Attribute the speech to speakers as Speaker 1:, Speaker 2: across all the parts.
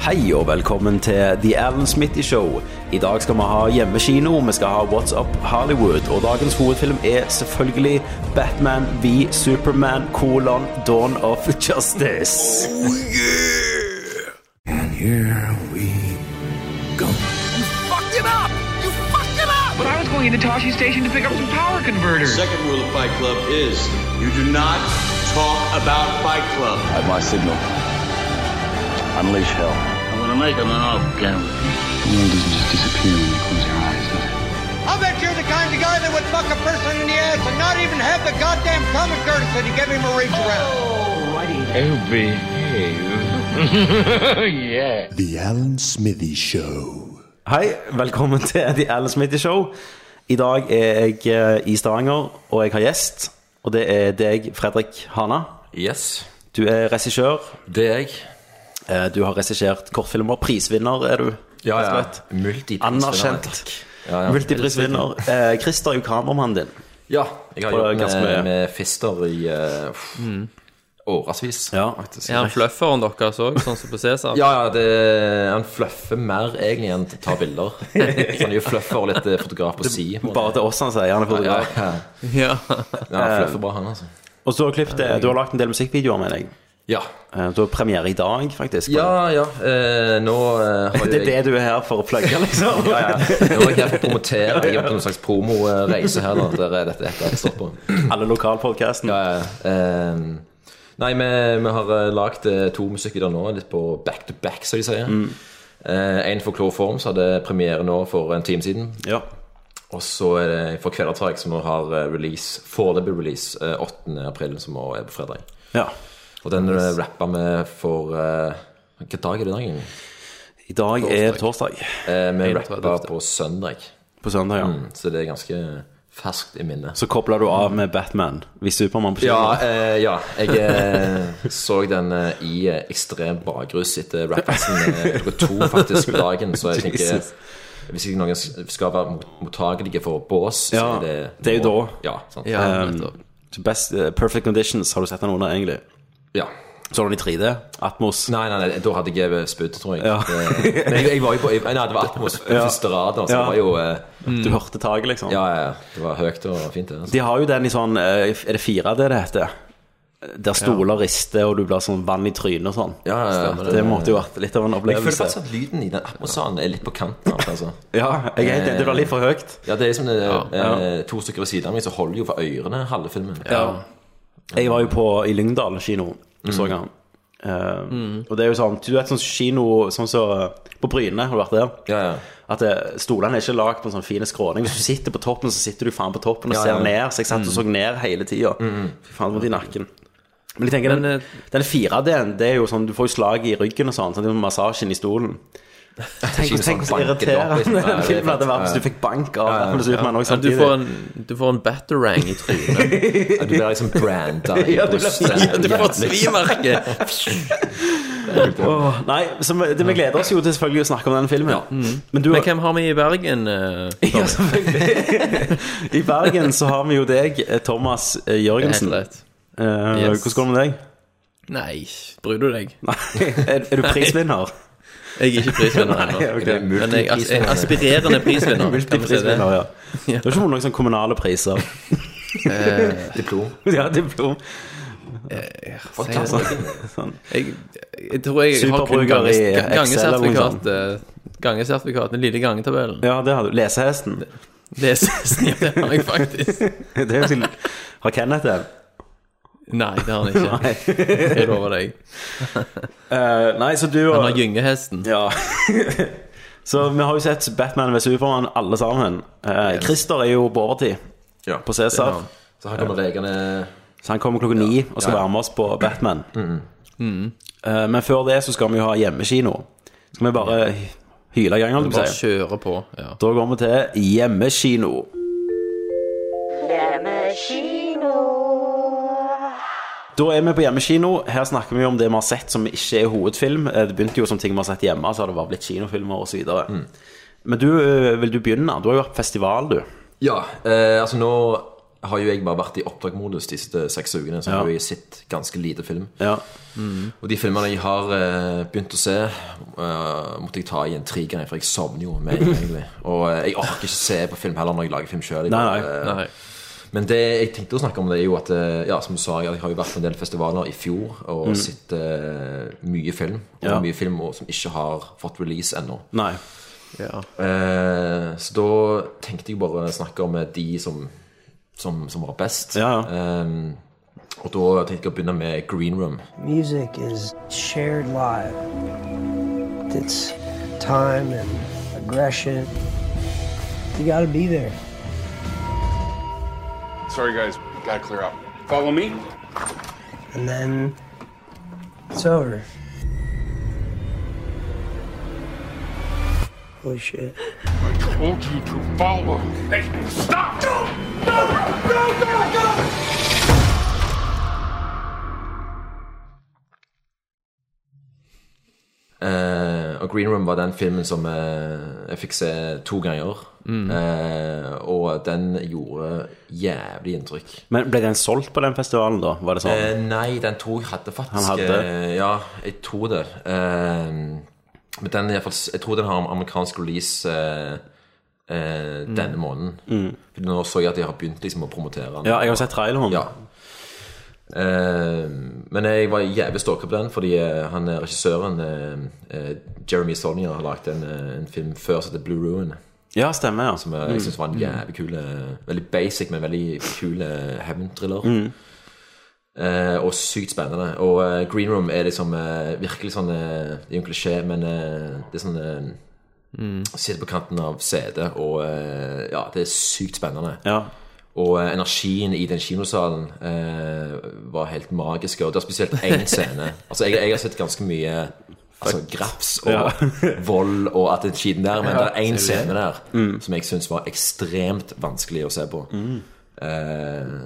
Speaker 1: Hei og velkommen til The Alan Smitty Show. I dag skal vi ha hjemmekino, vi skal ha What's Up Hollywood, og dagens hovedfilm er selvfølgelig Batman v Superman kolon Dawn of Justice.
Speaker 2: fucked it up! You fucked it up!
Speaker 3: But I was going into Tosche Station to pick up some power converters.
Speaker 4: Second rule of Fight Club is you do not talk about Fight Club.
Speaker 5: At my signal, unleash hell.
Speaker 6: I'm gonna make him an off camera.
Speaker 5: The world doesn't just disappear when you close your eyes, does it?
Speaker 7: I bet you're the kind of guy that would fuck a person in the ass and not even have the goddamn common courtesy to give him a reach around.
Speaker 6: Oh, behave. yeah.
Speaker 8: The Alan Smithy Show.
Speaker 1: Hei, velkommen til The Alan Smitty Show. I dag er jeg eh, i Stavanger, og jeg har gjest, og det er deg, Fredrik Hana.
Speaker 9: Yes,
Speaker 1: Du er regissør,
Speaker 9: det er jeg.
Speaker 1: eh, du har regissert kortfilmer, prisvinner er du. rett og slett.
Speaker 9: Multiprisvinner.
Speaker 1: Anerkjent.
Speaker 9: Ja, ja.
Speaker 1: Multiprisvinner. Eh, Christer er jo kameramannen din.
Speaker 9: Ja, jeg har
Speaker 1: På
Speaker 9: jobbet
Speaker 1: ganske mye. Mm.
Speaker 9: med, med Fister i eh, pff, årevis.
Speaker 1: Ja.
Speaker 9: faktisk.
Speaker 10: Er han fløfferen deres òg, sånn som på Cæsar?
Speaker 9: Ja, ja, det, han fluffer mer egentlig enn til å ta bilder. Så han er jo fluffer og litt eh, fotograf på si. på en måte.
Speaker 1: Bare til oss altså. han sier han er
Speaker 9: ja,
Speaker 1: fotograf.
Speaker 9: ja,
Speaker 10: Ja.
Speaker 9: ja, han fluffer bra, han, altså.
Speaker 1: Og så har du klippet, du har lagt en del musikkvideoer med deg.
Speaker 9: Ja.
Speaker 1: Eh, Du har premiere i dag, faktisk.
Speaker 9: Ja, ja. eh, nå eh, har
Speaker 1: Det
Speaker 9: jo
Speaker 1: er
Speaker 9: jeg
Speaker 1: det du er her for å plugge, liksom.
Speaker 9: ja, ja. Nå er jeg her for å promotere. Jeg er på noen slags promoreise her. Da, der er dette etter jeg står på.
Speaker 1: Alle lokalpodkasten.
Speaker 9: Ja, ja, ja. Ehm, nei, vi, vi har eh, lagd eh, to musikkvideoer nå, litt på back to back, som de sier. Eh, en for Klorform, som hadde premiere nå for en time siden.
Speaker 1: Ja.
Speaker 9: Og så er det for Kvelertak, som nå har eh, release, foreløpig release eh, 8. april, som nå er på fredag.
Speaker 1: ja.
Speaker 9: Og den yes. rappa vi for eh, Hvilken dag er det i dag? egentlig?
Speaker 1: I dag er torsdag.
Speaker 9: Eh, vi
Speaker 10: tror jeg
Speaker 9: rappa på søndag,
Speaker 1: På søndag, ja.
Speaker 9: Mm, så det er ganske ferskt i minnet.
Speaker 1: Så kobler du av med Batman hvis Supermann på
Speaker 9: Ja,
Speaker 1: kino.
Speaker 9: eh, ja. jeg eh, så den eh, i eh, ekstrem bakrus etter rappelsen eh, klokka to faktisk på dagen. Så jeg tenker
Speaker 1: Jesus.
Speaker 9: hvis ikke noen skal være mot- mottagelige for bås, så
Speaker 1: Ja,
Speaker 9: er det
Speaker 1: det er jo
Speaker 9: nå.
Speaker 1: da.
Speaker 9: Ja, sant. Eh,
Speaker 10: ja
Speaker 1: Um,
Speaker 10: nettopp.
Speaker 1: Så Best, eh, perfect Conditions har du sett den under, egentlig.
Speaker 9: Ja.
Speaker 1: Så har du den i 3D. Atmos.
Speaker 9: Nei, nei, nei, da hadde jeg spydd, tror jeg.
Speaker 1: Ja.
Speaker 9: Det, men jeg, jeg var jo på jeg, Nei, det var Atmos på
Speaker 1: Ja.
Speaker 9: første rad, altså.
Speaker 1: Ja.
Speaker 9: Det var jo eh,
Speaker 1: Du hørte taket, liksom.
Speaker 9: Ja, ja, ja. Det var høyt og fint, det. Altså.
Speaker 1: De har jo den i sånn eh, Er det 4D det heter? Der stoler rister, og du blir sånn vann i trynet og sånn.
Speaker 9: Ja, ja, ja.
Speaker 1: Det måtte jo vært litt av en
Speaker 9: Jeg føler
Speaker 1: opplevelse.
Speaker 9: faktisk at lyden i den Atmos-salen er litt på kanten. av det, Altså.
Speaker 1: Ja, jeg er helt enig. Det var litt for høyt.
Speaker 9: Ja, det er liksom det,
Speaker 1: Ja.
Speaker 9: Eh, to stykker ved siden av meg som holder jo for ørene halve filmen.
Speaker 1: Jeg var jo på i Lyngdal kino og
Speaker 9: Mm.
Speaker 1: så han. Eh, Og det er jo sånn Du vet sånn kino sånn som På Bryne, har du vært der?
Speaker 9: Ja, ja.
Speaker 1: At eh, stolene er ikke lagd på en sånn fin skråning. Hvis du sitter på toppen, så sitter du faen på toppen og
Speaker 9: Ja,
Speaker 1: ser
Speaker 9: ja.
Speaker 1: ned. Så jeg satt og
Speaker 10: Mm.
Speaker 1: så ned hele tida. Fy faen, det var i nakken. Men jeg tenker
Speaker 10: Men, eh,
Speaker 1: den, den 4D-en, det er jo sånn Du får jo slag i ryggen og sånn. sånn det er jo massasjen i stolen. Tenk
Speaker 9: Ikke
Speaker 1: tenk
Speaker 9: sånn
Speaker 1: så
Speaker 9: banket opp,
Speaker 1: irriterende
Speaker 9: liksom. Ja,
Speaker 1: den
Speaker 9: det er
Speaker 1: filmen hadde
Speaker 9: fett.
Speaker 1: vært hvis du fikk bank av Apple Superman også
Speaker 10: Ja, du,
Speaker 1: samtidig.
Speaker 10: får en, du får en batterang i trynet.
Speaker 9: Ja, Du blir liksom branda i
Speaker 1: Ja, du blir-
Speaker 9: brystet.
Speaker 1: ja, du får
Speaker 10: For et svimerke!
Speaker 1: Åh, nei, så vi, det, vi gleder oss jo til selvfølgelig å snakke om den filmen. Men du
Speaker 10: Mm. Men hvem har vi i Bergen? eh?
Speaker 1: Ja, selvfølgelig. I Bergen så har vi jo deg, eh, Thomas eh, Jørgensen.
Speaker 10: Helt rett.
Speaker 1: Eh, Hvordan
Speaker 10: Yes.
Speaker 1: går det med deg?
Speaker 10: Nei, bryr du deg?
Speaker 1: Nei, er, er du prisvinner?
Speaker 10: Jeg er ikke prisvinner
Speaker 1: Nei,
Speaker 10: ennå.
Speaker 1: ok.
Speaker 9: Det er
Speaker 10: Men jeg as- jeg er
Speaker 9: multiprisvinner.
Speaker 10: aspirerende prisvinner. kan vi si det?
Speaker 1: Multiprisvinner, ja. Du har ikke vunnet noen sånne kommunale priser?
Speaker 10: Eh,
Speaker 9: Diplom.
Speaker 1: ja, diplom.
Speaker 10: Sier jeg sånn. Jeg, jeg tror jeg har kun
Speaker 1: altså. Superbruker
Speaker 10: gange-
Speaker 1: i
Speaker 10: gange-
Speaker 1: Excel eller noe sånt.
Speaker 10: gangesertifikatet. Gangesertifikatet, eh, den lille gangetabellen.
Speaker 1: Ja, det har du. Lesehesten.
Speaker 10: Leses ja, det har jeg faktisk.
Speaker 1: Det er jo til... Har Kenneth den?
Speaker 10: Nei, det har han ikke.
Speaker 1: Nei.
Speaker 10: Jeg lover deg.
Speaker 1: Eh, nei, så du og
Speaker 10: Han har gyngehesten.
Speaker 1: Ja. så vi har jo sett Batman ved Supermann, alle sammen. Eh, Christer er jo på overtid
Speaker 9: Ja.
Speaker 1: på Cæsar.
Speaker 9: Så her kommer legene
Speaker 1: Så han kommer klokka ni og skal være med oss på Batman. Eh, men før det så skal vi jo ha hjemmekino. Skal vi bare hy- hyle i gang, holdt jeg på å
Speaker 10: Bare
Speaker 1: si.
Speaker 10: kjøre på. Ja.
Speaker 1: Da går vi til hjemmekino. Da er vi på hjemmekino. Her snakker vi om det vi har sett som ikke er hovedfilm. Eh, Det begynte jo som ting vi har sett hjemme, så har det bare blitt kinofilmer osv. Men du, eh, vil du begynne? Du har jo vært på festival, du.
Speaker 9: Ja, eh, altså nå har jo jeg bare vært i oppdragsmodus de siste seks ukene, så
Speaker 1: Ja.
Speaker 9: jeg har jo sett ganske lite film.
Speaker 1: Ja.
Speaker 9: Og de filmene jeg har eh, begynt å se, eh, måtte jeg ta i en trigger, for jeg sovner jo med en gang, egentlig. Og eh, jeg orker ikke se på film heller når jeg lager film sjøl.
Speaker 1: Nei, nei.
Speaker 10: Nei.
Speaker 9: Men det jeg tenkte å snakke om, det er jo at eh, ja, som du sa, jeg har jo vært på en del festivaler i fjor og sett eh, mye film. Og
Speaker 1: Mm. Ja.
Speaker 9: mye film og- som ikke har fått release ennå.
Speaker 1: Nei.
Speaker 10: Ja.
Speaker 9: Eh, så da tenkte jeg bare å snakke om eh, de som, som, som var best.
Speaker 1: Ja,
Speaker 9: Eh, og da tenkte jeg å begynne med Green Room.
Speaker 11: Music is shared live. It's time and aggression. You gotta be there.
Speaker 4: Sorry, guys. Gotta clear up. Follow me.
Speaker 11: And then it's over. Holy shit.
Speaker 6: Told you to follow. Hey, stop!
Speaker 9: Eh, og Green Room var den filmen som eh, jeg fikk se to ganger.
Speaker 1: Mm.
Speaker 9: Eh, og den gjorde jævlig inntrykk.
Speaker 1: Men ble den solgt på den festivalen, da? Var det sånn?
Speaker 9: Eh, nei, den tror jeg hadde faktisk
Speaker 1: Han hadde?
Speaker 9: eh, Ja, jeg tror det. Eh, men den, er i hvert fall- jeg tror den har en amerikansk release eh, eh,
Speaker 1: Mm.
Speaker 9: denne måneden. For Nå så jeg at de har begynt liksom, å promotere den.
Speaker 1: ja, jeg har sett traileren.
Speaker 9: Ja. Eh, men jeg var jævlig stalka på den, fordi eh, han eh, regissøren, eh, eh, Jeremy Sonja, har lagd en, eh, en film før som heter Blue Ruin.
Speaker 1: Ja, stemmer, ja.
Speaker 9: Som eh, jeg syns var en jævlig kul eh, Veldig basic, men veldig kul eh, hevnthriller. Eh, og sykt spennende. Og eh, Green Room er liksom eh, virkelig sånn eh, Det er jo en klisjé, men eh, det er sånn eh, Sitter på kanten av setet, og eh, ja, det er sykt spennende.
Speaker 1: ja.
Speaker 9: Og eh, energien i den kinosalen eh, var helt magisk. Og det er spesielt én scene. altså, jeg, jeg har sett ganske mye altså, graps og vold og at det er skiten der, men det er én scene der som jeg syns var ekstremt vanskelig å se på. Eh,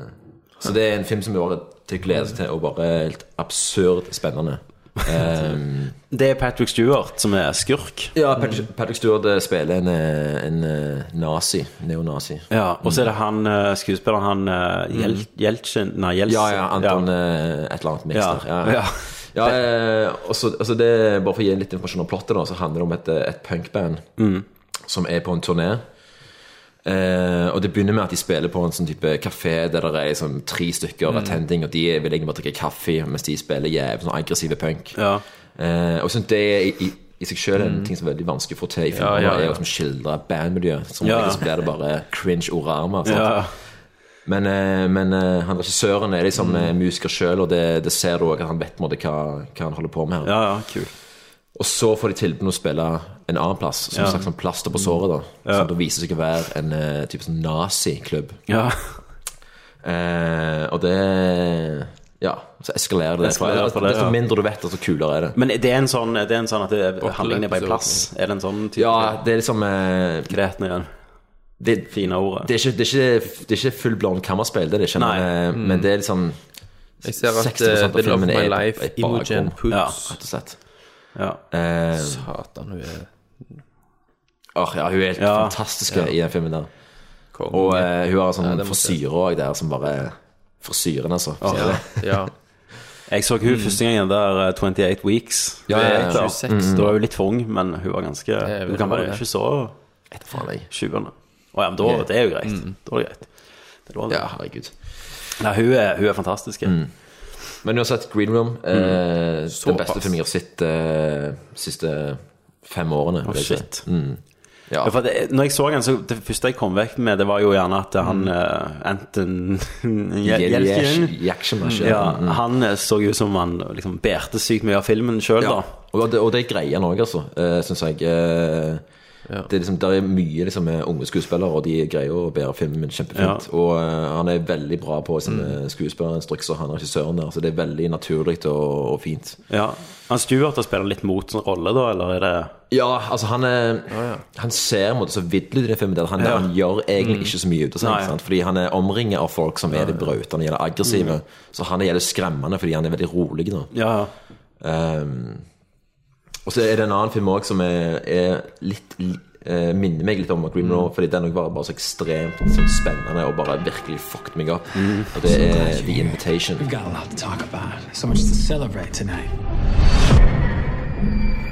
Speaker 9: så det er en film som jeg bare til glede seg til, og bare helt absurd spennende. Eh,
Speaker 1: Det er Patrick Stewart som er skurk.
Speaker 9: ja, Patrick, Patrick Stewart eh, spiller en, eh, en eh, nazi. Neonazi.
Speaker 1: Ja, Og så er det han eh, skuespilleren han eh, Jel Jeltsin Nei, Jeltsin.
Speaker 9: Mm. Ja, ja, Anton eh, et eller annet mikser.
Speaker 1: Ja,
Speaker 9: Ja.
Speaker 1: ja.
Speaker 9: Ja. eh, og så- altså det, bare for å gi litt informasjon om plottet, da, så handler det om et, eh, et punkband som er på en turné. Eh, og det begynner med at de spiller på en sånn type kafé der det er sånn tre stykker attending, og de vil egentlig bare drikke kaffe mens de spiller jævlig sånn aggressive punk.
Speaker 1: Ja.
Speaker 9: Eh, og jeg synes det er i, i, i seg selv en ting som er veldig vanskelig å få til i filmer,
Speaker 10: ja,
Speaker 9: er
Speaker 10: ja.
Speaker 9: å liksom skildre bandmiljøet. Som
Speaker 1: Ja.
Speaker 9: regel så blir det bare cringe-orama. sant?
Speaker 1: Ja.
Speaker 9: Men, eh, men eh, han regissøren er liksom eh, musiker sjøl, og det, det ser du òg at han vet på en måte hva, hva han holder på med. her
Speaker 1: ja, ja, kul.
Speaker 9: Og så får de tilbud om å spille en annen plass, som
Speaker 1: Ja.
Speaker 9: et slags sånn plaster på såret. da Som da viser seg å være en eh, type sånn naziklubb.
Speaker 1: Ja.
Speaker 9: Eh, og det Ja, så eskalerer det.
Speaker 1: Eskalerer fra det,
Speaker 9: Desto
Speaker 1: ja.
Speaker 9: mindre du vet, desto kulere er det.
Speaker 1: Men er det en sånn, er det en sånn at det, handlingen er på en
Speaker 10: episode.
Speaker 1: plass? Er det en sånn type
Speaker 9: Ja, det er liksom eh,
Speaker 1: Greten igjen.
Speaker 9: det,
Speaker 1: Fine ordet.
Speaker 9: det er ikke, det er ikke, det er ikke full blown kammerspill, det er det ikke. Men,
Speaker 1: Nei. Mm.
Speaker 9: eh, men det er liksom
Speaker 10: Jeg ser at
Speaker 9: 60%
Speaker 10: eh,
Speaker 9: av
Speaker 10: Bill of
Speaker 9: filmen
Speaker 10: My
Speaker 9: er-
Speaker 10: Life,
Speaker 9: er et
Speaker 10: Imogen
Speaker 9: bakrom.
Speaker 1: Ja.
Speaker 10: Poots
Speaker 9: Rett og slett.
Speaker 1: ja.
Speaker 9: Eh,
Speaker 10: Satan, hun er
Speaker 9: Åh, ja, hun er helt
Speaker 1: Ja.
Speaker 9: fantastisk i den filmen der.
Speaker 10: konge.
Speaker 9: Og eh, hun har sånn
Speaker 10: det må
Speaker 9: frisyre òg der som bare Frisyren, altså. Så
Speaker 10: ja,
Speaker 9: det-
Speaker 10: ja.
Speaker 1: Jeg så
Speaker 9: Mm.
Speaker 1: hun første gangen der eh, 28 Weeks.
Speaker 10: Ja,
Speaker 1: Hun
Speaker 10: ja,
Speaker 1: er
Speaker 10: ja.
Speaker 1: der.
Speaker 10: 26
Speaker 1: Da var hun litt for ung, men hun var ganske
Speaker 10: er
Speaker 1: Hun
Speaker 10: veldig
Speaker 1: kan
Speaker 10: bra,
Speaker 1: være
Speaker 10: det.
Speaker 1: ikke så
Speaker 9: Etter faen, jeg.
Speaker 1: 20-årene. Å ja, men da
Speaker 9: Ok. Mm.
Speaker 1: Det er jo greit. Da er det greit. Det er lov, det.
Speaker 9: Ja, Mm. herregud.
Speaker 1: Nei, hun er, hun er fantastisk. jeg.
Speaker 9: Men uansett, Green Room eh, Den beste
Speaker 10: Såpass.
Speaker 9: filmen jeg har sett eh, de siste fem årene.
Speaker 1: Å,
Speaker 9: vil jeg si.
Speaker 1: shit.
Speaker 9: Mm. Ja.
Speaker 1: Ja, for det, når jeg så den, så det første jeg kom vekk med, det var jo gjerne at han eh, Anton Jelkin
Speaker 9: Jelkin.
Speaker 1: ja,
Speaker 9: Ja.
Speaker 1: Han eh, så ut som han liksom bærte sykt mye av filmen sjøl,
Speaker 9: Ja.
Speaker 1: da.
Speaker 9: Og det, og det er greia nå, altså, uh, syns jeg. Eh, Det er liksom, der er mye liksom, med unge skuespillere, og de greier å bære filmen min kjempefint. Og eh, han er veldig bra på sine skuespillerinstrukser, han regissøren der, så det er veldig naturlig og, og fint.
Speaker 1: Ja. Han Stuart har spilt litt mot sin rolle, da, eller er det
Speaker 9: Ja, altså han er Han ser på en måte så vidlig ut i den filmen. Der. Han,
Speaker 1: Ja. Mm.
Speaker 9: han gjør egentlig ikke så mye ut av seg.
Speaker 1: Nei.
Speaker 9: ikke sant? Fordi han er omringet av folk som er litt brautende eller aggressive.
Speaker 1: Mm.
Speaker 9: Så han er gjelder skremmende fordi han er veldig rolig. da
Speaker 1: Ja,
Speaker 9: Ehm, og så er det en annen film også som er, er litt li- eh, minner meg litt om Green
Speaker 1: Mm.
Speaker 9: Row, fordi den også var bare så ekstremt sånn, spennende og bare virkelig fucked meg opp.
Speaker 1: Mm.
Speaker 9: Og det er The Invitation.
Speaker 12: We've got a lot to talk about, so much to celebrate tonight.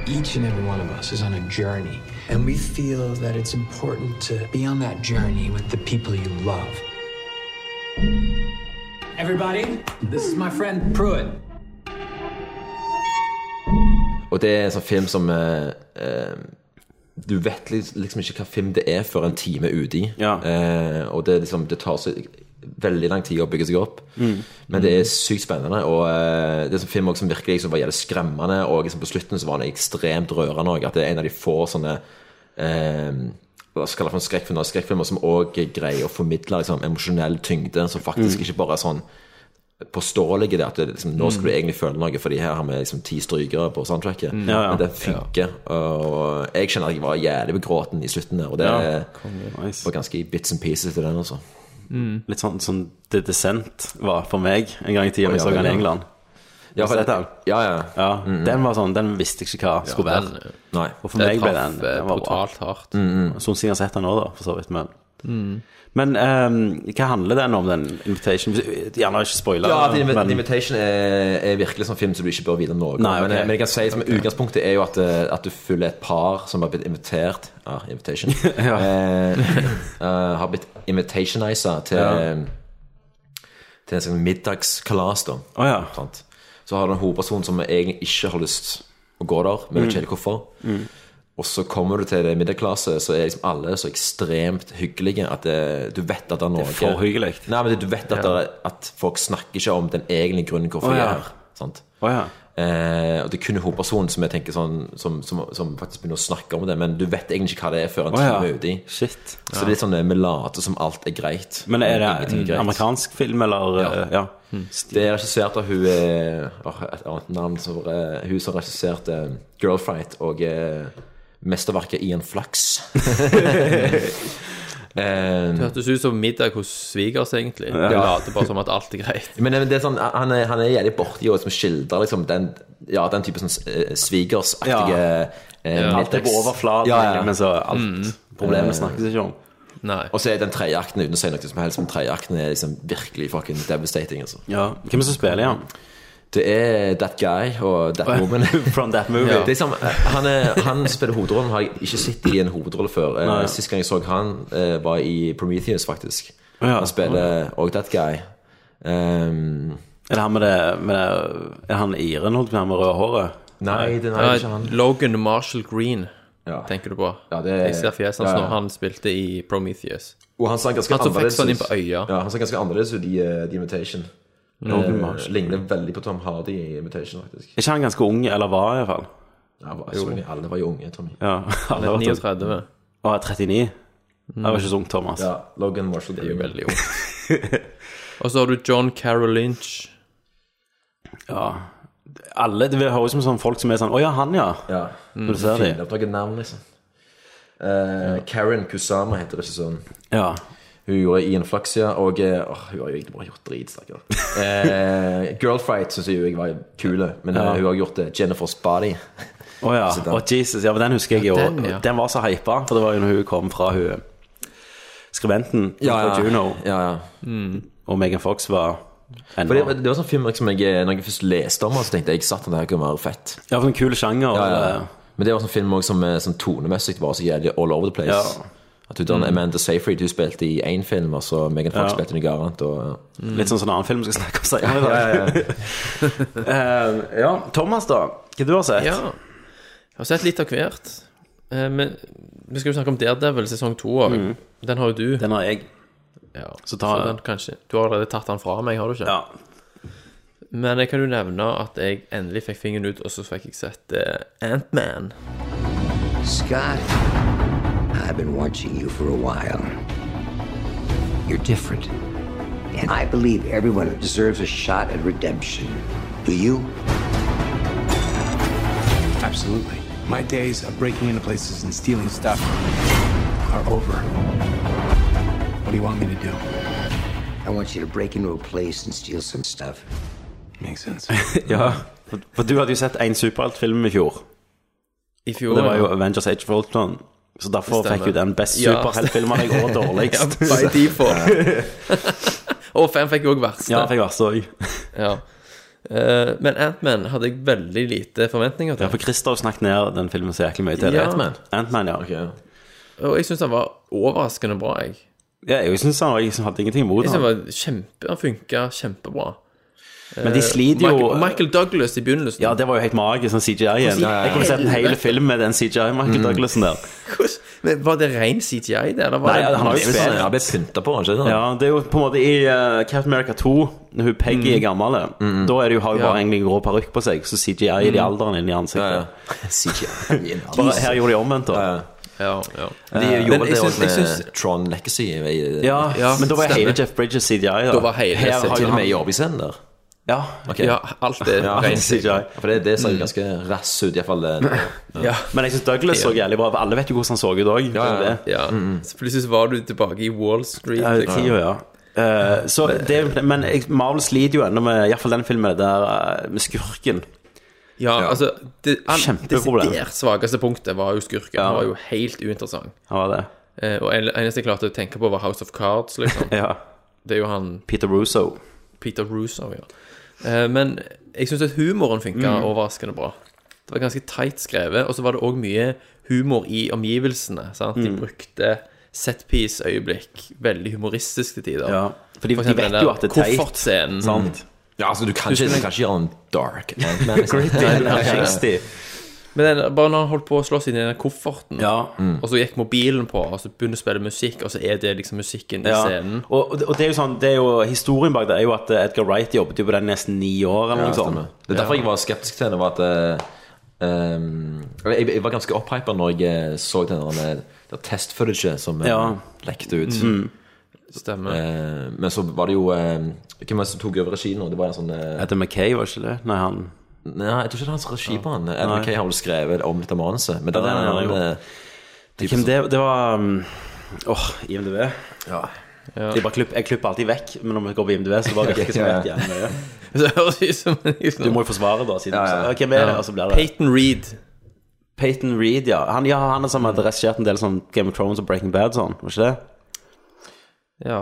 Speaker 12: Each and every one of us is on a journey, and we feel that it's important to be on that journey with the people you love. Everybody, this is my friend Pruitt.
Speaker 9: Og det er en sånn film som eh, eh, Du vet lis- liksom ikke hva film det er før en time er ute i. Eh, og det, er liksom, det tar så veldig lang tid å bygge seg opp.
Speaker 13: Mm.
Speaker 9: Men det er sykt spennende. Og eh, det er en sånn film også som virkelig liksom, var jævlig skremmende. Og liksom, på slutten så var den ekstremt rørende òg. At det er en av de få sånne eh, hva skal jeg kalle det for en skrekkfilmer, skrekkfilmer som òg greier å formidle liksom, emosjonell tyngde, som faktisk
Speaker 13: Mm.
Speaker 9: ikke bare er sånn påståelige det at det, liksom, nå skal du
Speaker 13: Mm.
Speaker 9: egentlig føle noe, fordi her har vi liksom ti strykere på soundtracket.
Speaker 13: Mm. Ja, ja.
Speaker 9: Men det funker. Og jeg kjenner at jeg var jævlig begråten i slutten der, og det
Speaker 1: Ja.
Speaker 9: var ganske i bits and pieces til den, altså.
Speaker 1: Mm. Litt sånn som The Descent var for meg en gang i tida
Speaker 9: Å,
Speaker 1: vi
Speaker 9: ja,
Speaker 1: så den
Speaker 9: ja.
Speaker 1: i England.
Speaker 9: Ja, for-
Speaker 1: Har du sett den?
Speaker 9: Ja, ja.
Speaker 1: Den var sånn, den visste jeg ikke hva
Speaker 10: Ja,
Speaker 1: skulle
Speaker 10: den-
Speaker 1: være.
Speaker 9: Nei.
Speaker 1: Og for
Speaker 10: Det
Speaker 1: meg ble
Speaker 10: traff,
Speaker 1: den,
Speaker 10: eh,
Speaker 1: den var bra.
Speaker 10: brutalt hardt.
Speaker 1: Mm, mm. Sånn siden jeg har sett den nå, da, for så vidt. Men,
Speaker 10: Mm.
Speaker 1: men ehm, hva handler den om, den invitation? Hvis- Gjerne ikke spoiler.
Speaker 9: Ja, The Invi-
Speaker 1: men-
Speaker 9: The Invitation er, er virkelig sånn film som du ikke bør vite noe om.
Speaker 1: Nei, ok.
Speaker 9: men, men jeg kan si som utgangspunktet er jo at, eh, at du følger et par som har blitt invitert Ja, invitation. eh, eh, har blitt invitationisa til, eh,
Speaker 1: Ja.
Speaker 9: til en sånn middagskalas, da. Sant? Så har du en hovedperson som egentlig ikke har lyst å gå der, men vet ikke helt hvorfor.
Speaker 13: Mm.
Speaker 9: Og så kommer du til det middelklasse, så er liksom alle så ekstremt hyggelige at det, du vet at det er noe
Speaker 1: Det er for hyggelig.
Speaker 9: Nei, men det- du vet at, det, er- at folk snakker ikke om den egentlige grunnen hvorfor
Speaker 1: Å,
Speaker 9: de
Speaker 1: ja.
Speaker 9: er her. Sant? Eh, og det er kun hovedpersonen som jeg tenker sånn som, som, som faktisk begynner å snakke om det, men du vet egentlig ikke hva det er før en
Speaker 1: Å, ja.
Speaker 9: time er uti.
Speaker 1: Shit.
Speaker 9: Så det er litt sånn eh, vi later som alt er greit.
Speaker 1: Men er det
Speaker 9: Ingenting
Speaker 1: en
Speaker 9: greit.
Speaker 1: amerikansk film, eller? eh, Ja.
Speaker 9: Det er regissert av hun eh, åh, Et annet navn som, eh, Hun som regisserte Girlfight og eh, mesterverket Ian Flux. Eh,
Speaker 10: Det hørtes ut som middag hos svigers, egentlig.
Speaker 9: Ja.
Speaker 10: Det later bare som at alt er greit.
Speaker 9: men det er sånn, han er, han er jævlig borti og liksom skildrer liksom den, ja, den type sånn eh, svigersaktige
Speaker 1: Ja.
Speaker 9: eh,
Speaker 1: Ja. Eh,
Speaker 9: middags-
Speaker 1: Alt er på overflaten,
Speaker 9: Ja, ja.
Speaker 1: men så alt- problemet snakkes ikke om.
Speaker 9: Og så er den tredje akten uten å si noe som helst, men tredje akten er liksom virkelig fucking devastating. Altså.
Speaker 1: Ja. Hvem er det som spiller i han?
Speaker 9: Det er That Guy og That Woman.
Speaker 1: From That Movie.
Speaker 9: Det er som, eh, han, er, han spiller hovedrollen, har jeg ikke sett i en hovedrolle før. Eh,
Speaker 1: Nei.
Speaker 9: Sist gang jeg så han, eh, var i Prometheus, faktisk.
Speaker 1: Å, ja.
Speaker 9: Han spiller òg That Guy. Um,
Speaker 1: Er det han med det, med det Er han iren, holdt jeg på å si, med røde håret?
Speaker 10: Nei, Logan Marshall Green tenker du på.
Speaker 9: er-
Speaker 10: Jeg ser fjeset hans
Speaker 9: ja, ja.
Speaker 10: når han spilte i Prometheus.
Speaker 9: Og han ser ganske
Speaker 10: som fikk
Speaker 9: annerledes
Speaker 10: sånn
Speaker 9: ut.
Speaker 10: inn på øya.
Speaker 9: Ja, han ser ganske annerledes ut i eh, The Invitation.
Speaker 1: Logan
Speaker 9: Eh,
Speaker 1: Marshall.
Speaker 9: ligner veldig på Tom Hardy i Invitation, faktisk.
Speaker 1: Er ikke han ganske ung, eller var i hvert fall?
Speaker 9: Ja, var- sorry, alle var jo unge, Tommy.
Speaker 1: Ja, alle var
Speaker 10: 39.
Speaker 1: Å, 39? Det var ikke så ung, Thomas.
Speaker 9: Ja, Logan Marshall det er jo veldig ung.
Speaker 10: Og så har du John Carroll Lynch.
Speaker 1: Ja. Alle, Det høres ut som sånn folk som er sånn Å ja, han, ja.
Speaker 9: Ja.
Speaker 1: Når du ser
Speaker 9: Finne
Speaker 1: dem.
Speaker 9: opp noen navn, liksom. Eh, Karen Kusama heter regissøren.
Speaker 1: Ja.
Speaker 9: Hun gjorde Ian Fluxia, og eh, åh, hun har jo egentlig bare gjort drit, stakkar. Eh, Girlfight syns jeg jo jeg var kul, men eh,
Speaker 1: Ja.
Speaker 9: hun har gjort eh, Jennifer's Body.
Speaker 1: Å ja.
Speaker 9: Så den-
Speaker 1: Å, Jesus. Ja, men den husker jeg jo.
Speaker 9: Ja,
Speaker 1: Den,
Speaker 9: den, ja.
Speaker 1: var så hypa, for det var jo når hun kom fra hun skribenten
Speaker 9: Ja, ja.
Speaker 1: fra Juno.
Speaker 9: Ja, ja.
Speaker 1: Og Megan Fox var
Speaker 9: For det, det var sånn film liksom, jeg, når jeg først leste om den, så tenkte jeg at den her kunne være fett.
Speaker 1: Ja, for en kul sjanger.
Speaker 9: Ja, ja.
Speaker 1: og-
Speaker 9: Men det var sånn film også som, eh, som tonemessig var så jævlig all over the place.
Speaker 1: Ja.
Speaker 9: At hun, den
Speaker 1: Mm.
Speaker 9: Amanda Seyfried hun spilte i én film, og så Megan Fox
Speaker 1: Ja.
Speaker 9: spilte i noe annet. Og,
Speaker 1: Litt sånn som en annen film vi skal snakke om senere.
Speaker 9: Ja, ja,
Speaker 1: Eh, ja, Thomas, da. Hva du har sett?
Speaker 10: Ja. Jeg har sett litt av hvert. Eh, Men vi skal jo snakke om Daredevil sesong to òg.
Speaker 1: Mm.
Speaker 10: Den har jo du.
Speaker 1: Den har jeg.
Speaker 10: Ja.
Speaker 1: Så
Speaker 10: Så,
Speaker 1: tar-
Speaker 10: den kanskje Du har allerede tatt den fra meg, har du ikke?
Speaker 1: Ja.
Speaker 10: Men jeg kan jo nevne at jeg endelig fikk fingeren ut, og så fikk jeg sett eh, Ant-Man.
Speaker 14: Scott, I've been watching you for a while. You're different. And I believe everyone deserves a shot at redemption. Do you?
Speaker 15: Absolutely. My days of breaking into places and stealing stuff are over. What do you want me to do?
Speaker 14: I want you to break into a place and steal some stuff.
Speaker 15: Makes sense.
Speaker 1: ja. For- For du hadde jo sett én superheltfilm i fjor.
Speaker 10: I fjor,
Speaker 1: Og det var jo
Speaker 10: ja.
Speaker 1: Avengers Age of Ultron. Så derfor
Speaker 10: Stemmer.
Speaker 1: fikk hun den best
Speaker 10: Ja.
Speaker 1: superheltfilmen jeg og dårligst.
Speaker 10: Ja, by default. Og fem fikk jo også verste.
Speaker 1: Ja, fikk verste òg.
Speaker 10: Ja. Eh, men Ant-Man hadde jeg veldig lite forventninger til.
Speaker 1: Ja, for Christer har snakket ned den filmen så jæklig mye til.
Speaker 10: Ja.
Speaker 1: Ant-Man? Ant-Man, ja.
Speaker 10: Og jeg syns han var overraskende bra, jeg.
Speaker 1: ja jeg syns han jeg synes han hadde ingenting imot
Speaker 10: Jeg synes Han
Speaker 1: ham.
Speaker 10: var kjempe, han funka kjempebra.
Speaker 1: Men de
Speaker 10: Eh,
Speaker 1: sliter jo-
Speaker 10: Michael, Michael Douglas i begynnelsen.
Speaker 1: Ja, det var jo helt magisk, sånn CGI igjen.
Speaker 10: Hvordan i
Speaker 1: Jeg kunne sett en hel
Speaker 10: helvete?
Speaker 1: film med den CGI-Michael
Speaker 10: Mm.
Speaker 1: Douglasen der.
Speaker 10: Men Var det ren CGI, det? Eller var
Speaker 1: Nei,
Speaker 10: det
Speaker 1: han har jo
Speaker 10: spilt-
Speaker 1: spilt.
Speaker 9: Han ble pynta på, han ikke sant?
Speaker 1: Ja, det er jo på en måte i eh, Captain America 2, når hun Peggy
Speaker 9: Mm.
Speaker 1: er gammel, eh, da er det jo, har hun
Speaker 9: Ja.
Speaker 1: bare egentlig en grå parykk på seg, så CGI er de
Speaker 9: Mm.
Speaker 1: alderen inn i
Speaker 9: Ja,
Speaker 1: ansiktet.
Speaker 9: CGI.
Speaker 1: Bare her gjorde de omvendt, da.
Speaker 10: Ja, ja.
Speaker 9: De
Speaker 1: Eh,
Speaker 9: gjorde
Speaker 1: men
Speaker 9: det
Speaker 1: jeg
Speaker 9: også
Speaker 1: syns- jeg
Speaker 9: med
Speaker 1: syns-
Speaker 9: Tron Legacy. i-
Speaker 1: Ja, men da var
Speaker 9: stemmer.
Speaker 1: hele Jeff Bridges CGI. Da,
Speaker 9: Da var hele
Speaker 1: Her
Speaker 9: Til
Speaker 1: har
Speaker 9: og
Speaker 1: jo
Speaker 9: med i
Speaker 1: han-
Speaker 9: Orbisen der.
Speaker 1: Ja.
Speaker 9: Ok.
Speaker 10: Ja, alt er
Speaker 9: Ja,
Speaker 10: ren
Speaker 9: CGI.
Speaker 10: CGI.
Speaker 9: For det, det ser jo
Speaker 10: Mm.
Speaker 9: ganske rass ut, iallfall.
Speaker 10: Ja.
Speaker 1: Men jeg syns Douglas så jævlig bra ut. Alle vet jo hvordan han så ut òg.
Speaker 10: ja. Ja. Så plutselig så var du tilbake i Wall Street.
Speaker 1: Ja,
Speaker 10: liksom.
Speaker 1: tida, ja. Eh, så det, men jeg- Marvel sliter jo ennå med i hvert fall den filmen der eh, med skurken.
Speaker 10: Ja, altså Det all-
Speaker 1: Kjempeproblem.
Speaker 10: desidert svakeste punktet var jo skurken. Han var jo helt uinteressant.
Speaker 1: Han var det.
Speaker 10: Eh, og en- eneste jeg klarte å tenke på, var House of Cards, liksom.
Speaker 1: Ja.
Speaker 10: Det er jo han
Speaker 1: Peter Russo.
Speaker 10: Peter Russo, ja. Eh, men jeg syns at humoren funka
Speaker 1: Mm.
Speaker 10: overraskende bra. Det var ganske tight skrevet, og så var det òg mye humor i omgivelsene. Sant? De
Speaker 1: Mm.
Speaker 10: brukte setpiece-øyeblikk veldig humoristisk til tider.
Speaker 1: Ja, for de-
Speaker 10: For
Speaker 1: de
Speaker 10: eksempel
Speaker 1: vet
Speaker 10: den der Mm.
Speaker 1: jo at det er teit, Sånn.
Speaker 10: Koffertscenen.
Speaker 1: sant?
Speaker 9: Ja, altså, du kan ikke,
Speaker 10: Husker
Speaker 9: du
Speaker 10: du-
Speaker 9: kan ikke gjøre en dark Ant-Man, liksom.
Speaker 10: Gritty,
Speaker 9: Nei, nei, nei.
Speaker 10: Men den, bare når han holdt på å slåss inn i den kofferten,
Speaker 1: Mm.
Speaker 10: og så gikk mobilen på, og så begynner å spille musikk, og så er det liksom musikken i
Speaker 1: Ja.
Speaker 10: scenen.
Speaker 1: Og, og det er jo sånn det er jo, Historien bak det er jo at eh, Edgar Wright jobbet jo på den nesten ni år. Eller
Speaker 9: Ja,
Speaker 1: noe
Speaker 9: stemmer.
Speaker 1: sånt.
Speaker 9: Det er derfor jeg var skeptisk til henne. Var at eh, ehm, jeg, jeg var ganske opphypa når jeg eh, så den der, der test-footaget som eh,
Speaker 1: Ja.
Speaker 9: lekte ut.
Speaker 1: Mm.
Speaker 10: Stemmer.
Speaker 9: Eh, men så var det jo eh, Hvem var det som tok over regien nå? Det var en sånn eh,
Speaker 1: Eddie McKay, var ikke det? Nei, han
Speaker 9: Nei, jeg tror ikke det er hans regi på han. Ed
Speaker 1: Nei.
Speaker 9: McKay har vel skrevet om litt av manuset. Men
Speaker 1: Ja,
Speaker 9: det er
Speaker 1: det har han
Speaker 9: en
Speaker 1: gjort.
Speaker 9: annen eh,
Speaker 1: Hvem det, det var um, Åh, IMDb.
Speaker 10: Ja.
Speaker 1: Jeg, bare klipp, jeg klipper alltid vekk, men når vi går på IMDb, så bare virker det som
Speaker 10: Ja.
Speaker 1: jeg vet jævlig mye.
Speaker 10: Det høres ut som liksom.
Speaker 1: Du må jo forsvare, da, siden
Speaker 10: Ja,
Speaker 1: du sa «Ja,
Speaker 10: ja.
Speaker 1: Hvem er det?
Speaker 10: Ja.
Speaker 1: Og så blir det
Speaker 10: Peyton Reed.
Speaker 1: Peyton Reed, ja. Han, ja, han er som hadde regissert en del sånn Game of Thrones og Breaking Bad sånn, var ikke det?
Speaker 10: Ja.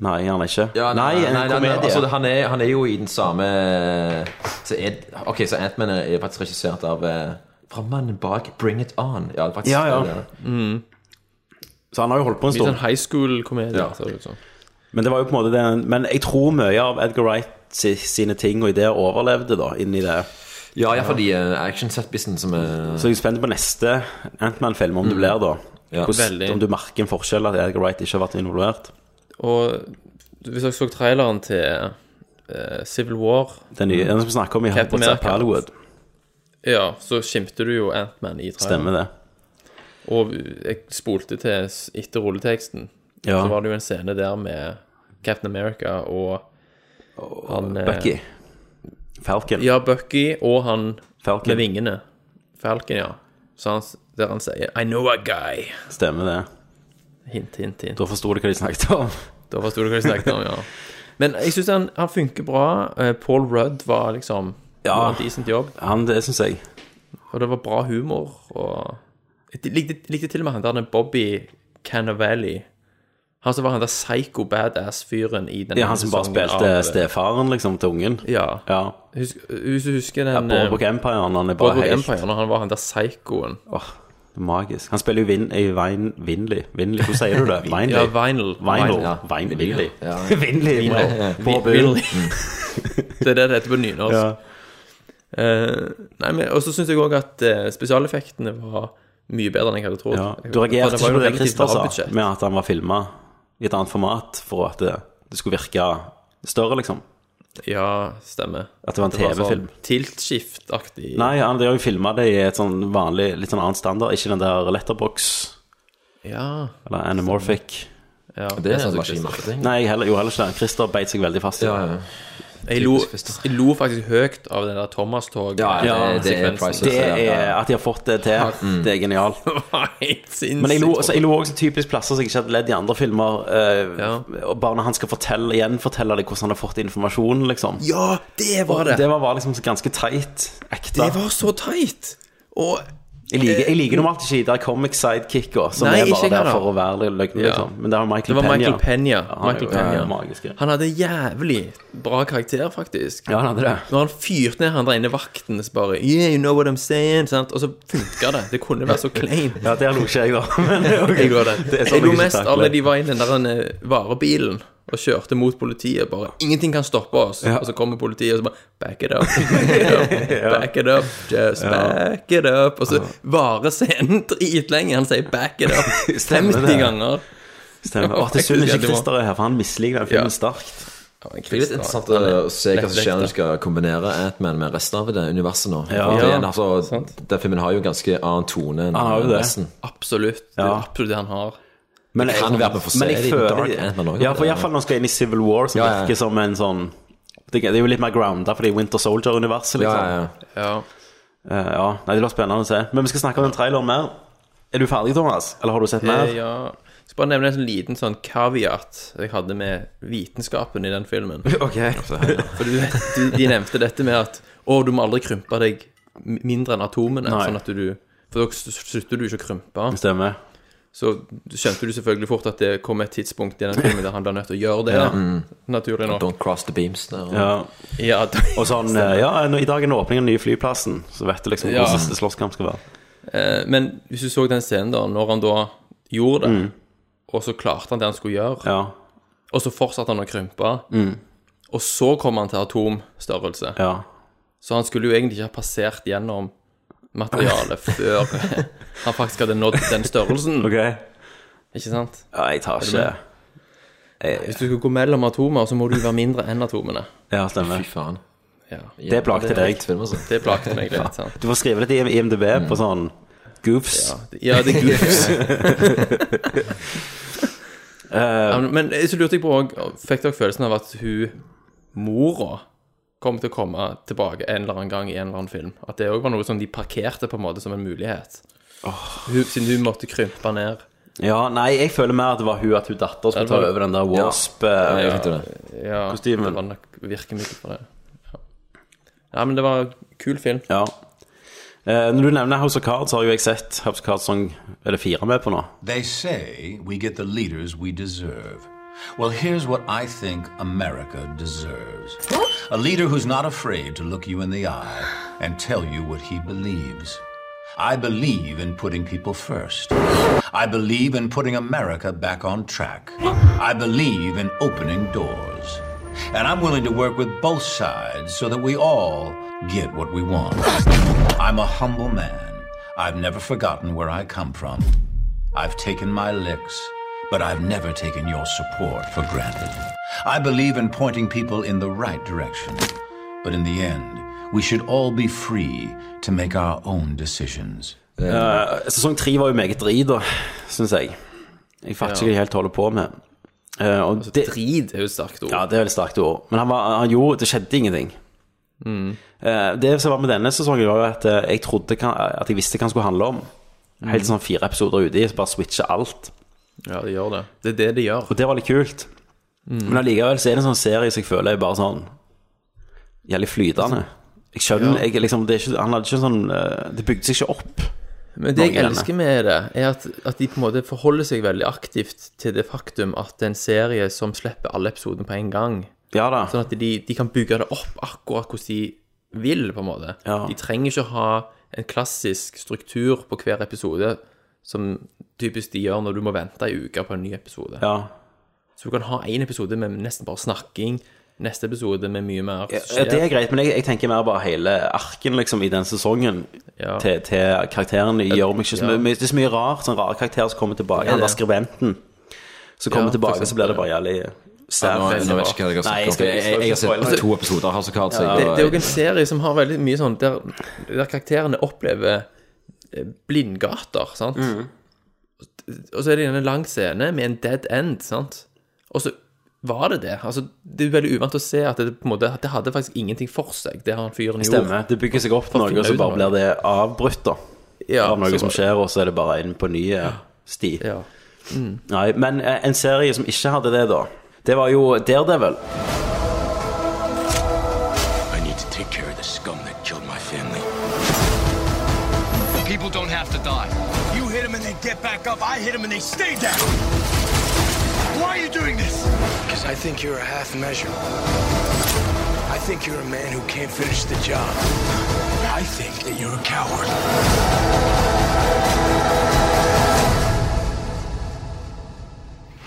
Speaker 1: Nei, han er ikke.
Speaker 9: Ja,
Speaker 1: nei, en komedie.
Speaker 9: altså, han, er, han er jo i den samme eh, så er, Ok, så Ant-Man er- er faktisk regissert av eh, Fra mannen bak Bring It On. Ja, det er faktisk,
Speaker 1: Ja, ja.
Speaker 9: det er det.
Speaker 10: Mm.
Speaker 1: Så han har jo holdt på en
Speaker 10: Litt
Speaker 1: stund.
Speaker 10: sånn high school-komedie.
Speaker 1: Ja.
Speaker 10: ser det ut som.
Speaker 1: Men det var jo på en måte den Men jeg tror mye av Edgar Wright si- sine ting og ideer overlevde, da, inni det.
Speaker 9: Ja, iallfall de eh, action-setpissene som er
Speaker 1: Så jeg er spent på neste Antman-film, om det
Speaker 9: Mm.
Speaker 1: blir, da.
Speaker 9: Ja.
Speaker 1: Hvordan,
Speaker 10: Veldig.
Speaker 1: om du merker en forskjell at Edgar Wright ikke har vært involvert.
Speaker 10: Og hvis dere så traileren til eh, Civil War
Speaker 1: Den nye, den som vi snakker om i
Speaker 10: Captain
Speaker 1: What's Up
Speaker 10: America.
Speaker 1: Hollywood.
Speaker 10: Ja, så skimte du jo Ant-Man i traileren.
Speaker 1: Stemmer det.
Speaker 10: Og jeg spolte til s- etter rulleteksten.
Speaker 1: Ja.
Speaker 10: Så var det jo en scene der med Captain America og han eh,
Speaker 1: Bucky. Falcon.
Speaker 10: Ja, Bucky og han
Speaker 1: Falcon.
Speaker 10: med vingene. Falcon, ja. Så han, s- der han sier 'I know a guy'.
Speaker 1: Stemmer det.
Speaker 10: Hint, hint, hint.
Speaker 1: Da forsto du hva de snakket om.
Speaker 10: Da forsto du hva de snakket om, ja. Men jeg syns han, han funker bra. Eh, Paul Rudd var liksom
Speaker 1: Ja.
Speaker 10: gjorde en decent jobb.
Speaker 1: Han, det syns jeg.
Speaker 10: Og det var bra humor. Og jeg likte, likte til og med han der den Bobby Canavelli. Han som var han der psycho badass-fyren i den
Speaker 1: Ja, han som bare
Speaker 10: sesongen
Speaker 1: spilte
Speaker 10: av-
Speaker 1: stefaren, liksom, til ungen.
Speaker 10: Ja.
Speaker 1: ja.
Speaker 10: Husk, hvis du husker
Speaker 1: Ja,
Speaker 10: den
Speaker 1: Boardwalk
Speaker 10: eh,
Speaker 1: Empire, han er bare
Speaker 10: Boardwalk
Speaker 1: helt-
Speaker 10: Empire, når han var han der psychoen.
Speaker 1: Åh, Magisk. Han spiller jo vin, i Vin... Vinli. Vinli, Hvordan sier du det? Vinli.
Speaker 10: Ja, Vinyl.
Speaker 1: Vinyl.
Speaker 10: Ja.
Speaker 1: Vin, Vinli.
Speaker 10: Ja.
Speaker 1: Vinli.
Speaker 10: Vinli.
Speaker 9: eh,
Speaker 1: wow.
Speaker 10: Vi-
Speaker 1: På
Speaker 10: Vinli.
Speaker 1: bunnen.
Speaker 10: det er det det heter på
Speaker 1: Mm.
Speaker 10: nynorsk.
Speaker 1: Ja.
Speaker 10: Eh, nei, men, og så syns jeg òg at eh, spesialeffektene var mye bedre enn jeg hadde trodd.
Speaker 1: Ja.
Speaker 10: Jeg-
Speaker 1: Du
Speaker 10: for
Speaker 1: reagerte
Speaker 10: var
Speaker 1: ikke på
Speaker 10: jo
Speaker 1: det
Speaker 10: relativt
Speaker 1: Christer
Speaker 10: lavt
Speaker 1: sa,
Speaker 10: budsjett.
Speaker 1: med at han var filma i et annet format for at det, det skulle virke større, liksom?
Speaker 10: Ja, stemmer.
Speaker 1: At det var en TV-film.
Speaker 10: Sånn Tiltskift-aktig.
Speaker 1: Nei, han de har jo filma det i et sånn vanlig, litt sånn annet standard, ikke den der letterbox
Speaker 10: Ja.
Speaker 1: eller anamorphic.
Speaker 10: ja
Speaker 9: Det er
Speaker 10: synes
Speaker 9: sånn
Speaker 10: jeg
Speaker 9: ikke marketing.
Speaker 1: Nei, heller, jo, heller ikke det. Christer beit seg veldig fast i det.
Speaker 10: Jeg lo, jeg lo faktisk høyt av den der Thomas-tog. sekvensen.
Speaker 1: Det er at de har fått det til.
Speaker 10: Mm.
Speaker 1: Det er genialt. Men jeg lo, altså, jeg lo også typisk plasser som jeg ikke hadde ledd i andre filmer. eh, Og Bare når han skal fortelle igjen Fortelle deg hvordan han har fått informasjonen, liksom.
Speaker 10: Ja, det var det!
Speaker 1: Det var, var liksom ganske teit. Ekte.
Speaker 10: Det var så teit! Og eh,
Speaker 1: Jeg liker, jeg liker normalt ikke de der comic-sidekicker som
Speaker 10: Nei,
Speaker 1: er
Speaker 10: ikke
Speaker 1: bare
Speaker 10: jeg
Speaker 1: der
Speaker 10: heller.
Speaker 1: for å være litt løgn,
Speaker 10: Ja.
Speaker 1: liksom. Men det var Michael
Speaker 10: det var Michael Pena.
Speaker 1: Ja, han er
Speaker 10: Michael
Speaker 1: jo,
Speaker 10: Pena.
Speaker 1: eh, magisk, ja.
Speaker 10: Han hadde jævlig bra karakter, faktisk.
Speaker 1: Ja, han hadde det.
Speaker 10: Når han fyrte ned han der inne vakten, så bare Yeah, you know what I'm saying, sant? Og så funka det. Det kunne være så kleint.
Speaker 1: Ja, der lo ikke jeg, da. Men, ok.
Speaker 10: Jeg gjorde det.
Speaker 1: Det er sånn jeg
Speaker 10: jeg lo
Speaker 1: ikke
Speaker 10: mest av
Speaker 1: takler.
Speaker 10: når de var i den der eh, varebilen og kjørte mot politiet. Bare 'Ingenting kan stoppe oss'. Og så kommer politiet og så bare 'Back it up'. Back it up. Back it up. Just back it up. Og så varer scenen dritlenge. Han sier 'back it up'
Speaker 1: Stemmer
Speaker 10: 50
Speaker 1: det.
Speaker 10: ganger.
Speaker 1: Stemmer. Å, det er synd ikke Christer er her, for han misliker den filmen sterkt.
Speaker 9: Det blir litt interessant å se hva som skjer når du skal kombinere Ant-Man med resten av det universet nå.
Speaker 1: Ja.
Speaker 9: For det er en-
Speaker 10: Ja,
Speaker 9: altså, den filmen har jo en ganske annen tone enn
Speaker 1: Han har jo det.
Speaker 9: resten.
Speaker 10: Absolutt. Det er
Speaker 1: Ja.
Speaker 10: absolutt det han har.
Speaker 1: Men
Speaker 9: Det
Speaker 1: jeg,
Speaker 9: kan være vi får se
Speaker 1: men jeg
Speaker 9: det i
Speaker 1: føler
Speaker 9: Dark Ant-Man også,
Speaker 1: Ja, for
Speaker 9: det.
Speaker 1: iallfall når han skal inn i Civil War, som
Speaker 9: Ja, ja.
Speaker 1: virker som en sånn Det det er jo litt mer grounda for det er Winter Soldier-universet, liksom.
Speaker 9: Ja, ja,
Speaker 10: Ja.
Speaker 1: Eh, ja. Nei, det blir spennende å se. Men vi skal snakke om den traileren mer. Er du ferdig, Thomas? Eller har du sett mer?
Speaker 10: Eh, ja. Jeg skal bare nevne en sånn liten sånn kaviat jeg hadde med vitenskapen i den filmen.
Speaker 1: Ok.
Speaker 10: For du vet, du, de nevnte dette med at Å, du må aldri krympe deg mi- mindre enn atomene.
Speaker 1: Nei.
Speaker 10: Sånn at du For da s- slutter du ikke å krympe.
Speaker 1: Stemmer.
Speaker 10: Så skjønte du selvfølgelig fort at det kom et tidspunkt i den filmen der han ble nødt til å gjøre det.
Speaker 1: Ja. Mm.
Speaker 10: Naturlig nok.
Speaker 9: sånn, Don't cross the beams. Der, og-
Speaker 1: Ja.
Speaker 10: Ja, da-
Speaker 1: Og sånn eh, Ja, nå- i dag er det åpning av den nye flyplassen, så vet du liksom
Speaker 10: Ja.
Speaker 1: hvor siste slåsskamp skal være.
Speaker 10: Eh, Men hvis du så den scenen da, når han da gjorde det, og så klarte han det han skulle gjøre,
Speaker 1: Mm. Ja.
Speaker 10: og så fortsatte han å krympe,
Speaker 1: Mm.
Speaker 10: og så kom han til atomstørrelse.
Speaker 1: Ja.
Speaker 10: Så han skulle jo egentlig ikke ha passert gjennom materialet før han faktisk hadde nådd den størrelsen.
Speaker 1: Ok.
Speaker 10: Ikke sant?
Speaker 1: Ja, jeg tar
Speaker 10: Er du
Speaker 1: ikke
Speaker 10: med? Hvis du skal gå mellom atomer, så må du være mindre enn atomene.
Speaker 1: Ja, stemmer.
Speaker 9: Fy faen.
Speaker 10: Ja.
Speaker 1: Det plagte
Speaker 9: er
Speaker 1: deg.
Speaker 9: rett film, altså.
Speaker 10: Det plagte meg litt. sant?
Speaker 1: Du får skrive litt i IMDb på sånn goofs.
Speaker 10: Mm. Ja, det er goofs. Ja, men- men så lurte jeg på òg Fikk dere følelsen av at hun mora kom til å komme tilbake en eller annen gang i en eller annen film? At det òg var noe som de parkerte på en måte som en mulighet? Hun, siden hun måtte krympe ned.
Speaker 1: Ja, nei, jeg føler mer at det var hun at hun datter skulle
Speaker 10: Ja, det var-
Speaker 1: ta over den der Wasp eh,
Speaker 9: Jeg tenkte det.
Speaker 10: Ja,
Speaker 1: Kostymen.
Speaker 10: Det var nok virkemiddel for det. Ja. ja, men det var en kul film.
Speaker 1: Ja. Eh, når du nevner House of Cards, har jo jeg sett House of Cards song Er det fire med på nå?
Speaker 16: They say we get the leaders we deserve. Well, here's what I think America deserves a leader who's not afraid to look you in the eye and tell you what he believes. I believe in putting people first. I believe in putting America back on track. I believe in opening doors. And I'm willing to work with both sides so that we all get what we want. I'm a humble man. I've never forgotten where I come from. I've taken my licks, but I've never taken your support for granted. I believe in pointing people in the right direction, but in the end, we should all be free to make our own decisions.
Speaker 1: Eh, sesong tre var jo meget drit, da, syns jeg. Jeg fatter ikke hva de helt holder på med. Eh, og det,
Speaker 10: Drit Altså, er jo et sterkt ord.
Speaker 1: ja, det er et sterkt ord. Men han, var, han gjorde Det skjedde ingenting.
Speaker 10: Mm.
Speaker 1: Eh, det som var med denne sesongen, var jo at eh, jeg trodde kan, at jeg visste hva den skulle handle om.
Speaker 10: Mm.
Speaker 1: Helt sånn fire episoder uti, så bare switcher alt.
Speaker 10: Ja, det gjør det. Det er det det gjør.
Speaker 1: Og det var litt kult.
Speaker 10: Mm.
Speaker 1: Men allikevel så er det en sånn serie som jeg føler er bare sånn Jævlig flytende. Jeg skjønner
Speaker 10: Ja.
Speaker 1: jeg, liksom, det, er ikke, han hadde ikke sånn, eh, det bygde seg ikke opp.
Speaker 10: Men det jeg
Speaker 1: Noen
Speaker 10: elsker med det, er at, at de på en måte forholder seg veldig aktivt til det faktum at det er en serie som slipper alle episodene på en gang.
Speaker 1: Ja da.
Speaker 10: Sånn at de, de kan bygge det opp akkurat hvordan de vil, på en måte.
Speaker 1: Ja.
Speaker 10: De trenger ikke å ha en klassisk struktur på hver episode, som typisk de gjør når du må vente ei uke på en ny episode.
Speaker 1: Ja.
Speaker 10: Så du kan ha én episode med nesten bare snakking, neste episode med mye mer som
Speaker 1: Ja, det er greit, men jeg, jeg tenker mer bare hele arken liksom, i den sesongen
Speaker 10: Ja.
Speaker 1: til, til karakterene. Gjør meg ikke så
Speaker 10: Ja.
Speaker 1: mye, det er så mye rart, sånn rare karakterer som kommer tilbake.
Speaker 10: Det er
Speaker 1: Han der
Speaker 10: det.
Speaker 1: skribenten som kommer
Speaker 10: Ja, for
Speaker 1: tilbake, så blir
Speaker 10: eksempel.
Speaker 1: det bare jævlig
Speaker 9: Ja,
Speaker 1: sært.
Speaker 9: nå, nå vet jeg ikke hva jeg
Speaker 1: Nei,
Speaker 9: har snakket
Speaker 1: jeg
Speaker 9: om.
Speaker 1: skal-
Speaker 9: Jeg,
Speaker 1: jeg
Speaker 9: jeg,
Speaker 1: skal ikke
Speaker 9: jeg har sett
Speaker 1: spoile.
Speaker 9: to episoder av House of Cards. jeg-
Speaker 10: Det, det er jo en serie som har veldig mye sånn der, der karakterene opplever eh, blindgater, sant?
Speaker 1: Mm.
Speaker 10: Og så er det gjerne en lang scene med en dead end, sant? Og så var det det. Altså, det er veldig uvant å se at det, på en måte, at det hadde faktisk ingenting for seg, det han fyren gjorde.
Speaker 1: Stemmer. Det bygger seg opp noe, og så bare blir det avbrutt, da.
Speaker 10: Ja,
Speaker 1: av noe
Speaker 10: så
Speaker 1: som
Speaker 10: bare-
Speaker 1: skjer, og så er det bare inn på ny eh, sti.
Speaker 10: Ja.
Speaker 1: Nei, men eh, en serie som ikke hadde det, da, det var jo Daredevil.
Speaker 17: I need to take care of the scum that killed my family. People don't have
Speaker 2: to die.
Speaker 18: You hit them and they get back up. I hit them and they stay down. Why are you doing this? Because I think you're a half measure. I think you're a man who can't finish the job. I think that you're a coward.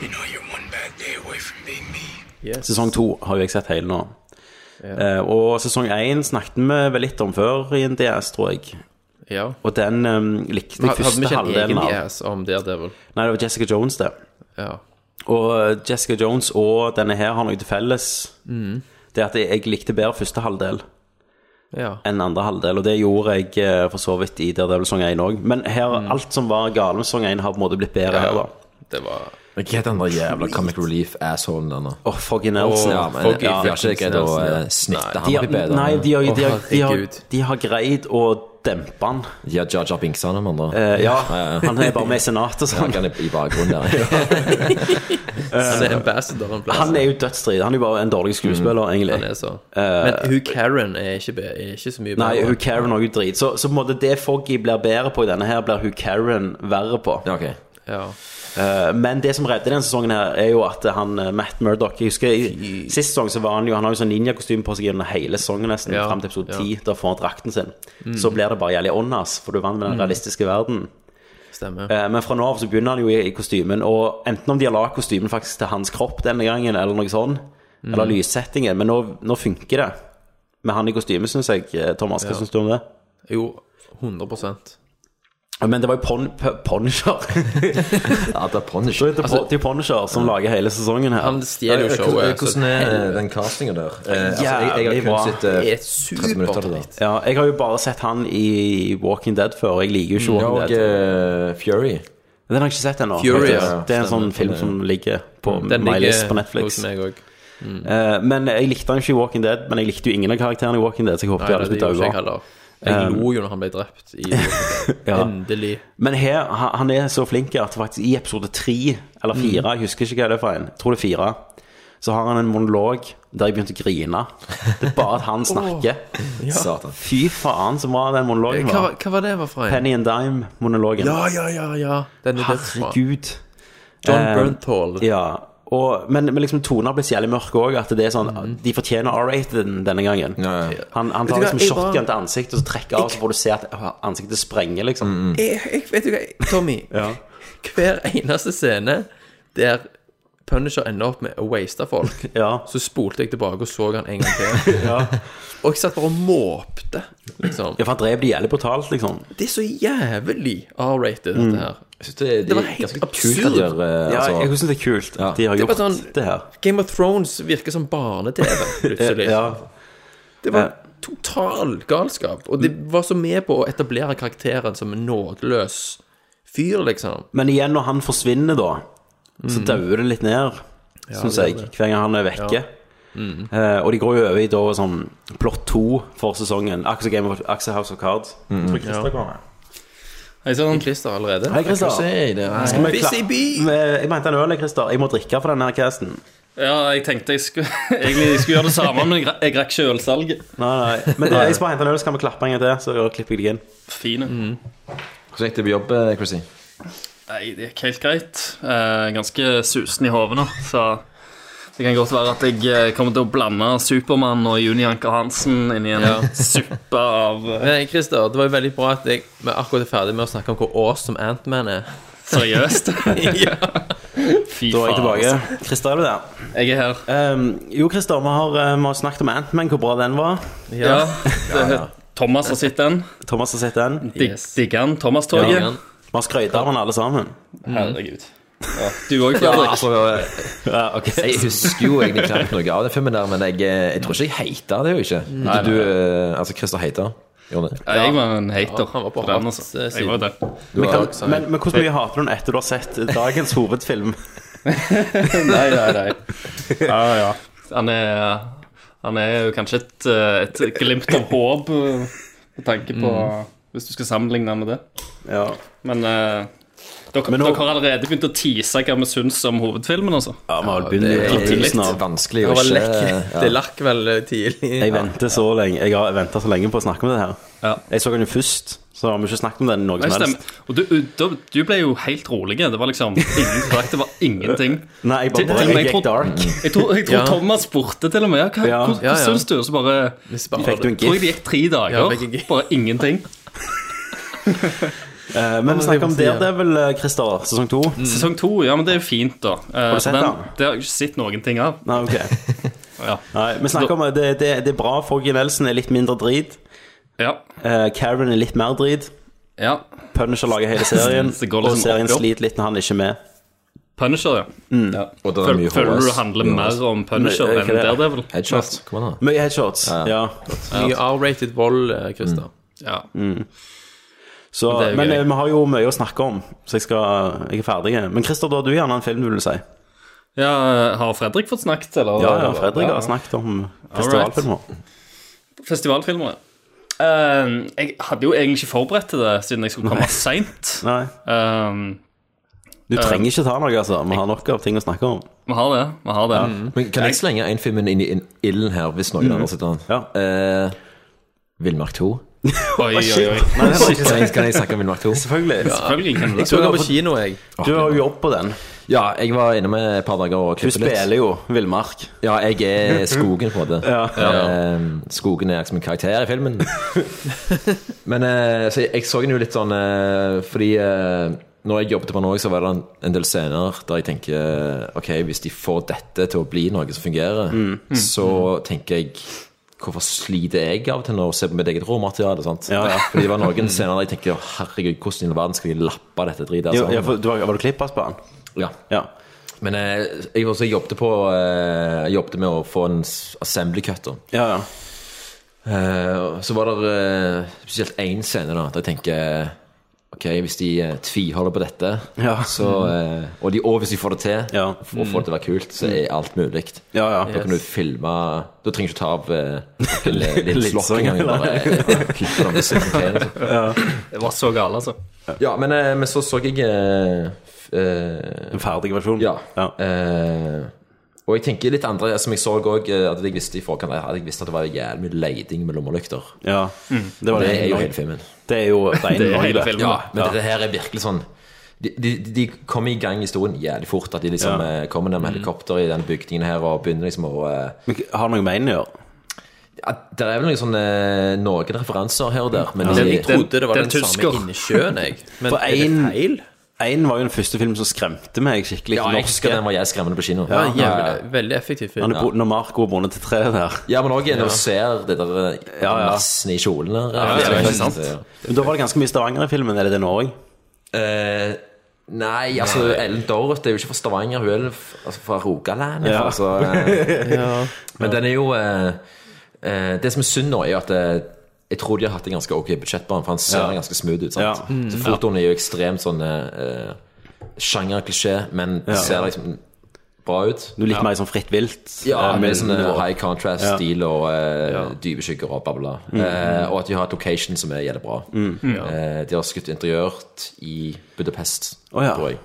Speaker 18: You know, you're one bad day away from being me.
Speaker 1: Sesong to har jo jeg sett hele nå. Eh, og sesong én snakket vi vel litt om før i en DS, tror jeg.
Speaker 10: Ja.
Speaker 1: Og den eh, likte jeg
Speaker 10: Hadde vi
Speaker 1: første
Speaker 10: ikke en egen
Speaker 1: halvdelen av.
Speaker 10: IS om Daredevil?
Speaker 1: Nei, det var Jessica Jones, det.
Speaker 10: Ja.
Speaker 1: Og eh, Jessica Jones og denne her har noe til felles.
Speaker 10: Mhm.
Speaker 1: Det er at jeg likte bedre første halvdel
Speaker 10: Ja.
Speaker 1: enn andre halvdel, og det gjorde jeg eh, for så vidt i Daredevil sesong én òg. Men her, alt som var gale med sesong én, har på en måte blitt bedre her, da.
Speaker 10: Det var
Speaker 9: Men Hva heter den der jævla Comic Relief-assholen der nå?
Speaker 1: Åh, Foggy Nelson.
Speaker 9: Ja, men jeg- jeg har ikke greid å eh, snitte
Speaker 1: De
Speaker 9: han
Speaker 1: har,
Speaker 9: opp i bedre.
Speaker 1: nei, de har, de har, de har,
Speaker 9: herregud.
Speaker 1: de har greid å dempe han.
Speaker 9: De har Jaja Binks han, med andre.
Speaker 1: Eh, ja, han er bare sånn. med i senatet.
Speaker 9: Ja, han er i bakgrunnen der.
Speaker 10: Han er ambassadoren. plass.
Speaker 1: Eh, Han er jo dødsstrid. Han er jo bare en dårlig skuespiller, egentlig.
Speaker 10: Han er så.
Speaker 1: Eh,
Speaker 10: Men hun Karen er ikke, be- er ikke så mye
Speaker 1: Nei,
Speaker 10: bedre.
Speaker 1: hun Karen er jo drit. Så, så på en måte det Foggy blir bedre på i denne her, blir hun Karen verre på.
Speaker 10: Ja.
Speaker 1: Eh, men det som redder denne sesongen, her er jo at han eh, Matt Murdoch Jeg husker i, Sist sesong så var han jo Han har jo sånn ninjakostyme på seg gjennom hele sesongen, nesten,
Speaker 10: Ja,
Speaker 1: fram til episode
Speaker 10: ja.
Speaker 1: 10. Da får han drakten sin.
Speaker 10: Mm.
Speaker 1: Så blir det bare jævlig åndas, for du er vant med den
Speaker 10: Mm.
Speaker 1: realistiske verden.
Speaker 10: Stemmer.
Speaker 1: Eh, Men fra nå av så begynner han jo i, i kostymen, og enten om de har lagd kostymen faktisk til hans kropp denne gangen, eller noe sånn,
Speaker 10: Mm.
Speaker 1: eller lyssettingen, men nå, nå funker det. Med han i kostyme, syns jeg. eh, Thomas, hva
Speaker 10: Ja.
Speaker 1: synes syns du om det?
Speaker 10: Jo, 100
Speaker 1: Men det var jo pon P- Punisher.
Speaker 9: ja, det er Punisher.
Speaker 1: Det er
Speaker 9: Altså-
Speaker 1: Pon- Punisher som lager hele sesongen her.
Speaker 10: Han stjeler jo showet.
Speaker 9: Eh, Hvordan er
Speaker 10: helvete.
Speaker 9: den castingen der? Eh,
Speaker 1: Jævlig
Speaker 9: altså, jeg, jeg har
Speaker 1: bra.
Speaker 9: kun sett eh,
Speaker 1: Det er
Speaker 9: 30 minutter til det.
Speaker 1: Ja, jeg har jo bare sett han i Walking Dead før. Jeg liker jo ikke
Speaker 9: Mm.
Speaker 1: Walking
Speaker 9: Og,
Speaker 10: eh,
Speaker 9: eh,
Speaker 1: Dead.
Speaker 9: Fury.
Speaker 1: Den har jeg ikke sett ennå.
Speaker 9: Fury,
Speaker 1: faktisk.
Speaker 9: ja.
Speaker 1: Det er en sånn
Speaker 9: Stemmer.
Speaker 1: film som ligger på
Speaker 10: Mm. Den
Speaker 1: my
Speaker 10: ligger
Speaker 1: list på Netflix.
Speaker 10: hos meg også. Mm.
Speaker 1: Eh, men jeg likte han ikke i Walking Dead, men jeg likte jo ingen av karakterene i Walking Dead, så jeg håper
Speaker 10: Nei,
Speaker 1: de alle skulle
Speaker 10: det gjorde ikke jeg
Speaker 1: daue.
Speaker 10: heller. Jeg lo jo når han ble drept. I,
Speaker 1: Ja.
Speaker 10: Endelig.
Speaker 1: Men her, han han er så flink at faktisk i episode tre eller fire,
Speaker 10: Mm.
Speaker 1: jeg husker ikke hva det er for en, jeg tror det er fire, så har han en monolog der jeg begynte å grine. Det er bare at han snakker.
Speaker 10: Ja. Satan.
Speaker 1: Fy faen, så bra den monologen
Speaker 10: Hva,
Speaker 1: var.
Speaker 10: var- hva var det var for en?
Speaker 1: Penny and Dime-monologen.
Speaker 10: Ja, ja, ja. ja. Den er dødsbra.
Speaker 1: Herregud.
Speaker 10: John
Speaker 1: Eh,
Speaker 10: Bernthal.
Speaker 1: Ja. Og, men, men liksom tonen har blitt så jævlig mørk òg, at det er sånn De fortjener R-rated denne gangen. Han, han
Speaker 10: Mhm. Vet
Speaker 1: tar
Speaker 10: du hva,
Speaker 1: liksom
Speaker 10: jeg
Speaker 1: shotgun
Speaker 10: bare-
Speaker 1: til ansiktet, og så trekker av, så får du se at ansiktet sprenger, liksom.
Speaker 10: Jeg, jeg, vet du hva, jeg- Tommy. Hver eneste scene der Punisher ender opp med å waste folk, så spolte jeg tilbake og så han en gang til. Og jeg satt bare og måpte, liksom.
Speaker 1: Ja, for han drev de jævlig brutalt, liksom.
Speaker 10: Det er så jævlig R-rated,
Speaker 1: Mm.
Speaker 10: dette her.
Speaker 9: det,
Speaker 10: var
Speaker 9: er
Speaker 10: helt
Speaker 9: ganske kult at
Speaker 10: absurd.
Speaker 9: de gjør, eh,
Speaker 1: Ja,
Speaker 9: altså-
Speaker 1: jeg synes det er kult at de har
Speaker 10: Det er
Speaker 1: gjort
Speaker 10: bare
Speaker 1: det,
Speaker 10: sånn-
Speaker 1: her.
Speaker 10: Game of Thrones virker som barne-TV, plutselig.
Speaker 1: Ja.
Speaker 10: Det var total galskap. Og de var så med på å etablere karakteren som en nådeløs fyr, liksom.
Speaker 1: Men igjen, når han forsvinner, da, så
Speaker 10: Mhm.
Speaker 1: dauer det litt ned,
Speaker 10: Ja,
Speaker 1: syns
Speaker 10: det
Speaker 1: jeg,
Speaker 10: gjør det.
Speaker 1: hver gang han er vekke.
Speaker 10: Ja. Mhm.
Speaker 1: Eh, og de går jo over i da sånn plott to for sesongen. Akkurat som Game of Axe House of Cards.
Speaker 10: Mhm.
Speaker 1: Jeg tror Christer
Speaker 10: Ja.
Speaker 1: kommer.
Speaker 10: Hei
Speaker 16: Sånn.
Speaker 10: sann. Christer allerede.
Speaker 1: Hei, Christer.
Speaker 9: eh,
Speaker 1: Skal vi
Speaker 16: Busy
Speaker 1: kla- Vi- Jeg mente en øl, jeg, Christer. Jeg må drikke for denne her casten.
Speaker 16: Ja, jeg tenkte jeg skulle, egentlig jeg skulle gjøre det samme, men jeg, ra- jeg rakk ikke ølsalget.
Speaker 1: Nei, nei. Men det, jeg skal bare hente en øl, så kan vi klappe en gang til. Så klipper jeg deg inn.
Speaker 16: Fine.
Speaker 9: Hvordan gikk det på jobb, eh, Chrissy?
Speaker 16: Nei, det gikk helt greit. Eh, ganske susen i hodet nå, så det kan godt være at jeg eh, kommer til å blande Supermann og Juni Anker Hansen inn i en
Speaker 10: Ja.
Speaker 16: suppe av eh,
Speaker 10: Men Christer, det var jo veldig bra at jeg, vi akkurat er ferdig med å snakke om hvor awesome Ant-Man er.
Speaker 16: Seriøst?
Speaker 10: ja.
Speaker 16: Fy
Speaker 1: Da er jeg tilbake. Christer, er du der? Ehm,
Speaker 16: Jeg er her.
Speaker 1: jo, Christer, vi har, eh, vi har snakket om Ant-Man, hvor bra den var.
Speaker 16: Ja. det- Thomas har sett den.
Speaker 1: Thomas har sett den.
Speaker 16: Dig- Digger den. Thomas-toget.
Speaker 1: Ja. Vi har skrøyt av han alle sammen.
Speaker 16: Herregud. Ja, du òg,
Speaker 9: Ja,
Speaker 16: Fredrik.
Speaker 9: altså, Jeg husker jo egentlig knapt noe av den filmen der, men jeg, eh, jeg tror ikke jeg hata det jo ikke.
Speaker 16: Nei,
Speaker 9: Du, eh, altså, Christer hata. Gjorde det?
Speaker 16: Ja, jeg var en hater.
Speaker 10: Ja, han var på
Speaker 16: på den,
Speaker 10: hans,
Speaker 16: altså.
Speaker 10: eh,
Speaker 16: Jeg var
Speaker 10: side.
Speaker 16: det.
Speaker 1: Men, kan, men, men hvordan mye hater du den etter du har sett dagens hovedfilm?
Speaker 16: nei, nei, nei. Ja, ja. Han er, han er jo kanskje et, eh, et glimt av håp eh, med tanke på
Speaker 10: Mm.
Speaker 16: Hvis du skal sammenligne han med det.
Speaker 1: Ja.
Speaker 16: Men eh, Dere,
Speaker 1: Men nå-
Speaker 16: dere har allerede begynt å tease hva vi syns om hovedfilmen, altså.
Speaker 1: Ja, vi har begynt å tease nå. Vanskelig å
Speaker 10: Det var
Speaker 1: ikke-
Speaker 10: lekk.
Speaker 1: ja.
Speaker 10: Det lakk vel tidlig.
Speaker 1: Jeg venter så lenge Jeg har venta så lenge på å snakke om det her. Jeg så den jo først, så har vi ikke snakket om den noe
Speaker 16: Nei,
Speaker 1: som
Speaker 16: stemmer.
Speaker 1: helst.
Speaker 16: Og du, du, du ble jo helt rolig. Det var liksom ingen plagg, det var ingenting.
Speaker 1: Nei, jeg bare-
Speaker 16: Til- til og med
Speaker 1: jeg gikk
Speaker 16: tror-
Speaker 1: dark.
Speaker 16: Jeg Mm. tror, jeg tror
Speaker 1: Ja.
Speaker 16: Thomas spurte til og med. Ja, hva,
Speaker 1: Ja.
Speaker 16: Hvordan
Speaker 1: Ja, ja.
Speaker 16: syns du? Og så bare
Speaker 1: Fikk du en
Speaker 16: Tror jeg det
Speaker 1: gif?
Speaker 16: gikk tre
Speaker 1: Ja,
Speaker 16: dager.
Speaker 1: fikk en
Speaker 16: bare ingenting.
Speaker 1: Eh, men vi snakker om Daredevil, eh, Christer. Sesong to.
Speaker 16: Sesong to, ja, men det er jo fint, da. Eh,
Speaker 1: Har du sett
Speaker 16: den?
Speaker 1: den?
Speaker 16: Det har jeg ikke sett noen ting av.
Speaker 1: Nei, ok
Speaker 16: Ja.
Speaker 1: Nei, vi snakker om at det, det, det er bra. Foggy Nelson er litt mindre drit. Eh, Karen er litt mer drit. Punisher lager hele serien,
Speaker 16: Det går
Speaker 1: og
Speaker 16: liksom
Speaker 1: serien
Speaker 16: opp, opp.
Speaker 1: sliter litt når han ikke er med.
Speaker 16: Punisher, ja.
Speaker 1: Mm.
Speaker 16: Ja. Og det er Føl- mye Mm. føler du det handler Mye mer hårest. om Punisher
Speaker 1: Nei,
Speaker 16: enn
Speaker 1: hva er det?
Speaker 16: Daredevil?
Speaker 9: Headshots, kom an da.
Speaker 1: Mye headshots,
Speaker 9: Ja,
Speaker 1: ja.
Speaker 9: ja.
Speaker 10: Mye R-rated vold, eh, Christer.
Speaker 16: Ja.
Speaker 1: Mm. Så,
Speaker 10: Men det er jo
Speaker 1: men
Speaker 10: gøy.
Speaker 1: eh, vi har jo mye å snakke om, så jeg, skal, jeg er ferdig. Men Christer, da har du gjerne en film du vil si?
Speaker 16: Ja, Har Fredrik fått snakket, eller?
Speaker 1: Ja, ja, Fredrik har snakket om festivalfilmer.
Speaker 16: Festivalfilmer. Eh, jeg hadde jo egentlig ikke forberedt til det, siden jeg skulle komme Eh, seint.
Speaker 1: Du trenger ikke ta noe, altså. Vi har nok av ting å snakke om.
Speaker 16: Vi har det. vi har det
Speaker 10: Mm.
Speaker 9: Men kan jeg Mm. slenge en film inn i inn- ilden her, hvis noen
Speaker 1: Mhm.
Speaker 9: andre sitter den? Eh, Villmark 2.
Speaker 16: Oi, oi, oi.
Speaker 9: Kan jeg- Kan jeg snakke om Villmark 2?
Speaker 1: Selvfølgelig.
Speaker 9: Ja.
Speaker 16: Selvfølgelig kan du det.
Speaker 1: Jeg så den på
Speaker 10: kino, jeg.
Speaker 1: Du har jo jobb på den.
Speaker 9: Ja, jeg var inne med et par dager og klippet
Speaker 1: Du
Speaker 9: litt.
Speaker 1: spiller jo Villmark.
Speaker 9: Ja, jeg er skogen, på en måte.
Speaker 1: Ja.
Speaker 9: Eh, skogen er liksom en karakter i filmen. Men eh, så jeg, jeg så den jo litt sånn eh, fordi eh, når jeg jobbet på den òg, så var det en, en del scener der jeg tenker eh, Ok, hvis de får dette til å bli noe som fungerer,
Speaker 1: Mm. Mm.
Speaker 9: så tenker jeg Hvorfor sliter jeg av og til når jeg ser på mitt eget råmateriale? sant?
Speaker 1: Ja, ja.
Speaker 9: Fordi det var noen scener der jeg tenker «Å, herregud, hvordan i all verden skal de lappe dette dritet? her
Speaker 1: Jo, ja,
Speaker 9: sammen?»
Speaker 1: for, du var, var du klippast på den?
Speaker 9: Ja.
Speaker 1: Altså, ja.
Speaker 9: Men eh, jeg, også, jobbet på, eh, jeg jobbet med å få en s- assembly cut. da. Eh, så var det eh, spesielt én scene da, der jeg tenker Ok, hvis de eh, tviholder på dette,
Speaker 1: Ja.
Speaker 9: så, eh, og, de, og hvis de får det til, for å
Speaker 1: Mm.
Speaker 9: få det til å være kult, så er alt mulig.
Speaker 1: Ja, ja.
Speaker 9: Da kan du
Speaker 1: Yes.
Speaker 9: filme Da trenger du ikke ta av eh, noen
Speaker 1: Linser,
Speaker 9: linslokk engang.
Speaker 1: eller?
Speaker 9: Bare eh, klippe dem og se på TV, liksom.
Speaker 16: Det var så gale, altså.
Speaker 9: Ja, men, eh, men så så jeg eh, f- eh,
Speaker 1: En ferdig versjon?
Speaker 9: Ja. Eh, og jeg tenker litt andre Som jeg så òg, at jeg visste i forkant at jeg visste at det var jævlig mye leiding med lommelykter.
Speaker 1: Ja. Det, var
Speaker 9: er jo
Speaker 1: Norge.
Speaker 9: hele filmen.
Speaker 1: Det er jo det er
Speaker 9: Det er
Speaker 1: Norge,
Speaker 9: hele
Speaker 1: det.
Speaker 9: filmen, da. Men dette her er virkelig sånn de, de, de kommer i gang i historien jævlig fort. At de liksom
Speaker 1: Ja. Mhm.
Speaker 9: eh, kommer ned med helikopter i den bygningen her og begynner liksom å eh,
Speaker 1: Men Har det noe med inn å gjøre?
Speaker 9: ja, Det er vel noen sånne eh, noen referanser her og der. Men de,
Speaker 10: Jeg trodde det var den, samme inni sjøen, jeg. Men
Speaker 1: For
Speaker 10: er det
Speaker 1: en-
Speaker 10: feil?
Speaker 1: Én var jo den første filmen som skremte meg skikkelig.
Speaker 9: Ja, jeg
Speaker 1: norske.
Speaker 9: husker den var jeg skremmende på kino.
Speaker 1: Ja,
Speaker 10: Ja, jævlig- Veldig effektiv film.
Speaker 1: Han er bo- Når Marco er bundet til treet der.
Speaker 9: Ja, men òg når
Speaker 1: Ja.
Speaker 9: du ser det der eh,
Speaker 1: ja.
Speaker 9: massen i kjolen der.
Speaker 1: Ja,
Speaker 9: det er
Speaker 1: ikke
Speaker 9: veldig
Speaker 1: sant? Men da var det ganske mye Stavanger i filmen. Er det det nå òg?
Speaker 9: Eh, nei, altså
Speaker 1: Nei.
Speaker 9: Ellen Dorrit er jo ikke fra Stavanger, hun er f- altså, fra Rogaland.
Speaker 1: Ja.
Speaker 9: Altså, eh,
Speaker 1: Ja.
Speaker 9: Men den er jo eh, eh, Det som er synd nå, er jo at eh, jeg tror de har hatt en ganske ok budsjett på den, for han ser
Speaker 1: Ja.
Speaker 9: ganske smooth ut. sant?
Speaker 1: Ja. Mm.
Speaker 9: Så Fotoen er jo ekstremt sånn eh, sjangerklisjé, men
Speaker 1: Ja.
Speaker 9: det ser liksom bra ut.
Speaker 1: Noe litt mer sånn fritt vilt?
Speaker 9: Ja,
Speaker 1: eh,
Speaker 9: med sånn eh,
Speaker 1: nivå.
Speaker 9: high contrast-stil og eh, dype skygger og bla, bla, bla.
Speaker 1: Mm.
Speaker 9: Eh, og at de har et location som er jævlig bra.
Speaker 1: Mm. Ja.
Speaker 9: Eh, de har skutt interiørt i Budapest,
Speaker 1: Å, ja.
Speaker 9: tror jeg.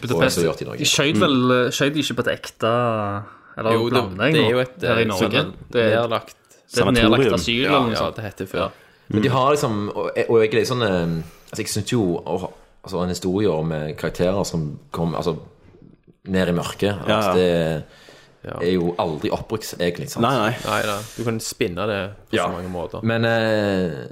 Speaker 16: Budapest
Speaker 9: Og så gjort i Norge.
Speaker 16: De skjøt vel
Speaker 10: Mm.
Speaker 16: skjøt de ikke på et ekte Eller
Speaker 10: Jo, det-
Speaker 16: blander jeg
Speaker 10: det er
Speaker 16: nå?
Speaker 10: jo et,
Speaker 16: her
Speaker 10: eh,
Speaker 16: i Norge.
Speaker 10: sånn
Speaker 16: Det er
Speaker 10: nedlagt-
Speaker 16: Det er et nedlagt
Speaker 9: sanatorium.
Speaker 16: asyl,
Speaker 9: Ja,
Speaker 16: eller noe
Speaker 9: ja,
Speaker 16: sånt.
Speaker 10: det heter før.
Speaker 9: Men de har liksom Og, og jeg er litt sånn eh, Altså, jeg syns jo å, ha- altså, en historie om eh, karakterer som kom altså, ned i mørket
Speaker 10: Ja,
Speaker 9: altså,
Speaker 10: ja.
Speaker 9: Det er jo aldri oppbrukt, egentlig. Sant?
Speaker 10: Nei da. Du kan spinne det på
Speaker 9: Ja.
Speaker 10: så mange måter.
Speaker 9: Men eh,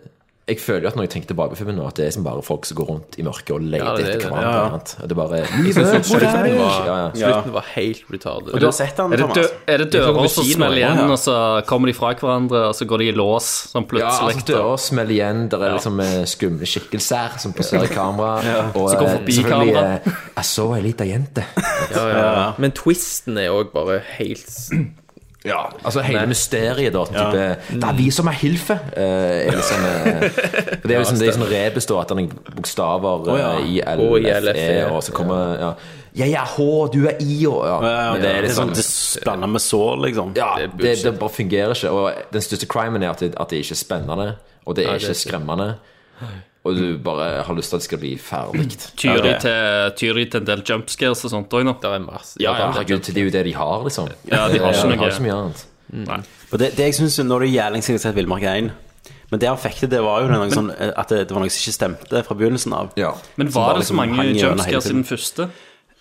Speaker 9: jeg føler jo at når jeg tenker tilbake på filmen nå, at det er som bare folk som går rundt i mørket og leter
Speaker 10: Ja, det er
Speaker 9: etter
Speaker 10: det.
Speaker 9: hverandre.
Speaker 10: Ja, ja.
Speaker 9: annet. Og det er bare
Speaker 10: Jeg synes slutten var-
Speaker 9: Ja, ja.
Speaker 10: Slutten var helt retarded.
Speaker 16: Og er det dø- Er det dører som smeller igjen, og så kommer de fra hverandre, og så går de i lås sånn
Speaker 9: Ja,
Speaker 16: plutselig?
Speaker 9: altså dører smeller igjen. Der er liksom eh, skumle skikkelser som poserer i kamera.
Speaker 10: Ja.
Speaker 9: Og
Speaker 10: Som går
Speaker 9: eh,
Speaker 10: forbi
Speaker 9: selvfølgelig,
Speaker 10: kamera.
Speaker 9: eh, Jeg så ei lita jente.
Speaker 10: Ja, ja, ja. Men twisten er òg bare helt s-
Speaker 9: Ja, altså hele
Speaker 10: Nei.
Speaker 9: mysteriet, da.
Speaker 10: Ja.
Speaker 9: Type, Det er vi som er Hilfe! eh, er liksom, eh, for det er
Speaker 10: Ja,
Speaker 9: jo sånn, det er sånn
Speaker 10: stemmer.
Speaker 9: rebus, da, at den er bokstaver
Speaker 10: Å, ja.
Speaker 9: eh, i L,
Speaker 10: Og i
Speaker 9: F, E,
Speaker 10: LFE,
Speaker 9: og så kommer ja. Jeg er H, du er I, og ja. Men
Speaker 1: det er
Speaker 9: litt
Speaker 1: sånn
Speaker 9: sånn-
Speaker 1: Det spanner med sår, liksom.
Speaker 9: Ja, det, det bare fungerer ikke. Og den største crimen er at det, at det ikke er spennende, og det er
Speaker 1: Nei, det er
Speaker 9: ikke
Speaker 1: ikke-
Speaker 9: skremmende. og du bare har lyst til at det skal bli ferdig.
Speaker 16: Tyr de til, tyr de til en del jumpscares og sånt òg, nå?
Speaker 10: Det er masse.
Speaker 9: Ja, ja, herregud, det er jo det de har, liksom.
Speaker 16: Ja, de har ikke noe.
Speaker 9: så mye annet.
Speaker 16: Nei.
Speaker 1: For det, det jeg synes når det gjelder jeg har sett Villmark 1 Men det han fikk til, det var jo noe sånn eh, at det, det var noe som ikke stemte fra begynnelsen av.
Speaker 16: Men
Speaker 1: Som
Speaker 16: var
Speaker 1: bare
Speaker 16: det så
Speaker 1: liksom
Speaker 16: mange
Speaker 1: hang gjennom hele
Speaker 16: jumpscares i
Speaker 1: tiden.
Speaker 16: den første?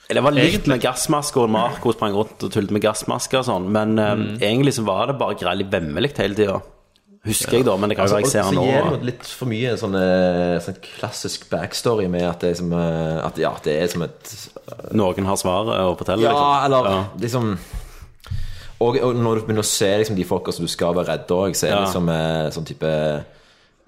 Speaker 1: Det var litt
Speaker 16: Egentlig-
Speaker 1: med gassmasker, og Marco sprang rundt og tullet med gassmasker og sånn, men eh, egentlig så var det bare grellig vemmelig hele tida. Husker jeg, da, men det kan jo være jeg ser han
Speaker 9: nå.
Speaker 1: nå.
Speaker 9: Så gir det litt for mye sånn, eh, sånn klassisk backstory med at det er som, eh, at, ja, det er som et
Speaker 1: Noen har svaret og forteller,
Speaker 9: Ja,
Speaker 1: liksom.
Speaker 9: eller liksom og, og når du begynner å se liksom, de folka som du skal være redd òg, så er det
Speaker 1: Ja.
Speaker 9: liksom eh, sånn type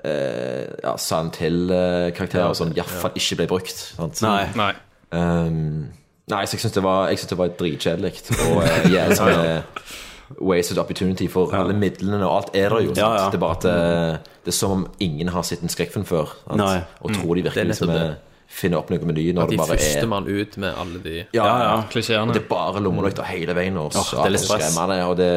Speaker 9: eh, ja, Silent Hill-karakterer som iallfall ikke ble brukt. Sant?
Speaker 1: Nei.
Speaker 16: Nei.
Speaker 9: Um, nei, så jeg syns det var, jeg synes det var dritkjedelig. Og eh, jævlig sånn eh, wasted opportunity for alle midlene, og alt er der jo. Sant?
Speaker 1: Ja, ja.
Speaker 9: Det er bare at eh, det er som om ingen har sett en skrekkfilm før. Sant?
Speaker 1: Nei.
Speaker 9: Og tror de
Speaker 10: Det er
Speaker 9: virkelig liksom,
Speaker 10: nettopp
Speaker 9: eh, finner opp noe meny
Speaker 10: At
Speaker 9: når
Speaker 10: de
Speaker 9: det bare er
Speaker 10: førstemann ut med alle de
Speaker 9: ja,
Speaker 1: Ja, ja.
Speaker 16: Klisjeene.
Speaker 9: Og Det er bare lommelykter hele veien, og
Speaker 1: Åh, det er litt
Speaker 9: satan,
Speaker 1: stress.
Speaker 9: skremmende, og det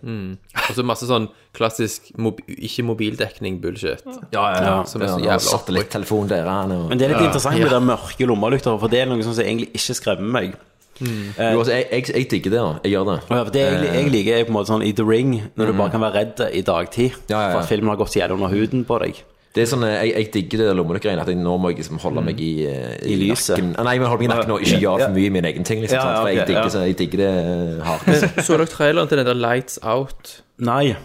Speaker 10: mm. Og så masse sånn klassisk mob ikke-mobildekning-bullshit.
Speaker 9: Ja, ja, ja.
Speaker 10: Som er så
Speaker 9: Ja,
Speaker 10: jævla
Speaker 9: Satellittelefon der han, og...
Speaker 1: Men det er litt
Speaker 9: Ja.
Speaker 1: interessant med de mørke lommelykter, for det er noe som egentlig ikke skremmer meg. Eh,
Speaker 9: Jo, altså, jeg, jeg, jeg digger det, da. Jeg gjør det.
Speaker 1: Ja, for det jeg, jeg liker er på en måte sånn i The Ring, når du
Speaker 9: Mhm.
Speaker 1: bare kan være redd i dagtid.
Speaker 9: ja, ja.
Speaker 1: For at filmen har gått gjennom under huden på deg.
Speaker 9: Det er sånn, eh, jeg, jeg digger det der lommelykkeregnet. At jeg, nå må jeg liksom holde meg i, eh,
Speaker 1: I lyset.
Speaker 9: nakken. Ah, Nei, men holde meg i nakken og ikke gjøre for mye i min egen ting. Liksom,
Speaker 1: Ja,
Speaker 9: sant?
Speaker 1: ja,
Speaker 9: For jeg
Speaker 1: ok,
Speaker 9: digger,
Speaker 1: ja.
Speaker 9: så jeg digger det eh, hardt.
Speaker 10: Så dere traileren til den der Lights Out?
Speaker 1: Nei.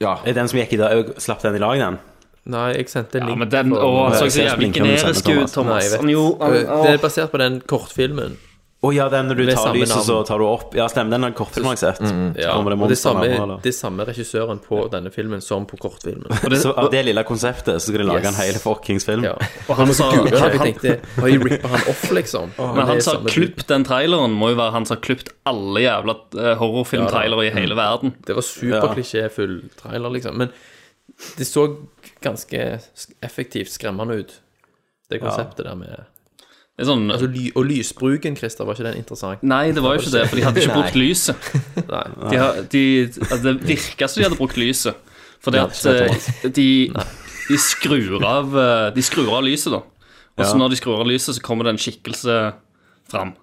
Speaker 9: Ja.
Speaker 1: Er den som gikk i dag, jeg slapp den i lag, den?
Speaker 10: Nei, jeg sendte en
Speaker 16: Ja,
Speaker 10: link.
Speaker 16: men den
Speaker 10: for-
Speaker 16: Å, han så
Speaker 1: Jeg
Speaker 16: så
Speaker 1: ser
Speaker 16: jævlig
Speaker 1: sminken du sender,
Speaker 16: generisk ut,
Speaker 1: Thomas.
Speaker 10: Nei, jeg
Speaker 16: Thomas.
Speaker 10: vet.
Speaker 16: Han, jo, han,
Speaker 10: Øh, Det er basert på den kortfilmen.
Speaker 1: Å ja, den når du
Speaker 10: Med
Speaker 1: tar
Speaker 10: samme
Speaker 1: lyset,
Speaker 10: navn. Mm,
Speaker 1: så tar du opp. Ja, stemmer. Den har kortfilm har jeg sett.
Speaker 10: Ja,
Speaker 1: Kommer
Speaker 10: og
Speaker 1: monsterne
Speaker 10: det er samme,
Speaker 1: nå, eller?
Speaker 10: det er samme regissøren på denne filmen som på kortfilmen.
Speaker 1: Så av det lille konseptet så skal de lage
Speaker 10: Yes.
Speaker 1: en hel fuckings film.
Speaker 10: Ja.
Speaker 16: Og han sa-
Speaker 10: Gud, jeg
Speaker 16: Ah, han- Ah.
Speaker 10: tenkte, har jeg rippet han off, liksom?
Speaker 16: Men han som har
Speaker 10: samme-
Speaker 16: klippet den traileren, må jo være han som har klippet alle jævla eh, horrorfilmtrailere i
Speaker 1: Mm.
Speaker 16: hele verden.
Speaker 10: Det var superklisjéfull trailer, liksom. Men det så ganske sk- effektivt skremmende ut, det konseptet der med
Speaker 16: Det er sånn
Speaker 10: altså, ly Og lysbruken, Christer, var ikke den interessant?
Speaker 16: Nei, det var jo ikke det, for de hadde ikke
Speaker 10: Nei.
Speaker 16: brukt lyset.
Speaker 10: Nei.
Speaker 16: De har, de, altså, det virka som de hadde brukt lyset. Fordi
Speaker 10: Ja,
Speaker 16: at
Speaker 10: det er
Speaker 16: eh, de, de skrur av eh, De skrur av lyset, da. Og så
Speaker 1: Ja.
Speaker 16: når de skrur av lyset, så kommer det en skikkelse fram.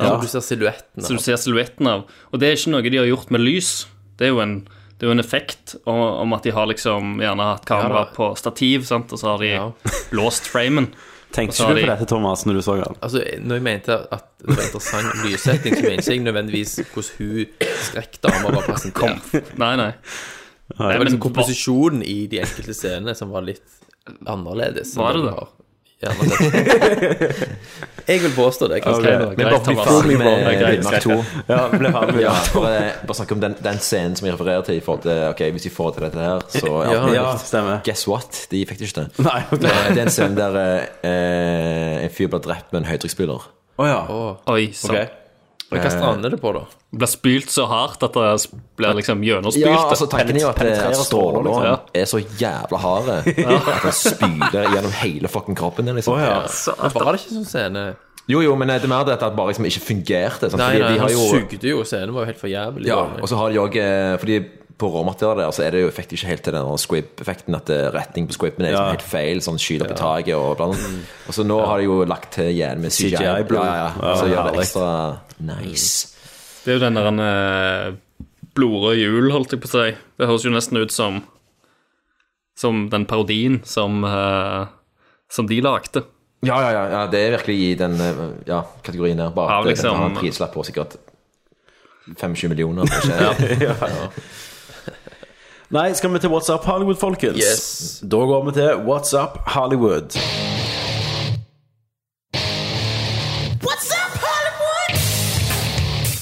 Speaker 10: Altså, Du ser silhuetten.
Speaker 16: Så du ser silhuetten av. Og det er ikke noe de har gjort med lys. Det er jo en, det er jo en effekt om, om at de har liksom gjerne hatt kamera
Speaker 10: Ja, da.
Speaker 16: på stativ, sant? og så har de låst framen. Og
Speaker 1: Tenkte
Speaker 16: så
Speaker 1: ikke
Speaker 16: har
Speaker 1: du på
Speaker 16: de-
Speaker 1: dette, Thomas, når du så den?
Speaker 10: Altså, når jeg mente at det var interessant lyssetting, så mente jeg ikke nødvendigvis hvordan hun skrekkdama var presentert.
Speaker 16: Nei, nei.
Speaker 10: Det
Speaker 16: Nei,
Speaker 10: var
Speaker 16: men
Speaker 10: liksom komposisjonen i de enkelte scenene som var litt annerledes. enn
Speaker 16: Var det
Speaker 10: du
Speaker 16: det?
Speaker 10: har gjerne sett. Jeg vil påstå det. Chris
Speaker 1: Ok,
Speaker 10: Kevin.
Speaker 1: men
Speaker 16: greit,
Speaker 1: bare bli
Speaker 16: Thomas.
Speaker 1: ferdig med
Speaker 16: Det er greit,
Speaker 1: Villmark
Speaker 16: greit.
Speaker 1: 2. Ja, ble ferdig med
Speaker 9: Ja,
Speaker 1: Villmark 2.
Speaker 9: bare, bare snakke om den, den scenen som jeg refererer til. i forhold til, ok, Hvis de får til dette her, så er alt
Speaker 1: Ja,
Speaker 9: mulig.
Speaker 1: ja, stemmer.
Speaker 9: Guess what? De fikk det ikke til.
Speaker 1: Nei, ok.
Speaker 9: Eh, Det er en scene der eh, eh, en fyr blir drept med en høytrykksspyler.
Speaker 1: Å ja.
Speaker 16: Oi, sant.
Speaker 1: Ok.
Speaker 10: Men Hva strander det på, da?
Speaker 16: Blir spylt så hardt at det blir liksom gjennomspylt.
Speaker 9: Ja, altså Tanken er jo at, det-
Speaker 1: penetrerer
Speaker 9: at strålene
Speaker 1: stråler,
Speaker 9: liksom, er så jævla harde at den spyler gjennom hele fucking kroppen din. Liksom.
Speaker 1: Å, ja.
Speaker 10: Men Var det ikke sånn scene?
Speaker 9: Jo, jo, men eh, det er mer det at det bare liksom ikke fungerte. Sant?
Speaker 10: Nei,
Speaker 9: Fordi
Speaker 10: nei,
Speaker 9: de har
Speaker 10: han
Speaker 9: jo,
Speaker 10: sugde jo, scenen var jo helt for jævlig.
Speaker 9: ja,
Speaker 10: dårlig.
Speaker 9: og så har de òg Fordi på råmaterialet der så er det jo effekt ikke helt til den der squib-effekten. At eh, retning på squiben er
Speaker 1: Ja.
Speaker 9: liksom helt feil. Sånn skyter på taket og blant annet. Og så nå har de jo lagt til igjen med CGI.
Speaker 1: CGI blod.
Speaker 9: ja, ja, ja. Så
Speaker 1: Ja,
Speaker 9: gjør det
Speaker 1: herlig.
Speaker 9: ekstra nice.
Speaker 16: Det er jo den der eh, blodrøde hjul, holdt jeg på å si. Det høres jo nesten ut som Som den parodien som eh, Som de lagde.
Speaker 9: Ja, ja, ja, ja. Det er virkelig i den eh, ja, kategorien der. Bare
Speaker 16: Ja,
Speaker 9: at det
Speaker 16: liksom-
Speaker 9: kan ha en prislapp på sikkert 25 millioner. Kanskje.
Speaker 1: Nei, skal vi til What's Up Hollywood, folkens?
Speaker 10: Yes.
Speaker 1: Da går vi til What's Up Hollywood.
Speaker 2: What's up, Hollywood?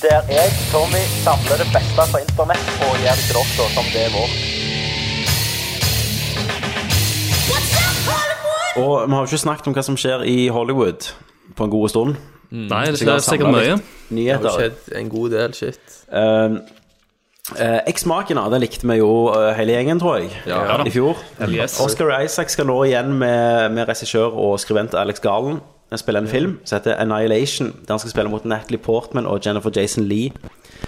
Speaker 19: Der jeg, Tommy, samler det beste fra internett og gjør det til dere som det er vårt.
Speaker 1: Og vi har jo ikke snakket om hva som skjer i Hollywood på en god stund.
Speaker 16: Nei, det
Speaker 1: Så jeg har
Speaker 16: er sikkert
Speaker 1: samlet
Speaker 16: mye.
Speaker 1: litt
Speaker 10: Det har jo
Speaker 1: Nyheter.
Speaker 10: skjedd en god del shit.
Speaker 1: Uh, uh, Eksmakene, den likte vi jo eh, hele gjengen, tror jeg,
Speaker 16: Ja da.
Speaker 1: i fjor.
Speaker 16: Yes.
Speaker 1: Oscar Isaac skal nå igjen med, med regissør og skrivent Alex Garland. Han spiller en film som heter Annihilation, der han skal spille mot Natalie Portman og Jennifer Jason Lee.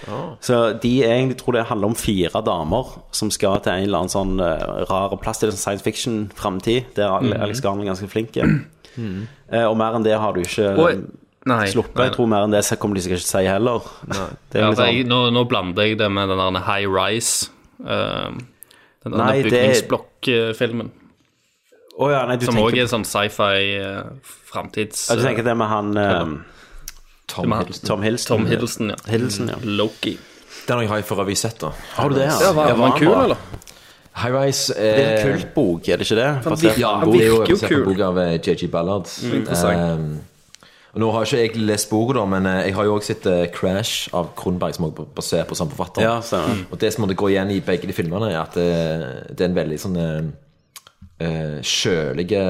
Speaker 16: Ah.
Speaker 1: Så de er egentlig, tror det handler om fire damer som skal til en eller annen sånn eh, rar plass til en sånn science fiction-framtid, der Ale-
Speaker 16: Mhm.
Speaker 1: Alex Garland er ganske flink. Eh, Og mer enn det har du ikke eh,
Speaker 16: Oi, nei,
Speaker 1: sluppet.
Speaker 16: nei.
Speaker 1: Jeg tror mer enn det så kommer de sikkert ikke til å si heller. Det er
Speaker 16: Ja,
Speaker 1: litt
Speaker 16: for
Speaker 1: sånn-
Speaker 16: jeg, nå, nå blander jeg det med den der High Rise. eh, den der
Speaker 1: Nei, det-
Speaker 16: bygningsblokk-filmen.
Speaker 1: Å ja, nei, du
Speaker 16: som
Speaker 1: tenker-
Speaker 16: også er sånn sci-fi eh, framtids...
Speaker 1: Ja, du tenker det med han eh,
Speaker 9: Tom
Speaker 16: Det med han-
Speaker 9: Hiddleston.
Speaker 1: Tom Hiddleston.
Speaker 16: Tom Hiddleston, ja.
Speaker 1: Hiddleston,
Speaker 9: Mm.
Speaker 1: ja.
Speaker 16: Loki.
Speaker 9: Den har jeg har for øvrig sett, da.
Speaker 1: Har du det, ja? Ja, var-
Speaker 9: Ja,
Speaker 1: var han kul,
Speaker 9: bra?
Speaker 1: eller?
Speaker 9: High Rise eh,
Speaker 1: Det er en kult bok, er det ikke det? Basert på
Speaker 9: ja,
Speaker 1: en bok.
Speaker 9: det er jo basert på en bok av eh, JG Ballard.
Speaker 1: Mm. Interessant.
Speaker 9: Eh, og nå har ikke jeg lest boka, da, men eh, jeg har jo også sett eh, Crash av Kronberg, som også er basert på samme forfatter. Mm.
Speaker 1: Ja, stemmer.
Speaker 9: og det som måtte gå igjen i begge de filmene, er at eh, det er en veldig sånn eh, eh, kjølige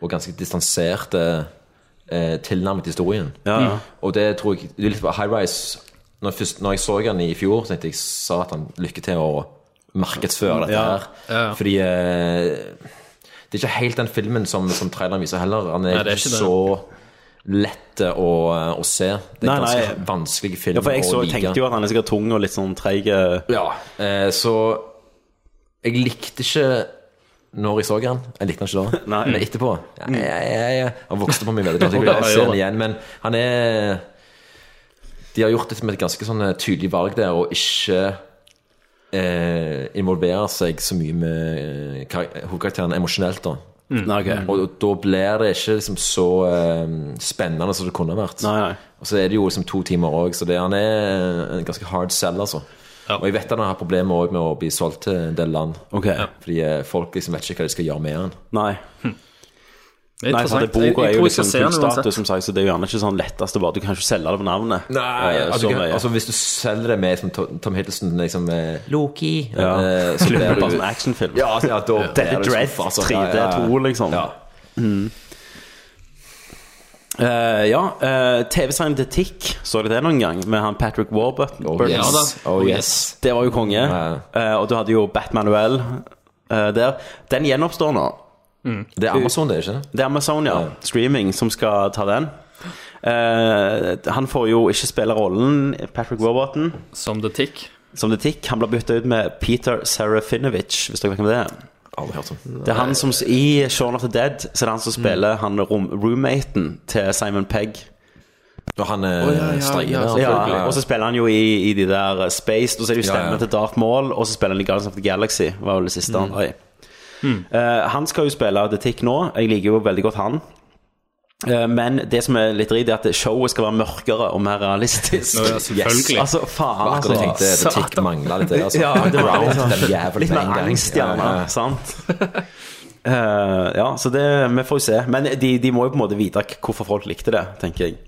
Speaker 9: og ganske distanserte eh, tilnærmet til historien.
Speaker 1: Ja, ja.
Speaker 9: Og det tror jeg det er litt High Rise når, jeg først, når jeg så den i fjor, så tenkte jeg satan, lykke til å markedsføre dette
Speaker 1: Ja.
Speaker 9: her. Fordi eh, det er ikke helt den filmen som, som traileren viser heller. Han er,
Speaker 1: Nei, det er
Speaker 9: ikke,
Speaker 1: ikke det.
Speaker 9: så lett eh, å, å se. Det er
Speaker 1: Nei,
Speaker 9: en
Speaker 1: nei.
Speaker 9: ganske vanskelig film
Speaker 1: Ja, for jeg
Speaker 9: å
Speaker 1: så,
Speaker 9: like.
Speaker 1: tenkte jo at han er sikkert tung og litt sånn treig.
Speaker 9: Ja, eh, så jeg likte ikke når jeg så den. Jeg likte den ikke da. Men etterpå ja, jeg, jeg, jeg, Han vokste på meg veldig godt. Jeg
Speaker 1: Mm. Ja,
Speaker 9: vil
Speaker 1: jeg
Speaker 9: se
Speaker 1: gjør
Speaker 9: den
Speaker 1: det.
Speaker 9: igjen, men han er De har gjort det som et ganske sånn eh, tydelig valg der, å ikke eh, involvere seg så mye med eh, kar- hovedkarakteren emosjonelt, da.
Speaker 1: Mm. Nei, ok.
Speaker 9: Og da blir det ikke liksom, så eh, spennende som det kunne vært. Og så er det jo liksom to timer òg, så det, han er en ganske hard sell, altså. Og jeg vet at han har problemer også med å bli solgt til en del land.
Speaker 1: Ok.
Speaker 9: Fordi eh, folk liksom vet ikke hva de skal gjøre med han.
Speaker 1: Nei.
Speaker 9: Det er
Speaker 1: Nei, for
Speaker 9: interessant.
Speaker 1: det boka
Speaker 9: Jeg- jeg
Speaker 1: er jo
Speaker 9: tror jeg skal
Speaker 1: liksom
Speaker 9: se den uansett.
Speaker 1: kunststatus, som sagt, så det er jo gjerne ikke sånn letteste bare. Du kan ikke selge det på navnet.
Speaker 9: Nei,
Speaker 1: Eh,
Speaker 9: altså,
Speaker 1: så
Speaker 9: du kan,
Speaker 1: mye.
Speaker 9: altså Hvis du selger det med som Tom Tom Hiddleston liksom, eh, Loki
Speaker 1: Ja.
Speaker 9: eh,
Speaker 1: Klipper
Speaker 9: blir
Speaker 1: det bare
Speaker 9: du-
Speaker 1: som actionfilm.
Speaker 9: Ja, altså, ja, da
Speaker 1: Ja. Dead
Speaker 9: blir du
Speaker 1: Dread,
Speaker 9: skuffet, altså.
Speaker 1: 3D2, liksom.
Speaker 9: sånn. Ja.
Speaker 1: Mm. Eh, ja, eh, TV-serien The Tick, så dere det noen gang? Med han Patrick Warbutt.
Speaker 9: yes. Ja da. Oh, yes.
Speaker 1: Det var jo konge. Eh, og du hadde jo Batmanuel eh, der. Den gjenoppstår nå.
Speaker 9: Det er Amazon, det, ikke det?
Speaker 1: Det er Amazon, ja. Streaming som skal ta den. Eh, han får jo ikke spille rollen, Patrick Warburton.
Speaker 16: Som The Tick.
Speaker 1: Som The Tick. Han blir bytta ut med Peter Serafinovic, hvis dere vet hvem det er. Det er han som I Shaun of the Dead Så er det han som spiller han rom, roommaten til Simon Pegg.
Speaker 9: Og han eh, er
Speaker 1: Å, ja, ja,
Speaker 9: strengere,
Speaker 1: ja,
Speaker 9: selvfølgelig.
Speaker 1: ja, Og så spiller han jo i, i de der eh, Spaced, og så er det jo
Speaker 9: Ja, ja.
Speaker 1: stemmen til Darth Maul, og så spiller han i Guardians of the Galaxy. Var vel det siste han
Speaker 9: Mm.
Speaker 1: Oi. Eh, han skal jo spille The Tick nå. Jeg liker jo veldig godt han. Eh, Men det som er litt dritt, er at showet skal være mørkere og mer realistisk.
Speaker 9: Nå, ja, selvfølgelig.
Speaker 1: Altså, faen, altså.
Speaker 9: Akkurat jeg tenkte, The Tick
Speaker 1: Satan.
Speaker 9: manglet litt det, altså.
Speaker 1: ja, det var
Speaker 9: Ground,
Speaker 1: litt sånn-
Speaker 9: den jævelen
Speaker 1: litt
Speaker 9: med en
Speaker 1: mer
Speaker 9: gang.
Speaker 1: angst,
Speaker 9: Ja,
Speaker 1: gjerne.
Speaker 9: ja, ja.
Speaker 1: Sant? Eh, ja, så det Vi får jo se. Men de, de må jo på en måte vite k- hvorfor folk likte det, tenker jeg.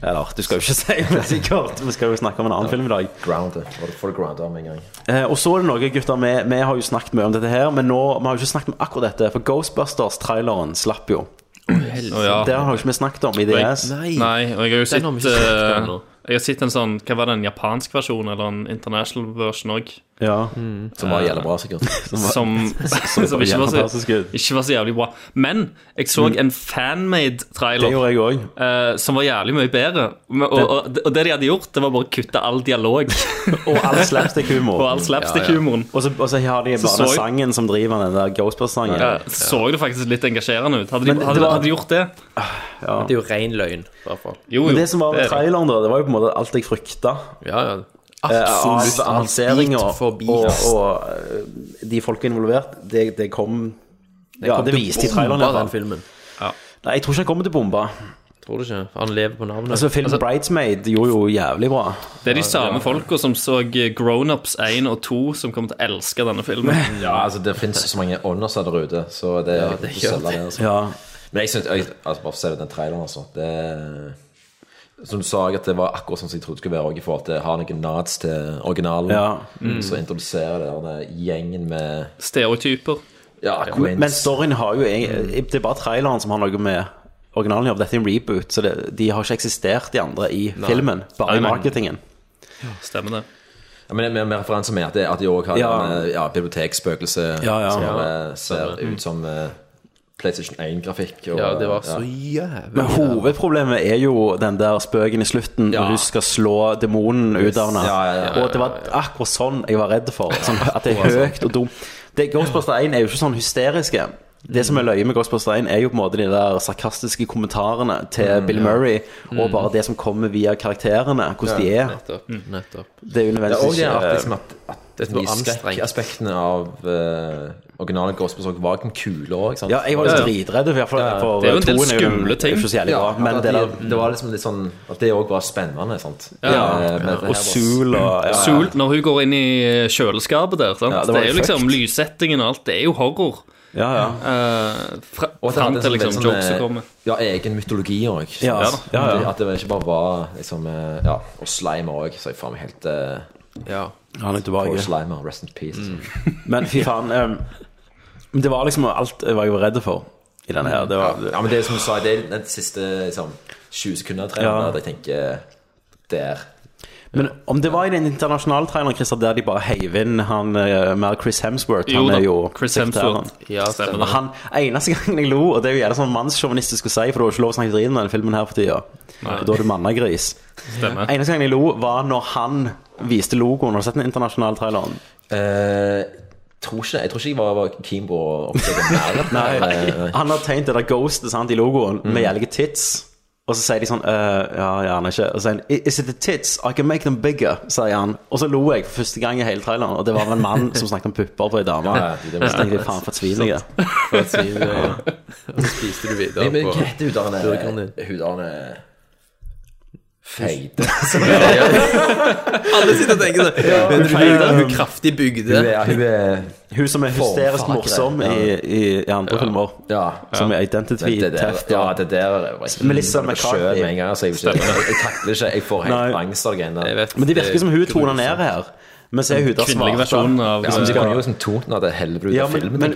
Speaker 1: Eller, du skal jo ikke si det, sikkert. Vi skal jo snakke om en annen film i dag.
Speaker 9: Grounded. Får du grounded med en gang?
Speaker 1: Eh, og så er det noe, gutter, vi, vi har jo snakket mye om dette her, men nå, vi har jo ikke snakket om akkurat dette, for Ghostbusters-traileren slapp jo.
Speaker 16: Å, ja.
Speaker 1: Det har jo ikke vi snakket om i
Speaker 16: Og jeg-
Speaker 1: DS.
Speaker 16: Nei, og jeg har jo
Speaker 1: Den har vi
Speaker 16: sett
Speaker 1: ikke sett
Speaker 16: eh,
Speaker 1: ennå.
Speaker 16: Jeg har sett en sånn Hva var det, en japansk versjon eller en international version òg?
Speaker 1: Ja.
Speaker 9: Som var jævla bra, sikkert.
Speaker 16: Som, som, som ikke, var så, ikke var så jævlig bra. Men jeg så
Speaker 9: Mm.
Speaker 16: en fanmade trailer.
Speaker 1: Det gjorde jeg òg.
Speaker 16: som var jævlig mye bedre. Men- Og, og, og det de hadde gjort, det var bare å kutte all dialog.
Speaker 1: Og all slapstick-humor.
Speaker 16: Og all slapstick-humoren.
Speaker 1: Og, så- og så har de
Speaker 16: Så
Speaker 1: bare
Speaker 16: så jeg-
Speaker 1: sangen som driver den der Ghostbusters-sangen.
Speaker 16: Ja, så det faktisk litt engasjerende ut. Hadde de,
Speaker 1: Men det
Speaker 16: hadde,
Speaker 1: var-
Speaker 16: hadde de gjort det?
Speaker 1: Ja.
Speaker 10: Det er jo ren løgn, i hvert fall.
Speaker 1: Men det som var med traileren, da, det var jo på en måte alt jeg frykta.
Speaker 10: Ja, ja.
Speaker 1: Absolutt.
Speaker 10: Absolutt.
Speaker 1: Av lanseringer
Speaker 10: Bit for
Speaker 1: og,
Speaker 10: bit.
Speaker 1: altså, og eh, de folka involvert, det, det kom Ja, det viste i traileren. i hvert fall.
Speaker 10: den filmen.
Speaker 1: Nei, jeg tror ikke han kommer til å bombe.
Speaker 10: Tror du ikke? Han lever på navnet.
Speaker 1: Altså, filmen Bridesmaid gjorde jo jævlig bra.
Speaker 16: Det er de samme folka som så Grownups 1 og 2, som kommer til å elske denne filmen.
Speaker 9: Ja, altså Det fins så mange åndåser der ute, så det er
Speaker 16: Ja,
Speaker 9: ja,
Speaker 16: det
Speaker 9: det,
Speaker 16: gjør
Speaker 9: det
Speaker 16: det.
Speaker 9: altså.
Speaker 1: Ja.
Speaker 9: Men jeg synes, jeg, altså, bare for å se den traileren, altså. Det, som du sa, at det var akkurat sånn som jeg trodde det skulle være. Og i forhold til Har noen nads til originalen.
Speaker 1: Ja. Mm.
Speaker 9: Så introduserer det denne gjengen med
Speaker 16: Stereotyper.
Speaker 9: Ja,
Speaker 1: Men men
Speaker 9: queens.
Speaker 1: storyen har jo egentlig Det er bare traileren som har noe med originalen å gjøre. Dette er en reboot, så det, de har ikke eksistert, de andre, i
Speaker 9: Nei.
Speaker 1: filmen. Bare
Speaker 9: Nei,
Speaker 1: i
Speaker 9: nei.
Speaker 1: marketingen.
Speaker 16: Stemmer det.
Speaker 9: Ja, men med, med referanse med at, det, at de òg har
Speaker 1: Ja.
Speaker 9: denne, ja, bibliotekspøkelse
Speaker 1: Ja, ja.
Speaker 9: som
Speaker 1: Ja.
Speaker 9: eh, ser ut som eh, PlayStation 1-grafikk. og-
Speaker 10: Ja, det var så
Speaker 1: Men
Speaker 10: jævlig.
Speaker 1: hovedproblemet er jo den der spøken i slutten når du skal slå demonen ut av henne.
Speaker 9: Ja, ja, ja, ja,
Speaker 1: Og det var akkurat sånn jeg var redd for. Sånn at det er høyt og dumt. Det, Ghostbuster 1 er jo ikke sånn hysteriske. Det som er løye med Ghostbuster 1, er jo på en måte de der sarkastiske kommentarene til
Speaker 10: Mm,
Speaker 1: Bill
Speaker 10: ja.
Speaker 1: Murray, og
Speaker 10: Mm.
Speaker 1: bare det som kommer via karakterene, hvordan de er.
Speaker 10: Nettopp.
Speaker 16: Mm.
Speaker 10: nettopp.
Speaker 1: Det er jo
Speaker 9: Det er
Speaker 1: nødvendigvis
Speaker 9: også det at,
Speaker 1: ikke-
Speaker 9: liksom, at, at
Speaker 10: Dette var
Speaker 9: de
Speaker 10: anstrengt.
Speaker 9: skrekkaspektene av uh, originale Ghostbusters var ikke kule òg.
Speaker 1: Ja, jeg var liksom dritredd, i hvert fall, for Det er jo en del toen er jo skumle ting. ikke så jævlig bra, men
Speaker 9: at
Speaker 1: det
Speaker 9: det,
Speaker 1: der-
Speaker 9: det var liksom litt sånn At det òg var spennende, sant.
Speaker 16: Ja.
Speaker 9: Eh, men
Speaker 16: Ja,
Speaker 9: det her
Speaker 16: og
Speaker 9: var-
Speaker 16: Zool
Speaker 1: og- ja, ja.
Speaker 16: Zool, når hun går inn i kjøleskapet der, sant?
Speaker 9: Ja,
Speaker 16: det,
Speaker 9: det var
Speaker 16: er jo
Speaker 9: jo
Speaker 16: liksom lyssettingen og alt. Det er jo horror.
Speaker 1: Ja, ja.
Speaker 16: Eh, fra,
Speaker 9: Og at det
Speaker 16: fram
Speaker 9: hadde
Speaker 16: til
Speaker 9: sånn
Speaker 16: liksom
Speaker 9: litt sånn,
Speaker 16: jokes som
Speaker 9: eh,
Speaker 16: kommer.
Speaker 9: Ja, egen mytologi òg.
Speaker 1: Ja, ja, ja.
Speaker 9: At det ikke bare var liksom eh, Ja, og Slimer òg, så jeg faen meg helt eh,
Speaker 1: Han er tilbake.
Speaker 9: for Slimer, rest in peace.
Speaker 16: Mm.
Speaker 1: Men fy faen. em, men det var liksom alt jeg var jo redd for i denne her. Det var,
Speaker 9: Ja, men det er som du sa, det er den siste liksom, 20 sekunder av
Speaker 1: Ja.
Speaker 9: traileren der jeg tenker Der.
Speaker 1: Men om det var i den internasjonale traileren Christer, der de bare heiv inn han eh, mer Chris Hemsworth
Speaker 16: Jo
Speaker 1: Han
Speaker 16: da,
Speaker 1: er jo
Speaker 16: Chris
Speaker 1: sekretæren.
Speaker 16: Hemsworth. Ja, stemmer
Speaker 1: Og
Speaker 16: det.
Speaker 1: han, Eneste gangen jeg lo, og det er jo gjerne sånn mannssjåvinistisk å si, for det var ikke lov å snakke dritt om denne filmen her for tida,
Speaker 16: Nei.
Speaker 1: da er du mannagris.
Speaker 16: Stemmer.
Speaker 1: Eneste gangen jeg lo, var når han viste logoen. Har du sett den internasjonale traileren?
Speaker 9: Eh, tror ikke, jeg tror ikke jeg var, var keen på å oppsøke nærheten.
Speaker 1: Nei, Mm. han har tegnet det der ghostet sant, i logoen med jævlige tits. Og så sier de sånn øh, Ja, gjerne ikke. Og så sier han "I- Is it the tits? I can make them bigger, sier han. Og så lo jeg for første gang i hele traileren, og det var en mann som snakket om pupper på ei dame.
Speaker 9: Ja,
Speaker 1: Så
Speaker 9: det var-
Speaker 1: tenkte jeg faen, for et svin jeg er.
Speaker 10: For et svin, ja. Og så spiste du videre
Speaker 9: Men
Speaker 10: på
Speaker 9: hva heter
Speaker 10: burgeren
Speaker 9: hudarne
Speaker 10: din.
Speaker 9: Hudarne Feide.
Speaker 10: Alle sitter og tenker sånn.
Speaker 9: Ja.
Speaker 10: Men du,
Speaker 9: Feide.
Speaker 10: hun er kraftig bygde.
Speaker 9: Hun er- hun er-
Speaker 1: Hun som er hysterisk
Speaker 9: Formfakere.
Speaker 1: morsom i, i, i andre filmer.
Speaker 9: Ja.
Speaker 1: Som er Identity
Speaker 9: Det- det der-
Speaker 1: Theft.
Speaker 9: Ja, det der eh, var ikke
Speaker 1: Melissa
Speaker 9: var
Speaker 1: McCarthy.
Speaker 9: skjøn med en gang, så jeg, jeg, jeg takler ikke. Jeg får helt angst av det greiene der.
Speaker 1: Men de virker som hun toner ned her. Men så er hun der svarte.
Speaker 9: Ja, men de kunne jo liksom tonen av det helvete ut
Speaker 1: Ja,
Speaker 9: av
Speaker 1: men-
Speaker 9: filmen,
Speaker 1: men-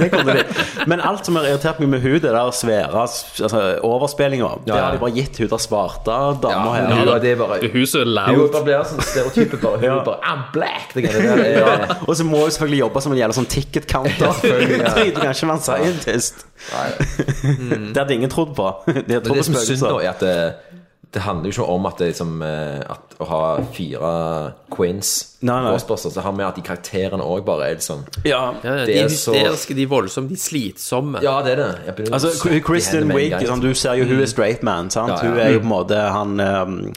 Speaker 9: tenker jeg.
Speaker 1: Men alt som har irritert meg med hun, det der svære altså, overspillinga, det
Speaker 9: ja.
Speaker 1: har de bare gitt hun der svarte dama
Speaker 9: Ja,
Speaker 1: her.
Speaker 9: hun- det er bare-
Speaker 16: Det er hun som er
Speaker 9: Hun
Speaker 16: loud.
Speaker 9: bare blir sånn stereotype, bare. Hun
Speaker 1: Ja.
Speaker 9: bare I'm black! Det greiene der er
Speaker 1: Ja, Og så må hun selvfølgelig jobbe som en jævla sånn ticket counter.
Speaker 9: Ja, selvfølgelig, ja.
Speaker 1: Du kan ikke være en scientist. Det hadde ingen trodd på. De hadde trodd
Speaker 9: Mm. Men
Speaker 1: på
Speaker 9: det som er synd, da,
Speaker 1: spøkelser.
Speaker 9: er at det, det handler jo ikke om at, det, er liksom, eh, at å ha fire queens
Speaker 1: Nei, nei.
Speaker 9: Ghostbusters, det har med at de karakterene òg bare er liksom
Speaker 1: Ja.
Speaker 10: Ja, ja, de
Speaker 9: Det
Speaker 10: er
Speaker 9: er så-
Speaker 10: hysteriske, de er voldsomme, de er slitsomme.
Speaker 9: Ja, det er det. Jeg begynner å
Speaker 1: Altså,
Speaker 9: svette i
Speaker 1: Kristin
Speaker 9: hendene med en
Speaker 1: Wiig,
Speaker 9: gang.
Speaker 1: liksom, du ser jo hun er straight man, sant?
Speaker 9: Ja, ja.
Speaker 1: Hun er jo på en måte han um,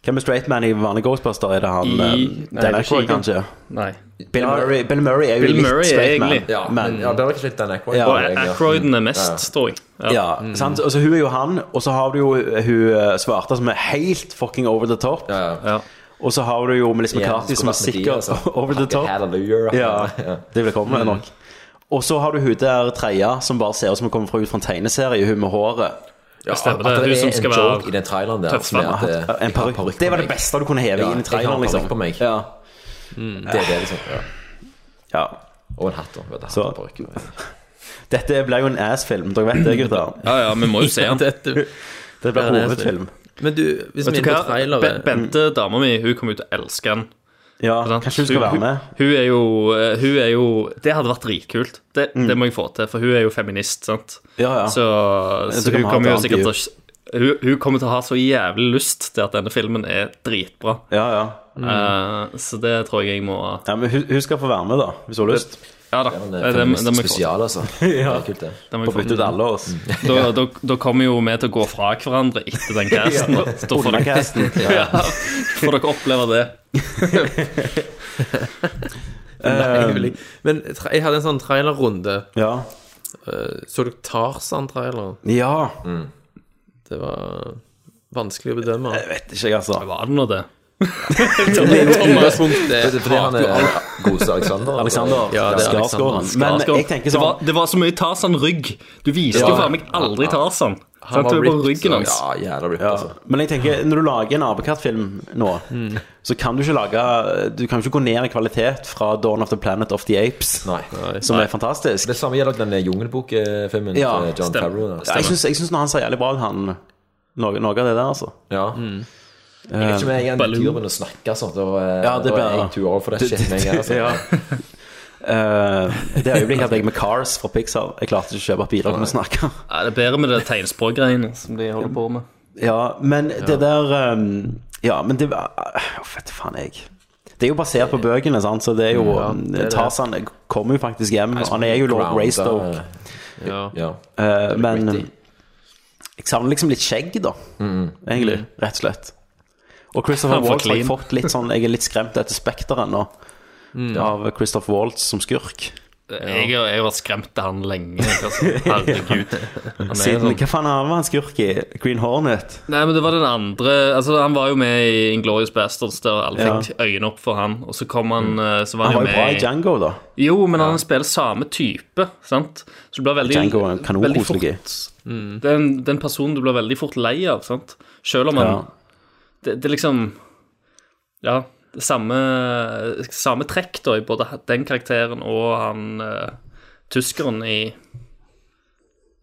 Speaker 1: Hvem er straight man i vanlige Ghostbuster? Er det han
Speaker 16: I-
Speaker 1: um,
Speaker 16: nei, det er
Speaker 1: Dan Aykroyd,
Speaker 16: ikke Egan.
Speaker 1: kanskje?
Speaker 16: Nei.
Speaker 1: Bill Murray, Bill Murray er jo
Speaker 16: Bill
Speaker 1: litt
Speaker 16: Murray er
Speaker 1: straight man.
Speaker 16: egentlig- Ja,
Speaker 1: men-
Speaker 9: Ja, det var ikke litt Dan Aykroyd.
Speaker 1: Ja.
Speaker 9: bare, egentlig.
Speaker 16: Ackroyden er mest,
Speaker 9: Mm. Ja.
Speaker 16: tror jeg.
Speaker 1: Ja, sant? Altså, hun er jo han, og så har du jo eh, hun eh, svarte som er helt fucking over the top. Og så har du jo Melissa
Speaker 9: Ja,
Speaker 1: McCarthy
Speaker 9: skulle
Speaker 1: som er
Speaker 9: vært med de,
Speaker 1: sikker
Speaker 9: altså.
Speaker 1: over the
Speaker 9: Fucking
Speaker 1: top.
Speaker 9: Hallelujah.
Speaker 1: Ja,
Speaker 9: Ja.
Speaker 1: det vil komme nok. Og så har du hun der tredje som bare ser ut som hun kommer fra ut fra en tegneserie, hun med håret.
Speaker 9: Ja,
Speaker 16: Stemmer,
Speaker 9: at
Speaker 16: det er hun
Speaker 9: det
Speaker 16: som
Speaker 9: er
Speaker 16: skal
Speaker 9: en
Speaker 16: være
Speaker 9: joke i den traileren der. Som er at, eh,
Speaker 1: Ja, en
Speaker 9: jeg har
Speaker 1: parykk.
Speaker 9: parykk
Speaker 1: Det var
Speaker 9: på
Speaker 1: det
Speaker 9: meg.
Speaker 1: beste du kunne heve
Speaker 9: Ja,
Speaker 1: inn i traileren,
Speaker 9: Jeg har en
Speaker 1: liksom.
Speaker 9: parykk på meg.
Speaker 1: Ja.
Speaker 9: Det er det, liksom. Ja.
Speaker 1: ja.
Speaker 9: Og en hatt. da, vet du, hatt
Speaker 1: Så-
Speaker 9: og parykk.
Speaker 1: Dette ble jo en ass-film, dere vet det, gutter.
Speaker 16: Ja, ja, vi må jo se den.
Speaker 10: Dette-
Speaker 1: Det ble
Speaker 10: Ja, det er
Speaker 1: hovedfilm.
Speaker 10: Men du, hvis vi
Speaker 16: Vet
Speaker 10: er
Speaker 16: du
Speaker 10: inne på
Speaker 16: hva?
Speaker 10: trailere
Speaker 16: Ben- Bente, dama mi, hun kommer ut og elsker den.
Speaker 1: Ja,
Speaker 16: Sant?
Speaker 1: kanskje du skal være med?
Speaker 16: Hun, hun, er jo, hun er jo Det hadde vært dritkult. Det, det må jeg få til, for hun er jo feminist, sant.
Speaker 1: Ja, ja.
Speaker 16: Så,
Speaker 1: Du
Speaker 16: så
Speaker 1: kan
Speaker 16: hun
Speaker 1: ha
Speaker 16: kommer
Speaker 1: et
Speaker 16: jo sikkert til å
Speaker 1: annet
Speaker 16: hun, hun kommer til å ha så jævlig lyst til at denne filmen er dritbra.
Speaker 1: Ja, ja.
Speaker 16: Eh, så det tror jeg jeg må
Speaker 1: ja men hun, hun skal få være med, da, hvis hun har lyst.
Speaker 16: Ja da.
Speaker 9: Men,
Speaker 16: Det,
Speaker 9: eh,
Speaker 16: det,
Speaker 9: feminist
Speaker 16: det må jeg få til.
Speaker 9: spesial, altså. Det er kult, det.
Speaker 16: Det
Speaker 1: På
Speaker 16: må jeg få Mm.
Speaker 1: bytte ut
Speaker 16: til.
Speaker 1: alle oss.
Speaker 16: Da, da, da kommer jo vi til å gå fra hverandre etter den casten.
Speaker 1: Ja.
Speaker 16: da. Da får
Speaker 1: Under casten.
Speaker 16: dere, ja, får dere oppleve det.
Speaker 10: Nei, jeg vil ikke. Men tra- jeg hadde en sånn trailerrunde.
Speaker 1: Um, Ja.
Speaker 10: Eh, Så du Tarzan-traileren?
Speaker 1: ja.
Speaker 10: Det var vanskelig å bedømme.
Speaker 1: Jeg vet ikke, jeg, altså.
Speaker 16: Var det nå det?
Speaker 9: Det er fordi han er godeste Alexander. eller?
Speaker 1: Alexander
Speaker 10: Ja, det er
Speaker 1: Skarsgården.
Speaker 10: Alexander
Speaker 1: Men
Speaker 16: Skarsgård.
Speaker 1: jeg tenker
Speaker 16: det, var,
Speaker 1: sånn
Speaker 16: det var så mye Tarzan-rygg. Du viste
Speaker 1: Ja.
Speaker 16: jo faen meg aldri Tarzan.
Speaker 10: Han
Speaker 16: Sant?
Speaker 10: var
Speaker 16: Det var
Speaker 10: ripped,
Speaker 16: bare ryggen
Speaker 10: så-
Speaker 16: hans.
Speaker 9: Ja, jævla ripped,
Speaker 1: ja.
Speaker 9: altså.
Speaker 1: Men jeg tenker, når du lager en apekattfilm nå, så kan du ikke lage Du kan ikke gå ned i kvalitet fra Dawn of the Planet of the Apes,
Speaker 9: Nei.
Speaker 1: som er fantastisk.
Speaker 9: Det samme gjelder den jungelbokfilmen
Speaker 1: Ja,
Speaker 9: til John
Speaker 16: stemmer.
Speaker 9: Favreau. da.
Speaker 1: Ja, Jeg syns, jeg syns når han ser jævlig bra ut, han noe, noe av det der, altså.
Speaker 9: Ja. Jeg vet ikke om jeg er en tur med å snakke sånn. Da, eh,
Speaker 1: Ja, det
Speaker 9: da er
Speaker 1: blir-
Speaker 9: jeg en tur over for det
Speaker 1: Det-
Speaker 9: shit med en gang. altså.
Speaker 1: Ja. Eh, det øyeblikket hadde jeg med Cars fra Pixar. Jeg klarte ikke å kjøpe biler til å snakke.
Speaker 16: Nei, det er bedre med det tegnspråkgreiene som de holder på med.
Speaker 1: Ja, men det der um, Ja, men det Uff, vet du faen, jeg. Det er jo basert på bøkene, sant? så det er jo ehm,
Speaker 9: Ja, det liksom er det.
Speaker 1: Tarzan kommer jo faktisk hjem. Han er jo lord
Speaker 9: Ground,
Speaker 1: Raystoke.
Speaker 9: eh, Ja. ja.
Speaker 1: Eh, men jeg savner liksom litt skjegg, da.
Speaker 16: Mm.
Speaker 1: Egentlig. Rett og slett. Og Christopher
Speaker 9: Han er for
Speaker 1: Waltz har jeg
Speaker 9: clean.
Speaker 1: fått litt sånn Jeg er litt skremt etter Spekter ennå.
Speaker 16: Mm.
Speaker 1: Av Christopher Waltz som skurk.
Speaker 16: Jeg, jeg har vært skremt av han lenge. Altså. Herregud. Han er
Speaker 1: Siden,
Speaker 16: sånn-
Speaker 1: Hva faen er han var han skurk i? Green Hornet?
Speaker 16: Nei, men det var den andre altså, Han var jo med i Inglorious Bastards, der alle
Speaker 1: Ja.
Speaker 16: fikk øynene opp for han. Og så kom han eh, så var
Speaker 1: Han
Speaker 16: han,
Speaker 1: var jo
Speaker 16: jo
Speaker 1: bra i
Speaker 16: med
Speaker 1: Django, da.
Speaker 16: Jo, men han spiller samme type, sant? Så du blir veldig,
Speaker 1: Django er
Speaker 16: veldig fort
Speaker 1: kanonkoselig.
Speaker 16: Det er en, det er en person du blir veldig fort lei av, sant? Selv om han
Speaker 1: Ja.
Speaker 16: det, det er liksom Ja, det samme, samme trekk da i både den karakteren og han eh, tyskeren i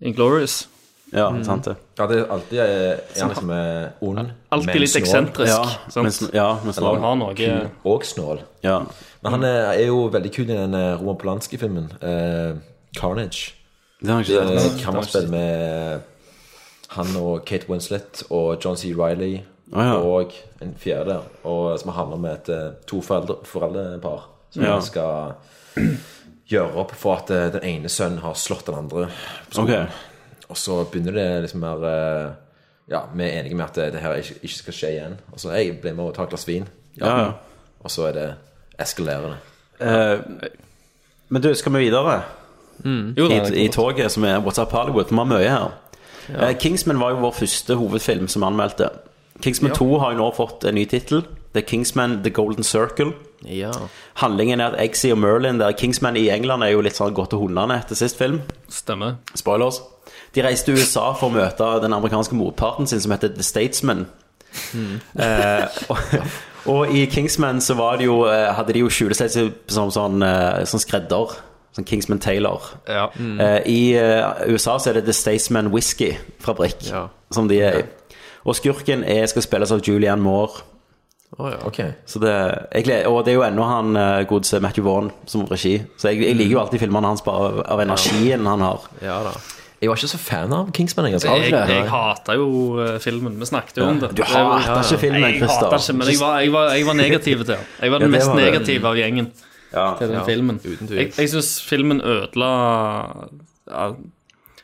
Speaker 16: Inglorious.
Speaker 1: Ja,
Speaker 16: Mm.
Speaker 1: sant det.
Speaker 9: Ja, det er alltid eh, er han liksom eh, ond.
Speaker 16: Alltid
Speaker 9: men
Speaker 16: litt
Speaker 9: snål.
Speaker 16: eksentrisk, Ja, sant? men sn- ja, men snål.
Speaker 9: Eller
Speaker 16: Han har
Speaker 1: Mm.
Speaker 16: noe-
Speaker 9: kul Og snål. Men han er, er jo veldig kul i den eh, Roman Polanski-filmen, eh, Carnage.
Speaker 1: Det
Speaker 9: Eh,
Speaker 1: har jeg ikke sett.
Speaker 9: er Kammerspill med han og Kate Winslet og John C. Riley
Speaker 1: Å, ja.
Speaker 9: og en fjerde der, og, som handler om et eh, to foreldre, foreldrepar som
Speaker 1: Ja.
Speaker 9: skal gjøre opp for at eh, den ene sønnen har slått den andre på skolen.
Speaker 1: Ok.
Speaker 9: Og så begynner det liksom mer eh, Ja, vi er enige med at det, det her ikke, ikke skal skje igjen. Og så jeg blir med og tar et glass vin.
Speaker 1: Ja, ja.
Speaker 9: Og så er det eskalerende.
Speaker 1: Eh, men du, skal vi videre?
Speaker 9: Jo da,
Speaker 1: I,
Speaker 9: det kan
Speaker 1: I toget som er What's Up Hollywood. Vi har mye her. Eh, Kingsman var jo vår første hovedfilm som anmeldte. Kingsman
Speaker 10: Ja.
Speaker 1: 2 har jo nå fått en ny tittel. Det er Kingsman The Golden Circle.
Speaker 10: Ja.
Speaker 1: Handlingen er at Eggsy og Merlin der Kingsman i England er jo litt sånn gått til hundene etter sist film.
Speaker 16: Stemmer.
Speaker 1: Spoilers. De reiste til USA for å møte den amerikanske motparten sin som heter The Statesman. Eh, og, og i Kingsman så var det jo, eh, hadde de jo skjulesett seg som sånn, eh, sånn skredder. Sånn Kingsman Taylor.
Speaker 16: Ja.
Speaker 1: Eh, I eh, USA så er det The Staysman Whisky-fabrikk som de er i. Og skurken er, skal spilles av Julianne Moore. Så det, jeg, gleder- og det er jo ennå han eh, godse Matthew Vaughn som har regi. Så jeg, jeg liker jo alltid filmene hans bare av, av energien han har.
Speaker 9: Jeg var ikke så fan av Kingsman. Jeg,
Speaker 16: Jeg, jeg, jeg hata jo eh, filmen. Vi snakket jo om
Speaker 1: Ja.
Speaker 16: det.
Speaker 1: Du hater
Speaker 16: Det-
Speaker 1: ikke filmen,
Speaker 16: Nei, Jeg
Speaker 1: Christer.
Speaker 16: hater ikke, men jeg var, jeg var, jeg var negativ til den. Jeg var
Speaker 1: Ja,
Speaker 16: den
Speaker 1: det
Speaker 16: mest
Speaker 1: var det.
Speaker 16: negative av gjengen til den
Speaker 1: Ja,
Speaker 16: filmen.
Speaker 1: uten tvil.
Speaker 16: Jeg, jeg syns filmen ødela ja,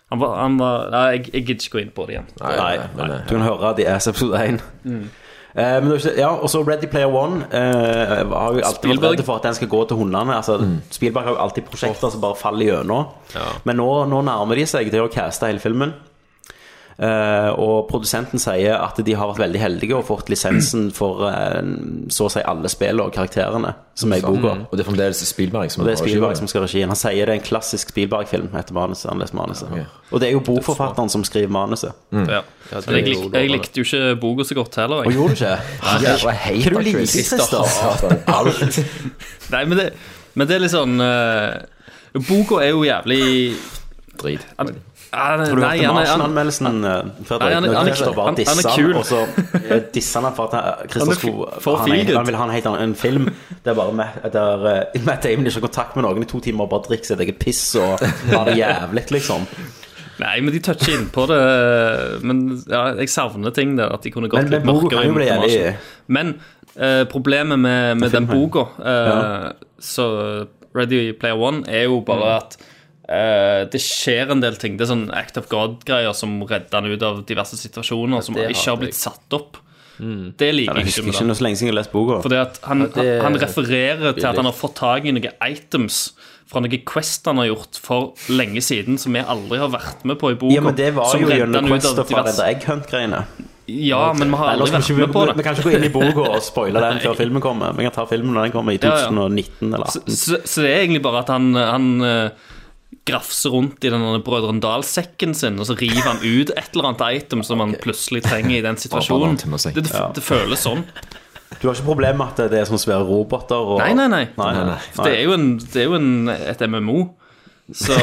Speaker 16: han var, han var, Nei, jeg, jeg gidder ikke gå inn på det igjen.
Speaker 1: Nei,
Speaker 16: eh,
Speaker 1: Du kan høre The Ass episode 1.
Speaker 16: Mm.
Speaker 1: Eh, men det er ikke, ja, og så Ready Player One eh, har jo alltid vært
Speaker 16: Spielberg. Mm.
Speaker 1: redd for at den skal gå til hundene. Altså, Spielberg har jo alltid prosjekter som bare faller gjennom.
Speaker 10: Ja.
Speaker 1: Men nå, nå nærmer de seg til å caste hele filmen. Eh, og produsenten sier at de har vært veldig heldige og fått lisensen for eh, så å si alle spillene og karakterene som er i
Speaker 9: Sant.
Speaker 1: boka.
Speaker 9: Og det er fremdeles Spielberg som
Speaker 1: Og Sånn. det er
Speaker 9: har
Speaker 1: Spielberg
Speaker 9: regien.
Speaker 1: som skal ha regien. Han sier det er en klassisk Spielberg-film etter manuset. Han leser manuset. Og det er jo bokforfatteren som skriver manuset.
Speaker 16: Ja. Men jeg, lik, jeg likte jo ikke boka så godt heller.
Speaker 1: Å, gjorde du ikke?
Speaker 16: Nei.
Speaker 1: Ja, jeg hater Hva du liker, Christer. Christer? Hater alt.
Speaker 16: Nei, men det, men det er litt sånn eh, Boka er jo jævlig
Speaker 9: Drit.
Speaker 1: Har du hørt om Marsen-anmeldelsen?
Speaker 16: Nei,
Speaker 1: Fredrik,
Speaker 16: han-
Speaker 1: Når
Speaker 16: han-
Speaker 1: Christer bare
Speaker 16: han- han er
Speaker 1: disser han,
Speaker 16: kul.
Speaker 1: og så eh, disser han for at han- Christer
Speaker 16: Han er
Speaker 1: skulle
Speaker 16: f- for
Speaker 1: Han,
Speaker 16: fint.
Speaker 1: han, han vil ha en helt annen en film der bare Matt, der, eh, Matt Damon ikke har kontakt med noen i to timer og bare drikker sitt eget piss og har det jævlig, liksom.
Speaker 16: Nei, men de toucher inn på det. Men ja, jeg savner ting der. At de kunne
Speaker 1: Men-
Speaker 16: gått
Speaker 1: men
Speaker 16: litt
Speaker 1: boka
Speaker 16: mørkere
Speaker 1: kan jo
Speaker 16: inn
Speaker 1: bli
Speaker 16: på
Speaker 1: jævlig-
Speaker 16: Marsen. Men eh, problemet med, med den boka, eh,
Speaker 1: Ja. Mm.
Speaker 16: så Ready Player One, er jo bare at eh, det skjer en del ting. Det er sånn Act of God-greier som redder han ut av diverse situasjoner som
Speaker 10: det
Speaker 16: ikke
Speaker 10: hater
Speaker 16: har blitt satt opp. Det
Speaker 1: Ja, Jeg
Speaker 16: liker jeg ikke
Speaker 1: husker
Speaker 16: med
Speaker 1: ikke
Speaker 16: den.
Speaker 1: noe så lenge siden jeg har lest boka.
Speaker 16: Fordi at han,
Speaker 1: Ja, det-
Speaker 16: han refererer til at han
Speaker 1: Billig.
Speaker 16: har fått tak i noen items fra noen quest han har gjort for lenge siden, som vi aldri har vært med på i boka.
Speaker 1: Ja, men det var
Speaker 16: som
Speaker 1: jo
Speaker 16: redder han
Speaker 1: gjennom
Speaker 16: ut av
Speaker 1: Quester fra den
Speaker 16: diverse-
Speaker 1: der Egg Hunt-greiene.
Speaker 16: Ja, men vi har
Speaker 1: Eller
Speaker 16: aldri
Speaker 1: skal vi ikke-
Speaker 16: vært med på det.
Speaker 1: Vi kan ikke gå inn i boka og spoile den før filmen kommer. Vi kan ta filmen når den kommer i
Speaker 16: Ja, ja.
Speaker 1: 2019 eller
Speaker 16: Så,
Speaker 1: 18.
Speaker 16: så, så det er egentlig bare at han, han eh, grafser rundt i denne Brødrene Dal-sekken sin, og så river han ut et eller annet item som han plutselig trenger i den situasjonen.
Speaker 1: Bare banan til meg,
Speaker 16: Det, det,
Speaker 1: Ja.
Speaker 16: det føles sånn.
Speaker 1: Du har ikke problem med at det er sånne svære roboter? Og...
Speaker 16: Nei, nei, nei.
Speaker 1: Nei, nei, nei.
Speaker 16: For Det er jo, en, det er jo en, et MMO, så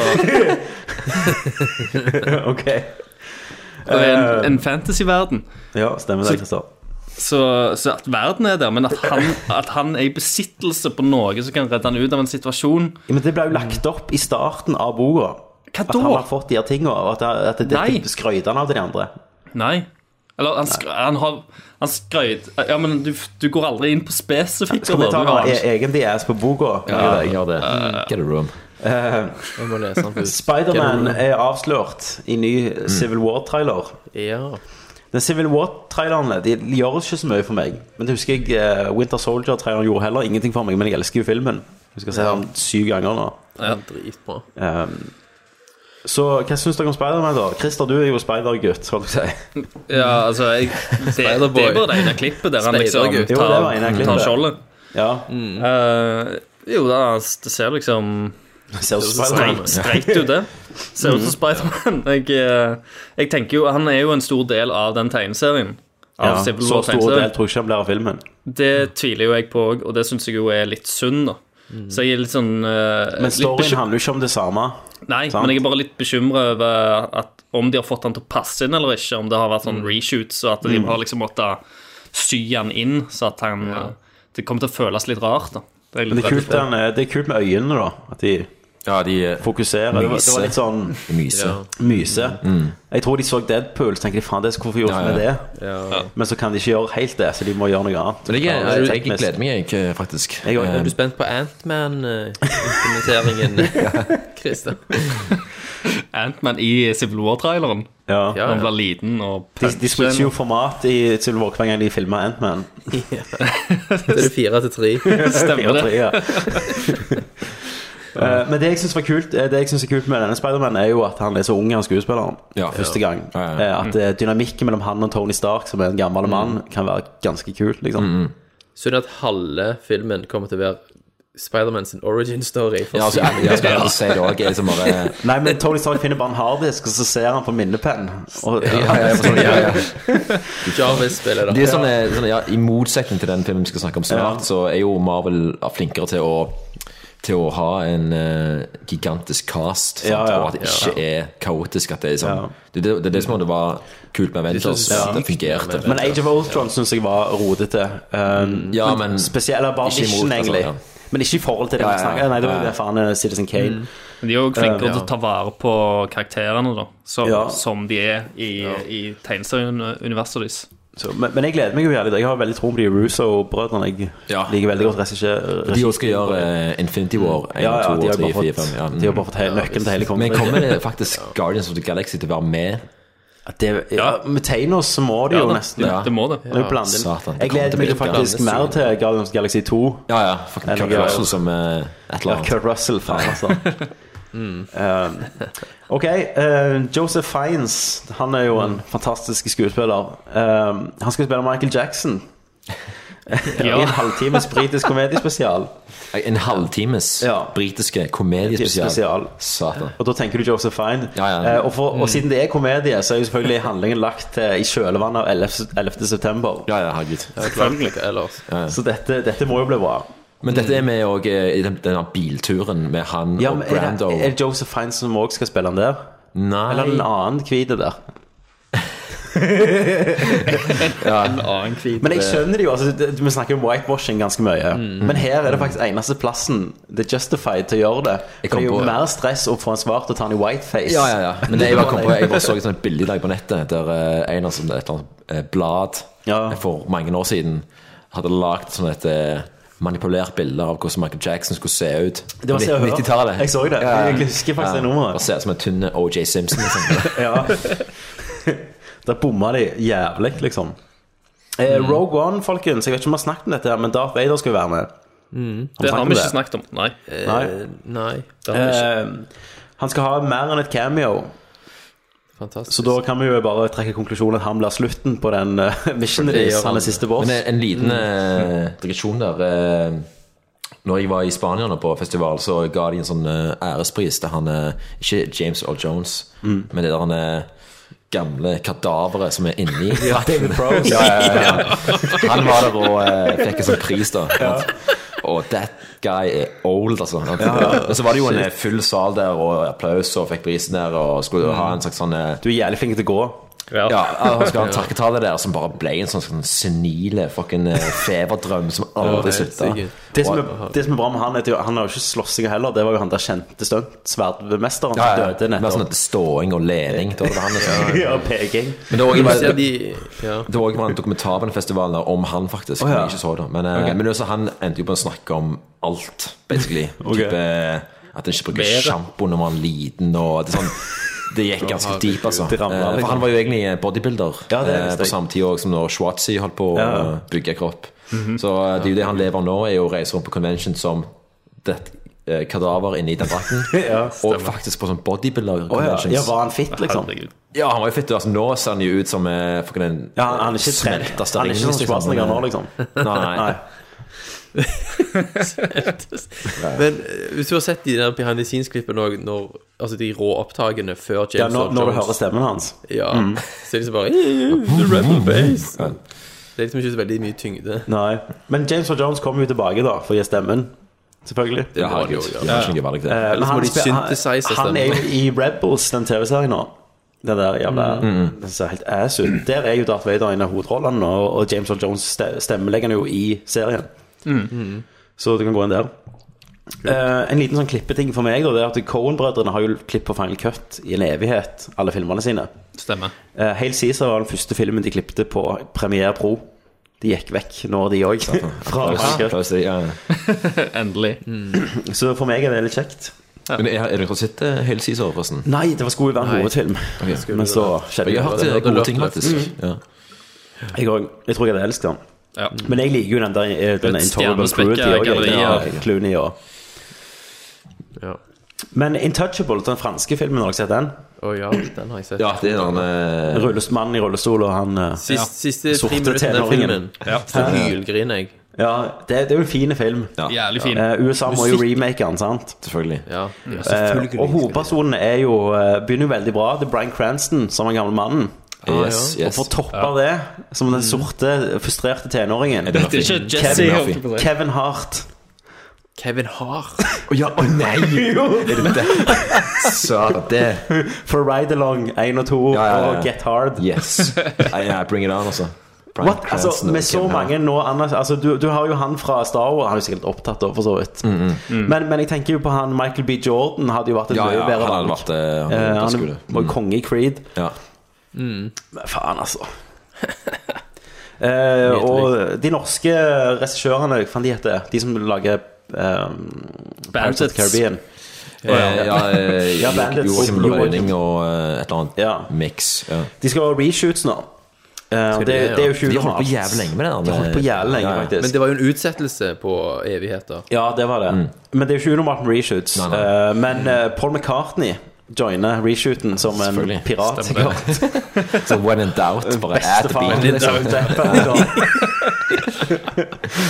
Speaker 1: ok.
Speaker 16: Og det er en, en fantasy-verden.
Speaker 1: Eh. Ja, stemmer det,
Speaker 16: Så-
Speaker 1: Kristian.
Speaker 16: Så, så at verden er der, men at han, at han er i besittelse på noe som kan redde han ut av en situasjon
Speaker 1: Ja, men det ble jo lagt opp i starten av boka. Hva At
Speaker 16: da?
Speaker 1: han har fått de her tingene, og at, at det,
Speaker 16: Nei.
Speaker 1: det skrøyter han av til de andre.
Speaker 16: Nei. Eller han, skr han har Han skrøyt Ja, men du, du går aldri inn på spesifikke
Speaker 1: Skal vi ta
Speaker 16: du har-
Speaker 1: noe e- egen DS på boka?
Speaker 9: Ja, gjør
Speaker 1: Eh,
Speaker 9: det. Get a room.
Speaker 10: Jeg må lese den først.
Speaker 1: Spiderman
Speaker 10: Get a room.
Speaker 1: er avslørt i ny Civil War-trailer. Den Civil War-trailerne De gjør ikke så mye for meg. Men det husker jeg eh, Winter Soldier-traileren gjorde heller ingenting for meg, men jeg elsker jo filmen. Jeg skal se den syv ganger nå.
Speaker 10: Den er dritbra.
Speaker 1: Ehm, så hva syns dere om Spiderman, da? Christer, du er jo Spider-gutt, holdt jeg på å si.
Speaker 16: Ja, altså jeg, det, det er
Speaker 1: Spider-Boy.
Speaker 16: bare det ene klippet der han liksom
Speaker 1: Spider-Gutt. Jo, det var ene
Speaker 16: tar,
Speaker 1: klippet.
Speaker 16: tar skjoldet. Eh, jo, da, det ser liksom
Speaker 1: Ser ut som Spider-Man.
Speaker 16: streit streit ut, det. Ser ut som Spiderman. Jeg, eh, jeg tenker jo Han er jo en stor del av den tegneserien. Av
Speaker 1: Ja,
Speaker 16: Civil
Speaker 1: så stor
Speaker 16: War Eh, tegneserien.
Speaker 1: del tror jeg ikke han blir av filmen.
Speaker 16: Det tviler jo jeg på òg, og det syns jeg jo er litt synd, da. Så jeg er litt sånn eh,
Speaker 1: Men
Speaker 16: litt
Speaker 1: storyen
Speaker 16: bekym-
Speaker 1: handler jo ikke om det samme.
Speaker 16: Nei,
Speaker 1: Sant.
Speaker 16: men jeg er bare litt bekymra over at om de har fått han til å passe inn eller ikke. Om det har vært sånn reshoots, og at de
Speaker 1: Mm.
Speaker 16: har liksom måttet sy han inn, så at han eh, Det kommer til å føles litt rart, da. er jeg
Speaker 1: Men
Speaker 16: litt
Speaker 1: det er
Speaker 16: redd
Speaker 1: kult,
Speaker 16: for.
Speaker 1: den, eh, det er kult med øynene, da. At de, eh, fokuserer. Det var, det var litt sånn
Speaker 9: Myse. Ja.
Speaker 1: Myse.
Speaker 9: Mm.
Speaker 1: Jeg tror de så Deadpool, så tenker de faen, det hvorfor gjorde vi det? Men så kan de ikke gjøre helt det, så de må gjøre noe annet.
Speaker 9: Men jeg,
Speaker 1: Ja,
Speaker 9: jeg, jeg,
Speaker 1: teknisk.
Speaker 9: gleder meg, jeg, eh, faktisk.
Speaker 1: Jeg også.
Speaker 10: Er
Speaker 9: Eh,
Speaker 10: du spent på eh, Antman-implementeringen, Christer?
Speaker 1: eh,
Speaker 16: Ant-Man i Civil War-traileren.
Speaker 1: Ja.
Speaker 16: Når Han blir liten og
Speaker 1: De, de switcher jo format i Civil War hver gang de filmer Ant-Man.
Speaker 10: Da er det fire til tre.
Speaker 1: Fire, tre, ja. Eh, Men det jeg syns var kult eh, Det jeg synes er kult med denne Spider-Man er jo at han er så ung, han skuespilleren.
Speaker 9: Ja.
Speaker 1: Første gang.
Speaker 9: Ja, ja, ja. Mm.
Speaker 1: Eh, At eh, dynamikken mellom han og Tony Stark, som er en gammel mann, kan være ganske kult, liksom.
Speaker 10: Synd at halve filmen kommer til å være Spiderman sin origin story. for
Speaker 9: Ja, altså, jeg- jeg skal si det også, jeg er liksom bare-
Speaker 1: Nei, men Tony Stark finner bare en harddisk, og så ser han på minnepenn. Og,
Speaker 9: Ja, ja, for sånn, ja, ja.
Speaker 10: Jarvis spiller det.
Speaker 9: Det er
Speaker 16: sånn
Speaker 9: sånne, sånne, ja, I motsetning til den filmen vi skal snakke om snart,
Speaker 10: Ja.
Speaker 9: så er jo Marvel flinkere til å til å ha en eh, gigantisk cast, sant?
Speaker 1: Ja, ja.
Speaker 9: og at det ikke er kaotisk. At det, er sånn, det, det, det er det som om det var kult med Avengers.
Speaker 1: Ja.
Speaker 9: Det fungerte.
Speaker 1: Men Age of Ultron syns jeg var rodete. Um,
Speaker 9: Ja, men-
Speaker 1: spesielt, eller bare
Speaker 9: Mm. Ikke imot,
Speaker 1: vision,
Speaker 9: altså,
Speaker 1: egentlig.
Speaker 9: ja.
Speaker 1: Men ikke i forhold til det
Speaker 9: Ja,
Speaker 1: vi
Speaker 9: ja, Mm.
Speaker 1: snakker Nei, det var
Speaker 9: ja,
Speaker 1: jo
Speaker 9: ja.
Speaker 1: det faen eh, Citizen Kane.
Speaker 16: Men De er jo flinkere
Speaker 1: Eh,
Speaker 16: til å ta vare på karakterene, da. Som,
Speaker 1: Ja.
Speaker 16: som de er i, i tegneserieuniverset deres.
Speaker 1: Så, men, men jeg gleder meg jo jævlig. Jeg har veldig tro på de Russo-brødrene. Jeg liker veldig godt regissør.
Speaker 9: De også skal gjøre eh, Infinity War
Speaker 1: Ja,
Speaker 9: 1,
Speaker 1: ja,
Speaker 9: 2,
Speaker 1: de har
Speaker 9: 3,
Speaker 1: bare
Speaker 9: 4,
Speaker 1: fått-
Speaker 9: 5. Ja, mm.
Speaker 1: de har bare fått he- nøkkelen til hele kongen.
Speaker 9: Men kommer det faktisk Guardians of the Galaxy til å være med?
Speaker 1: Det, ja, med Thanos så må de
Speaker 9: Ja
Speaker 1: jo
Speaker 9: da,
Speaker 1: nesten
Speaker 9: det- det må det.
Speaker 1: er jo blandet inn.
Speaker 9: Satan, det
Speaker 1: Jeg
Speaker 9: kommer til å
Speaker 1: gleder meg
Speaker 9: bli
Speaker 1: jo faktisk
Speaker 9: blandet,
Speaker 1: mer til Guardians of the Galaxy 2.
Speaker 9: Ja, ja. Fucking Kurt
Speaker 1: Eller-
Speaker 9: Russell som eh, et eller
Speaker 1: Ja,
Speaker 9: annet.
Speaker 1: Kurt Russell, faen, altså. Um, ok, eh, Joseph Fiennes Han er jo en
Speaker 9: Mm.
Speaker 1: fantastisk skuespiller. Um, han skal spille Michael Jackson. I en halvtimes britisk komediespesial.
Speaker 9: En halvtimes britiske komediespesial.
Speaker 1: Spesial.
Speaker 9: Satan.
Speaker 1: Og da tenker du Joseph Fine. Eh, og, for, og siden det er komedie, så er jo selvfølgelig handlingen lagt eh, i kjølvannet av 11. 11. september.
Speaker 9: Ja, ja, herregud.
Speaker 10: Selvfølgelig. Ellers.
Speaker 9: Ja, ja.
Speaker 1: Så dette, dette må jo bli bra.
Speaker 9: Men dette er med òg i den, denne bilturen med han
Speaker 1: Ja,
Speaker 9: og
Speaker 1: men er,
Speaker 9: Brando.
Speaker 1: det, er det Joseph Fiennes som òg skal spille han der?
Speaker 9: Nei.
Speaker 1: Eller en annen hvite der?
Speaker 9: En
Speaker 16: annen kvite.
Speaker 1: Men jeg skjønner det Mm. jo. Altså, det, vi snakker om whitewashing ganske mye. Men her er det faktisk eneste plassen det er justified til å gjøre det.
Speaker 9: Jeg
Speaker 1: For
Speaker 9: kom
Speaker 1: det er jo
Speaker 9: på-
Speaker 1: mer stress å få en svart og ta han i whiteface.
Speaker 9: Ja, ja, ja. Men jeg bare, kom på, jeg bare så et sånt bilde i dag på nettet der eh, en av sånne, et eller annet eh, blad eh, for mange år siden hadde lagd sånn et eh, manipulert bilde av hvordan Michael Jackson skulle se ut.
Speaker 1: Det var Se og Hør.
Speaker 9: 90-tallet.
Speaker 1: Jeg så det. Jeg husker faktisk det nummeret.
Speaker 9: Eh, Bare se ut som en tynne OJ Simpson. Liksom.
Speaker 1: Der bomma de jævlig, liksom. Eh,
Speaker 16: Mm.
Speaker 1: Rogue One, folkens. Jeg vet ikke om vi har snakket om dette, her, men Darth Vader skal jo være med.
Speaker 16: Mm. Det har vi
Speaker 1: om
Speaker 16: ikke snakket om, nei.
Speaker 1: Nei.
Speaker 10: Eh, det har vi
Speaker 1: Eh, han skal ha mer enn et cameo. Så da kan vi jo bare trekke konklusjonen at han blir slutten på den uh, missionen
Speaker 9: Det
Speaker 1: deres.
Speaker 9: gjør
Speaker 1: Han er siste boss.
Speaker 9: Men en- en liten eh, digresjon der. eh, Når jeg var i Spania nå på festival, så ga de en sånn eh, ærespris til han eh, Ikke James Earl Jones,
Speaker 1: Mm.
Speaker 9: men det der han eh, gamle kadaveret som er inni
Speaker 1: Ja, David Prowse.
Speaker 9: ja, ja, ja, ja. Han var der og eh, fikk en sånn pris, da. Og that guy er old, altså.
Speaker 1: Ja.
Speaker 9: Men så var det jo en eh,
Speaker 1: Shit.
Speaker 9: full sal der, og applaus, og fikk prisen der, og skulle ha en slags sånn eh,
Speaker 1: Du er jævlig flink til å gå.
Speaker 9: Ja, Han skal ha en takketale der som bare ble en sånn, sånn senile fucking eh, feberdrøm som aldri slutta.
Speaker 1: Det som, er, det som er bra med han, er at jo- han har jo ikke slåssinga heller. Det var jo han der kjente stuntsverdmesteren som
Speaker 9: Ja, ja.
Speaker 1: døde
Speaker 9: Mer sånn
Speaker 1: nettopp.
Speaker 9: at ståing og lening. Da var det han som-
Speaker 1: Ja, peking.
Speaker 9: Men det var også-
Speaker 1: Ja,
Speaker 9: Det var også en dokumentar på den festivalen der om han,
Speaker 1: Å,
Speaker 9: faktisk.
Speaker 1: ja.
Speaker 9: men Jeg ikke så det. Men, eh,
Speaker 1: Ok.
Speaker 9: men altså, han endte jo på å snakke om alt, basically.
Speaker 1: Ok.
Speaker 9: Type, eh, at han ikke bruker
Speaker 1: Været.
Speaker 9: sjampo når man er liten, og det, er sånn, det gikk ganske
Speaker 1: herregud.
Speaker 9: deep, altså.
Speaker 1: Det ramlet,
Speaker 9: Eh,
Speaker 1: liksom.
Speaker 9: For han var jo egentlig bodybuilder
Speaker 1: Ja, det
Speaker 9: eh,
Speaker 1: visste jeg.
Speaker 9: på samme tid også som når Schwatzy holdt på å
Speaker 1: Ja. Mhm.
Speaker 9: eh, bygge kropp. Så eh, det er jo det han lever av nå, er jo å reise rundt på convention som det eh, kadaver inni den drakten. og faktisk på sånn bodybuilder-conventions.
Speaker 1: ja, var han fit, liksom?
Speaker 9: Ja, han var jo fitt. Altså, nå ser han jo ut som eh, fucking en
Speaker 1: Ja, han- han er ikke trent.
Speaker 9: smelteste
Speaker 1: Han er ikke
Speaker 9: ring,
Speaker 1: sånn Schwarzenegger nå, liksom.
Speaker 9: Nei, nei.
Speaker 1: Nei.
Speaker 10: Men eh, hvis du har sett de der behind the scenes-klippene òg, når- altså de rå opptakene før James
Speaker 1: Ja, når-
Speaker 10: Earl
Speaker 1: når du
Speaker 10: Jones-
Speaker 1: hører stemmen hans.
Speaker 10: Ja.
Speaker 1: Mm.
Speaker 10: Så er det liksom bare The
Speaker 9: Mm.
Speaker 10: rebel bass. Det er liksom ikke så veldig mye tyngde.
Speaker 1: Nei. Men James Earl Jones kommer jo tilbake, da, for å gi stemmen. Selvfølgelig.
Speaker 10: Det Ja, må han herregud. jo gjøre.
Speaker 9: Ja, ikke valg, det.
Speaker 1: Eh, men
Speaker 10: Ellers må
Speaker 1: han,
Speaker 10: de
Speaker 1: spil- han,
Speaker 10: synthesize
Speaker 1: han er jo
Speaker 10: stemmen.
Speaker 1: i Rebels, den TV-serien nå. Den der jævla
Speaker 9: Mm. Mm.
Speaker 1: Den ser helt ass ut. Der er jo Darth Vader en av hovedrollene, og, og James Earl Jones ste- stemmelegger han jo i serien.
Speaker 10: Mm.
Speaker 1: Så du kan gå inn der. Eh, en liten sånn klippeting for meg da, Det er at Cohen-brødrene har jo klipp på Final Cut i en evighet, alle filmene sine.
Speaker 16: Stemmer.
Speaker 1: Eh, Hail Caesar var den første filmen de klippte på Premiere Pro. De gikk vekk nå, de òg. Fra
Speaker 9: Applaus,
Speaker 1: Final Cut.
Speaker 9: applaus, ja.
Speaker 16: Endelig.
Speaker 1: Så for meg er det litt kjekt.
Speaker 9: Men er, er du ikke sett eh, hele siden, forresten?
Speaker 1: Nei, det var skulle jo være en
Speaker 9: Nei.
Speaker 1: hovedfilm.
Speaker 9: Ok. Skulle
Speaker 1: Men
Speaker 9: det
Speaker 1: så
Speaker 9: være.
Speaker 1: skjedde
Speaker 9: Jeg har hørt det- gode ting, faktisk.
Speaker 1: Mm. Jeg, og- jeg tror jeg hadde elsket den.
Speaker 9: Mm.
Speaker 1: Men jeg liker jo den der eh, den
Speaker 9: Et
Speaker 1: Intolerable
Speaker 9: stjernespekket
Speaker 1: Cruelty og
Speaker 9: galleri, ja.
Speaker 1: eh, Clooney og Men Intouchable, den franske filmen, har dere sett den?
Speaker 10: Å ja, den har jeg sett.
Speaker 9: Ja, det er den eh,
Speaker 1: Rullest, mannen i rullestol og han eh,
Speaker 10: Sist, Siste
Speaker 1: sorte
Speaker 10: tre minuttene av
Speaker 1: tenåringen.
Speaker 10: filmen
Speaker 1: Ja.
Speaker 10: så hylgriner jeg.
Speaker 1: Ja, det, det er jo en fin film.
Speaker 10: Jævlig fin.
Speaker 1: Eh, USA må jo
Speaker 10: Musikk.
Speaker 1: remake den, sant?
Speaker 9: Selvfølgelig.
Speaker 10: Ja,
Speaker 1: Eh, og hovedpersonen er jo, eh, begynner jo veldig bra. Det er Bryan Cranston som er gamle mannen.
Speaker 9: Ah, Yes, ja. yes.
Speaker 1: Og for å toppe det, som den sorte, frustrerte tenåringen
Speaker 9: Eddie Murphy. Dette er ikke Jesse,
Speaker 1: Kevin,
Speaker 9: holdt jeg på å
Speaker 1: Murphy.
Speaker 9: si.
Speaker 1: Kevin Hart.
Speaker 10: Kevin Hart.
Speaker 9: Å ja, å nei! Er det det? Sa det.
Speaker 1: For Ride Along 1 og 2 og Get Hard.
Speaker 9: Yes. Nei, nei, bring it on, altså. Bryan
Speaker 1: What? Altså,
Speaker 9: Cranston
Speaker 1: med
Speaker 9: og
Speaker 1: så
Speaker 9: Kevin Hart.
Speaker 1: mange nå anerkj- altså, du, du har jo han fra Star Wars. Han er jo sikkert opptatt av, for så
Speaker 9: Mm,
Speaker 1: vidt. Men, men jeg tenker jo på han Michael B. Jordan. Hadde jo vært et
Speaker 9: Ja,
Speaker 1: mye
Speaker 9: ja,
Speaker 1: bedre
Speaker 9: han hadde
Speaker 1: valg.
Speaker 9: vært det, han
Speaker 1: Eh,
Speaker 9: hadde vært
Speaker 1: han
Speaker 9: skole.
Speaker 1: var
Speaker 9: Mm.
Speaker 1: konge i Creed.
Speaker 9: Ja.
Speaker 1: Men faen, altså. Eh, og de norske regissørene, hva faen de heter De som lager um, Pirates of the Caribbean.
Speaker 9: Eh, ja, eh,
Speaker 1: ja, Bandits.
Speaker 9: Joakim
Speaker 1: Jo-
Speaker 9: Lønning og eh, et eller annet mix. Ja.
Speaker 1: De skal ha reshoots nå. Eh, og det, det er jo 20
Speaker 9: De har holdt på
Speaker 1: mars.
Speaker 9: jævlig lenge med det. eh,
Speaker 1: De har holdt på jævlig lenge, faktisk.
Speaker 10: Men det var jo en utsettelse på evigheter.
Speaker 1: Ja, det var det.
Speaker 9: Mm.
Speaker 1: Men det er jo ikke unormalt med reshoots.
Speaker 10: Nei, nei.
Speaker 1: Eh, men eh, Paul McCartney joiner reshooten som en pirat.
Speaker 9: Stemmer
Speaker 1: sikkert.
Speaker 9: Så when in doubt, bare add the
Speaker 1: Bestefaren
Speaker 9: beat.
Speaker 1: din
Speaker 9: liksom.
Speaker 1: døde på
Speaker 9: Ja.
Speaker 1: en gang.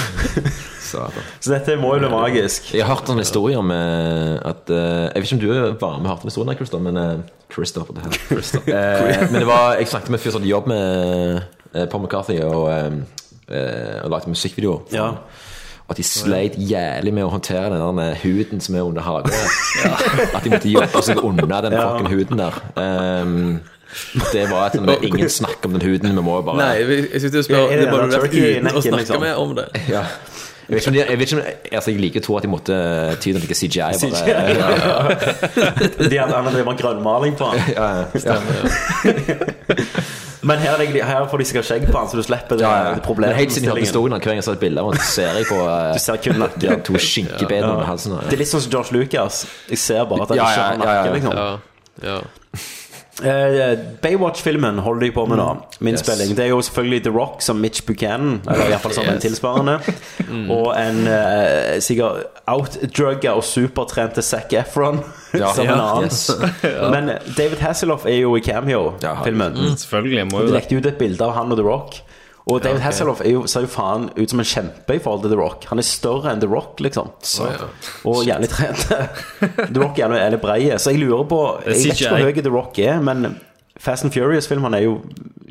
Speaker 9: Satan.
Speaker 1: Så dette må jo bli magisk.
Speaker 9: Jeg har hørt en historie om eh, at eh, Jeg vet ikke om du var med og hørte den historien, her, Christer, men eh, Christer på det her. Eh, men det var, jeg snakket med en fyr som hadde jobb med eh, Paul McCarthy og, eh, eh, og lagde musikkvideo. for
Speaker 1: Ja.
Speaker 9: han. Og at de sleit jævlig med å håndtere den der med huden som er under hagen. At de måtte jobbe seg unna den
Speaker 10: Ja.
Speaker 9: fucking huden der. Ehm, det var at sånn, ingen snakker om den huden, vi må jo bare
Speaker 10: Nei, jeg, jeg skulle til å spørre
Speaker 9: Ja, er
Speaker 10: Det
Speaker 9: det
Speaker 10: er bare
Speaker 9: den der
Speaker 10: vært
Speaker 9: turkey i
Speaker 10: uten å
Speaker 9: nekken,
Speaker 10: snakke
Speaker 9: liksom?
Speaker 10: mer om det.
Speaker 9: Ja. Jeg vet ikke om de, jeg, vet ikke om, altså, jeg liker å tro at de måtte ty til noe CGI. Bare,
Speaker 1: CGI, ja. De hadde han drevet med grønnmaling på han.
Speaker 9: Ja, ja.
Speaker 1: Men her, er det egentlig- her får de sikkert skjegg på han, så du slipper det, det
Speaker 9: Men
Speaker 1: problemet.
Speaker 9: helt siden jeg hørte historien om hver gang jeg så et bilde av han, så ser jeg på eh,
Speaker 1: Du ser kun nakken.
Speaker 9: de her to skinkebena
Speaker 1: Ja.
Speaker 9: under halsen. her,
Speaker 1: Det er litt sånn som George Lucas. Jeg ser bare at han
Speaker 9: Ja,
Speaker 1: ikke har
Speaker 9: ja, ja, ja.
Speaker 1: nakke, liksom.
Speaker 9: Ja,
Speaker 1: Eh, Baywatch-filmen holder de på med nå. Min
Speaker 9: Mm. Yes.
Speaker 1: spilling. Det er jo selvfølgelig The Rock som Mitch Buchanan, eller iallfall som en
Speaker 9: Yes. Mm.
Speaker 1: tilsvarende. Og en eh, sikkert outdrugga og supertrente Zac Efron
Speaker 9: Ja.
Speaker 1: som en
Speaker 9: Ja.
Speaker 1: annen.
Speaker 9: Yes.
Speaker 16: Ja.
Speaker 1: Men David Hasselhoff er jo i cameo-filmen.
Speaker 16: Mm, selvfølgelig må
Speaker 1: Og
Speaker 16: jo
Speaker 1: De
Speaker 16: det.
Speaker 1: lekte ut et bilde av han og The Rock. Og David Hasselhoff er jo, ser jo faen ut som en kjempe i forhold til The Rock. Han er større enn The Rock, liksom. Og jævlig trent. The Rock er jævlig- jævlig brei. Så jeg lurer på
Speaker 16: Det
Speaker 1: Jeg
Speaker 16: er
Speaker 1: vet ikke
Speaker 16: CGI.
Speaker 1: hvor høy The Rock er, men Fast and Furious-filmene er jo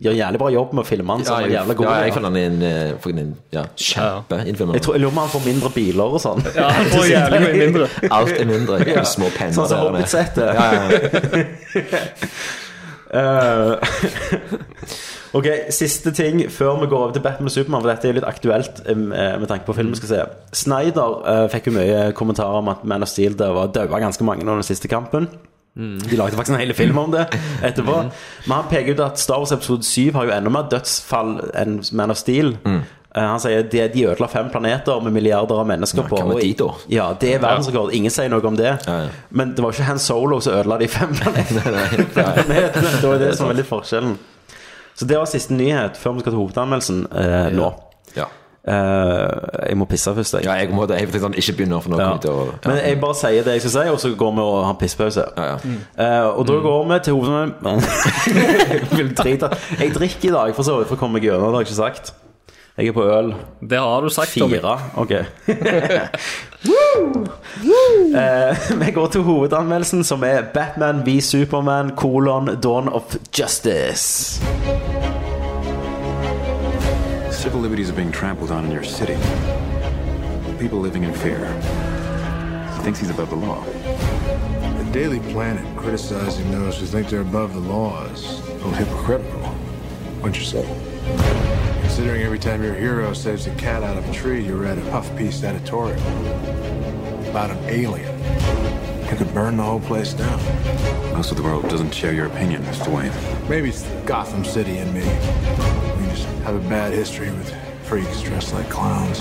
Speaker 1: gjør jævlig bra jobb med å filme han
Speaker 9: Ja,
Speaker 1: som en
Speaker 9: jeg,
Speaker 1: jævla god.
Speaker 9: ja, jeg fant han i en, eh, fucking en ja, kjempe innfilmer.
Speaker 1: jeg tror, jeg lurer på om han får mindre biler og sånn.
Speaker 9: Ja, han får jævlig mye mindre. Alt er mindre,
Speaker 1: Ja.
Speaker 9: små penner
Speaker 1: Sånn som
Speaker 9: der, det.
Speaker 1: Hobbit-settet.
Speaker 9: Ja, ja,
Speaker 1: Eh, ok, siste ting før vi går over til Batman og Supermann, for dette er litt aktuelt eh, med tanke på filmen vi skal se. Snyder eh, fikk jo mye kommentarer om at Man of Steel det var daua ganske mange under den siste kampen. De lagde faktisk en hel film om det etterpå. Men han peker ut at Star Wars episode 7 har jo enda mer dødsfall enn Man of Steel. Eh, Han sier at de, de ødela fem planeter med milliarder av mennesker på.
Speaker 9: hva med
Speaker 1: og-
Speaker 9: de da?
Speaker 1: Ja, det er verdensrekord. Ingen sier noe om det. Men det var ikke Han Solo som ødela de fem planetene. planetene. Det var det som var litt forskjellen. Så det var siste nyhet før vi skal til hovedanmeldelsen eh, nå. Eh, jeg må pisse først, jeg.
Speaker 9: Ja, jeg må det. Jeg tenkte sånn, ikke begynner for noe
Speaker 1: Ja.
Speaker 9: kommer til å-
Speaker 1: Men jeg bare sier det jeg skal si, og så går vi og har pisspause.
Speaker 9: Mm.
Speaker 1: Eh, og da går vi til hovedanmeldelsen Vil drite. Jeg drikker i dag, for så vidt, for å komme meg gjennom. Det har jeg ikke sagt. Jeg er på øl.
Speaker 16: Det har du sagt, Tommy.
Speaker 1: Fire. Ok. Eh, vi går til hovedanmeldelsen, som er Batman v Superman kolon Dawn of Justice.
Speaker 15: Civil liberties are being trampled on in your city. People living in fear. He thinks he's above the law.
Speaker 17: The Daily Planet criticizing those who think they're above the law is a little hypocritical. What'd you say? Considering every time your hero saves a cat out of a tree, you read a puff piece editorial about an alien. You could burn the whole place down.
Speaker 15: Most of the world doesn't share your opinion, Mr. Wayne.
Speaker 17: Maybe it's the Gotham City in me. We just have a bad history with freaks dressed like clowns.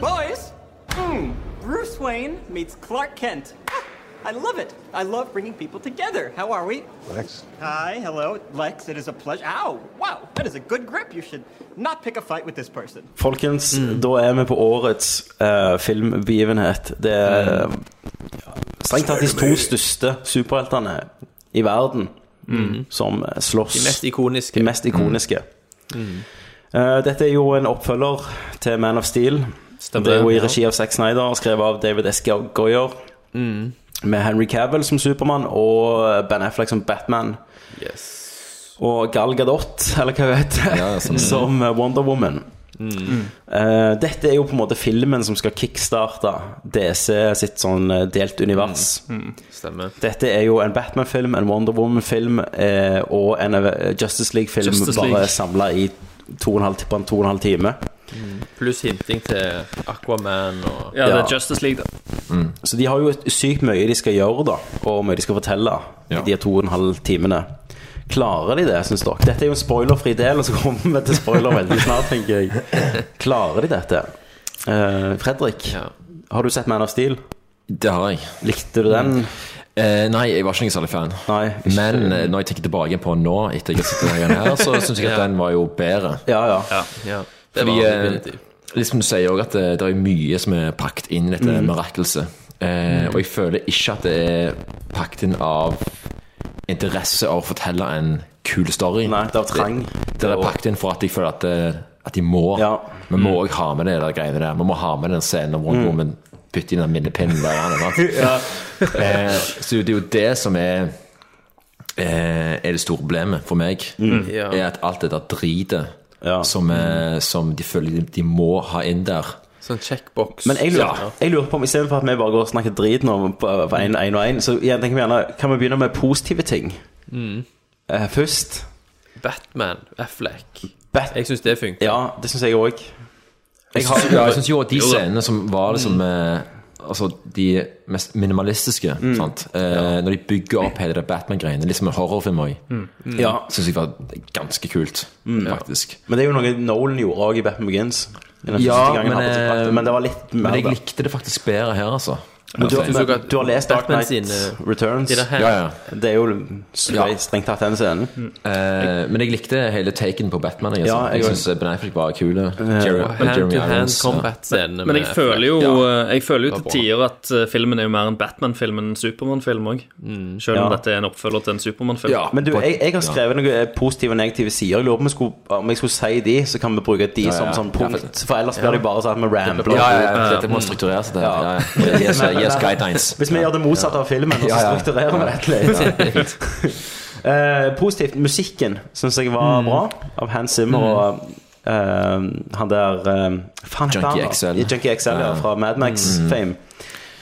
Speaker 20: Boys! Hmm, Bruce Wayne meets Clark Kent. Ah, I love it. I love bringing people together. How are we?
Speaker 17: Lex?
Speaker 20: Hi, hello, Lex. It is a pleasure. Ow! Wow, that is a good grip. You should not pick a fight with this person.
Speaker 1: Folkens,
Speaker 10: Mm.
Speaker 1: da er vi på årets eh, filmbegivenhet. Det
Speaker 10: Mm.
Speaker 1: er eh, strengt tatt de to største superheltene i verden
Speaker 10: Mm.
Speaker 1: som slåss.
Speaker 10: De mest ikoniske.
Speaker 1: De mest ikoniske.
Speaker 10: Mm.
Speaker 1: Eh, dette er jo en oppfølger til Man of Steel.
Speaker 10: Stemmer
Speaker 1: det er jo i
Speaker 10: det, ja.
Speaker 1: regi av Zack Snyder og skrevet av David S. Goyer.
Speaker 10: Mm.
Speaker 1: Med Henry Cavill som Supermann og Ben Affleck som Batman.
Speaker 9: Mm.
Speaker 1: Og Gal Gadot, eller hva hun heter, som, Wonder Woman.
Speaker 10: Mm.
Speaker 1: Eh, dette er jo på en måte filmen som skal kickstarte DC sitt sånn eh, delt univers.
Speaker 10: Mm. Stemmer.
Speaker 1: Dette er jo en Batman-film, en Wonder Woman-film eh, og en eh, Justice League-film
Speaker 10: Justice League.
Speaker 1: bare samla i to og en halv, på en to og en halv time.
Speaker 10: Pluss hinting til Aquaman og
Speaker 1: Ja, det er
Speaker 16: Justice League, da.
Speaker 1: Så de har jo et- sykt mye de skal gjøre, da, og mye de skal fortelle i de to og en halv timene. Klarer de det, syns dere? Dette er jo en spoilerfri del, og så kommer vi til spoiler veldig snart, tenker jeg. Klarer de dette? Eh, Fredrik, har du sett Man of Steel?
Speaker 9: Det har jeg. Eh,
Speaker 1: Likte du den?
Speaker 9: nei, jeg var ikke noen særlig fan. Men eh, når jeg tenker tilbake på nå, etter jeg har sett denne her, så syns jeg at
Speaker 10: Ja.
Speaker 9: den var jo bedre.
Speaker 1: Ja,
Speaker 10: ja. ja. Det
Speaker 9: Fordi,
Speaker 10: var
Speaker 9: eh,
Speaker 10: definitivt.
Speaker 9: liksom du sier også at det, det er mye som er pakket inn i dette
Speaker 1: Mm.
Speaker 10: Mhm.
Speaker 9: mirakelset. Eh,
Speaker 10: Mhm.
Speaker 9: og jeg føler ikke at det er pakket inn av interesse av å fortelle en kul story. Nei,
Speaker 1: det er trang.
Speaker 9: Det, det er pakket inn for at jeg føler at, det, at de må. Vi må
Speaker 10: Mm.
Speaker 9: òg ha med det der greiene der. Vi må ha med den scenen om Wonder
Speaker 10: Mhm.
Speaker 9: Woman bytter inn den minnepinnen der. han er, sant?
Speaker 10: Ja.
Speaker 9: eh, så det er jo det som er eh, er det store problemet for meg,
Speaker 10: Mm. Ja.
Speaker 9: er at alt det der dritet som, eh, som de føler de- de må ha inn der
Speaker 10: Sånn checkbox.
Speaker 1: Men jeg lurer,
Speaker 10: Ja.
Speaker 1: jeg lurer på om istedenfor at vi bare går og snakker drit nå på på en, en og en, så jeg tenker vi gjerne kan vi begynne med positive ting
Speaker 10: Mm.
Speaker 1: eh, først?
Speaker 10: Batman, Affleck. jeg syns det funker.
Speaker 1: Ja, det syns jeg òg.
Speaker 9: Jeg,
Speaker 10: har-
Speaker 9: synes- ja, jeg syns jo at de
Speaker 10: Jo da.
Speaker 9: scenene som
Speaker 1: Mm.
Speaker 9: var liksom eh, Altså de mest minimalistiske,
Speaker 10: Mm.
Speaker 9: sant? Eh, når de bygger opp hele det Batman-greiene, litt som en horrorfilm òg,
Speaker 1: Mm. Mm. Ja.
Speaker 9: syns jeg var ganske kult,
Speaker 1: Mm.
Speaker 9: faktisk.
Speaker 1: Men det er jo noe Nolan gjorde òg i Batman Begins. I den
Speaker 9: Ja,
Speaker 1: første gangen
Speaker 9: men,
Speaker 1: han hadde sitt rett,
Speaker 9: eh,
Speaker 1: men det var litt
Speaker 9: men
Speaker 1: mer
Speaker 9: jeg
Speaker 1: da.
Speaker 9: likte det faktisk bedre her, altså.
Speaker 1: Men du,
Speaker 9: Altså,
Speaker 1: men, du har lest Dark
Speaker 9: Batman
Speaker 1: Knight
Speaker 9: sine-
Speaker 1: Returns.
Speaker 9: De der her- Ja,
Speaker 1: Det er jo streng- strengt tatt den scenen.
Speaker 9: Eh, men jeg likte hele taken på Batman. Jeg, altså.
Speaker 1: Ja, jeg
Speaker 9: jeg,
Speaker 1: også. Eh,
Speaker 9: synes syns Ben Affleck var kul.
Speaker 16: Men, men jeg føler jo, jeg føler jo til tider at eh, filmen er jo mer en Batman-film enn en Supermann-film òg. Selv om
Speaker 1: Mm. Ja.
Speaker 16: dette er en oppfølger til en Supermann-film.
Speaker 1: men du, jeg, jeg har skrevet noen eh, positive og negative sider. Jeg lurer på om jeg skulle, om jeg skulle si de, så kan vi bruke de
Speaker 9: Ja,
Speaker 1: som
Speaker 9: ja.
Speaker 1: sånn
Speaker 9: Ja,
Speaker 1: punkt.
Speaker 9: for-
Speaker 1: For ellers blir det bare sånn at vi rambler.
Speaker 9: Ja, ja, ja, dette må struktureres. Det. Ja. Ja, ja. Yes,
Speaker 1: Men-
Speaker 9: yes,
Speaker 1: men-
Speaker 9: guidelines.
Speaker 1: Hvis vi gjør det motsatte av filmen, og
Speaker 9: Ja,
Speaker 1: så
Speaker 9: ja.
Speaker 1: strukturerer vi dette
Speaker 9: Ja, det er
Speaker 1: litt.
Speaker 9: fint.
Speaker 1: Eh, positivt. Musikken syns jeg var
Speaker 9: Mm.
Speaker 1: bra, av Hans Zimmer og eh, han der eh, faen heter
Speaker 9: Junkie
Speaker 1: han da?
Speaker 9: XL.
Speaker 1: Junkie XL ja,
Speaker 9: Ja.
Speaker 1: fra Mad Max
Speaker 9: Mm.
Speaker 1: Fame.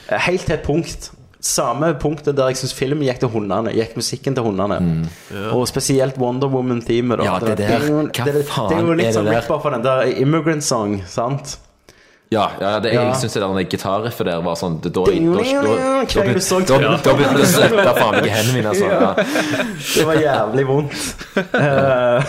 Speaker 1: Eh, Helt til et punkt samme punktet der jeg syns filmen gikk til hundene, gikk musikken til hundene. Og spesielt Wonder Woman-teamet. da.
Speaker 9: Mm. Ja, det der.
Speaker 1: er jo-
Speaker 9: Hva
Speaker 1: det, det, det er
Speaker 9: faen
Speaker 1: jo
Speaker 9: er
Speaker 1: litt sånn
Speaker 9: det der?
Speaker 1: ripper på den der Immigrant Song, sant?
Speaker 9: Ja, ja, ja, det, jeg
Speaker 1: Ja.
Speaker 9: synes det der den gitarriffet der var sånn Da da- da- da-
Speaker 1: Hva er det du så?
Speaker 9: da- da- da- da begynte det å svette faen meg i hendene mine. Altså.
Speaker 1: Ja.
Speaker 9: Ja.
Speaker 1: Det var jævlig vondt. Eh,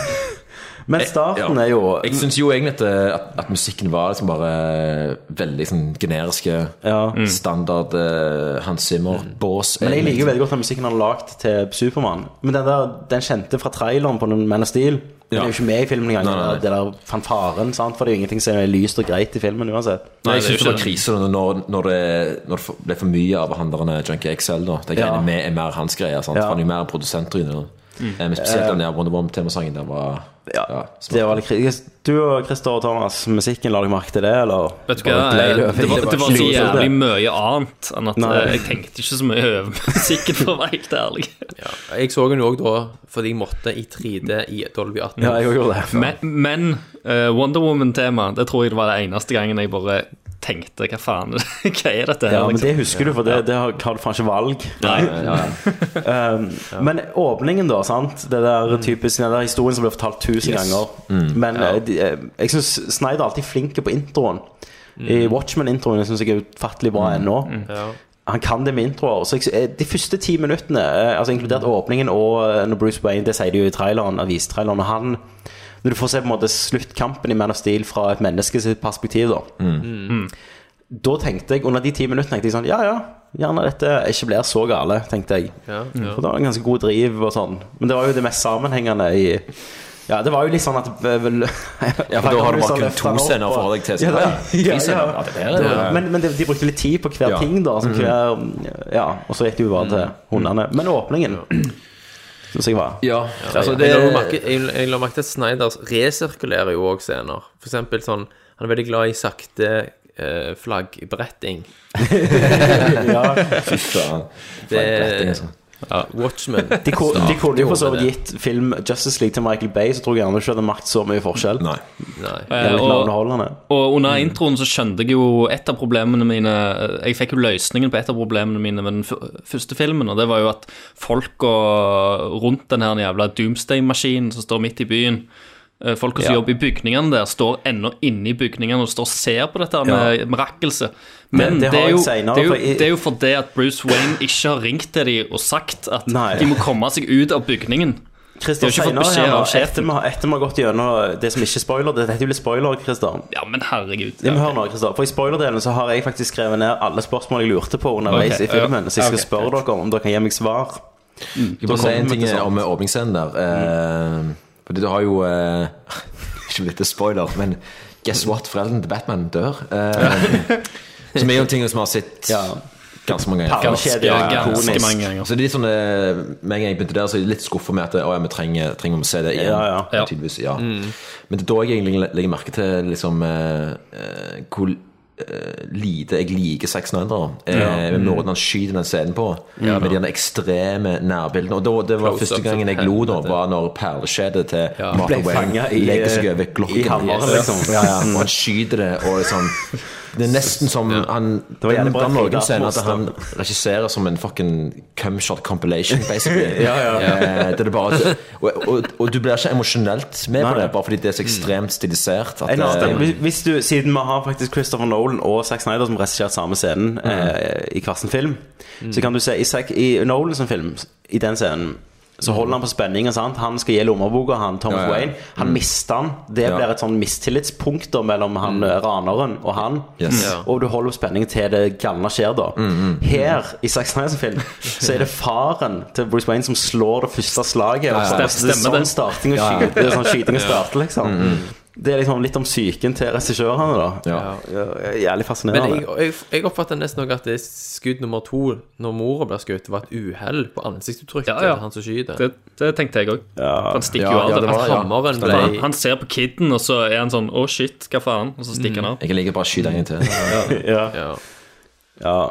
Speaker 1: men starten er jo
Speaker 9: Jeg syns jo egentlig at, eh, at, at musikken var liksom bare veldig sånn generiske Mm. standard eh, Hans Zimmer-bås.
Speaker 1: Men jeg liker veldig godt den musikken han har lagd til Supermann. Men den der, den kjente fra traileren på den Man of Steel Den
Speaker 9: Ja.
Speaker 1: er jo ikke med i filmen engang.
Speaker 9: Nei, nei, nei.
Speaker 1: Det der fanfaren, sant? For det er jo ingenting som er lyst og greit i filmen uansett.
Speaker 9: Nei, jeg syns det var krise da, når, når, det, når det ble for mye av han der Junkie XL. da Det
Speaker 1: Ja.
Speaker 9: greiene med er mer hans greie. sant?
Speaker 1: Ja.
Speaker 9: Han er jo mer produsenttryne. da.
Speaker 1: Mm.
Speaker 9: Eh, Men spesielt
Speaker 1: Eh.
Speaker 9: den der Wonder Woman-temasangen der var
Speaker 1: Ja, det var litt kritisk. Du og Christer og Thomas, musikken, la dere merke til det, eller?
Speaker 16: Vet du hva,
Speaker 1: Bare gled
Speaker 16: jeg,
Speaker 1: over?
Speaker 16: det var, det var så
Speaker 1: ikke noe
Speaker 16: jævlig
Speaker 1: det.
Speaker 16: mye annet enn at
Speaker 1: Nei.
Speaker 16: eh, jeg tenkte ikke så mye over musikken, for å være helt ærlig.
Speaker 10: Jeg så den jo òg da fordi jeg måtte i 3D i Dolby 18.
Speaker 16: Men, men eh, Wonder Woman-tema, det tror jeg det var det eneste gangen jeg bare tenkte hva faen, hva er dette her?
Speaker 1: Ja, men
Speaker 16: liksom?
Speaker 1: det husker du, for det, det har, har du faen ikke valg. um, men åpningen, da, sant? Det der typisk, den der historien som ble fortalt tusen
Speaker 9: Mm. Yes.
Speaker 1: ganger.
Speaker 9: Mm.
Speaker 1: Men
Speaker 9: Ja.
Speaker 1: eh, de, eh, jeg syns Snyder alltid er flink på introen. I
Speaker 9: Mm.
Speaker 1: Watchmen-introen syns jeg er utfattelig bra ennå.
Speaker 10: Mm.
Speaker 1: Han kan det med introer. Så jeg, eh, de første ti minuttene, eh, altså inkludert åpningen og eh, når Bruce Wayne Det sier de jo i traileren, avistraileren. og Han, når du får se på en måte sluttkampen i Man of Steel fra et menneskes perspektiv, da.
Speaker 9: Mm.
Speaker 10: Mm.
Speaker 1: Da tenkte jeg, under de ti minuttene tenkte jeg sånn Ja, ja, gjerne dette ikke blir så gale, tenkte jeg. Mm.
Speaker 10: Ja, ja.
Speaker 1: For det var en ganske god driv og sånn. Men det var jo det mest sammenhengende i Ja, det var jo litt sånn at Ja,
Speaker 9: Ja, for da har du bare kun to scener for deg til. Så,
Speaker 1: Ja,
Speaker 9: ja,
Speaker 1: ja,
Speaker 9: tre scener.
Speaker 1: ja.
Speaker 9: Ja, det der er-
Speaker 1: Men, men de, de brukte litt tid på hver
Speaker 9: Ja.
Speaker 1: ting, da. Som
Speaker 9: Mhm.
Speaker 1: hver, ja, og så gikk det jo bare til hundene. Men åpningen syns jeg var
Speaker 9: Ja, altså
Speaker 10: jeg, la
Speaker 9: det-
Speaker 10: jo merke, jeg, jeg la merke til at Snyder resirkulerer jo òg scener. For eksempel sånn Han er veldig glad i sakte eh, flaggbretting.
Speaker 1: Ja.
Speaker 9: Fy faen.
Speaker 10: Det
Speaker 9: Flaggbretting, altså.
Speaker 10: ja, Watchmen.
Speaker 1: De, ko- de kunne jo for så
Speaker 10: gjorde
Speaker 1: vidt
Speaker 10: det.
Speaker 1: gitt film Justice League til Michael Bay, så tror jeg gjerne ikke det hadde makt så mye forskjell.
Speaker 9: Nei.
Speaker 1: Det er litt mer
Speaker 16: og-
Speaker 1: underholdende.
Speaker 16: Og under
Speaker 9: Mm.
Speaker 16: introen så skjønte jeg jo et av problemene mine Jeg fikk jo løsningen på et av problemene mine med den f- første filmen, og det var jo at folka rundt den her jævla Doomsday-maskinen som står midt i byen eh, Folka som
Speaker 9: Ja.
Speaker 16: jobber i bygningene der, står ennå inne i bygningene og står og ser på dette her med
Speaker 9: Ja.
Speaker 16: mirakkelse. Men
Speaker 9: Det-
Speaker 16: det,
Speaker 9: det har
Speaker 16: er
Speaker 9: jeg
Speaker 16: jo,
Speaker 9: senere,
Speaker 16: det, er jo,
Speaker 9: for jeg-
Speaker 16: det er jo fordi at Bruce Wayne ikke har ringt til dem og sagt at
Speaker 1: Nei.
Speaker 16: de må komme seg ut av bygningen.
Speaker 1: Christer,
Speaker 16: de har ikke
Speaker 1: senere
Speaker 16: fått beskjed
Speaker 1: her nå,
Speaker 16: av
Speaker 1: etter
Speaker 16: sjefen.
Speaker 1: vi har- etter vi har gått gjennom det som ikke er spoiler Det heter jo litt spoiler, Christer.
Speaker 16: Ja, men herregud.
Speaker 1: Ja, men hør nå, Christer. For I spoilerdelen så har jeg faktisk skrevet ned alle spørsmål jeg lurte på underveis i
Speaker 9: Ok,
Speaker 1: filmen.
Speaker 9: ja.
Speaker 1: Så jeg skal
Speaker 9: Ok,
Speaker 1: spørre dere om dere kan gi meg svar.
Speaker 9: Jeg må
Speaker 1: Da
Speaker 9: si en
Speaker 1: kommer vi
Speaker 9: ting
Speaker 1: til sånt.
Speaker 9: om åpningsscenen der. eh, Fordi du har jo eh, Ikke blitt til spoiler, men guess what? Foreldrene til Batman dør. eh, Som er jo en ting som vi har sett ganske mange ganger.
Speaker 1: Perlekjede, ja,
Speaker 9: Ganske
Speaker 1: ikonisk.
Speaker 9: mange ganger. Så det er litt sånn eh, Med en gang jeg begynte der, så er jeg litt skuffa med at eh, Å ja, vi trenger, trenger å se det igjen.
Speaker 1: Ja, ja.
Speaker 9: Tydeligvis, ja.
Speaker 1: Mm.
Speaker 9: Men det er da jeg egentlig legger merke til liksom, eh, eh, hvor eh, lite jeg liker 600 eh,
Speaker 1: Ja. Mm.
Speaker 9: med måten han skyter den scenen på.
Speaker 1: Ja, da.
Speaker 9: med de der ekstreme nærbildene. Og da, det var
Speaker 1: Close-ups
Speaker 9: første gangen jeg
Speaker 1: som
Speaker 9: lo, da,
Speaker 1: helvete.
Speaker 9: var når perleskjedet til
Speaker 1: Ble
Speaker 9: Martha
Speaker 1: fanget
Speaker 9: Wayne
Speaker 1: i- eh,
Speaker 9: legger seg over
Speaker 1: i
Speaker 9: glokken.
Speaker 1: hammeren, liksom.
Speaker 9: Ja, ja. Og han skyter det, og liksom Det er nesten som han
Speaker 1: var jævlig bra
Speaker 9: det er noen
Speaker 1: filmet,
Speaker 9: scener at
Speaker 1: Monster.
Speaker 9: han regisserer som en fucking cumshot compilation, basically.
Speaker 1: Ja, ja.
Speaker 9: Eh, Det er bare og, og, og du blir ikke emosjonelt med
Speaker 1: Nei.
Speaker 9: på det, bare fordi det er så ekstremt stilisert. at
Speaker 1: En annen
Speaker 9: det-
Speaker 1: ting, hvis- hvis du, Siden vi har faktisk Christopher Nolan og Zack Snyder som regisserte samme scenen
Speaker 9: Mhm.
Speaker 1: eh, i hver sin film, så kan du se i, Zack, i Nolan sin film, i den scenen så holder han på spenningen. Sant? Han skal gi lommeboka, han Thomas
Speaker 9: Ja, ja.
Speaker 1: Wayne. Han
Speaker 9: Mm.
Speaker 1: mister han. Det
Speaker 9: Ja. Mm.
Speaker 1: blir et sånn mistillitspunkt da, mellom han eh, raneren og han.
Speaker 9: Yes. Mm, Ja.
Speaker 1: Og du holder på spenningen til det galne skjer, da. Her, i Zack Snyder sin film, så er det faren til Bruce Wayne som slår det første slaget.
Speaker 9: Ja, ja.
Speaker 1: Og så-
Speaker 9: Stem-
Speaker 1: det er sånn
Speaker 9: stemmer det.
Speaker 1: starting og
Speaker 9: Ja, ja.
Speaker 1: skyting, det er sånn skyting og
Speaker 9: Ja.
Speaker 1: starte, liksom.
Speaker 9: Mm.
Speaker 1: Det er liksom litt om psyken til regissørene, da. Ja, Jævlig
Speaker 10: Men
Speaker 1: fascinerende.
Speaker 10: jeg, jeg, jeg oppfatter nesten også at det skudd nummer to, når mora ble skutt, var et uhell på ansiktsuttrykket
Speaker 16: Ja, ja.
Speaker 10: til han som skyter.
Speaker 16: Det, det tenkte jeg òg. Han stikker
Speaker 10: Ja,
Speaker 16: jo av.
Speaker 10: ja, det var-
Speaker 16: han,
Speaker 10: ja. Hammeren ble-
Speaker 16: han, han ser på kiden, og så er han sånn 'Å, shit, hva faen?' Og så stikker han av.
Speaker 9: Jeg liker bare å skyte en gang til.
Speaker 1: ja. ja.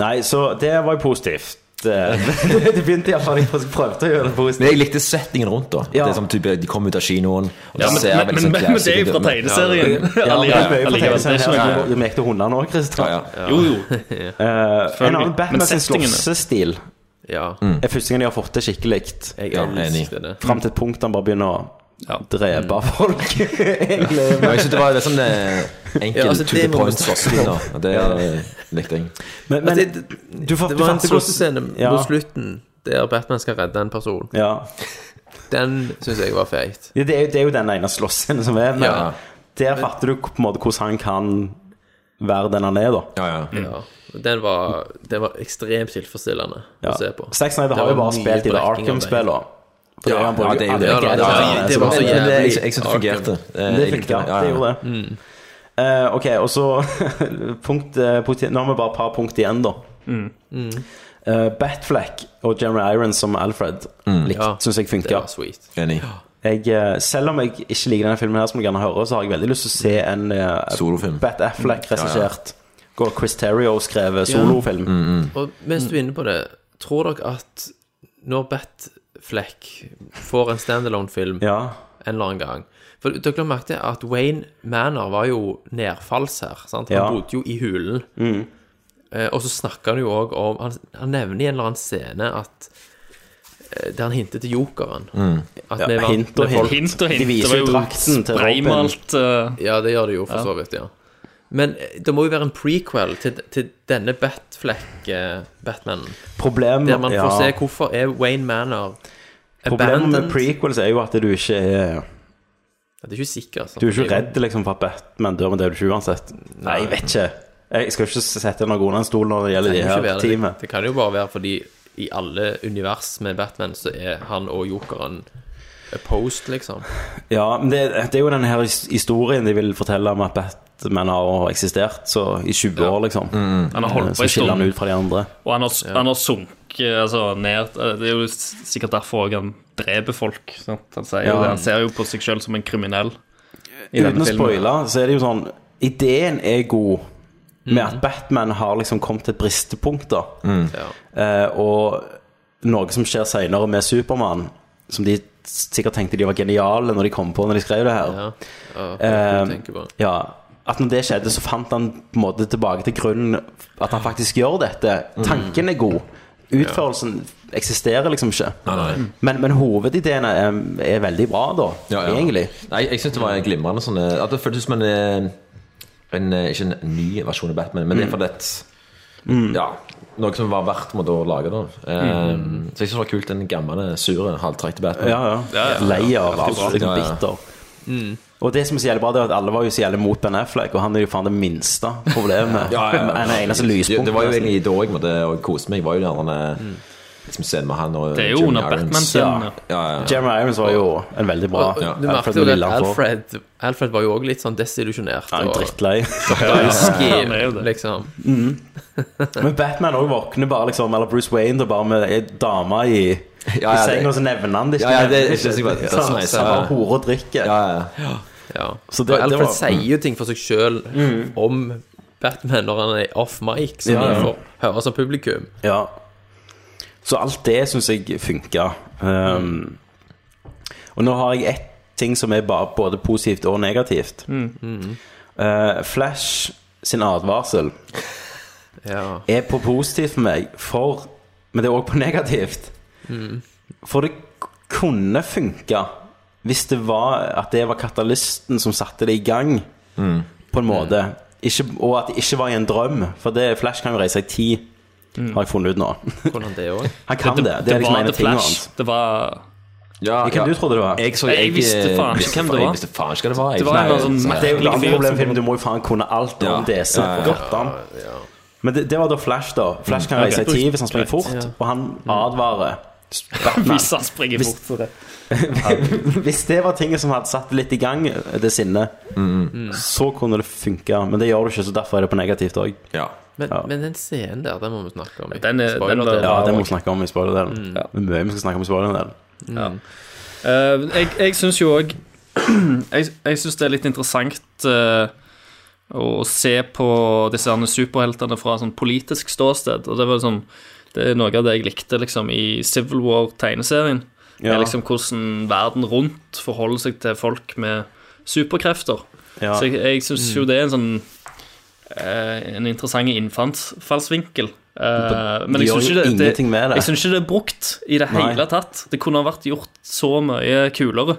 Speaker 1: Nei, så det var jo positivt. Det, det begynte iallfall Jeg prøvde å gjøre det positivt.
Speaker 9: Men jeg likte settingen rundt, da. Det er som type, De kom ut av kinoen. og
Speaker 16: Ja,
Speaker 9: de
Speaker 16: men-
Speaker 9: ser
Speaker 16: men-
Speaker 9: veldig
Speaker 16: men-
Speaker 9: sånn
Speaker 16: men det er jo
Speaker 9: classic
Speaker 16: fra
Speaker 9: ut.
Speaker 16: tegneserien.
Speaker 1: Ja, men det er mye på
Speaker 16: Allikevel,
Speaker 1: tegneserien
Speaker 16: det
Speaker 1: her,
Speaker 16: er ikke
Speaker 1: så
Speaker 16: noe-
Speaker 1: Du mekte hundene òg, Christer.
Speaker 16: Jo, jo.
Speaker 1: Eh, en annen Batman sin
Speaker 16: settingen-
Speaker 1: slåssestil
Speaker 10: Mm.
Speaker 1: er første gang de har fått det skikkelig.
Speaker 10: Jeg Ja, elsker enig. det.
Speaker 1: Fram til et punkt han bare begynner å drepe folk. Egentlig.
Speaker 9: Ja, jeg synes det var litt sånn eh, enkel
Speaker 10: Ja, altså,
Speaker 9: to the
Speaker 10: det må vi
Speaker 9: point
Speaker 10: snakke
Speaker 9: slåssing. da.
Speaker 10: om.
Speaker 9: Det
Speaker 10: Ja.
Speaker 9: eh, likte jeg.
Speaker 1: Men, men
Speaker 10: Altså, det,
Speaker 1: du fant-
Speaker 10: det
Speaker 1: du
Speaker 10: var en
Speaker 1: fant det godt-
Speaker 10: slåssescene
Speaker 1: Ja.
Speaker 10: på slutten der Batman skal redde en person. Den syns jeg var feit.
Speaker 1: Ja, Det, er, jo- det er jo den ene slåssscenen som er, men
Speaker 10: Ja.
Speaker 1: der fatter du på en måte hvordan han kan være den han er, da.
Speaker 10: Ja. Den var, den var ekstremt tilfredsstillende
Speaker 1: Ja.
Speaker 10: å se på.
Speaker 1: Zack Snyder har jo
Speaker 10: Det var
Speaker 1: bare
Speaker 10: mye
Speaker 1: spilt i det
Speaker 10: brekking av
Speaker 1: Arkham-spillet. For
Speaker 9: Ja,
Speaker 1: han bruker
Speaker 9: ja, det er jo
Speaker 1: alle
Speaker 9: det.
Speaker 1: gadgets.
Speaker 9: Ja, det var-
Speaker 1: Men-
Speaker 9: det var så
Speaker 1: men-
Speaker 9: jævlig.
Speaker 1: men
Speaker 9: Jeg- jeg synes det fungerte. Eh,
Speaker 1: Det
Speaker 9: jeg likte
Speaker 1: funka,
Speaker 9: det. Ja, ja.
Speaker 1: det gjorde det.
Speaker 9: Mm.
Speaker 1: Eh, ok, og så punkt, eh, punkt, Nå har vi bare et par punkt igjen, da.
Speaker 16: Mm.
Speaker 1: Eh, Batfleck og General Irons som Alfred
Speaker 9: Mm.
Speaker 1: likte,
Speaker 9: Ja,
Speaker 1: syns jeg funka.
Speaker 9: det var Enig.
Speaker 1: Jeg, eh, selv om jeg ikke liker denne filmen, her som jeg gjerne hører så har jeg veldig lyst til å se en eh,
Speaker 9: Solofilm.
Speaker 1: Bat Affleck-regissert Går Chris Terrio skrevet solofilm.
Speaker 10: Ja. Og mens du er inne på det, tror dere at når Batfleck får en standalone-film en eller annen gang For dere har merket at Wayne Manor var jo nedfalls her. Sant? Han
Speaker 1: Ja.
Speaker 10: bodde jo i hulen.
Speaker 1: Mm.
Speaker 10: Eh, og så snakker han jo òg om han, han nevner i en eller annen scene at eh, der han hinter til jokeren.
Speaker 1: Mm.
Speaker 10: At
Speaker 1: Ja,
Speaker 10: vi er vant
Speaker 1: hint og
Speaker 10: med folk-
Speaker 16: Hint og hint, De viser det var jo eh, jo drakten til spraymalt, Robin.
Speaker 10: Ja, det gjør det jo for
Speaker 16: ja.
Speaker 10: så vidt, ja. Men eh, det må jo være en prequel til, til denne Batfleck-Batmanen.
Speaker 1: Problemet-
Speaker 10: Der man får
Speaker 1: ja.
Speaker 10: se hvorfor er Wayne Manor
Speaker 1: Problemet med
Speaker 10: abandoned.
Speaker 1: prequels er jo at du ikke er
Speaker 10: Ja, det er ikke sikker, altså.
Speaker 1: Du er ikke redd liksom, for at Batman dør, men det er du ikke uansett. Nei, jeg vet ikke. Jeg skal ikke sette noen under en stol når det
Speaker 10: Det,
Speaker 1: gjelder
Speaker 10: kan
Speaker 1: de
Speaker 10: jo ikke
Speaker 1: her
Speaker 10: være det.
Speaker 1: teamet.
Speaker 10: det kan jo bare være fordi i alle univers med Batman så er han og jokeren opposed, liksom.
Speaker 1: Ja, men det, det er jo denne her his- historien de vil fortelle om at Batman har eksistert så i 20 år, liksom.
Speaker 16: Han har holdt på
Speaker 1: Som
Speaker 16: en
Speaker 1: skiller
Speaker 16: stund.
Speaker 1: han ut fra de andre.
Speaker 16: Og han har, han har sunket altså, ned Det er jo sikkert derfor også han dreper folk. Sant? Han, sier jo
Speaker 1: Ja.
Speaker 16: det. han ser jo på seg selv som en kriminell. i denne
Speaker 1: Uten å
Speaker 16: filmen.
Speaker 1: spoile, så er det jo sånn Ideen er god med at Batman har liksom kommet til et bristepunkt, da.
Speaker 9: Mm.
Speaker 1: Eh, og noe som skjer seinere med Supermann, som de sikkert tenkte de var geniale når de kom på når de skrev det her.
Speaker 10: Ja,
Speaker 1: Eh,
Speaker 10: tenker på.
Speaker 1: ja, at når det skjedde, så fant han på en måte tilbake til grunnen at han faktisk gjør dette. Tanken er god. Utførelsen eksisterer liksom ikke.
Speaker 9: Nei, nei.
Speaker 1: Men, men hovedideene er, er veldig bra, da.
Speaker 9: Ja, ja.
Speaker 1: Egentlig.
Speaker 9: Nei, jeg synes det var glimrende sånn eh, at Det føltes som en, eh, en eh, Ikke en ny versjon av Batman, men det er
Speaker 1: Mm.
Speaker 9: fordi et Ja, noe som var verdt på en måte, å lage. da Eh, Så jeg synes det var kult, den gamle, sure, halvtrekte Batman.
Speaker 1: Mm. Ja, ja. Lei av alt. Liksom
Speaker 9: Ja, ja.
Speaker 1: bitter.
Speaker 9: Mm.
Speaker 1: Og det som er så jævlig bra, det er at alle var jo så jævlig mot Ben Affleck, og han er jo faen det minste problemet.
Speaker 9: Ja, ja, ja.
Speaker 1: En eneste
Speaker 9: Det,
Speaker 1: lyspunkt.
Speaker 9: det var jo
Speaker 1: nesten. Mm.
Speaker 9: egentlig da jeg måtte og kose meg. Var jo den der, liksom, scenen med han og
Speaker 1: Det er jo
Speaker 9: Jeremy
Speaker 1: under
Speaker 9: Irons.
Speaker 1: Batman-scenen,
Speaker 9: Ja. Ja, ja, ja.
Speaker 1: Jeremy Irons var jo en veldig bra
Speaker 10: Og- og Du merket jo
Speaker 1: med
Speaker 10: det
Speaker 1: lilla
Speaker 10: at
Speaker 1: hår.
Speaker 10: Alfred, Alfred var jo også litt sånn desillusjonert.
Speaker 1: Ja,
Speaker 10: og-
Speaker 1: drittlei.
Speaker 10: Ja, ja.
Speaker 1: Han er jo det.
Speaker 10: Skev, liksom.
Speaker 1: Mhm. Men Batman òg våkner bare, liksom, eller Bruce Wayne, det bare med ei dame i,
Speaker 9: ja,
Speaker 1: i
Speaker 9: det-
Speaker 1: senga, og så nevner han det ikke.
Speaker 9: Ja, ja, det-
Speaker 1: nevner
Speaker 9: det synes jeg var- det
Speaker 1: Så han-
Speaker 9: synes jeg-
Speaker 1: så han bare horer og drikker.
Speaker 10: Ja.
Speaker 1: Så det-
Speaker 10: og Alfred
Speaker 1: det var-
Speaker 10: sier jo ting for seg sjøl
Speaker 16: Mm.
Speaker 10: om Batman når han er off mic, som
Speaker 1: Ja, ja.
Speaker 10: vi får høre som publikum.
Speaker 1: Ja. Så alt det syns jeg funka. Um, og nå har jeg ett ting som er bare både positivt og negativt. Eh, Flash sin advarsel er på positivt for meg, for Men det er òg på negativt. For det kunne funka hvis det var at det var katalysten som satte det i gang,
Speaker 9: Mm.
Speaker 1: på en måte. Ikke, og at det ikke var i en drøm, for det, Flash kan jo reise i tid,
Speaker 16: Mm.
Speaker 1: har jeg funnet ut nå.
Speaker 10: Kunne han det òg?
Speaker 1: Han kan det. Det, er liksom
Speaker 16: var
Speaker 1: en av
Speaker 16: The
Speaker 1: tingene
Speaker 16: Flash.
Speaker 1: hans.
Speaker 16: Det var
Speaker 1: Hvem du trodde det var?
Speaker 9: Jeg, så, jeg,
Speaker 16: visste
Speaker 9: visste faen-
Speaker 16: faen ikke hvem det
Speaker 9: Jeg
Speaker 16: var.
Speaker 9: visste faen ikke hva det var. jeg.
Speaker 16: Det var en
Speaker 9: Nei,
Speaker 16: sånn
Speaker 9: så-
Speaker 1: Men det er jo et annet problem i filmen. Du må jo faen kunne alt
Speaker 9: Ja.
Speaker 1: om DC.
Speaker 9: Ja, ja, ja.
Speaker 1: Gotham. Men det, det var da Flash, da. Flash kan
Speaker 16: Mm.
Speaker 1: reise i
Speaker 16: Ok.
Speaker 1: tid hvis han springer
Speaker 16: Greit.
Speaker 1: fort,
Speaker 16: Ja.
Speaker 1: og han advarer. Batman.
Speaker 16: Hvis han springer
Speaker 1: Hvis-
Speaker 16: bort for det.
Speaker 1: Hvis det var tinget som hadde satt litt i gang eh, det sinnet,
Speaker 16: Mm.
Speaker 1: så kunne det funka. Men det gjør det ikke, så derfor er det på negativt òg.
Speaker 10: Men, men den scenen der, den må vi snakke om. i
Speaker 16: Den er-
Speaker 10: spoiler- Mm,
Speaker 16: den var-
Speaker 1: Ja, det må vi snakke om i spoilerdelen.
Speaker 16: Mm.
Speaker 1: Det er mye vi skal snakke om i spoilerdelen.
Speaker 16: Ja. Eh, jeg jeg syns jo òg Jeg, jeg syns det er litt interessant eh, å se på disse herne superheltene fra sånn politisk ståsted. Og det var sånn Det er noe av det jeg likte liksom, i Civil War-tegneserien. Det
Speaker 1: Ja.
Speaker 16: er liksom Hvordan verden rundt forholder seg til folk med superkrefter.
Speaker 1: Ja.
Speaker 16: Så jeg, jeg syns jo
Speaker 1: Mm.
Speaker 16: det er en sånn eh, En interessant innfallsvinkel. Eh, men
Speaker 1: De
Speaker 16: jeg syns
Speaker 1: gjør
Speaker 16: ikke,
Speaker 1: jo
Speaker 16: det- det-
Speaker 1: ingenting med det.
Speaker 16: jeg synes ikke det er brukt i det
Speaker 1: Nei.
Speaker 16: hele tatt. Det kunne ha vært gjort så mye kulere.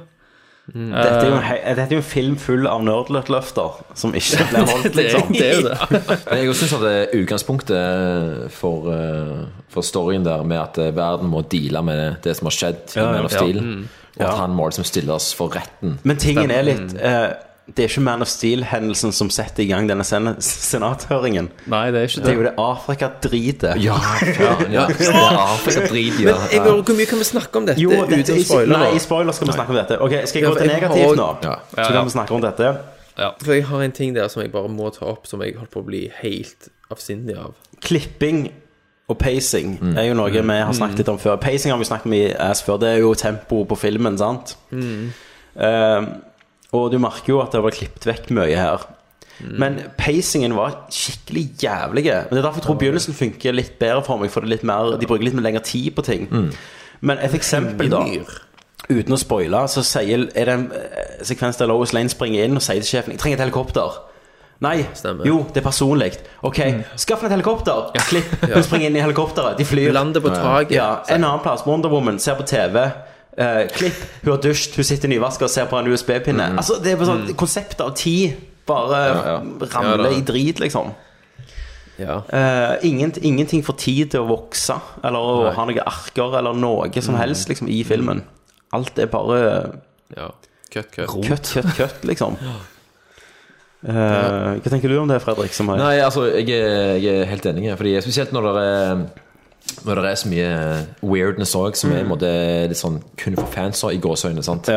Speaker 1: Mm.
Speaker 16: Eh,
Speaker 1: Dette er, jo en, he- dette er jo en film full av nerdløfter som ikke ble holdt, liksom.
Speaker 9: Men jeg syns at det er utgangspunktet for, eh, for storyen der med at eh, verden må deale med det som har skjedd i
Speaker 1: Ja, ja,
Speaker 9: Man of
Speaker 1: ja.
Speaker 9: Steel,
Speaker 1: Mm.
Speaker 9: og at han må liksom stille oss for retten.
Speaker 1: Men tingen er litt eh, Det er ikke Man of Steel-hendelsen som setter i gang denne sen senathøringen.
Speaker 16: Nei, det er ikke
Speaker 1: Det er jo det Afrika driter.
Speaker 9: Ja, faen, ja. Det er Afrika driter, ja.
Speaker 10: Men jeg lurer hvor mye kan vi snakke om dette
Speaker 1: Jo, dette,
Speaker 10: uten
Speaker 1: i,
Speaker 10: spoiler?
Speaker 1: nei, i spoiler skal vi snakke om dette. Ok, Skal jeg
Speaker 10: Ja,
Speaker 1: gå
Speaker 10: for
Speaker 1: til
Speaker 10: jeg har
Speaker 1: negativt nå?
Speaker 10: også- Ja.
Speaker 1: Så kan vi snakke om dette.
Speaker 10: For jeg har en ting der som jeg bare må ta opp, som jeg holdt på å bli helt avsindig av.
Speaker 1: Klipping og pacing
Speaker 10: Mm.
Speaker 1: er jo noe vi har snakket litt om før. Pacing har vi snakket mye ass før. Det er jo tempoet på filmen, sant? Eh, og du merker jo at det var klippet vekk mye her. Men pacingen var skikkelig jævlig. Men Det er derfor jeg tror begynnelsen funker litt bedre for meg. For det er litt mer, de bruker litt mer lengre tid på ting. Men et eksempel, da. Uten å spoile, så sier, er det en eh, sekvens der Lois Lane springer inn og sier til sjefen 'Jeg trenger et helikopter'. Nei. Jo, det er personlig. OK, skaff deg et helikopter! Klipp. Hun springer inn i helikopteret. De flyr.
Speaker 10: Lander på taket.
Speaker 1: Ja, en annen plass. Wonder Woman ser på TV. Eh, klipp. Hun har dusjt, hun sitter nyvaska og ser på en USB-pinne. Altså, det er bare sånn Konseptet av tid bare ramler
Speaker 10: Ja, da.
Speaker 1: i drit, liksom.
Speaker 10: Ja.
Speaker 1: Eh, ingent, ingenting får tid til å vokse eller å ha noen arker eller noe som
Speaker 10: Mm.
Speaker 1: helst liksom, i filmen. Alt er bare
Speaker 10: Ja. Cut, cut.
Speaker 1: køtt, køtt, køtt, liksom. Eh, hva tenker du om det, Fredrik? Som har...
Speaker 9: Nei, altså, jeg er, jeg er helt enig. Fordi Spesielt når det er når det er så mye weirdness òg, som er i en måte litt sånn kun for fans også, i gåseøyne. sant?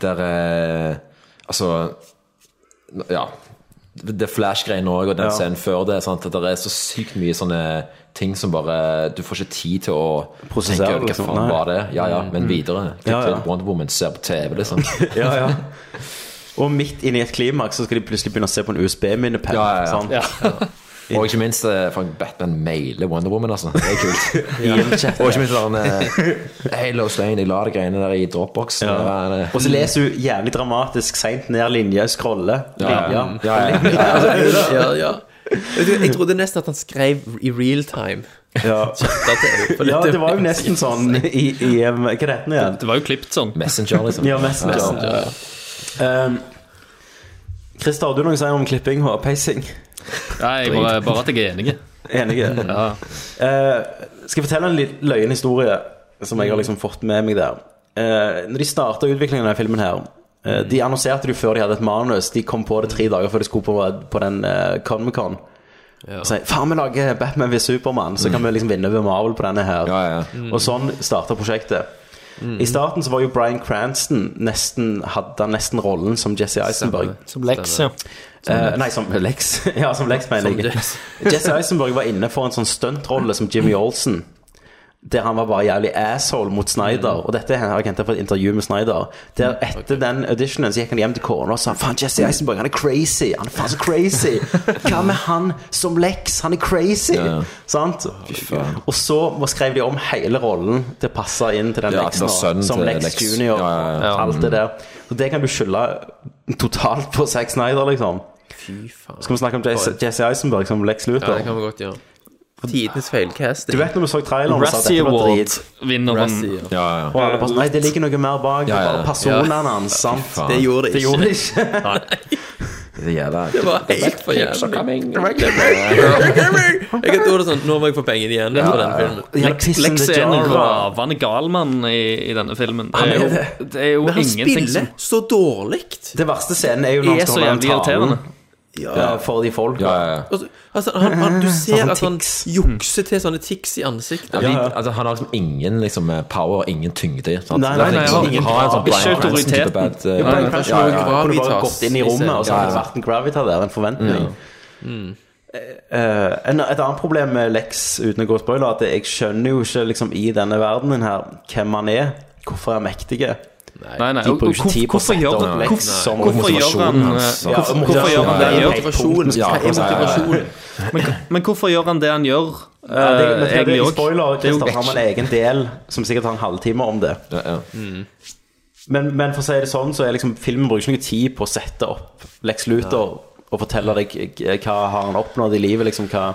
Speaker 9: Der eh, Altså Ja. Det er Flash-greiene òg, og den
Speaker 1: Ja.
Speaker 9: scenen før det. sant? At det er så sykt mye sånne ting som bare Du får ikke tid til å
Speaker 1: Prosessere,
Speaker 9: tenke over hva
Speaker 1: liksom.
Speaker 9: faen
Speaker 1: Nei.
Speaker 9: var det Ja, ja, men
Speaker 1: Mm.
Speaker 9: videre.
Speaker 1: Ja, ja.
Speaker 9: Wonder Woman ser på TV, liksom.
Speaker 1: ja, ja. Og midt inni et klimaks så skal de plutselig begynne å se på en USB-minnepenn.
Speaker 9: Ja, ja, ja.
Speaker 1: sant?
Speaker 9: Ja. Og ikke minst eh, faen, Batman mailer Wonder Woman, altså. Det er kult.
Speaker 1: I en chat.
Speaker 9: Og ikke minst den eh, Hey, Lois Lane, jeg la de greiene der i Dropbox.
Speaker 1: Ja.
Speaker 9: Der, eh.
Speaker 1: Og så leser hun jævlig dramatisk seint ned linja, scroller.
Speaker 9: Ja,
Speaker 1: Linja.
Speaker 9: ja. Ja, ja.
Speaker 1: Linja.
Speaker 10: ja, ja. Vet du, Jeg trodde nesten at han skrev i real time.
Speaker 1: Ja.
Speaker 10: For
Speaker 1: Ja,
Speaker 10: dette-
Speaker 1: det var jo nesten sånn i, i um, Hva heter den igjen?
Speaker 16: Det var jo klippet sånn.
Speaker 9: Messenger, liksom.
Speaker 1: Ja, Messenger. Um, Christer, har du noe å si om klipping og pacing?
Speaker 16: Nei, jeg bare, bare at jeg er enig.
Speaker 1: Enige?
Speaker 16: Ja.
Speaker 1: Eh, skal jeg fortelle en litt løyen historie som jeg har liksom fått med meg der. Eh, når de starta utviklingen av denne filmen her eh, De annonserte det jo før de hadde et manus. De kom på det tre dager før de skulle på, på den eh, Comic-Con. Og sier faen, vi lager Batman ved Supermann, så kan vi liksom vinne over Marvel på denne her. Og sånn starta prosjektet. I starten så var jo Bryan Cranston nesten, hadde han nesten rollen som Jesse Eisenberg.
Speaker 16: Som Lex, ja.
Speaker 1: Eh, nei, som Lex. ja, som Lex, mener
Speaker 16: Som
Speaker 1: jeg.
Speaker 16: Jess.
Speaker 1: Jesse Eisenberg var inne for en sånn stuntrolle som Jimmy Olsen. Der han var bare jævlig asshole mot Snyder.
Speaker 9: Mm.
Speaker 1: Og dette har jeg hentet fra et intervju med Snyder. Der etter den auditionen så gikk han hjem til kona og sa faen, Jesse Eisenberg, han er crazy. Han er faen så crazy. Hva med han som Lex? Han er crazy.
Speaker 9: Ja, ja.
Speaker 1: Sant? Og så må- skrev de om hele rollen til å passe inn til den
Speaker 9: Ja,
Speaker 1: Lexen.
Speaker 9: til sønnen
Speaker 1: Som
Speaker 9: til
Speaker 1: Lex,
Speaker 9: Lex.
Speaker 1: Junior.
Speaker 9: Ja, ja, ja.
Speaker 1: og Alt det
Speaker 9: Mm.
Speaker 1: der. Og det kan du skylde totalt på Zack Snyder, liksom. Skal vi snakke om Jesse, Jesse Eisenberg som Lex Luthor?
Speaker 10: Ja, det kan vi godt gjøre. Tidenes feilcasting.
Speaker 1: Du vet når vi så traileren og sa at
Speaker 10: Razzie
Speaker 1: dette var
Speaker 10: Award
Speaker 1: drit.
Speaker 16: vinner
Speaker 10: Razzie,
Speaker 16: han.
Speaker 9: Ja,
Speaker 1: Og alle bare sånn, Nei, det ligger noe mer bak. Det
Speaker 9: Ja,
Speaker 1: er
Speaker 9: ja,
Speaker 1: bare
Speaker 9: ja.
Speaker 1: personene
Speaker 9: Ja.
Speaker 1: hans. sant?
Speaker 9: Fy faen. Det gjorde det
Speaker 1: Det
Speaker 9: ikke.
Speaker 1: gjorde det ikke.
Speaker 9: Det gjelder.
Speaker 10: Det var helt for
Speaker 9: Picture
Speaker 10: jævlig.
Speaker 9: coming.
Speaker 10: Jeg kan tro det sånn Nå må jeg få pengene igjen for den filmen.
Speaker 16: Lex, Lex er en ravende galmann i, i denne filmen. Det er jo, det er jo
Speaker 10: Men han
Speaker 16: ingenting
Speaker 10: spiller
Speaker 16: som
Speaker 10: så dårlig.
Speaker 1: Det verste scenen er jo når
Speaker 16: Er
Speaker 1: han
Speaker 16: så
Speaker 1: står der
Speaker 16: jævlig
Speaker 1: og
Speaker 16: irriterende.
Speaker 1: taler. Ja, for de folk.
Speaker 10: Altså, altså, han, han, du ser
Speaker 1: Sånn
Speaker 10: at han jukser til sånne tics i ansiktet.
Speaker 9: Ja, de, altså, han har liksom ingen liksom, eh, power og ingen tyngde. Sant?
Speaker 10: Nei, nei,
Speaker 9: Det er
Speaker 10: nei,
Speaker 9: liksom-
Speaker 10: han har ingen
Speaker 9: har en sånn
Speaker 10: krav. Ikke
Speaker 9: Bryan Cranston
Speaker 10: autoriteten.
Speaker 9: type bad, eh,
Speaker 1: Ja,
Speaker 9: ja,
Speaker 1: men kanskje
Speaker 9: ja,
Speaker 1: noen
Speaker 9: ja.
Speaker 1: kunne bare gått inn i rommet, og så hadde det vært en gravita der, en forventning. Eh, en, et annet problem med Lex, uten å gå spoiler, er at jeg skjønner jo ikke liksom, i denne verdenen her hvem han er, hvorfor han er mektig.
Speaker 16: Nei, nei, og- og hvorfor- hvorfor gjør han- hvorfor- hvorfor gjør han, eh, hvorfor- hvorfor gjør han det han gjør? Motivasjonen,
Speaker 1: Ja,
Speaker 16: hva er motivasjonen? Men, men hvorfor gjør Eh, han det han gjør?
Speaker 1: Ja, det, men det, det,
Speaker 10: Egentlig
Speaker 1: I
Speaker 10: også.
Speaker 1: spoiler
Speaker 10: Det er jo
Speaker 1: Christer, har vi en egen
Speaker 10: action.
Speaker 1: del som sikkert tar en halvtime om det. Men, men for å si det sånn, så er liksom filmen bruker ikke noe tid på å sette opp Lex Luthor og fortelle deg eh, hva har han oppnådd i livet. Liksom, hva,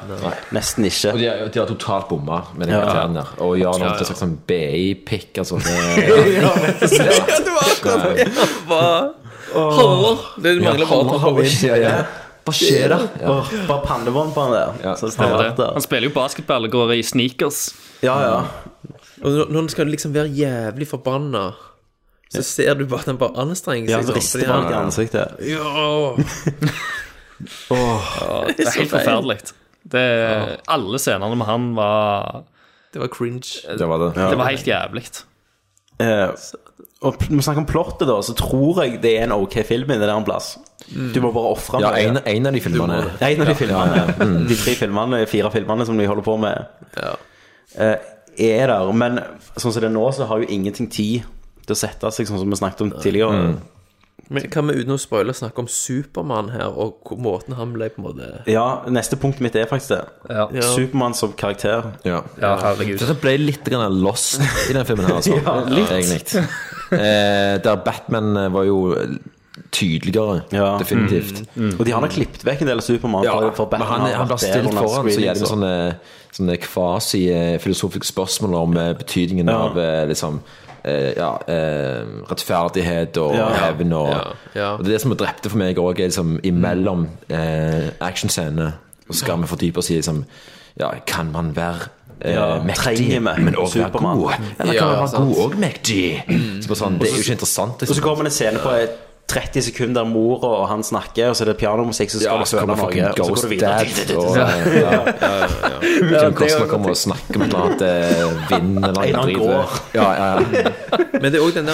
Speaker 1: nesten ikke.
Speaker 9: Og de, har- de har totalt bomma med den
Speaker 1: Ja.
Speaker 9: karakteren der. Og
Speaker 1: Ja,
Speaker 9: gjør noe
Speaker 1: ja.
Speaker 9: til en slags sånn BI-pikk. Altså, det,
Speaker 10: Ja, det var akkurat det. Hva? Hallo. Det mangler bare å ta hodet inn.
Speaker 1: Hva skjer da?
Speaker 16: Ja.
Speaker 1: Åh, bare pannebånd på han der. så det
Speaker 16: Stemmer
Speaker 1: er
Speaker 16: det.
Speaker 1: rart, da.
Speaker 16: Han spiller jo basketball og går i sneakers.
Speaker 1: Ja, ja.
Speaker 10: Og når- når han skal liksom være jævlig forbanna, så ser du bare at han bare anstrenger
Speaker 1: Ja,
Speaker 10: seg.
Speaker 1: så
Speaker 10: sånn,
Speaker 1: rister
Speaker 10: fordi
Speaker 1: han
Speaker 10: han-
Speaker 1: i ansiktet.
Speaker 10: Ja.
Speaker 16: Ja, det er helt
Speaker 10: Så feil.
Speaker 16: forferdelig. Det, Alle scenene med han var
Speaker 10: Det var cringe.
Speaker 9: Det var det.
Speaker 16: Det var helt jævlig.
Speaker 1: Eh, og pl- når vi snakker om plottet, da, så tror jeg det er en ok film i det der en plass.
Speaker 9: Mm.
Speaker 1: Du må bare ofre
Speaker 9: Ja, en- en av de filmene.
Speaker 1: Du må det. En av de
Speaker 9: Ja,
Speaker 1: filmene.
Speaker 9: ja, ja. Mm.
Speaker 1: De tre filmene, fire filmene som de holder på med, eh, er der. Men sånn som det er nå, så har jo ingenting tid til å sette seg, sånn som vi snakket om tidligere.
Speaker 9: Mm.
Speaker 10: Men kan vi uten å spoile snakke om Supermann her, og hvor- måten han ble på en måte
Speaker 1: Ja, neste punkt mitt er faktisk det.
Speaker 10: Ja.
Speaker 1: Supermann som karakter.
Speaker 9: Ja,
Speaker 10: Ja, herregud.
Speaker 9: Dette ble litt grann lost i den filmen her, altså.
Speaker 1: Ja, litt.
Speaker 9: Egentlig. Eh, der Batman eh, var jo tydeligere, definitivt.
Speaker 1: Mm. Mm. Og de har nok klippet vekk en del av Supermann.
Speaker 9: Ja,
Speaker 1: for- for Batman
Speaker 9: men han,
Speaker 1: har
Speaker 9: han
Speaker 1: vært
Speaker 9: blir stilt
Speaker 1: der under
Speaker 9: foran så sånn-
Speaker 1: screening,
Speaker 9: jævlig med sånne, sånne kvasi-filosofiske spørsmål om eh, betydningen
Speaker 1: Ja.
Speaker 9: av eh, liksom eh, ja, eh, rettferdighet og
Speaker 1: Ja.
Speaker 9: hevn og,
Speaker 10: Ja, ja.
Speaker 9: og Det er det som drepte for meg òg, er liksom imellom eh, actionscenene. Så skal vi fordype oss i liksom Ja, kan man være eh,
Speaker 1: Ja,
Speaker 9: mektig,
Speaker 1: trenger vi
Speaker 9: men også være
Speaker 1: Superman?
Speaker 9: god? Eller kan
Speaker 1: Ja,
Speaker 9: man være
Speaker 1: sant.
Speaker 9: god og mektig? Så bare sånn, det er jo ikke interessant.
Speaker 1: Og så kommer det en scene på eh, 30 sekunder der mor og han snakker, og så er det pianomusikk, så skal
Speaker 9: Ja,
Speaker 1: du
Speaker 9: så
Speaker 1: føle
Speaker 9: kommer
Speaker 1: noe,
Speaker 9: fucking
Speaker 1: og så går
Speaker 9: Ghost
Speaker 1: du videre.
Speaker 9: Dad og ja, ja, ja, ja. Jim Cosma kommer og snakker om et eller annet eh, vind eller
Speaker 10: En
Speaker 9: noe
Speaker 10: annen
Speaker 9: drit.
Speaker 10: gård.
Speaker 9: Ja, ja, ja.
Speaker 10: Men det er òg den der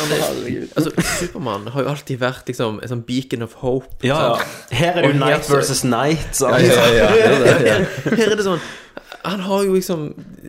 Speaker 10: altså, Supermann har jo alltid vært liksom en sånn beacon of hope.
Speaker 1: Ja, ja. Her er det jo night versus night. sant?
Speaker 10: Her er det sånn Han har jo liksom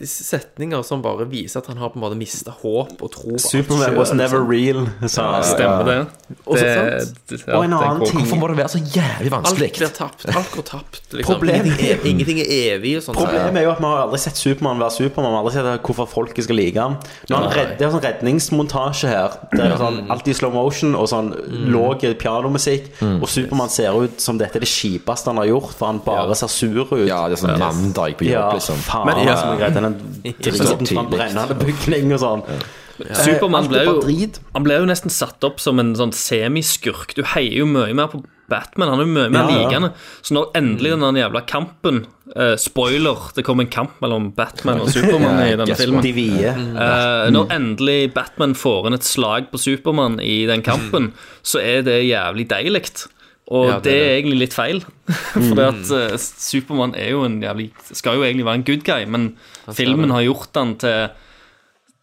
Speaker 10: setninger som bare viser at han har på en måte mista håp og tro. på alt
Speaker 1: Superman
Speaker 10: selv,
Speaker 1: was never
Speaker 10: liksom.
Speaker 1: real, sa han.
Speaker 16: Stemmer det.
Speaker 10: Og så
Speaker 16: Det-
Speaker 10: sant?
Speaker 16: det- ja, Og en det annen går- ting-
Speaker 9: Hvorfor må det være så jævlig vanskelig?
Speaker 10: Alt blir tapt. Alt går tapt. Liksom.
Speaker 1: Problemet-
Speaker 10: Ingenting, er, ingenting er evig og sånn.
Speaker 1: Problemet er jo at vi har aldri sett Supermann være Supermann. Vi har aldri sett hvorfor folket skal like ham. Når han
Speaker 10: Nei.
Speaker 1: redd, det er en sånn redningsmontasje her. Det er sånn,
Speaker 9: Mm.
Speaker 1: alt i slow motion og sånn låg pianomusikk.
Speaker 9: Mm.
Speaker 1: Og Supermann ser ut som dette er det kjipeste han har gjort, for han bare ser sur ut.
Speaker 9: Ja, det er sånn mandag på jobb, liksom.
Speaker 1: Ja, faen,
Speaker 9: Men-
Speaker 1: men,
Speaker 9: ja.
Speaker 1: som er greit. Den driten fra en brennende bygning og sånn. Eh,
Speaker 16: Supermann
Speaker 1: alt er
Speaker 16: ble,
Speaker 1: bare
Speaker 16: jo- han ble jo nesten satt opp som en sånn semiskurk. Du heier jo mye mer på Batman. Han er jo mye mer
Speaker 1: Ja, Mm. ja.
Speaker 16: likende. Så når endelig den der jævla kampen eh, Spoiler, det kom en kamp mellom Batman og Supermann i denne
Speaker 1: Yes,
Speaker 16: filmen.
Speaker 1: de vide.
Speaker 9: Mm.
Speaker 16: Eh, når endelig Batman får inn et slag på Supermann i den kampen, så er det jævlig deilig. Og
Speaker 10: Ja, det er
Speaker 16: det, er egentlig litt feil. For at eh, Supermann er jo en jævlig Skal jo egentlig være en good guy, men filmen har gjort han til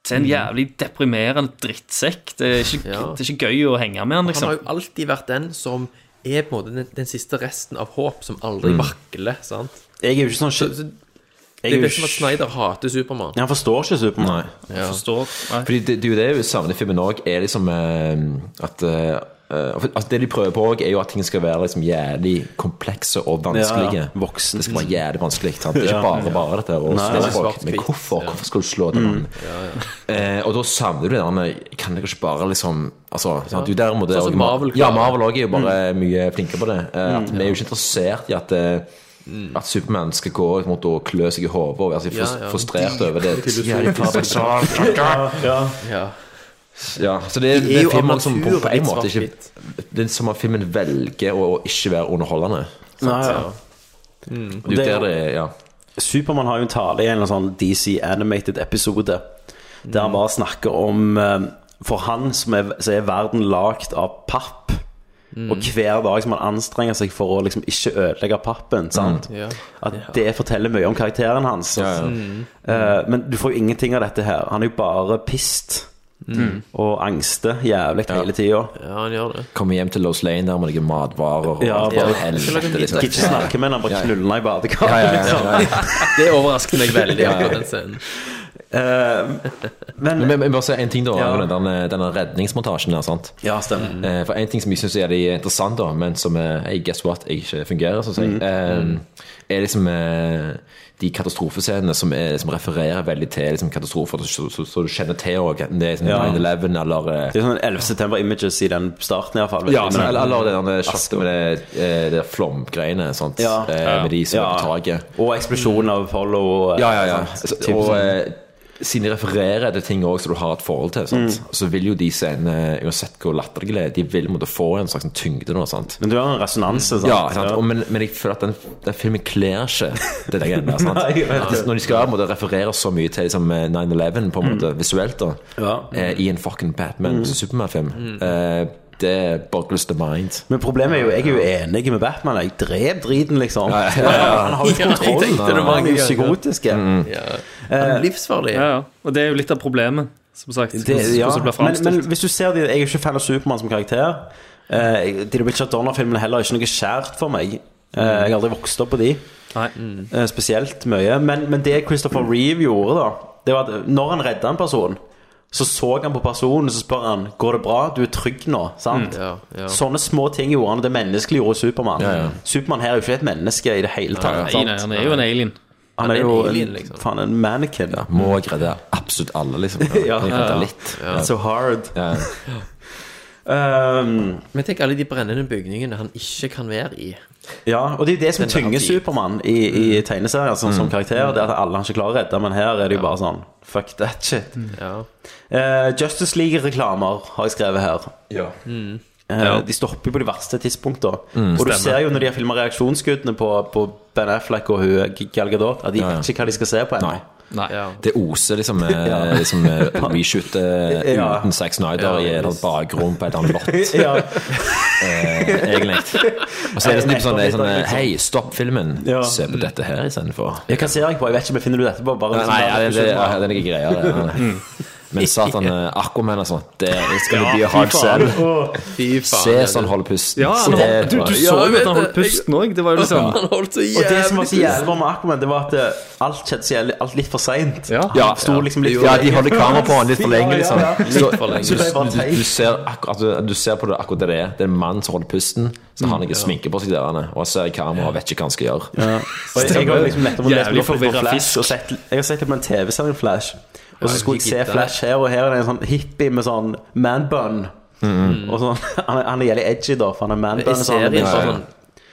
Speaker 16: til en jævlig deprimerende drittsekk. Det er ikke, det er ikke gøy å henge med han,
Speaker 10: Han
Speaker 16: liksom.
Speaker 10: har jo alltid vært den som er på en måte den, den siste resten av håp, som aldri
Speaker 1: Mm.
Speaker 10: vakler. sant?
Speaker 1: Jeg er jo ikke sånn
Speaker 10: Så, så, det
Speaker 1: er
Speaker 10: er
Speaker 1: jo
Speaker 10: litt som at Snyder hater Supermann.
Speaker 1: Ja, han forstår ikke Supermann.
Speaker 10: Ja.
Speaker 9: Fordi det, det er jo det vi savner i filmen òg, er liksom eh, at eh, eh, altså Det de prøver på òg, er jo at ting skal være liksom jævlig komplekse og vanskelige.
Speaker 1: Ja, ja.
Speaker 9: Det skal være jævlig vanskelig. sant? Det er
Speaker 1: Ja.
Speaker 9: ikke bare bare dette.
Speaker 1: Nei.
Speaker 9: Og slå
Speaker 1: Det er
Speaker 9: folk.
Speaker 1: svart-hvitt. Mm.
Speaker 9: Men hvorfor? Hvorfor skal du slå den mannen? Eh, og da savner du det der med Kan dere ikke bare liksom Altså, sant? Du, der må det
Speaker 10: Sånn som
Speaker 9: og-
Speaker 10: Marvel
Speaker 9: Ja,
Speaker 10: klarer.
Speaker 9: Marvel også er
Speaker 1: Mm.
Speaker 9: jo bare mye flinkere på det. Eh, at Vi er jo ikke interessert i at eh,
Speaker 1: Mm.
Speaker 9: at Supermann skal gå ut mot å klø seg i hodet og være så
Speaker 10: Ja,
Speaker 9: frus-
Speaker 10: ja.
Speaker 9: frustrert over det.
Speaker 10: Filosofisk.
Speaker 9: Jævlig paradoksalt.
Speaker 10: Ja.
Speaker 9: Ja, så det er,
Speaker 10: De
Speaker 9: det
Speaker 10: er jo
Speaker 9: er filmen
Speaker 10: av
Speaker 9: som
Speaker 10: natur
Speaker 9: på en
Speaker 10: litt
Speaker 9: måte ikke Det er som at filmen velger å ikke være underholdende.
Speaker 1: Nei, ja.
Speaker 9: Det er jo der det er, ja.
Speaker 1: Supermann har jo en tale i en eller annen sånn DC Animated episode der han bare snakker om eh, For han som er, så er verden lagd av papp.
Speaker 10: Mm.
Speaker 1: Og hver dag som han anstrenger seg for å liksom ikke ødelegge pappen. Sant?
Speaker 10: Mm. Ja.
Speaker 1: At det forteller mye om karakteren hans.
Speaker 9: ja.
Speaker 1: Mm. Eh, men du får jo ingenting av dette her. Han er jo bare pissed.
Speaker 10: Mm.
Speaker 1: Og angster jævlig hele tida.
Speaker 10: ja, han gjør det.
Speaker 9: Kommer hjem til Lost Lane der med noen matvarer og
Speaker 1: Ja,
Speaker 9: alt
Speaker 1: bare-
Speaker 9: det
Speaker 1: Skal
Speaker 9: helvete, liksom.
Speaker 1: Gidder ikke snakke med henne, bare knuller henne i badekaret.
Speaker 9: Ja, ja, ja, ja, ja.
Speaker 1: liksom.
Speaker 10: Det overrasket meg veldig.
Speaker 9: Ja, ja.
Speaker 10: den scenen.
Speaker 9: men, men, bare si en ting da
Speaker 1: Ja.
Speaker 9: om denne, denne redningsmontasjen der, sant?
Speaker 1: Ja, stemmer.
Speaker 9: Eh, For en ting som jeg syns er litt interessant, da, men som eh, hey, guess what, jeg ikke fungerer, sånn å si,
Speaker 1: Mm.
Speaker 9: eh,
Speaker 1: Mm.
Speaker 9: er liksom eh, de katastrofescenene som, er, som refererer veldig til liksom, katastrofer så, så, så du kjenner til òg, enten det er liksom,
Speaker 1: Ja.
Speaker 9: 9-11 eller eh,
Speaker 1: Det er sånn 11. september images i den starten, iallfall.
Speaker 9: ja, men, eller, eller det derne shotet med det, eh, det flomgreiene sant?
Speaker 1: Ja.
Speaker 9: Eh,
Speaker 1: Ja.
Speaker 9: Med de som
Speaker 1: Ja.
Speaker 9: er på taket
Speaker 1: Og eksplosjonen av Apollo og, eh,
Speaker 9: Ja, ja, ja
Speaker 1: sant?
Speaker 9: Altså,
Speaker 1: Typ
Speaker 9: Og
Speaker 1: sånn.
Speaker 9: eh, siden de refererer til ting også som du har et forhold til sant?
Speaker 1: Mm.
Speaker 9: Så vil jo de scenene, uansett hvor latterlig det er De vil måtte få en slags tyngde nå sant?
Speaker 1: Men du har en resonanse, sant?
Speaker 9: Ja, sant?
Speaker 1: Ja.
Speaker 9: Og, men, men jeg føler at den, den filmen kler ikke det der greiene der, sant?
Speaker 1: Nei, jeg vet det.
Speaker 9: At Når de skal måtte referere så mye til liksom, eh, 9-11 på en måte visuelt da eh, I en fucking Batman
Speaker 1: Mm.
Speaker 9: Superman-film
Speaker 1: Mm.
Speaker 9: eh, Det boggles the mind
Speaker 1: Men problemet er jo, jeg er jo enig med Batman. Jeg drev driten, liksom.
Speaker 9: ja, ja.
Speaker 1: Han har jo
Speaker 9: Ja, jeg
Speaker 1: kontroll.
Speaker 9: tenkte det var
Speaker 1: Han er jo
Speaker 16: gøy.
Speaker 1: psykotisk.
Speaker 9: Mm,
Speaker 1: Eh,
Speaker 16: livsfarlig. Ja, ja. Og det er jo litt av problemet, som sagt.
Speaker 1: Det, ja.
Speaker 16: Hvordan det blir
Speaker 1: men,
Speaker 16: fremstilt.
Speaker 1: men hvis du ser de, Jeg er jo ikke fan av Supermann som karakter. Uh, de Richard Donner-filmene heller er ikke noe skjært for meg. Eh, jeg har aldri vokst opp på de.
Speaker 10: Mm.
Speaker 1: Eh, spesielt mye. Men, men det Christopher Reeve gjorde, da, det var at når han redda en person, så så han på personen så spør han Går det bra. Du er trygg nå. Sant?
Speaker 10: Mm. Ja, ja.
Speaker 1: Sånne små ting gjorde han, og det menneskelige gjorde Supermann.
Speaker 16: Ja, ja.
Speaker 1: Supermann her er jo ikke et menneske i det hele tatt.
Speaker 16: Nei,
Speaker 1: sant?
Speaker 16: nei, han er jo en alien.
Speaker 1: Han er jo en,
Speaker 10: liksom.
Speaker 1: faen, en mannequin.
Speaker 9: Må jeg redde absolutt alle, liksom?
Speaker 1: Ja.
Speaker 9: Jeg redder
Speaker 1: Ja.
Speaker 9: litt
Speaker 1: It's so hard. Um,
Speaker 10: Men tenk alle de brennende bygningene han ikke kan være i.
Speaker 1: Ja, og det er jo det som
Speaker 10: Den
Speaker 1: tynger
Speaker 10: garanti.
Speaker 1: Supermann i, i tegneserier sånn, som
Speaker 10: Mm.
Speaker 1: karakter. Det er at alle han ikke klarer å redde, men her er det jo bare sånn Fuck that shit. Eh, Justice League-reklamer har jeg skrevet her. Eh,
Speaker 10: Ja.
Speaker 1: De stopper jo på de verste tidspunktene.
Speaker 10: Mm.
Speaker 1: og du
Speaker 10: Stemmer.
Speaker 1: ser jo når de har filma reaksjonsskuddene på, på Ben Affleck og hun Gal Gadot, at de
Speaker 9: Ja, ja.
Speaker 1: vet ikke hva de skal se på ennå.
Speaker 9: Det oser liksom, eh,
Speaker 1: Ja.
Speaker 9: liksom eh, reshoot eh,
Speaker 1: Ja.
Speaker 9: uten Zack Snyder i en eller annen bakgrunn på et eller annet lott.
Speaker 1: Ja.
Speaker 9: Eh, egentlig. Og så er det sånn, typ sånn, det er sånn eh, Hei, stopp filmen.
Speaker 1: Ja.
Speaker 9: Se på dette her istedenfor.
Speaker 1: Ja, Hva ser jeg på? Jeg vet ikke, men finner du dette på? Bare
Speaker 9: Nei,
Speaker 1: liksom-
Speaker 9: nei, ja, det, det, ja, det er noen greier der.
Speaker 1: Mm.
Speaker 9: Men satan, eh, Aquaman og sånt, det skal
Speaker 1: Ja,
Speaker 9: det bli
Speaker 1: fy
Speaker 9: hard
Speaker 1: faen.
Speaker 9: sell.
Speaker 1: Åh. Fy faen,
Speaker 9: Se
Speaker 1: ja,
Speaker 9: sånn
Speaker 1: du-
Speaker 9: holder pusten.
Speaker 16: Ja, han
Speaker 9: Det
Speaker 16: holdt- du-
Speaker 9: tror jeg.
Speaker 16: du så jo at han holdt pusten òg. Det var jo liksom
Speaker 1: Ja. Og det som var så jævlig bra med Aquaman, det var at eh, alt skjedde så jævlig alt litt for seint.
Speaker 9: Ja,
Speaker 1: sto liksom litt
Speaker 9: ja, de holder kamera på han litt for lenge, liksom.
Speaker 1: Ja, ja, ja.
Speaker 9: Så-
Speaker 1: Litt for lenge.
Speaker 9: så
Speaker 1: Det var
Speaker 9: du,
Speaker 1: teit.
Speaker 9: du, ser akkurat, du, du ser på det akkurat det det er. Det er en mann som holder pusten, så
Speaker 1: Mm,
Speaker 9: har han ikke sminke på seg der, han er. og han ser i kamera og vet ikke hva han skal gjøre.
Speaker 1: Og jeg, jeg har liksom nettopp lest meg
Speaker 9: Jævlig
Speaker 1: opp litt på
Speaker 9: forvirret
Speaker 1: Flash, og sett, jeg har sett det på en TV-serie Flash, og
Speaker 9: Ja,
Speaker 1: så skulle jeg
Speaker 9: jeg
Speaker 1: se
Speaker 9: gidder.
Speaker 1: Flash her, og her er det en sånn hippie med sånn man-bun.
Speaker 10: Mm.
Speaker 1: Og sånn, han, er- han er jævlig edgy, da, for han er
Speaker 10: Men i
Speaker 1: man-bun.
Speaker 10: serien bare sånn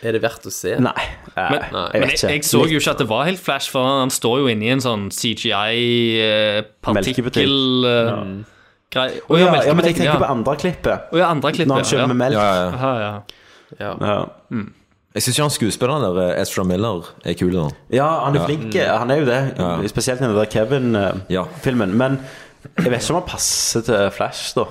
Speaker 10: Er det verdt å se?
Speaker 1: Nei.
Speaker 16: Men, men jeg, jeg så jo ikke at det var helt flash, for han står jo inni en sånn eh,
Speaker 1: Melkebutikk.
Speaker 16: CGI-partikkel-greie.
Speaker 1: Å ja, ja, men jeg tenker på andre klippet.
Speaker 16: Å ja, andre klippet,
Speaker 1: Når han
Speaker 16: ja.
Speaker 1: kjører med melk.
Speaker 9: Ja, ja.
Speaker 16: Ja,
Speaker 10: ja.
Speaker 9: Mm. Jeg syns ikke han skuespilleren der, eh, Ezra Miller, er kul. da.
Speaker 1: Ja, han er
Speaker 9: Ja.
Speaker 1: flink. eh, Han er jo det. Spesielt i den der Kevin-filmen. Men jeg vet ikke om han passer til Flash, da.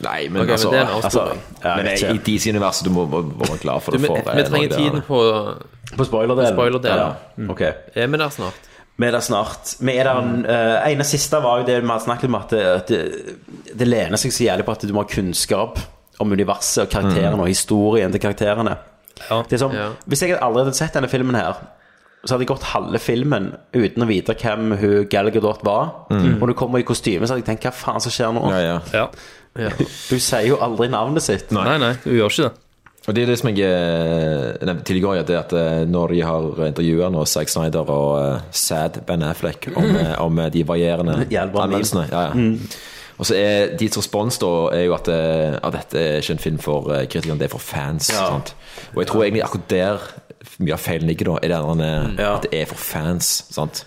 Speaker 9: Nei, men
Speaker 1: Ok, men
Speaker 9: altså,
Speaker 1: det er en
Speaker 9: altså
Speaker 1: avsporing. Ja,
Speaker 9: Men
Speaker 1: jeg vet
Speaker 9: i
Speaker 1: ikke.
Speaker 9: DC-universet, du må må- må være glad for
Speaker 10: Du,
Speaker 9: det.
Speaker 10: vi, vi trenger tiden på
Speaker 1: På spoilerdelen.
Speaker 10: spoilerdelen.
Speaker 1: Ja, ok.
Speaker 10: Er vi der snart?
Speaker 1: Vi er der snart. Vi er der,
Speaker 9: Mm.
Speaker 1: en, eh, ene siste var jo det vi har snakket om, at det, at det, det lener seg så jævlig på at du må ha kunnskap om universet og karakterene
Speaker 9: Mm.
Speaker 1: og historien til karakterene. det er som,
Speaker 9: ja.
Speaker 1: Hvis jeg allerede hadde sett denne filmen her, så hadde jeg gått halve filmen uten å vite hvem hun Gal Gadot var.
Speaker 9: Mm.
Speaker 1: Og du kommer i kostyme, så hadde jeg tenkt hva faen som skjer nå? Hun sier jo aldri navnet sitt.
Speaker 9: Nei.
Speaker 16: nei, du gjør ikke det.
Speaker 9: Og det er det som jeg eh, nevnte tidligere, det at eh, når de har intervjua nå Zack Snyder og eh, Sad Ben Affleck om, eh, om eh, de varierende
Speaker 1: Jævlig bra meme.
Speaker 9: anmeldelsene ja,
Speaker 1: Mm.
Speaker 9: ja. Og så er Deres respons da er jo at, eh, at dette er ikke en film for eh, kritikerne, det er for fans.
Speaker 1: Ja.
Speaker 9: Sant? Og jeg tror egentlig akkurat der mye av feilen ligger, da, er det der, eh, at det er for fans. Sant?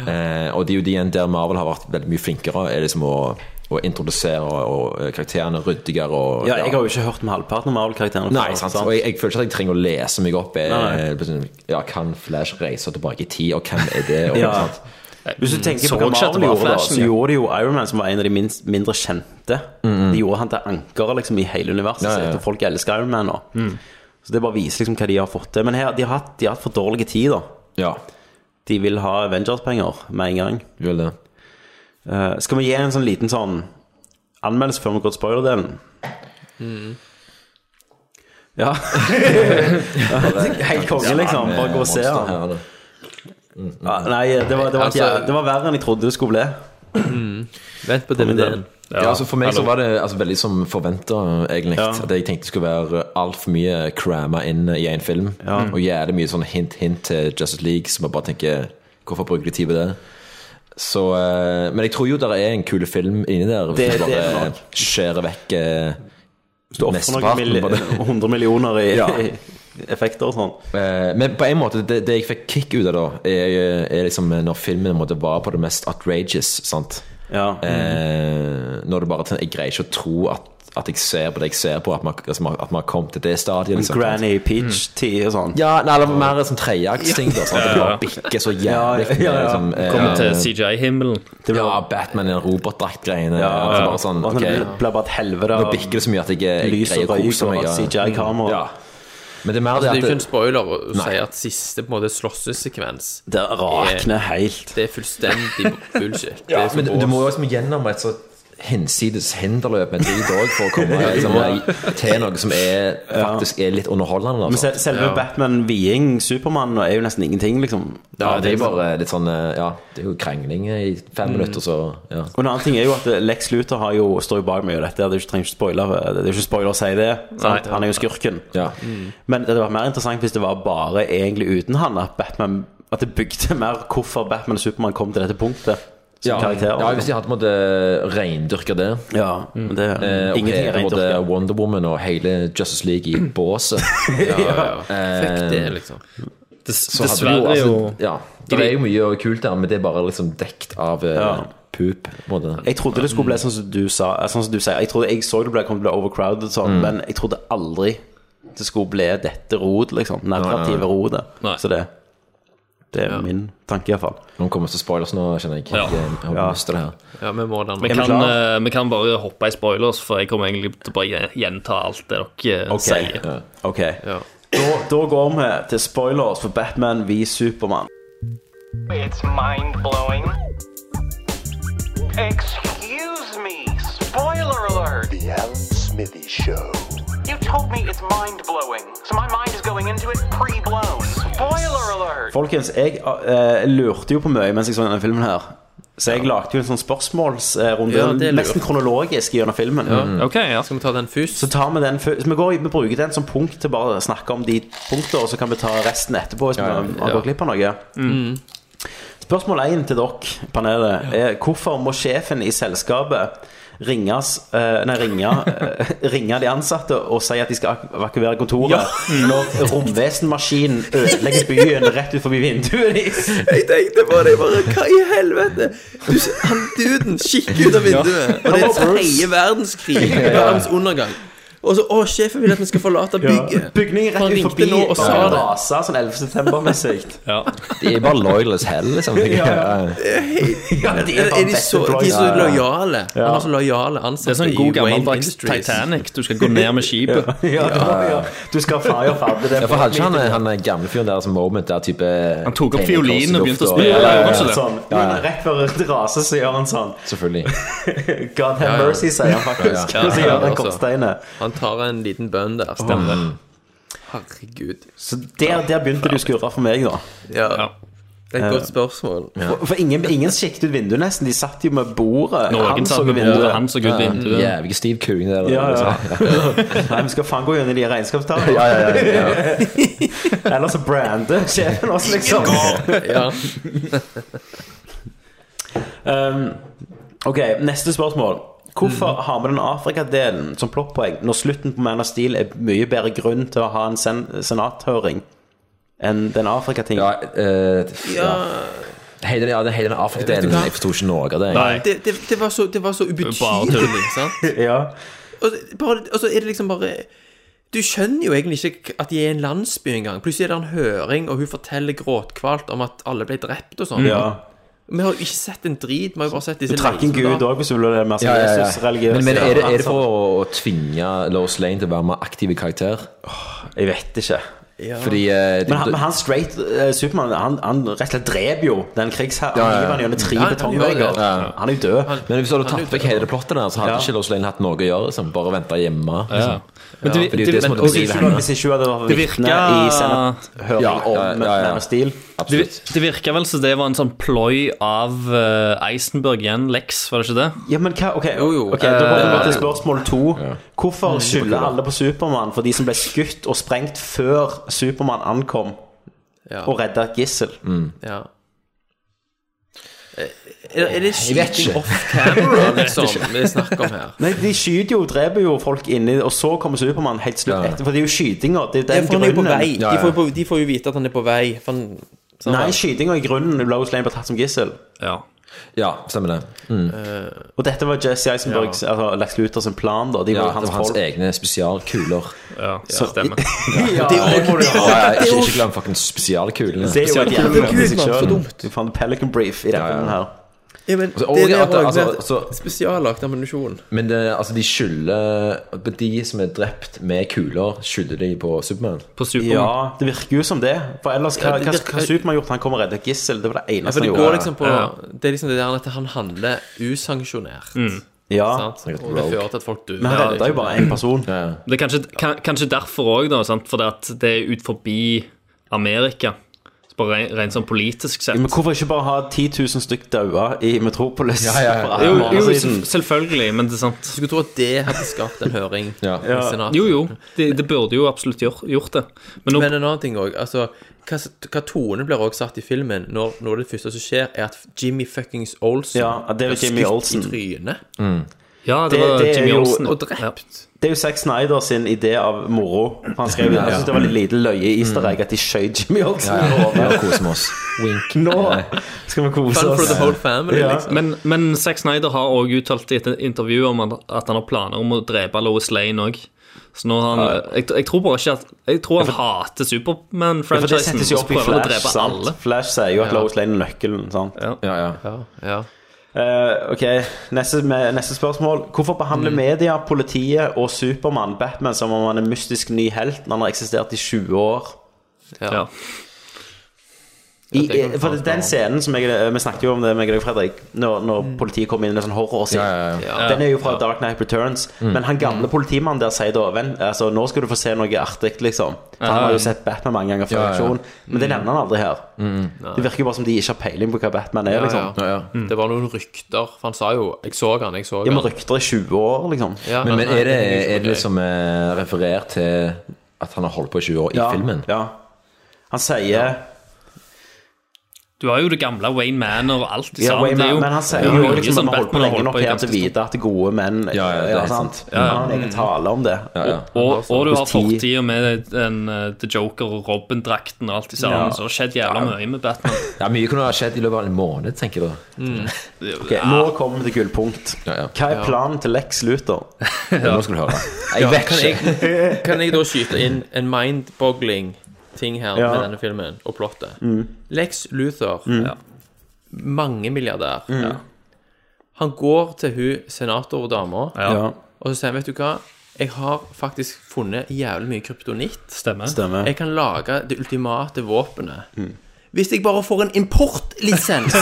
Speaker 9: Eh, og det er jo de igjen der Marvel har vært veldig mye flinkere, er liksom å, å introdusere og, og karakterene ryddigere. Og,
Speaker 1: Ja, jeg har jo ikke hørt om halvparten av Marvel-karakterene.
Speaker 9: Nei,
Speaker 1: før,
Speaker 9: sant. Og jeg, jeg føler ikke at jeg trenger å lese meg opp. Jeg,
Speaker 1: Nei,
Speaker 9: ja, kan Flash reise tilbake i tid, og hvem er det? Og,
Speaker 1: Ja.
Speaker 9: sant?
Speaker 1: Hvis du tenker
Speaker 9: mm, Så
Speaker 1: på hva
Speaker 9: ikke at det
Speaker 1: Marvel
Speaker 9: var
Speaker 1: gjorde, da,
Speaker 9: Flashen,
Speaker 1: så
Speaker 9: ja. Mm,
Speaker 1: gjorde de jo Iron Man, som var en av de minst, mindre kjente. De gjorde han til anker liksom, i hele universet
Speaker 9: Ja, Mm. ja, ja.
Speaker 1: sitt, og folk elsker Iron Man nå. Så det bare viser liksom hva de har fått til. Men her, de har hatt, de har hatt for dårlig tid, da. De vil ha Avengers-penger med en gang. Eh, skal vi gi en sånn liten sånn anmeldelse før vi går til spoiler-delen?
Speaker 9: Mm.
Speaker 1: Ja. Helt konge, liksom. Bare gå og se
Speaker 9: Monster,
Speaker 1: han.
Speaker 9: ja, det.
Speaker 1: Ja, nei, det var, det, var,
Speaker 9: Altså-
Speaker 1: det var verre enn jeg trodde det skulle bli.
Speaker 10: Vent på DVD-en.
Speaker 9: Ja, altså For meg så var det altså, veldig som forventa, egentlig. At jeg tenkte det skulle være altfor mye cramma inn i én film. Og jævlig mye sånn hint-hint til Justice League, som jeg bare tenker Hvorfor bruker de tid på det? Så, eh, men jeg tror jo det er en kul film inni der.
Speaker 1: Det-
Speaker 9: Hvis du
Speaker 1: det er det
Speaker 9: bare
Speaker 1: nok.
Speaker 9: skjærer vekk eh,
Speaker 1: Du ofrer noen
Speaker 9: mesteparten på
Speaker 1: milli-
Speaker 9: det.
Speaker 1: 100 millioner i,
Speaker 9: Ja.
Speaker 1: i effekter og sånn.
Speaker 9: Eh, Men på en måte, det, det jeg fikk kick ut av da, er, er liksom når filmen på en måte var på det mest outrageous. sant?
Speaker 1: Mm.
Speaker 9: Eh, når det bare Jeg greier ikke å tro at, at jeg ser på det jeg ser på, at man, altså, man- at man har kommet til det stadiet. Liksom,
Speaker 1: Granny Peach-tid og sånn.
Speaker 9: Ja, nei, det var mer sånn treaktsting. da, sant? Det bare bikker så jævlig.
Speaker 1: Ja, ja, ja. Kommer til
Speaker 9: CGI-himmelen. Ja, Batman i robotdrakt-greiene.
Speaker 1: Ja,
Speaker 9: og så
Speaker 1: ja.
Speaker 9: bare sånn,
Speaker 1: Og det
Speaker 9: ok.
Speaker 1: ble- ble bare et helvete
Speaker 9: Nå bikker det så mye at jeg, jeg
Speaker 1: lys og
Speaker 9: greier å
Speaker 1: røyk
Speaker 9: kose
Speaker 1: og
Speaker 9: meg. ja.
Speaker 1: CGI-kamera.
Speaker 9: Ja. Men det er mer
Speaker 10: Altså, det er jo
Speaker 9: det
Speaker 10: ikke en
Speaker 9: at
Speaker 10: spoiler å å
Speaker 9: Nei.
Speaker 10: si at siste på en måte slåssesekvens
Speaker 1: Det rakner helt.
Speaker 10: Det er fullstendig bullshit.
Speaker 9: Ja,
Speaker 10: det er så
Speaker 9: men du, du
Speaker 10: bås.
Speaker 9: må jo liksom gjennom et sånt hinsides hinderløp med drit òg for å komme liksom, til noe som er, faktisk er litt underholdende.
Speaker 1: Men
Speaker 9: Altså.
Speaker 1: se- selve Batman Viing Supermann er jo nesten ingenting, liksom.
Speaker 9: Ja, det er jo bare litt sånn eh, Ja, det er jo krangling i fem
Speaker 1: Mm.
Speaker 9: minutter, så ja.
Speaker 1: Og en annen ting er jo at Lex Luthor har jo, står jo bak mye av dette. Det er jo ikke, trenger ikke spoiler, eh, det er jo ikke spoiler å si det. Sant?
Speaker 9: Nei.
Speaker 1: Han er jo skurken.
Speaker 9: Ja.
Speaker 1: Men det hadde vært mer interessant hvis det var bare egentlig uten han at Batman At det bygde mer hvorfor Batman og Supermann kom til dette punktet. Som
Speaker 9: Ja,
Speaker 1: karakterer.
Speaker 9: ja, hvis de hadde på en måte reindyrka det.
Speaker 1: Ja, men det
Speaker 9: Eh, og
Speaker 1: Ingenting er
Speaker 9: hele både
Speaker 1: reindyrka.
Speaker 9: Wonder Woman og hele Justice League i båset. ja,
Speaker 1: ja.
Speaker 10: Fuck det, liksom.
Speaker 9: Så hadde du jo, altså, ja, Det er jo mye kult der, men det er bare liksom dekt av eh,
Speaker 1: Ja.
Speaker 9: pup. på en måte.
Speaker 1: Jeg trodde det skulle bli sånn som du sa eh, Sånn som du sier Jeg trodde jeg så det ble, kom til å bli overcrowded sånn,
Speaker 9: Mm.
Speaker 1: Men jeg trodde aldri det skulle bli dette rod liksom
Speaker 9: Nei, nei.
Speaker 1: Narrative rodet
Speaker 9: Nei.
Speaker 1: Så det, det er min tanke i hvert fall
Speaker 9: Noen kommer til spoilers nå, kjenner jeg.
Speaker 16: Ja.
Speaker 9: Jeg, jeg, jeg har lyst til det her.
Speaker 10: Ja, vi må den.
Speaker 16: Vi
Speaker 10: Er vi
Speaker 16: kan,
Speaker 10: klar?
Speaker 16: eh, vi kan bare hoppe i spoilers, for jeg kommer egentlig til å bare gjenta alt det dere eh,
Speaker 1: Ok.
Speaker 16: sier.
Speaker 1: Ok da, da går vi til spoilers for Batman v Superman
Speaker 2: It's mind blowing. Excuse me. Spoiler alert.
Speaker 8: The Alan Smithy Show.
Speaker 2: You told me it's mind blowing, so my mind is going into it pre blown. Spoiler alert.
Speaker 1: Folkens, jeg eh, lurte jo på mye mens jeg så denne filmen her Så jeg lagde jo en sånn spørsmålsrunde
Speaker 10: Ja, det er lurt.
Speaker 1: Nesten kronologisk gjennom filmen
Speaker 10: Ja. Ok, ja. Skal vi ta den først?
Speaker 1: Så tar vi den før så vi, går, vi bruker den som punkt til bare å snakke om de punkter, og så kan vi ta resten etterpå hvis
Speaker 10: Ja, ja,
Speaker 1: vi
Speaker 10: ja.
Speaker 1: har gått glipp av noe.
Speaker 10: Mm.
Speaker 1: Spørsmål 1 til dere, panelet, er hvorfor må sjefen i selskapet ringes, eh, nei, ringe, eh, ringe de ansatte og si at de skal ak- evakuere kontoret når romvesenmaskinen ødelegger byen rett ut forbi vinduet deres?
Speaker 10: Jeg tenkte på det, bare Hva i helvete? Du, s- han duden kikker ut av vinduet,
Speaker 1: Ja.
Speaker 10: og det er
Speaker 1: Han var
Speaker 10: tredje verdenskrig.
Speaker 1: Ja.
Speaker 10: Verdens undergang. Og så Å, sjefen vil at vi skal forlate bygget.
Speaker 1: Bygningen
Speaker 10: Han
Speaker 1: rett ut
Speaker 10: ringte
Speaker 1: forbi
Speaker 10: nå og sa
Speaker 1: bare
Speaker 10: det.
Speaker 1: rasa sånn 11. september-messig.
Speaker 9: De er bare loyal as hell, liksom.
Speaker 1: Ja. Ja,
Speaker 10: de er, de så, de er så lojale. Han har så lojale ansatte
Speaker 16: Det er sånn
Speaker 10: i
Speaker 16: god
Speaker 10: Wayne
Speaker 16: gammeldags
Speaker 10: Industries.
Speaker 16: Titanic. Du skal gå ned med skipet.
Speaker 1: Ja, det var- ja. Du skal fire og fadde det
Speaker 9: Ja, for hadde ikke han, han er gamle fyren der som moment der type
Speaker 16: Han tok opp
Speaker 9: tegner
Speaker 16: fiolinen og
Speaker 9: korslufta,
Speaker 16: begynte å spille,
Speaker 9: ja, ja,
Speaker 16: var
Speaker 9: ja,
Speaker 16: det ikke det?
Speaker 1: sånn.
Speaker 9: Ja,
Speaker 1: Men
Speaker 9: ja,
Speaker 1: rett før det raser, så gjør han sånn.
Speaker 9: Selvfølgelig.
Speaker 1: God have
Speaker 10: Ja, ja.
Speaker 1: mercy, sier han faktisk. Og så gjør han
Speaker 10: altså.
Speaker 1: kortsteinet.
Speaker 10: Han tar en liten bønn der, stemmer det. Herregud.
Speaker 1: Så der, der begynte du å skurre for meg, da.
Speaker 10: Ja. Det er et godt
Speaker 1: Eh,
Speaker 10: spørsmål.
Speaker 1: For, for ingen, ingen sjekket ut vinduet, nesten. De satt jo med bordet.
Speaker 16: Noen satt med bordet, han så ut
Speaker 1: Ja, ja.
Speaker 16: vinduet.
Speaker 1: Ja,
Speaker 9: Jævlig stiv kuring det der.
Speaker 1: ja,
Speaker 9: liksom.
Speaker 1: ja. Nei, vi skal faen gå gjennom de regnskapstallene.
Speaker 9: Ja, ja, ja,
Speaker 1: Eller så brander sjefen oss, liksom.
Speaker 10: Ja.
Speaker 1: Um, ok, neste spørsmål. Hvorfor
Speaker 9: Mm.
Speaker 1: har vi den Afrika-delen som plottpoeng når slutten på Man of Steel er mye bedre grunn til å ha en sen senathøring enn den Afrika-tingen?
Speaker 9: Ja, eh, ja. Hele, ja, det- hele den
Speaker 10: Vet
Speaker 9: Afrika-delen
Speaker 10: du hva?
Speaker 9: Jeg forsto ikke noe av det. jeg.
Speaker 10: Det, det, det, var så, det var så ubetydelig, sant?
Speaker 1: ja.
Speaker 10: Og, så- bare, og så er det liksom bare Du skjønner jo egentlig ikke at de er i en landsby engang. Plutselig er det en høring, og hun forteller gråtkvalt om at alle ble drept og sånn.
Speaker 9: Mm.
Speaker 1: Ja.
Speaker 10: Vi har jo ikke sett en drit. Vi har jo bare sett
Speaker 1: Du
Speaker 10: disse
Speaker 1: trakk en gud
Speaker 10: leirsoldatene.
Speaker 1: òg, hvis du ville det mer sånn
Speaker 9: Ja, ja, ja.
Speaker 1: Jesus-religiøse.
Speaker 9: Men, men er, det, er det for å, å tvinge Lois Lane til å være mer aktiv i karakter?
Speaker 1: Jeg vet ikke.
Speaker 9: Fordi, eh, det-
Speaker 1: men, han, men han straight eh, Superman han, han rett og slett dreper jo den krigsherren.
Speaker 9: Ja,
Speaker 1: Han
Speaker 9: ja.
Speaker 1: hiver han gjennom tre
Speaker 9: Ja, han gjør
Speaker 1: betongvegger.
Speaker 9: det. Ja.
Speaker 1: Han er jo død.
Speaker 9: Men hvis du hadde tatt vekk hele det plottet der, så hadde
Speaker 1: Ja.
Speaker 9: ikke Lois Lane hatt noe å gjøre. Liksom. Bare venta
Speaker 1: Ja.
Speaker 9: hjemme. Liksom.
Speaker 1: Men det-
Speaker 9: Fordi er
Speaker 1: det-
Speaker 9: som
Speaker 1: men-
Speaker 9: hadde
Speaker 1: og hvis
Speaker 9: drevet
Speaker 1: hun-
Speaker 9: henne.
Speaker 1: hvis ikke hun hadde vært Det vitne virker- i Senate-høring om Man of Steel.
Speaker 16: Det, det virker vel som det var en sånn ploy av eh, Eisenberg igjen, Lex, var det ikke det?
Speaker 1: Ja, men hva Ok, ok,
Speaker 16: Eh,
Speaker 1: da går vi
Speaker 16: ja.
Speaker 1: til spørsmål to. Hvorfor
Speaker 16: Mm.
Speaker 1: skylder alle på Supermann for de som ble skutt og sprengt før Supermann ankom og redda et gissel?
Speaker 9: Mm.
Speaker 10: Ja. Eh, Er, er det
Speaker 1: Jeg vet
Speaker 10: skyting
Speaker 1: ikke.
Speaker 10: off camera, liksom, det er snakk om her?
Speaker 1: Nei, de skyter jo, dreper jo folk inni, og så kommer Supermann helt slutt etter. For det er jo skytinger. Det er
Speaker 10: Ja,
Speaker 1: den
Speaker 10: for han er jo på
Speaker 1: grunnen.
Speaker 10: vei. De får, jo på- de får jo vite at han er på vei. For han, sånn så han-
Speaker 1: Nei, skytinga i grunnen Lois Lane ble tatt som gissel.
Speaker 16: Ja.
Speaker 9: stemmer det.
Speaker 1: Og dette var Jesse Eisenbergs altså Lex Luthers sin plan, da. De
Speaker 9: Ja,
Speaker 1: var jo
Speaker 9: det
Speaker 1: hans
Speaker 9: var hans
Speaker 1: folk.
Speaker 9: egne spesialkuler.
Speaker 16: Ja,
Speaker 1: Så- stemmer.
Speaker 9: ja,
Speaker 1: Ja, det er jo-
Speaker 9: må du ha.
Speaker 1: det er jo-
Speaker 9: Ikke, ikke glem fucking spesialkulene.
Speaker 1: Det er jo et
Speaker 9: Spesialkulene.
Speaker 1: jævlig
Speaker 10: Gud,
Speaker 1: i seg
Speaker 10: mann, så
Speaker 1: selv.
Speaker 10: dumt.
Speaker 1: Du fant Pelican Brief i denne filmen her.
Speaker 10: Ja, men
Speaker 9: Altså, og
Speaker 10: det er det
Speaker 9: at det-
Speaker 10: også,
Speaker 9: altså,
Speaker 10: med Spesiallagt ammunisjon.
Speaker 9: Men det, altså, de skylder De som er drept med kuler, skylder de på Supermann.
Speaker 16: På
Speaker 1: Ja, det virker jo som det. For ellers, hva,
Speaker 10: Ja, det
Speaker 1: hva,
Speaker 10: virker-
Speaker 1: hva Supermann gjort? Han kommer og redder et gissel. Det var det
Speaker 10: Ja, for
Speaker 1: eneste
Speaker 10: det
Speaker 1: han
Speaker 10: går
Speaker 1: gjorde.
Speaker 10: liksom på Det er liksom det der at han handler usanksjonert.
Speaker 16: Mm.
Speaker 1: Ja.
Speaker 10: Sant? Og det fører til at folk dør.
Speaker 16: Men han redder jo bare
Speaker 1: en person.
Speaker 16: Det er kanskje, kan, kanskje derfor òg, da. Sant? Fordi at det er ut forbi Amerika. Så Bare rent rent sånn politisk
Speaker 1: Ja,
Speaker 16: sett.
Speaker 1: Men hvorfor ikke bare ha 10 000 stykk daua i Metropolis? for alle
Speaker 16: Jo, jo,
Speaker 1: måneder siden?
Speaker 16: selv- Altså, selvfølgelig, men det er sant.
Speaker 10: Du skulle tro at det hadde skapt en høring.
Speaker 9: Ja.
Speaker 10: i Senatet.
Speaker 16: Jo, jo. Det, det burde jo absolutt gjør, gjort det. Men,
Speaker 10: en annen ting òg. Altså, hva, hva tone blir også satt i filmen når, når det første som skjer, er at Jimmy fuckings Olsen
Speaker 1: Ja, det er jo
Speaker 10: blir
Speaker 1: Jimmy
Speaker 10: skutt
Speaker 1: Olsen.
Speaker 10: i trynet.
Speaker 16: Ja, det,
Speaker 1: Det-
Speaker 16: var
Speaker 1: det er
Speaker 16: Jimmy
Speaker 1: jo-
Speaker 16: Olsen.
Speaker 1: og
Speaker 10: drept.
Speaker 1: Det er jo Zack Snyder sin idé av moro. For Han skrev, jeg synes det var litt lite løye i easter egg at de skjøt Jimmy Olsen.
Speaker 9: Ja,
Speaker 1: i
Speaker 9: ja.
Speaker 1: hodet.
Speaker 9: Vi koser med oss. Wink.
Speaker 1: Nå skal vi kose oss. Ja.
Speaker 10: liksom.
Speaker 16: Men, men Zack Snyder har også uttalt i et intervju om at at han har planer om å drepe Lois Lane òg. Så nå har han jeg, jeg tror bare ikke at Jeg tror han hater
Speaker 1: Ja, for det
Speaker 16: Superman-franchisen.
Speaker 1: settes jo
Speaker 16: og så
Speaker 1: opp i
Speaker 16: prøver han å
Speaker 1: Flash.
Speaker 16: drepe
Speaker 1: sant?
Speaker 16: alle.
Speaker 1: Flash sier jo at
Speaker 16: Ja.
Speaker 1: Lois Lane er nøkkelen. Sant?
Speaker 9: Ja, ja.
Speaker 1: Eh, ok, neste, med, neste spørsmål. Hvorfor behandler
Speaker 9: Mm.
Speaker 1: media, politiet og Supermann Batman som om han er en mystisk ny helt når han har eksistert i 20 år?
Speaker 16: Ja.
Speaker 1: I, eh, for det, Den scenen som jeg, eh, vi snakket jo om det med deg, Fredrik, når, når politiet kom inn med sånn horrorscene,
Speaker 9: Ja, ja, Mm. ja.
Speaker 1: den er jo fra Dark Knight Returns.
Speaker 9: Mm.
Speaker 1: Men han gamle politimannen der sier da Venn, altså, nå skal du få se noe artig, liksom. For han
Speaker 9: Ja,
Speaker 1: har jo
Speaker 9: ja.
Speaker 1: sett Batman mange ganger før i
Speaker 9: Ja, ja.
Speaker 1: aksjon, men det nevner han aldri her.
Speaker 9: Mm.
Speaker 1: Det virker jo bare som de ikke har peiling på hva Batman er, liksom.
Speaker 10: Ja, ja. Det var noen rykter, for han sa jo 'Jeg så han, jeg så
Speaker 1: Ja,
Speaker 10: han'.
Speaker 1: men rykter i 20 år, liksom.
Speaker 10: Ja,
Speaker 9: Men, men
Speaker 10: nei,
Speaker 9: er det,
Speaker 10: det er
Speaker 9: er det liksom eh, referert til at han har holdt på i 20 år i
Speaker 1: Ja,
Speaker 9: filmen?
Speaker 1: Ja. Han sier
Speaker 16: Du har jo det gamle Wayne Manor og alt
Speaker 1: ja,
Speaker 16: sammen.
Speaker 1: Wayman,
Speaker 16: det er jo,
Speaker 1: men han sier
Speaker 16: det er
Speaker 1: jo
Speaker 16: mye
Speaker 1: liksom
Speaker 16: som
Speaker 1: at vi holdt på
Speaker 16: Batman har
Speaker 1: lenge nok
Speaker 16: i
Speaker 1: her
Speaker 16: ganske
Speaker 1: til å vite at gode menn
Speaker 9: Ja, ja, det er helt
Speaker 1: sant.
Speaker 9: sant. Ja, ja.
Speaker 1: Han har en egen tale om det.
Speaker 16: Og, og du har
Speaker 1: Hos altså, ti-
Speaker 16: fortida med den, eh, The Joker og Robin-drakten og alt i sammen.
Speaker 9: Ja.
Speaker 16: Så det har skjedd jævla mye med Batman.
Speaker 9: Ja, Mye kunne ha skjedd i løpet av en måned, tenker jeg da.
Speaker 1: Ok, Nå kommer vi til gullpunkt. Hva er
Speaker 9: Ja.
Speaker 1: planen til Lex Luthor?
Speaker 9: Nå skal du høre. Jeg
Speaker 10: Ja,
Speaker 9: vet
Speaker 10: kan
Speaker 9: ikke.
Speaker 10: jeg, kan jeg da skyte inn en mind-boggling ting her
Speaker 1: Ja.
Speaker 10: med denne filmen og plottet?
Speaker 1: Mm.
Speaker 10: Lex Luthor,
Speaker 1: Mm.
Speaker 10: ja. mange milliardær,
Speaker 1: Mm.
Speaker 10: ja. han går til hun senatordama,
Speaker 1: Ja.
Speaker 10: og så sier han, vet du hva, jeg har faktisk funnet jævlig mye kryptonitt.
Speaker 16: Stemmer.
Speaker 1: Stemmer. Mm.
Speaker 10: Jeg kan lage det ultimate våpenet. Hvis jeg bare får en importlisens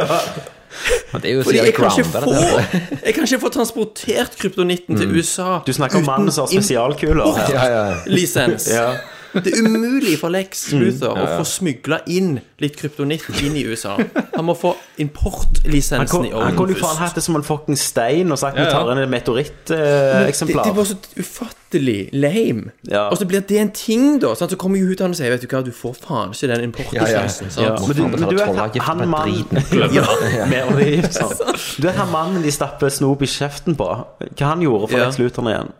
Speaker 9: Det er jo så
Speaker 10: Fordi jeg
Speaker 9: jævlig
Speaker 10: kan ikke
Speaker 9: grounded,
Speaker 10: få
Speaker 9: dette.
Speaker 10: Jeg kan ikke få transportert kryptonitten til USA
Speaker 1: Mm. Du snakker om mannen som har spesialkuler. her.
Speaker 10: lisens.
Speaker 1: Ja.
Speaker 10: Det er umulig for Lex
Speaker 1: Mm.
Speaker 10: Luthor
Speaker 1: Ja, ja.
Speaker 10: å få smugla inn litt kryptonitt inn i USA. Han må få importlisensen
Speaker 1: Han kom-
Speaker 10: i
Speaker 1: han
Speaker 10: orden
Speaker 1: kunne jo faen hatt det som en fucking stein og sagt vi
Speaker 10: Ja, ja.
Speaker 1: tar eh, inn et
Speaker 10: Men Det, det
Speaker 1: meteoritt-eksemplar.
Speaker 10: var så ufattelig lame.
Speaker 1: Ja.
Speaker 10: Og så blir det en ting, da. Sant? Så kommer jo hun til han og sier Vet du hva, du får faen ikke den importlisensen. sant?
Speaker 1: Ja, Men du, men du vet, han- han mannen Ja, med oljegift, sant. Du vet han mannen de stapper snop i kjeften på? Hva han gjorde for
Speaker 10: Ja.
Speaker 1: Lex Luthor igjen?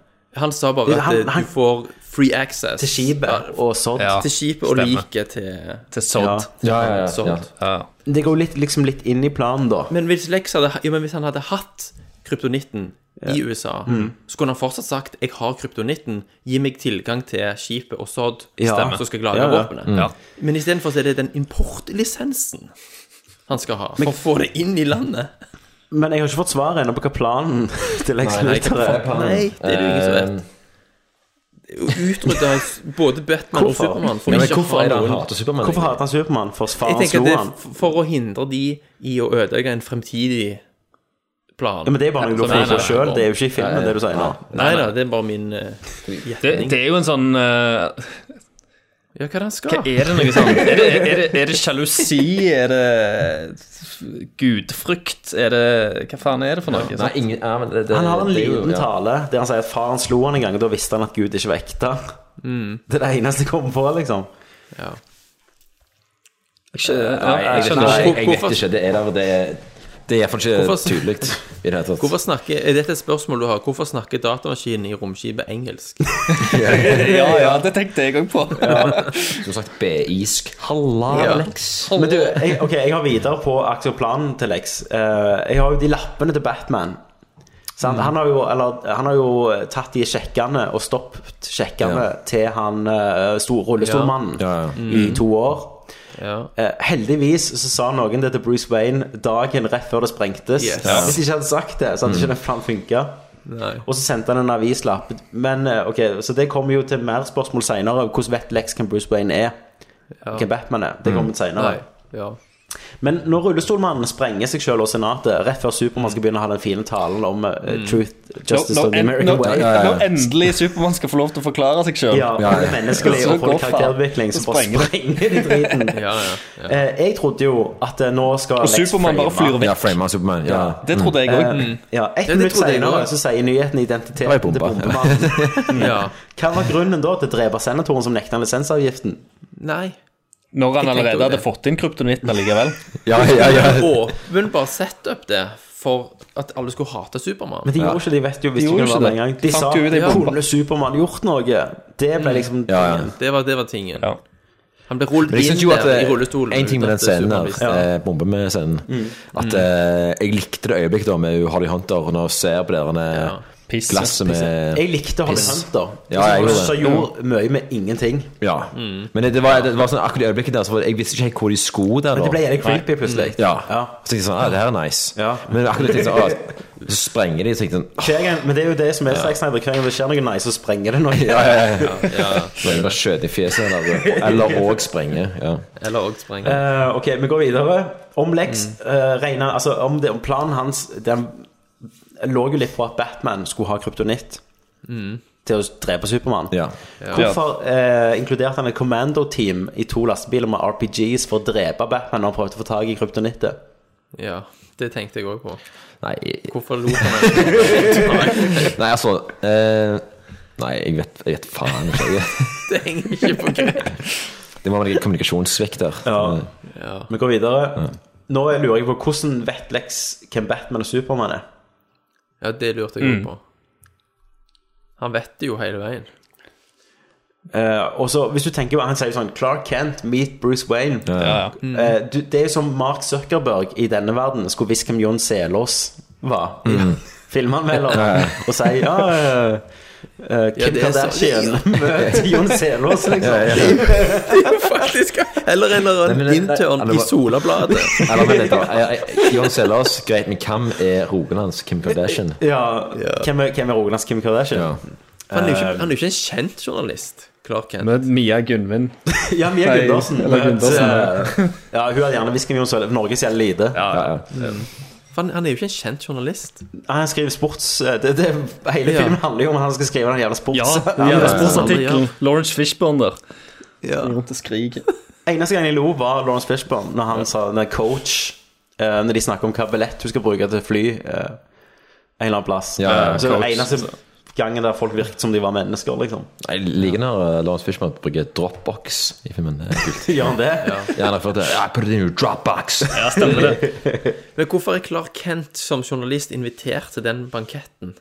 Speaker 10: Han sa bare at
Speaker 1: Han-
Speaker 10: eh,
Speaker 1: han-
Speaker 10: du får free access
Speaker 1: Til skipet og sodd.
Speaker 10: til skipet og liket til
Speaker 16: Til
Speaker 1: sodd. Ja. Ja, ja, ja,
Speaker 10: Sodd.
Speaker 1: ja. Det går jo litt, liksom litt inn i planen, da.
Speaker 10: Men hvis Lex hadde, jo, men hvis han hadde hatt kryptonitten i USA,
Speaker 1: Mm.
Speaker 10: så kunne han fortsatt sagt 'Jeg har kryptonitten, gi meg tilgang til skipet og sodd,
Speaker 1: Ja.
Speaker 10: stemmer, så skal jeg lage
Speaker 1: Ja, ja.
Speaker 10: våpenet'.
Speaker 1: Mm. Ja.
Speaker 10: Men istedenfor så er det den importlisensen han skal ha, for å få det inn i landet.
Speaker 1: Men jeg har ikke fått svaret ennå på hva planen til Lex
Speaker 10: Nei, nei,
Speaker 1: Luthor
Speaker 10: hva faen
Speaker 1: er.
Speaker 9: Eh,
Speaker 10: planen? Nei, det er det jo ingen som vet. utrydda både Batman og Supermann.
Speaker 1: Men Eh. hvorfor er det han
Speaker 10: noen-
Speaker 1: hater Superman? Hvorfor hater han Superman? For
Speaker 10: Jeg
Speaker 1: faren
Speaker 10: tenker
Speaker 1: slo
Speaker 10: at det
Speaker 1: han.
Speaker 10: er f- for å hindre de i å ødelegge en fremtidig plan.
Speaker 1: Ja, men det er bare noe du
Speaker 10: Så-
Speaker 1: får
Speaker 10: Nei, nei,
Speaker 1: for selv,
Speaker 10: nei.
Speaker 1: det er jo ikke i filmen,
Speaker 10: Nei,
Speaker 1: det du sier nå.
Speaker 10: Nei da, det er bare min eh,
Speaker 16: Det,
Speaker 10: gjetning.
Speaker 16: det er jo en sånn eh,
Speaker 10: Ja, hva er det han skal?
Speaker 16: Hva er det noe sånn? Er det, er det, er det sjalusi? Er det gudfrykt? Er det Hva faen er det for noe?
Speaker 1: Ja,
Speaker 16: sant?
Speaker 1: nei, han har en
Speaker 16: det er jo-
Speaker 1: liten
Speaker 16: ja.
Speaker 1: tale der han sier at faren slo han en gang, og da visste han at Gud ikke var ekte. Det er det eneste jeg kommer på, liksom.
Speaker 10: Ja.
Speaker 9: Ikke, nei,
Speaker 1: ja,
Speaker 9: jeg,
Speaker 1: jeg skjønner.
Speaker 9: skjønner ikke. Jeg vet
Speaker 10: Hvorfor-
Speaker 9: ikke. Det er der, det er, det er iallfall ikke
Speaker 10: Hvorfor-
Speaker 9: tydelig i det hele tatt.
Speaker 10: Hvorfor snakker, er dette et spørsmål du har? Hvorfor snakker datamaskinen i romskipet engelsk?
Speaker 9: Ja, ja,
Speaker 10: det tenkte jeg òg på.
Speaker 9: Som sagt, BI-sk.
Speaker 1: Halla,
Speaker 9: Ja.
Speaker 1: Men du, jeg, ok, jeg har videre på aktieplanen til Lex. Eh, jeg har jo de lappene til Batman. Sant?
Speaker 10: Mm.
Speaker 1: Han, har jo, eller, han har jo tatt de sjekkene og stoppet sjekkene
Speaker 10: Ja.
Speaker 1: til han eh, stor, rullestolmannen
Speaker 10: Ja. Ja, ja.
Speaker 1: i
Speaker 10: Mm.
Speaker 1: to år. Eh, heldigvis så sa noen det til Bruce Wayne dagen rett før det sprengtes.
Speaker 10: Yes. Ja. Mm.
Speaker 1: Hvis de ikke hadde sagt det, så hadde ikke den planen funka.
Speaker 10: Nei.
Speaker 1: Og så sendte han en avislapp. Men eh, ok, Så det kommer jo til mer spørsmål seinere. Hvordan vet Lex hvem Bruce Wayne er? Hvem Batman er? Det kommer senere.
Speaker 10: Nei, ja.
Speaker 1: Men når rullestolmannen sprenger seg selv og senatet rett før Supermann skal begynne å ha den fine talen om eh, truth, justice
Speaker 16: Når-
Speaker 1: of the
Speaker 16: når en-
Speaker 1: American
Speaker 16: når-
Speaker 1: way
Speaker 16: Når endelig Supermann skal få lov til å forklare seg sjøl.
Speaker 1: Ja, for det menneskelige og for karakterutvikling som bare sprenger de driten. Eh, Jeg trodde jo at eh, nå skal
Speaker 16: Og
Speaker 1: Lex
Speaker 16: Superman bare
Speaker 1: frame-
Speaker 16: flyr vekk.
Speaker 9: Ja, frame av Superman. Ja.
Speaker 16: Det trodde jeg
Speaker 1: Eh,
Speaker 16: Mm. òg.
Speaker 1: Ja, ett
Speaker 16: Ja, det
Speaker 1: minutt
Speaker 16: trodde jeg
Speaker 1: senere
Speaker 16: også.
Speaker 1: så sier nyheten identiteten
Speaker 9: Det
Speaker 1: til
Speaker 9: var jo bomba.
Speaker 1: bombemannen.
Speaker 10: Ja.
Speaker 1: Hva var grunnen da til å drepe senatoren som nekta lisensavgiften?
Speaker 10: Nei.
Speaker 16: Når han
Speaker 10: Jeg tenkte
Speaker 16: allerede
Speaker 10: jo
Speaker 16: hadde
Speaker 10: det.
Speaker 16: fått inn kryptonitten allikevel.
Speaker 10: Åpenbar setup, det, for at alle skulle hate Supermann.
Speaker 1: Men de gjorde ikke det, de vet jo hvis de kunne være med en gang. De sa kunne Supermann gjort noe? Det ble liksom
Speaker 10: Det var, det var tingen. Han ble rullet
Speaker 9: Men jeg
Speaker 10: inn
Speaker 9: synes jo at
Speaker 10: der i
Speaker 9: eh,
Speaker 10: rullestolen.
Speaker 9: En ting med den
Speaker 10: uten at
Speaker 9: scenen der,
Speaker 10: Superman visste.
Speaker 9: eh, bombe med scenen
Speaker 10: Mm.
Speaker 9: At eh, jeg likte det øyeblikket da med Holly Hunter Når hun ser på det derne glasset med
Speaker 1: Jeg likte Holly
Speaker 9: piss.
Speaker 1: Hunter.
Speaker 9: Ja, jeg gjorde det.
Speaker 1: Som gjorde mye med ingenting.
Speaker 9: Ja. Men det, det, var, det var sånn akkurat det øyeblikket der så var det, Jeg visste ikke helt hvor de sko der
Speaker 1: Men det
Speaker 9: da.
Speaker 1: ble jævlig creepy
Speaker 9: Nei.
Speaker 1: plutselig.
Speaker 9: Ja, Så tenkte jeg sånn, ah, det her er nice Men akkurat det tenkte jeg sånn, ah, Så sprenger de, så tenkte jeg sånn,
Speaker 1: Hver gang, men det er jo det som er Zack Snyder. Hver gang det skjer noe nice, så sprenger det noe.
Speaker 9: Ja, ja, ja, ja. Så jeg bare skjøt i fjeset eller, eller og sprenge ja.
Speaker 10: Eller òg sprenge.
Speaker 1: Eh, ok, vi går videre. Om Lex
Speaker 9: Mm.
Speaker 1: eh, regner Altså, om, det, om planen hans Den lå jo litt på at Batman skulle ha kryptonitt
Speaker 9: Mm.
Speaker 1: til å drepe Supermann.
Speaker 10: Ja.
Speaker 1: Hvorfor eh, inkluderte han et commando-team i to lastebiler med RPGs for å drepe Batman når han prøvde å få tak i kryptonittet?
Speaker 10: Ja, det tenkte jeg òg på.
Speaker 9: Nei
Speaker 10: Hvorfor lot han det?
Speaker 9: Nei, altså eh, Nei, jeg vet, jeg vet faen ikke. Jeg,
Speaker 10: Det henger ikke på greip.
Speaker 9: det må være en kommunikasjonssvikt der.
Speaker 1: Mm.
Speaker 9: Eh,
Speaker 10: Ja.
Speaker 1: Vi går videre. Nå lurer jeg på hvordan vet Lex hvem Batman og Supermann er?
Speaker 10: Ja, det lurte jeg
Speaker 1: Mm.
Speaker 10: òg på. Han vet det jo hele veien.
Speaker 1: Eh, og så hvis du tenker på Han sier sånn Clark Kent, meet Bruce Wayne.
Speaker 10: ja. Mm.
Speaker 1: Eh, du, det er jo som Mark Zuckerberg i denne verden skulle visst hvem Jon Selås var.
Speaker 9: Mm.
Speaker 1: Filmanmelder.
Speaker 9: Ja, ja.
Speaker 1: og sier ja eh, eh, Kim
Speaker 10: det er så-
Speaker 1: Kardashian møter Jon Selås, liksom.
Speaker 9: Ja, ja,
Speaker 10: Det er jo faktisk Eller en eller annen intern i Solabladet.
Speaker 9: Eller vent litt, da. Jeg- jeg- Jon Selås, greit, men hvem er rogen hans? Kim Kardashian?
Speaker 1: Ja, Hvem er, hvem er Rogalands Kim Kardashian?
Speaker 10: Han er
Speaker 1: Eh.
Speaker 10: jo ikke, han er jo ikke en kjent journalist, Clark Kent.
Speaker 16: Med Mia Gunvin.
Speaker 1: Ja, Mia
Speaker 16: Nei,
Speaker 1: Gundersen.
Speaker 16: eller
Speaker 1: møter-
Speaker 16: Gundersen,
Speaker 1: ja, hun hadde gjerne visst hvem Jon Selås Norges gjelder lite.
Speaker 10: For han, han er jo ikke en kjent journalist.
Speaker 1: Han skriver sports eh, det, det, Hele
Speaker 10: Ja.
Speaker 1: filmen handler jo om at han skal skrive den jævla sports...
Speaker 16: Ja,
Speaker 1: den jævla
Speaker 16: sportsartikkel. Lawrence Fishburne der.
Speaker 10: Ja.
Speaker 16: Rundt og skriker.
Speaker 1: Eneste gang jeg lo, var Lawrence Fishburne når han sa når coach eh, Når de snakker om hva billett hun skal bruke til fly eh, en eller annen plass.
Speaker 9: Ja, ja,
Speaker 1: så
Speaker 9: coach.
Speaker 1: det eneste gangen der folk virket som de var mennesker, liksom.
Speaker 9: Jeg liker når eh, Lawrence Fishman bruker dropbox i filmen. Det er kult.
Speaker 1: Gjør han det?
Speaker 9: Ja, han har fått det. I put it in your dropbox.
Speaker 16: Ja, stemmer det.
Speaker 10: Men hvorfor er Clark Kent som journalist invitert til den banketten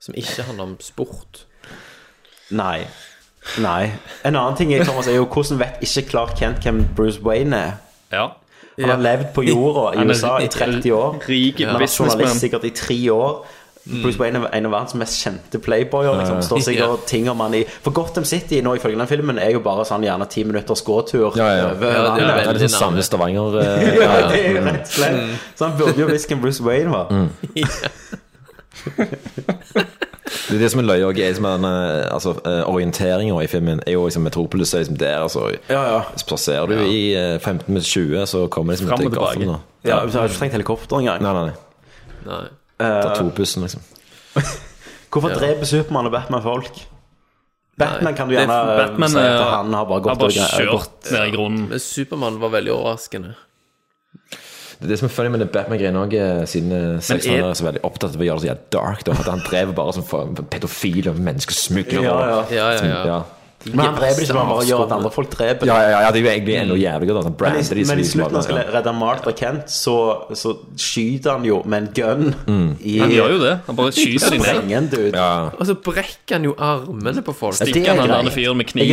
Speaker 10: som ikke handler om sport?
Speaker 1: Nei. Nei. En annen ting er, Thomas, er jo hvordan vet ikke Clark Kent hvem Bruce Wayne er?
Speaker 16: Ja.
Speaker 1: Han har levd på jorda i
Speaker 16: Han er
Speaker 1: USA i 30 år.
Speaker 16: rik
Speaker 1: Han har vært
Speaker 16: businessman. Mm.
Speaker 1: journalist sikkert i tre år. Bruce Wayne er en av verdens mest kjente playboyer.
Speaker 9: Ja, ja.
Speaker 1: Liksom. Står sikkert
Speaker 9: Ja.
Speaker 1: og ting om han i For Gotham City nå ifølge den filmen er jo bare sånn gjerne ti minutters gåtur.
Speaker 9: Ja, ja.
Speaker 1: over
Speaker 9: Ja, det
Speaker 1: landet.
Speaker 9: er litt sånn samme Stavanger. eh,
Speaker 1: ja, det er jo rett og slett.
Speaker 16: Mm.
Speaker 9: Mm.
Speaker 1: Så han burde jo visst hvem Bruce Wayne var.
Speaker 9: Det er det som er løye òg. Altså, Orienteringa i filmen er jo liksom Metropolis er liksom der. Altså,
Speaker 1: ja, ja.
Speaker 9: Så plasserer du i eh, 15 minutter 20, så kommer det liksom
Speaker 1: Fram og
Speaker 9: til
Speaker 1: tilbake.
Speaker 9: gaffelen. da.
Speaker 1: Ja, så har jeg ikke trengt helikopter engang.
Speaker 9: Nei, nei, nei.
Speaker 10: Nei.
Speaker 1: Eh,
Speaker 9: Ta tobussen, liksom.
Speaker 1: Hvorfor
Speaker 9: Ja.
Speaker 1: dreper Supermann og Batman folk? Batman kan du gjerne
Speaker 16: Det er- Batman
Speaker 1: si at
Speaker 16: er-
Speaker 1: han har bare gått
Speaker 16: har bare
Speaker 1: og gre-
Speaker 16: kjørt
Speaker 1: gått-
Speaker 16: ned i grunnen.
Speaker 10: Men Supermann var veldig overraskende.
Speaker 9: Det er det som er funny med det Batman-greiene òg, siden eh, Sexton
Speaker 10: er-
Speaker 9: er så veldig opptatt av å gjøre det så jævlig dark. Da, at han drev bare som for- pedofil og
Speaker 1: Ja,
Speaker 9: menneskesmugler.
Speaker 1: ja.
Speaker 9: og-
Speaker 1: Ja, ja, ja.
Speaker 9: Som,
Speaker 1: Men han dreper ikke, han bare gjør at andre folk dreper.
Speaker 9: Ja, ja, ja, ja, det er jo egentlig enda jævligere. Da, sånn
Speaker 1: Men
Speaker 9: brander de
Speaker 1: i, men i
Speaker 9: som-
Speaker 1: slutten, når han skal redde Martha Kent, så, så skyter han jo med en gun.
Speaker 9: Mm.
Speaker 1: i-
Speaker 16: Han gjør jo det. Han bare skyter de ned.
Speaker 1: Sprenger en dude.
Speaker 10: Og så Altså, brekker han jo armene på folk.
Speaker 1: Ja, det er greit. Jeg er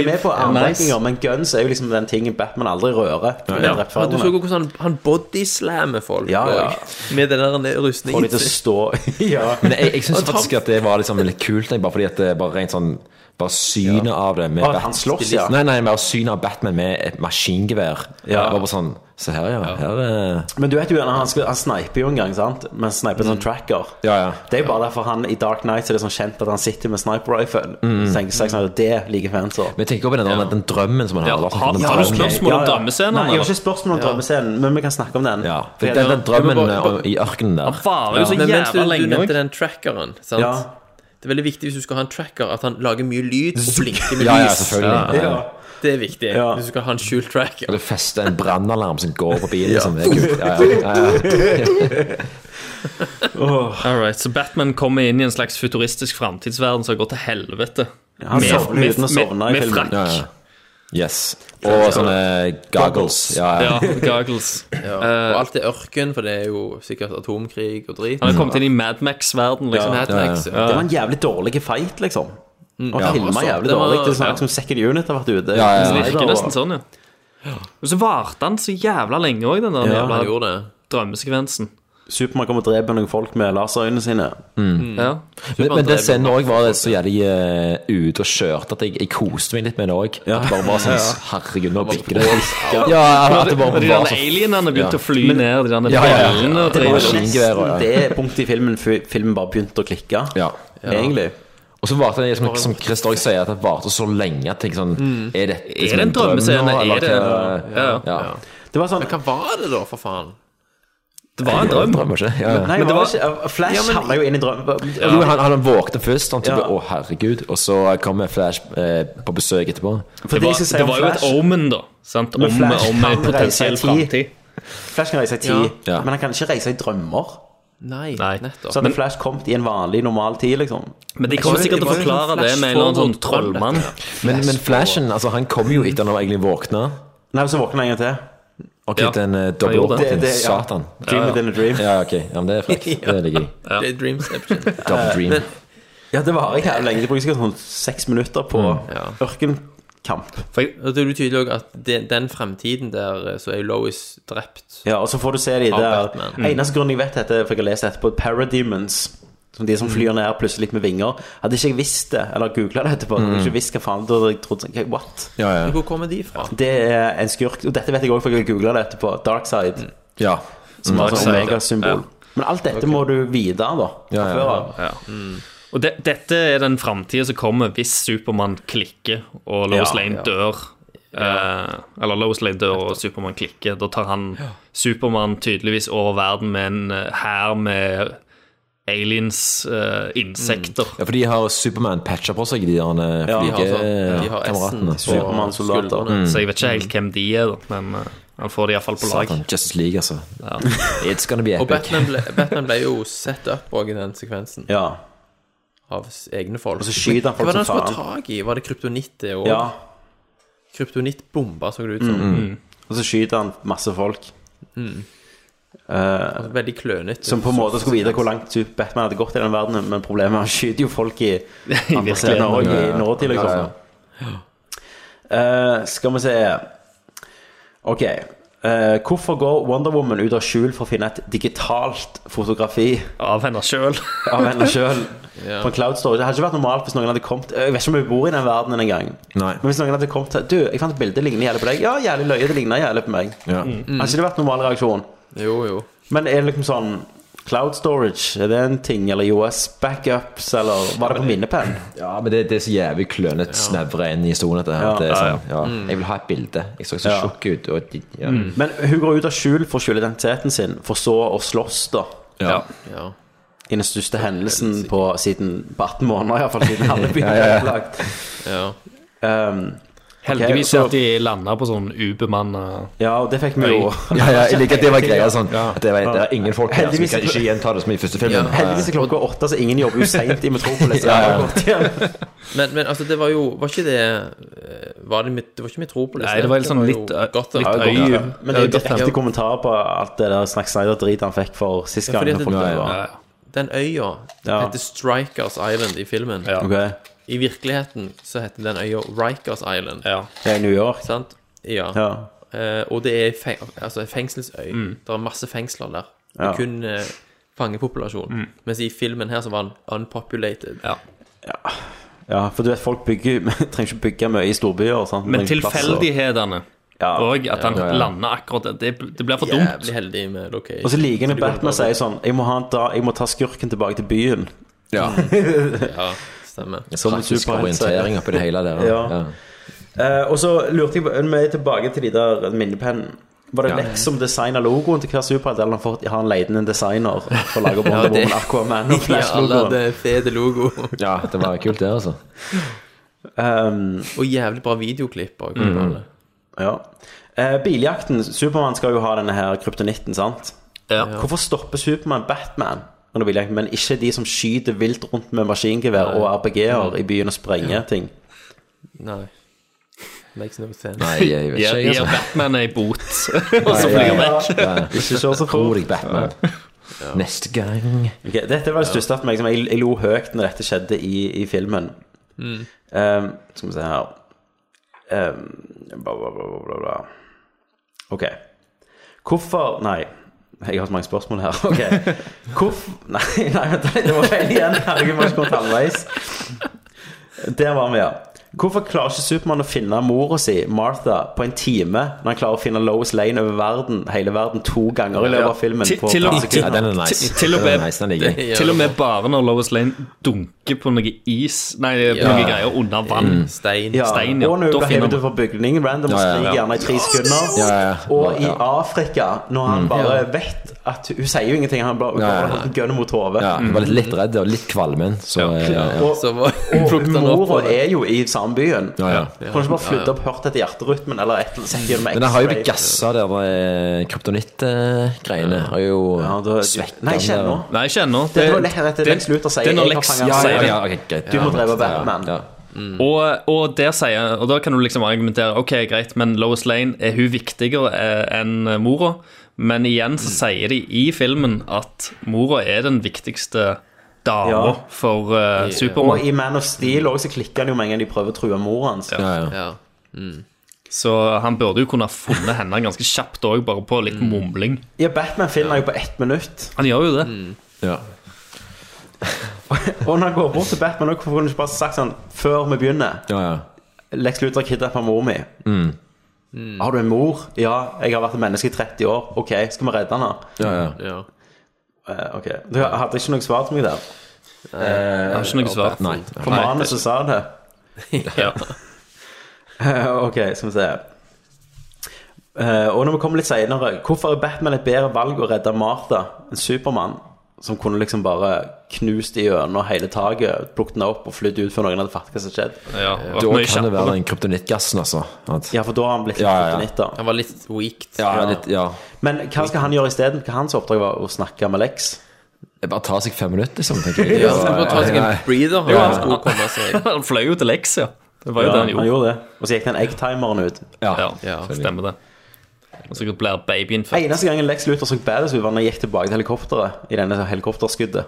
Speaker 1: med på armbrekinger, men guns er jo liksom den tingen Batman aldri rører. for det er
Speaker 10: Ja,
Speaker 1: rettferdig
Speaker 10: du
Speaker 1: med.
Speaker 10: så jo hvordan han, han bodyslammer folk
Speaker 1: Ja, ja.
Speaker 10: og- med den der rustningen.
Speaker 1: Får de til å stå Ja.
Speaker 9: Men jeg, jeg syns faktisk at det var liksom litt kult, jeg, bare fordi at det bare rent sånn Bare synet av det med
Speaker 1: Å, at
Speaker 9: Bat-
Speaker 1: han slåss, ja.
Speaker 9: Nei, nei, bare synet av Batman med et maskingevær.
Speaker 1: Ja.
Speaker 9: Det var bare sånn Se her, ja. Her eh. er
Speaker 1: Men du vet jo gjerne, han, skal- han sniper jo en gang, sant? Men sniper
Speaker 9: Mm.
Speaker 1: en sånn tracker. Det er jo bare derfor han i Dark Knight så er det sånn kjent at han sitter med sniper rifle.
Speaker 9: Mm.
Speaker 1: Så tenker Zack Snyder, det liker fans også.
Speaker 9: Men tenk over den, den, den drømmen som han
Speaker 1: Ja,
Speaker 9: hadde.
Speaker 1: har-
Speaker 9: den
Speaker 1: har du
Speaker 9: drømmen.
Speaker 1: spørsmål om Ja, ja. drømmescenen, Nei, jeg har eller? ikke spørsmål om
Speaker 9: drømmescenen,
Speaker 1: men vi kan snakke om den.
Speaker 9: Ja, for den, den drømmen eh, i ørkenen der.
Speaker 10: Men mens du, du
Speaker 9: også.
Speaker 10: nevnte den trackeren, sant?
Speaker 9: Ja.
Speaker 10: Det er veldig viktig hvis du skal ha en tracker, at han lager mye lyd og blinker med lys.
Speaker 9: Ja, ja, selvfølgelig. Ja.
Speaker 10: Det er viktig
Speaker 9: Ja.
Speaker 10: hvis du skal ha en skjult tracker.
Speaker 9: Eller feste en brannalarm som går på bilen.
Speaker 10: Ja.
Speaker 9: Liksom. Det er kult. Ja, ja, ja, ja.
Speaker 16: All right, så Batman kommer inn i en slags futuristisk framtidsverden som går til helvete.
Speaker 9: han sovner uten å sovne i
Speaker 16: med
Speaker 9: filmen.
Speaker 16: frakk.
Speaker 9: Ja, ja. Yes. Og sånne goggles. Ja, ja.
Speaker 16: goggles.
Speaker 10: Ja. Og alt er ørken, for det er jo sikkert atomkrig og drit.
Speaker 16: Han har kommet inn i Mad Max-verden, liksom.
Speaker 10: Ja, Mad Max, ja.
Speaker 1: Det var en jævlig dårlig fight, liksom.
Speaker 16: Mm.
Speaker 1: Og
Speaker 16: Ja.
Speaker 1: filma
Speaker 16: Også,
Speaker 1: jævlig
Speaker 16: det var-
Speaker 1: dårlig. Det er sånn
Speaker 16: ja.
Speaker 1: som Second Unit har vært ute.
Speaker 16: Ja, ja, ja. Det
Speaker 1: Snyder
Speaker 16: virker
Speaker 1: og-
Speaker 16: nesten sånn, ja. Og så varte han så jævla lenge òg, den der
Speaker 1: Ja, han gjorde
Speaker 16: jævla drømmesekvensen.
Speaker 1: Superman kommer og dreper noen folk med laserøynene sine.
Speaker 9: Mm.
Speaker 16: Ja.
Speaker 9: Men, men den scenen òg var så jævlig eh, ute og kjørte at jeg, jeg koste meg litt med det òg. At det bare var sånn
Speaker 16: Ja, ja.
Speaker 9: Herregud, nå bikker det.
Speaker 16: Ja.
Speaker 9: Ja, at det bare
Speaker 16: Og de
Speaker 9: var
Speaker 16: der
Speaker 9: sånn-
Speaker 16: alienene begynte
Speaker 9: Ja.
Speaker 16: å fly
Speaker 9: Men-
Speaker 16: ned, de der
Speaker 9: Ja, ja, ja.
Speaker 16: ballene og
Speaker 1: Det var jo
Speaker 9: maskingeværer, ja.
Speaker 1: nesten det punktet i filmen før filmen bare begynte å klikke. Egentlig.
Speaker 9: Og så varte det, som, som Chris Dorg sier, at det varte så lenge. at Jeg tenker sånn
Speaker 1: Mm.
Speaker 9: Er det,
Speaker 1: Er det en drømmescene?
Speaker 9: nå,
Speaker 1: Er
Speaker 9: eller
Speaker 1: det-
Speaker 9: hva-
Speaker 1: Ja, ja.
Speaker 9: ja.
Speaker 1: Det var sånn
Speaker 10: Men hva var det, da, for faen?
Speaker 16: Det var en drøm.
Speaker 9: ikke? Ja, ja.
Speaker 1: Nei,
Speaker 9: Men det var-
Speaker 1: ikke, Flash
Speaker 9: Ja, men-
Speaker 1: havna jo inn i drømmen.
Speaker 9: Jo, han, han våkte først. Han type,
Speaker 1: Ja.
Speaker 9: Å, herregud. Og så kommer Flash eh, på besøk etterpå.
Speaker 1: For det jeg skal si
Speaker 16: det
Speaker 1: om
Speaker 16: var jo et
Speaker 1: Flash-
Speaker 16: omen, da. Sant? Om,
Speaker 1: Men Flash
Speaker 16: om en
Speaker 1: kan
Speaker 16: potensiell
Speaker 1: reise i tid.
Speaker 16: framtid.
Speaker 1: Flash kan reise i tid,
Speaker 16: Ja. Ja.
Speaker 1: men han kan ikke reise i drømmer.
Speaker 10: Nei, nettopp.
Speaker 1: Så hadde Flash kommet i en vanlig, normal tid, liksom.
Speaker 16: Men de kommer sikkert til å forklare det med en eller annen sånn trollmann.
Speaker 9: Men, men Flashen altså, han kom jo etter han var egentlig våkna.
Speaker 1: Nei, så våkner han en gang til.
Speaker 9: Ok,
Speaker 1: Ja.
Speaker 9: den eh,
Speaker 1: Han
Speaker 9: dobbel
Speaker 1: gjorde det.
Speaker 9: oppvåkning.
Speaker 1: Det- det- ja.
Speaker 9: Satan.
Speaker 1: Dream within a dream.
Speaker 9: Ja, ok. Ja, men det er frekt. Det ligger i.
Speaker 10: Det er Dreamception.
Speaker 9: Double dream.
Speaker 10: Men-
Speaker 1: Ja, det varer ikke jævlig lenge. De bruker sikkert sånn seks minutter på ørkenkamp.
Speaker 10: For jeg, og det er jo tydelig også at det, den fremtiden der eh, så er jo Lois drept.
Speaker 1: Ja, og så får du se de
Speaker 10: Av
Speaker 1: der
Speaker 10: Batman. Mm.
Speaker 1: Eneste grunnen jeg vet dette, er for jeg har lest etterpå, Parademons. Som de som flyr ned plutselig med vinger. Hadde ikke jeg visst det, eller googla det etterpå, hadde jeg ikke visst hva faen da hadde jeg trodd sånn, hva- What?
Speaker 10: Hvor kommer de fra?
Speaker 1: Det er en skurk, og dette vet jeg òg, for jeg googla det etterpå. Darkside.
Speaker 9: Ja.
Speaker 1: Som var sånn
Speaker 16: Darkseid,
Speaker 1: megasymbol. Men alt dette må du vite, da.
Speaker 16: Ja,
Speaker 1: fra
Speaker 16: ja,
Speaker 1: før
Speaker 16: ja.
Speaker 1: av.
Speaker 16: Og det, dette er den framtida som kommer hvis Supermann klikker og Lois
Speaker 1: Ja,
Speaker 16: Lane
Speaker 1: ja.
Speaker 16: dør. Eh, eller Lois Lane dør og Supermann klikker. Da tar han Supermann tydeligvis over verden med en eh, hær med aliens, eh, insekter.
Speaker 9: Ja, for de har Superman patcha på seg, de der
Speaker 16: Ja, de har sånn- de har
Speaker 9: flygekameratene.
Speaker 16: S-en på
Speaker 1: Mm.
Speaker 16: skuldrene. Så jeg vet ikke helt hvem de er, da, men eh, han får de iallfall på lag.
Speaker 9: Satan, Justice League, altså. It's gonna be
Speaker 10: Og
Speaker 9: epic.
Speaker 10: Batman ble, Batman ble jo set up også i den sekvensen.
Speaker 1: Ja.
Speaker 10: Av s- egne folk.
Speaker 1: Og så skyter han folk
Speaker 10: Hva var det han
Speaker 1: som faen.
Speaker 10: skulle ha tak i? Var det kryptonitt, det òg?
Speaker 1: Ja.
Speaker 10: Kryptonittbomber, så det ut som.
Speaker 1: Mm. Og så skyter han masse folk.
Speaker 10: Mm.
Speaker 1: Eh,
Speaker 10: Altså, Veldig klønete.
Speaker 1: som på en måte skulle vite hvor langt ut Batman hadde gått i den verdenen, men problemet er at han skyter jo folk i andre scener og
Speaker 9: Ja,
Speaker 1: i
Speaker 9: ja.
Speaker 1: nåtid, liksom.
Speaker 9: Ja, ja.
Speaker 1: Eh, skal vi se Ok. eh, hvorfor går Wonder Woman ut av skjul for å finne et digitalt fotografi?
Speaker 16: Av henne sjøl.
Speaker 1: Av henne selv
Speaker 16: Ja.
Speaker 1: På en cloud storage. Det hadde ikke vært normalt hvis noen hadde kommet Jeg vet ikke om vi bor i den verdenen engang.
Speaker 9: Nei.
Speaker 1: Men hvis noen hadde kommet til Du, jeg fant et bilde, det ligner jævlig på deg. Ja, jævlig løye, det ligner jævlig på meg.
Speaker 9: Ja.
Speaker 1: Hadde ikke det vært normal reaksjon?
Speaker 10: Jo, jo.
Speaker 1: Men er det liksom sånn Cloud storage, er det en ting? Eller US backups, eller var det på minnepenn?
Speaker 9: Ja, men det, det er så jævlig klønete, snevre inn i historien. Dette her.
Speaker 1: Ja.
Speaker 9: det er
Speaker 1: Ja, ja.
Speaker 9: sånn, ja.
Speaker 1: Mm.
Speaker 9: Jeg vil ha et bilde. Jeg så så
Speaker 1: Ja.
Speaker 9: tjukk ut. Og, ja.
Speaker 1: Mm. Men hun går ut av skjul for å skjule identiteten sin, for så å slåss, da.
Speaker 9: Ja.
Speaker 1: I den største hendelsen på, siden, på 18 måneder, iallfall, siden alle begynte
Speaker 16: Ja, ja, ja.
Speaker 1: å bli plagt. Um,
Speaker 16: Heldigvis
Speaker 1: ok, og så-
Speaker 16: at de landa på sånn ubemanna
Speaker 1: Ja, og det fikk vi jo.
Speaker 9: Ja, ja, jeg liker at det var greia. Sånn. Det, var, det er ingen folk her som
Speaker 1: Heldigvis-
Speaker 9: kan ikke gjenta det som i første filmen.
Speaker 1: Heldigvis er klokka åtte, så ingen jobber jo seint i Metropolis.
Speaker 9: Ja, ja.
Speaker 10: Men, men altså, det var jo Var ikke det eh, Var det, mit- det var ikke Metropolis?
Speaker 16: Nei, det var litt sånn litt- litt
Speaker 1: Ja,
Speaker 16: øy-
Speaker 1: godt, ja. Men det er jo
Speaker 10: Gotham.
Speaker 1: direkte kommentar på alt det der Snack Snyder-dritet han fikk for sist
Speaker 10: Ja,
Speaker 1: gang.
Speaker 10: fordi at
Speaker 1: når folk
Speaker 10: det-
Speaker 1: døde.
Speaker 10: ja, ja. Den øya
Speaker 1: Ja.
Speaker 10: heter Strikers Island i filmen.
Speaker 1: Ok.
Speaker 10: I virkeligheten så heter den øya Rikers Island.
Speaker 1: Det er i New York.
Speaker 10: Sant? Ja.
Speaker 1: Ja.
Speaker 10: Eh, og det er en feng altså en fengselsøy.
Speaker 1: Mm.
Speaker 10: Det er masse fengsler der. Det
Speaker 1: Ja.
Speaker 10: er kun eh, fangepopulasjon.
Speaker 1: Mm.
Speaker 10: Mens i filmen her så var den unpopulated.
Speaker 1: Ja, for du vet, folk bygger, trenger ikke bygge mye i storbyer. Sant?
Speaker 16: Men
Speaker 1: Trenger plass og-
Speaker 16: tilfeldighetene og at han
Speaker 1: Ja, ja.
Speaker 16: lander akkurat der, det, det blir for dumt.
Speaker 10: Jævlig heldig med location.
Speaker 1: Og så liker han at
Speaker 10: Så de går
Speaker 1: Batman
Speaker 10: bare-
Speaker 1: sier sånn Jeg må, ha en da, jeg må ta skurken tilbake til byen.
Speaker 9: Ja.
Speaker 1: Mm.
Speaker 10: ja, stemmer.
Speaker 1: Som en
Speaker 9: Praktisk
Speaker 1: superhelt, sier.
Speaker 9: orientering oppi det hele der.
Speaker 1: Ja.
Speaker 9: Ja.
Speaker 1: Eh, og så lurte jeg på Vi er tilbake til de der minnepennene. Var det
Speaker 9: Ja.
Speaker 1: Lex som designa logoen til hver superhelt, eller har han- har han leid inn en designer for å lage Wonder
Speaker 10: Ja, det-
Speaker 1: Woman, Aquaman og
Speaker 10: Ja, alle
Speaker 1: Flash-logoen?
Speaker 10: hadde fede logo.
Speaker 9: ja, det var kult, det, altså.
Speaker 10: og jævlig bra videoklipp. Og,
Speaker 1: Mm. Ja. Eh, biljakten Supermann skal jo ha denne her kryptonitten, sant? Hvorfor stopper Supermann Batman under biljakten, men ikke de som skyter vilt rundt med maskingevær og RPG-er i byen og sprenger ting?
Speaker 10: Nei. Makes no sense.
Speaker 16: Gir-
Speaker 9: altså.
Speaker 1: altså.
Speaker 16: Gir Batman ei bot, og så flyr han vekk.
Speaker 1: Ikke kjør så fort.
Speaker 9: Batman. Neste gang
Speaker 1: Ok, Dette var det største for meg. Som jeg, jeg lo høyt når dette skjedde i, i filmen.
Speaker 9: Mm.
Speaker 1: Ehm, skal vi se her Ehm, bla, bla, bla, bla, bla, bla. Ok. Hvorfor Nei, jeg har så mange spørsmål her. Ok. Hvorfor Nei, nei, vent, nei, det var feil igjen. Herregud, vi har ikke kommet halvveis. Der var vi, ja. Hvorfor klarer ikke Supermann å finne mora si, Martha, på en time, når han klarer å finne Lois Lane over verden, hele verden to ganger i løpet av filmen?
Speaker 16: Til-
Speaker 1: på
Speaker 16: til og-
Speaker 1: et par sekunder?
Speaker 16: til- til- Til og med- til og med bare når Lois Lane dunker på noe is Nei, på
Speaker 1: Ja.
Speaker 16: noe greier under vann.
Speaker 1: Mm.
Speaker 10: Stein.
Speaker 1: Ja,
Speaker 16: Stein, ja.
Speaker 1: Og når
Speaker 16: Da
Speaker 1: hun blir
Speaker 16: finner
Speaker 1: hevet
Speaker 16: man-
Speaker 1: over bygningen, random
Speaker 16: Ja,
Speaker 1: og
Speaker 16: ja, ja.
Speaker 1: skriker gjerne i tre sekunder.
Speaker 9: Ja, ja.
Speaker 1: Og i
Speaker 9: Ja.
Speaker 1: Afrika, når han
Speaker 9: Mm.
Speaker 1: bare
Speaker 9: Ja.
Speaker 1: vet at Hun sier jo ingenting, han bare
Speaker 9: Ja, ja, ja.
Speaker 1: ja, gønner mot hodet.
Speaker 9: Ja, jeg var litt, litt redd og litt kvalmen. Så, eh, ja, ja.
Speaker 1: Og, og mora er jo i samme byen.
Speaker 9: Ja, ja.
Speaker 1: Kan hun ikke bare flytte opp, hørt etter hjerterytmen, eller et eller annet? sett gjennom
Speaker 9: Men den har jo
Speaker 1: X-ray?
Speaker 9: blitt gassa, der eh, kryptonitt-greiene. Har jo svekka
Speaker 1: Nei, ikke ennå.
Speaker 16: Nei, ikke ennå.
Speaker 1: Det er når Lex- rett- Lex Luthor sier,
Speaker 16: Det er når
Speaker 1: «Jeg har
Speaker 16: Lex
Speaker 1: fanget han».
Speaker 16: sier
Speaker 1: Ja,
Speaker 16: det.
Speaker 1: ja, ja, ok, greit. Du må Ja, dreve Batman. ja, ja.
Speaker 16: Og, og der sier Og da kan du liksom argumentere Ok, greit, men Lois Lane er hun viktigere eh, enn mora. Men igjen så sier de i filmen at mora er den viktigste dama
Speaker 1: Ja.
Speaker 16: for uh,
Speaker 1: Og
Speaker 16: Supermann.
Speaker 1: i Man of Steel også, så klikker han jo med en gang de prøver å true mora hans.
Speaker 16: Så han burde jo kunne ha funnet henne ganske kjapt òg, bare på litt mumling.
Speaker 1: Ja, Batman finner jo på ett minutt.
Speaker 16: Han gjør jo det.
Speaker 1: Og når han går bort til Batman, nå, hvorfor kunne han ikke bare sagt sånn før vi begynner? Lex Luthor kidnapper mor mi.
Speaker 9: Mm.
Speaker 1: Har du en mor? Ja, jeg har vært et menneske i 30 år. Ok, skal vi redde henne?
Speaker 9: Ja, ja.
Speaker 1: Eh, ok, Du hadde ikke noe svar til meg der?
Speaker 9: Nei, jeg har ikke noe svar. Nei.
Speaker 1: For
Speaker 9: Nei.
Speaker 1: manuset sa det.
Speaker 16: ja.
Speaker 1: ok, skal vi se. Eh, og når vi kommer litt senere, hvorfor er Batman et bedre valg å redde Martha enn Supermann? Som kunne liksom bare knust i gjennom hele taket, plukket den opp og flydd ut før noen hadde fattet hva som skjedde.
Speaker 16: Ja,
Speaker 9: Da kan det være den kryptonittgassen, altså. At,
Speaker 1: Ja, for da har han blitt litt
Speaker 9: Ja, ja, ja.
Speaker 1: kryptonitter.
Speaker 10: Han var litt weak.
Speaker 9: ja, litt, ja.
Speaker 1: Men hva skal han gjøre isteden? Hva hans oppdrag var? Å snakke med Lex?
Speaker 9: Det bare tar seg fem minutter, liksom. tenker jeg.
Speaker 1: Ja, så det bare tar seg en
Speaker 9: Nei.
Speaker 1: breather,
Speaker 9: Ja,
Speaker 1: han skulle
Speaker 9: ja.
Speaker 16: Han fløy jo til Lex, ja. Det var jo
Speaker 1: ja,
Speaker 16: det han gjorde.
Speaker 1: det. Og så gikk den eggtimeren ut.
Speaker 16: Ja, stemmer det. Og så blir babyen født.
Speaker 1: Eneste gangen Lex Luthor så badass ut, var når han gikk tilbake til helikopteret. I denne helikopterskuddet.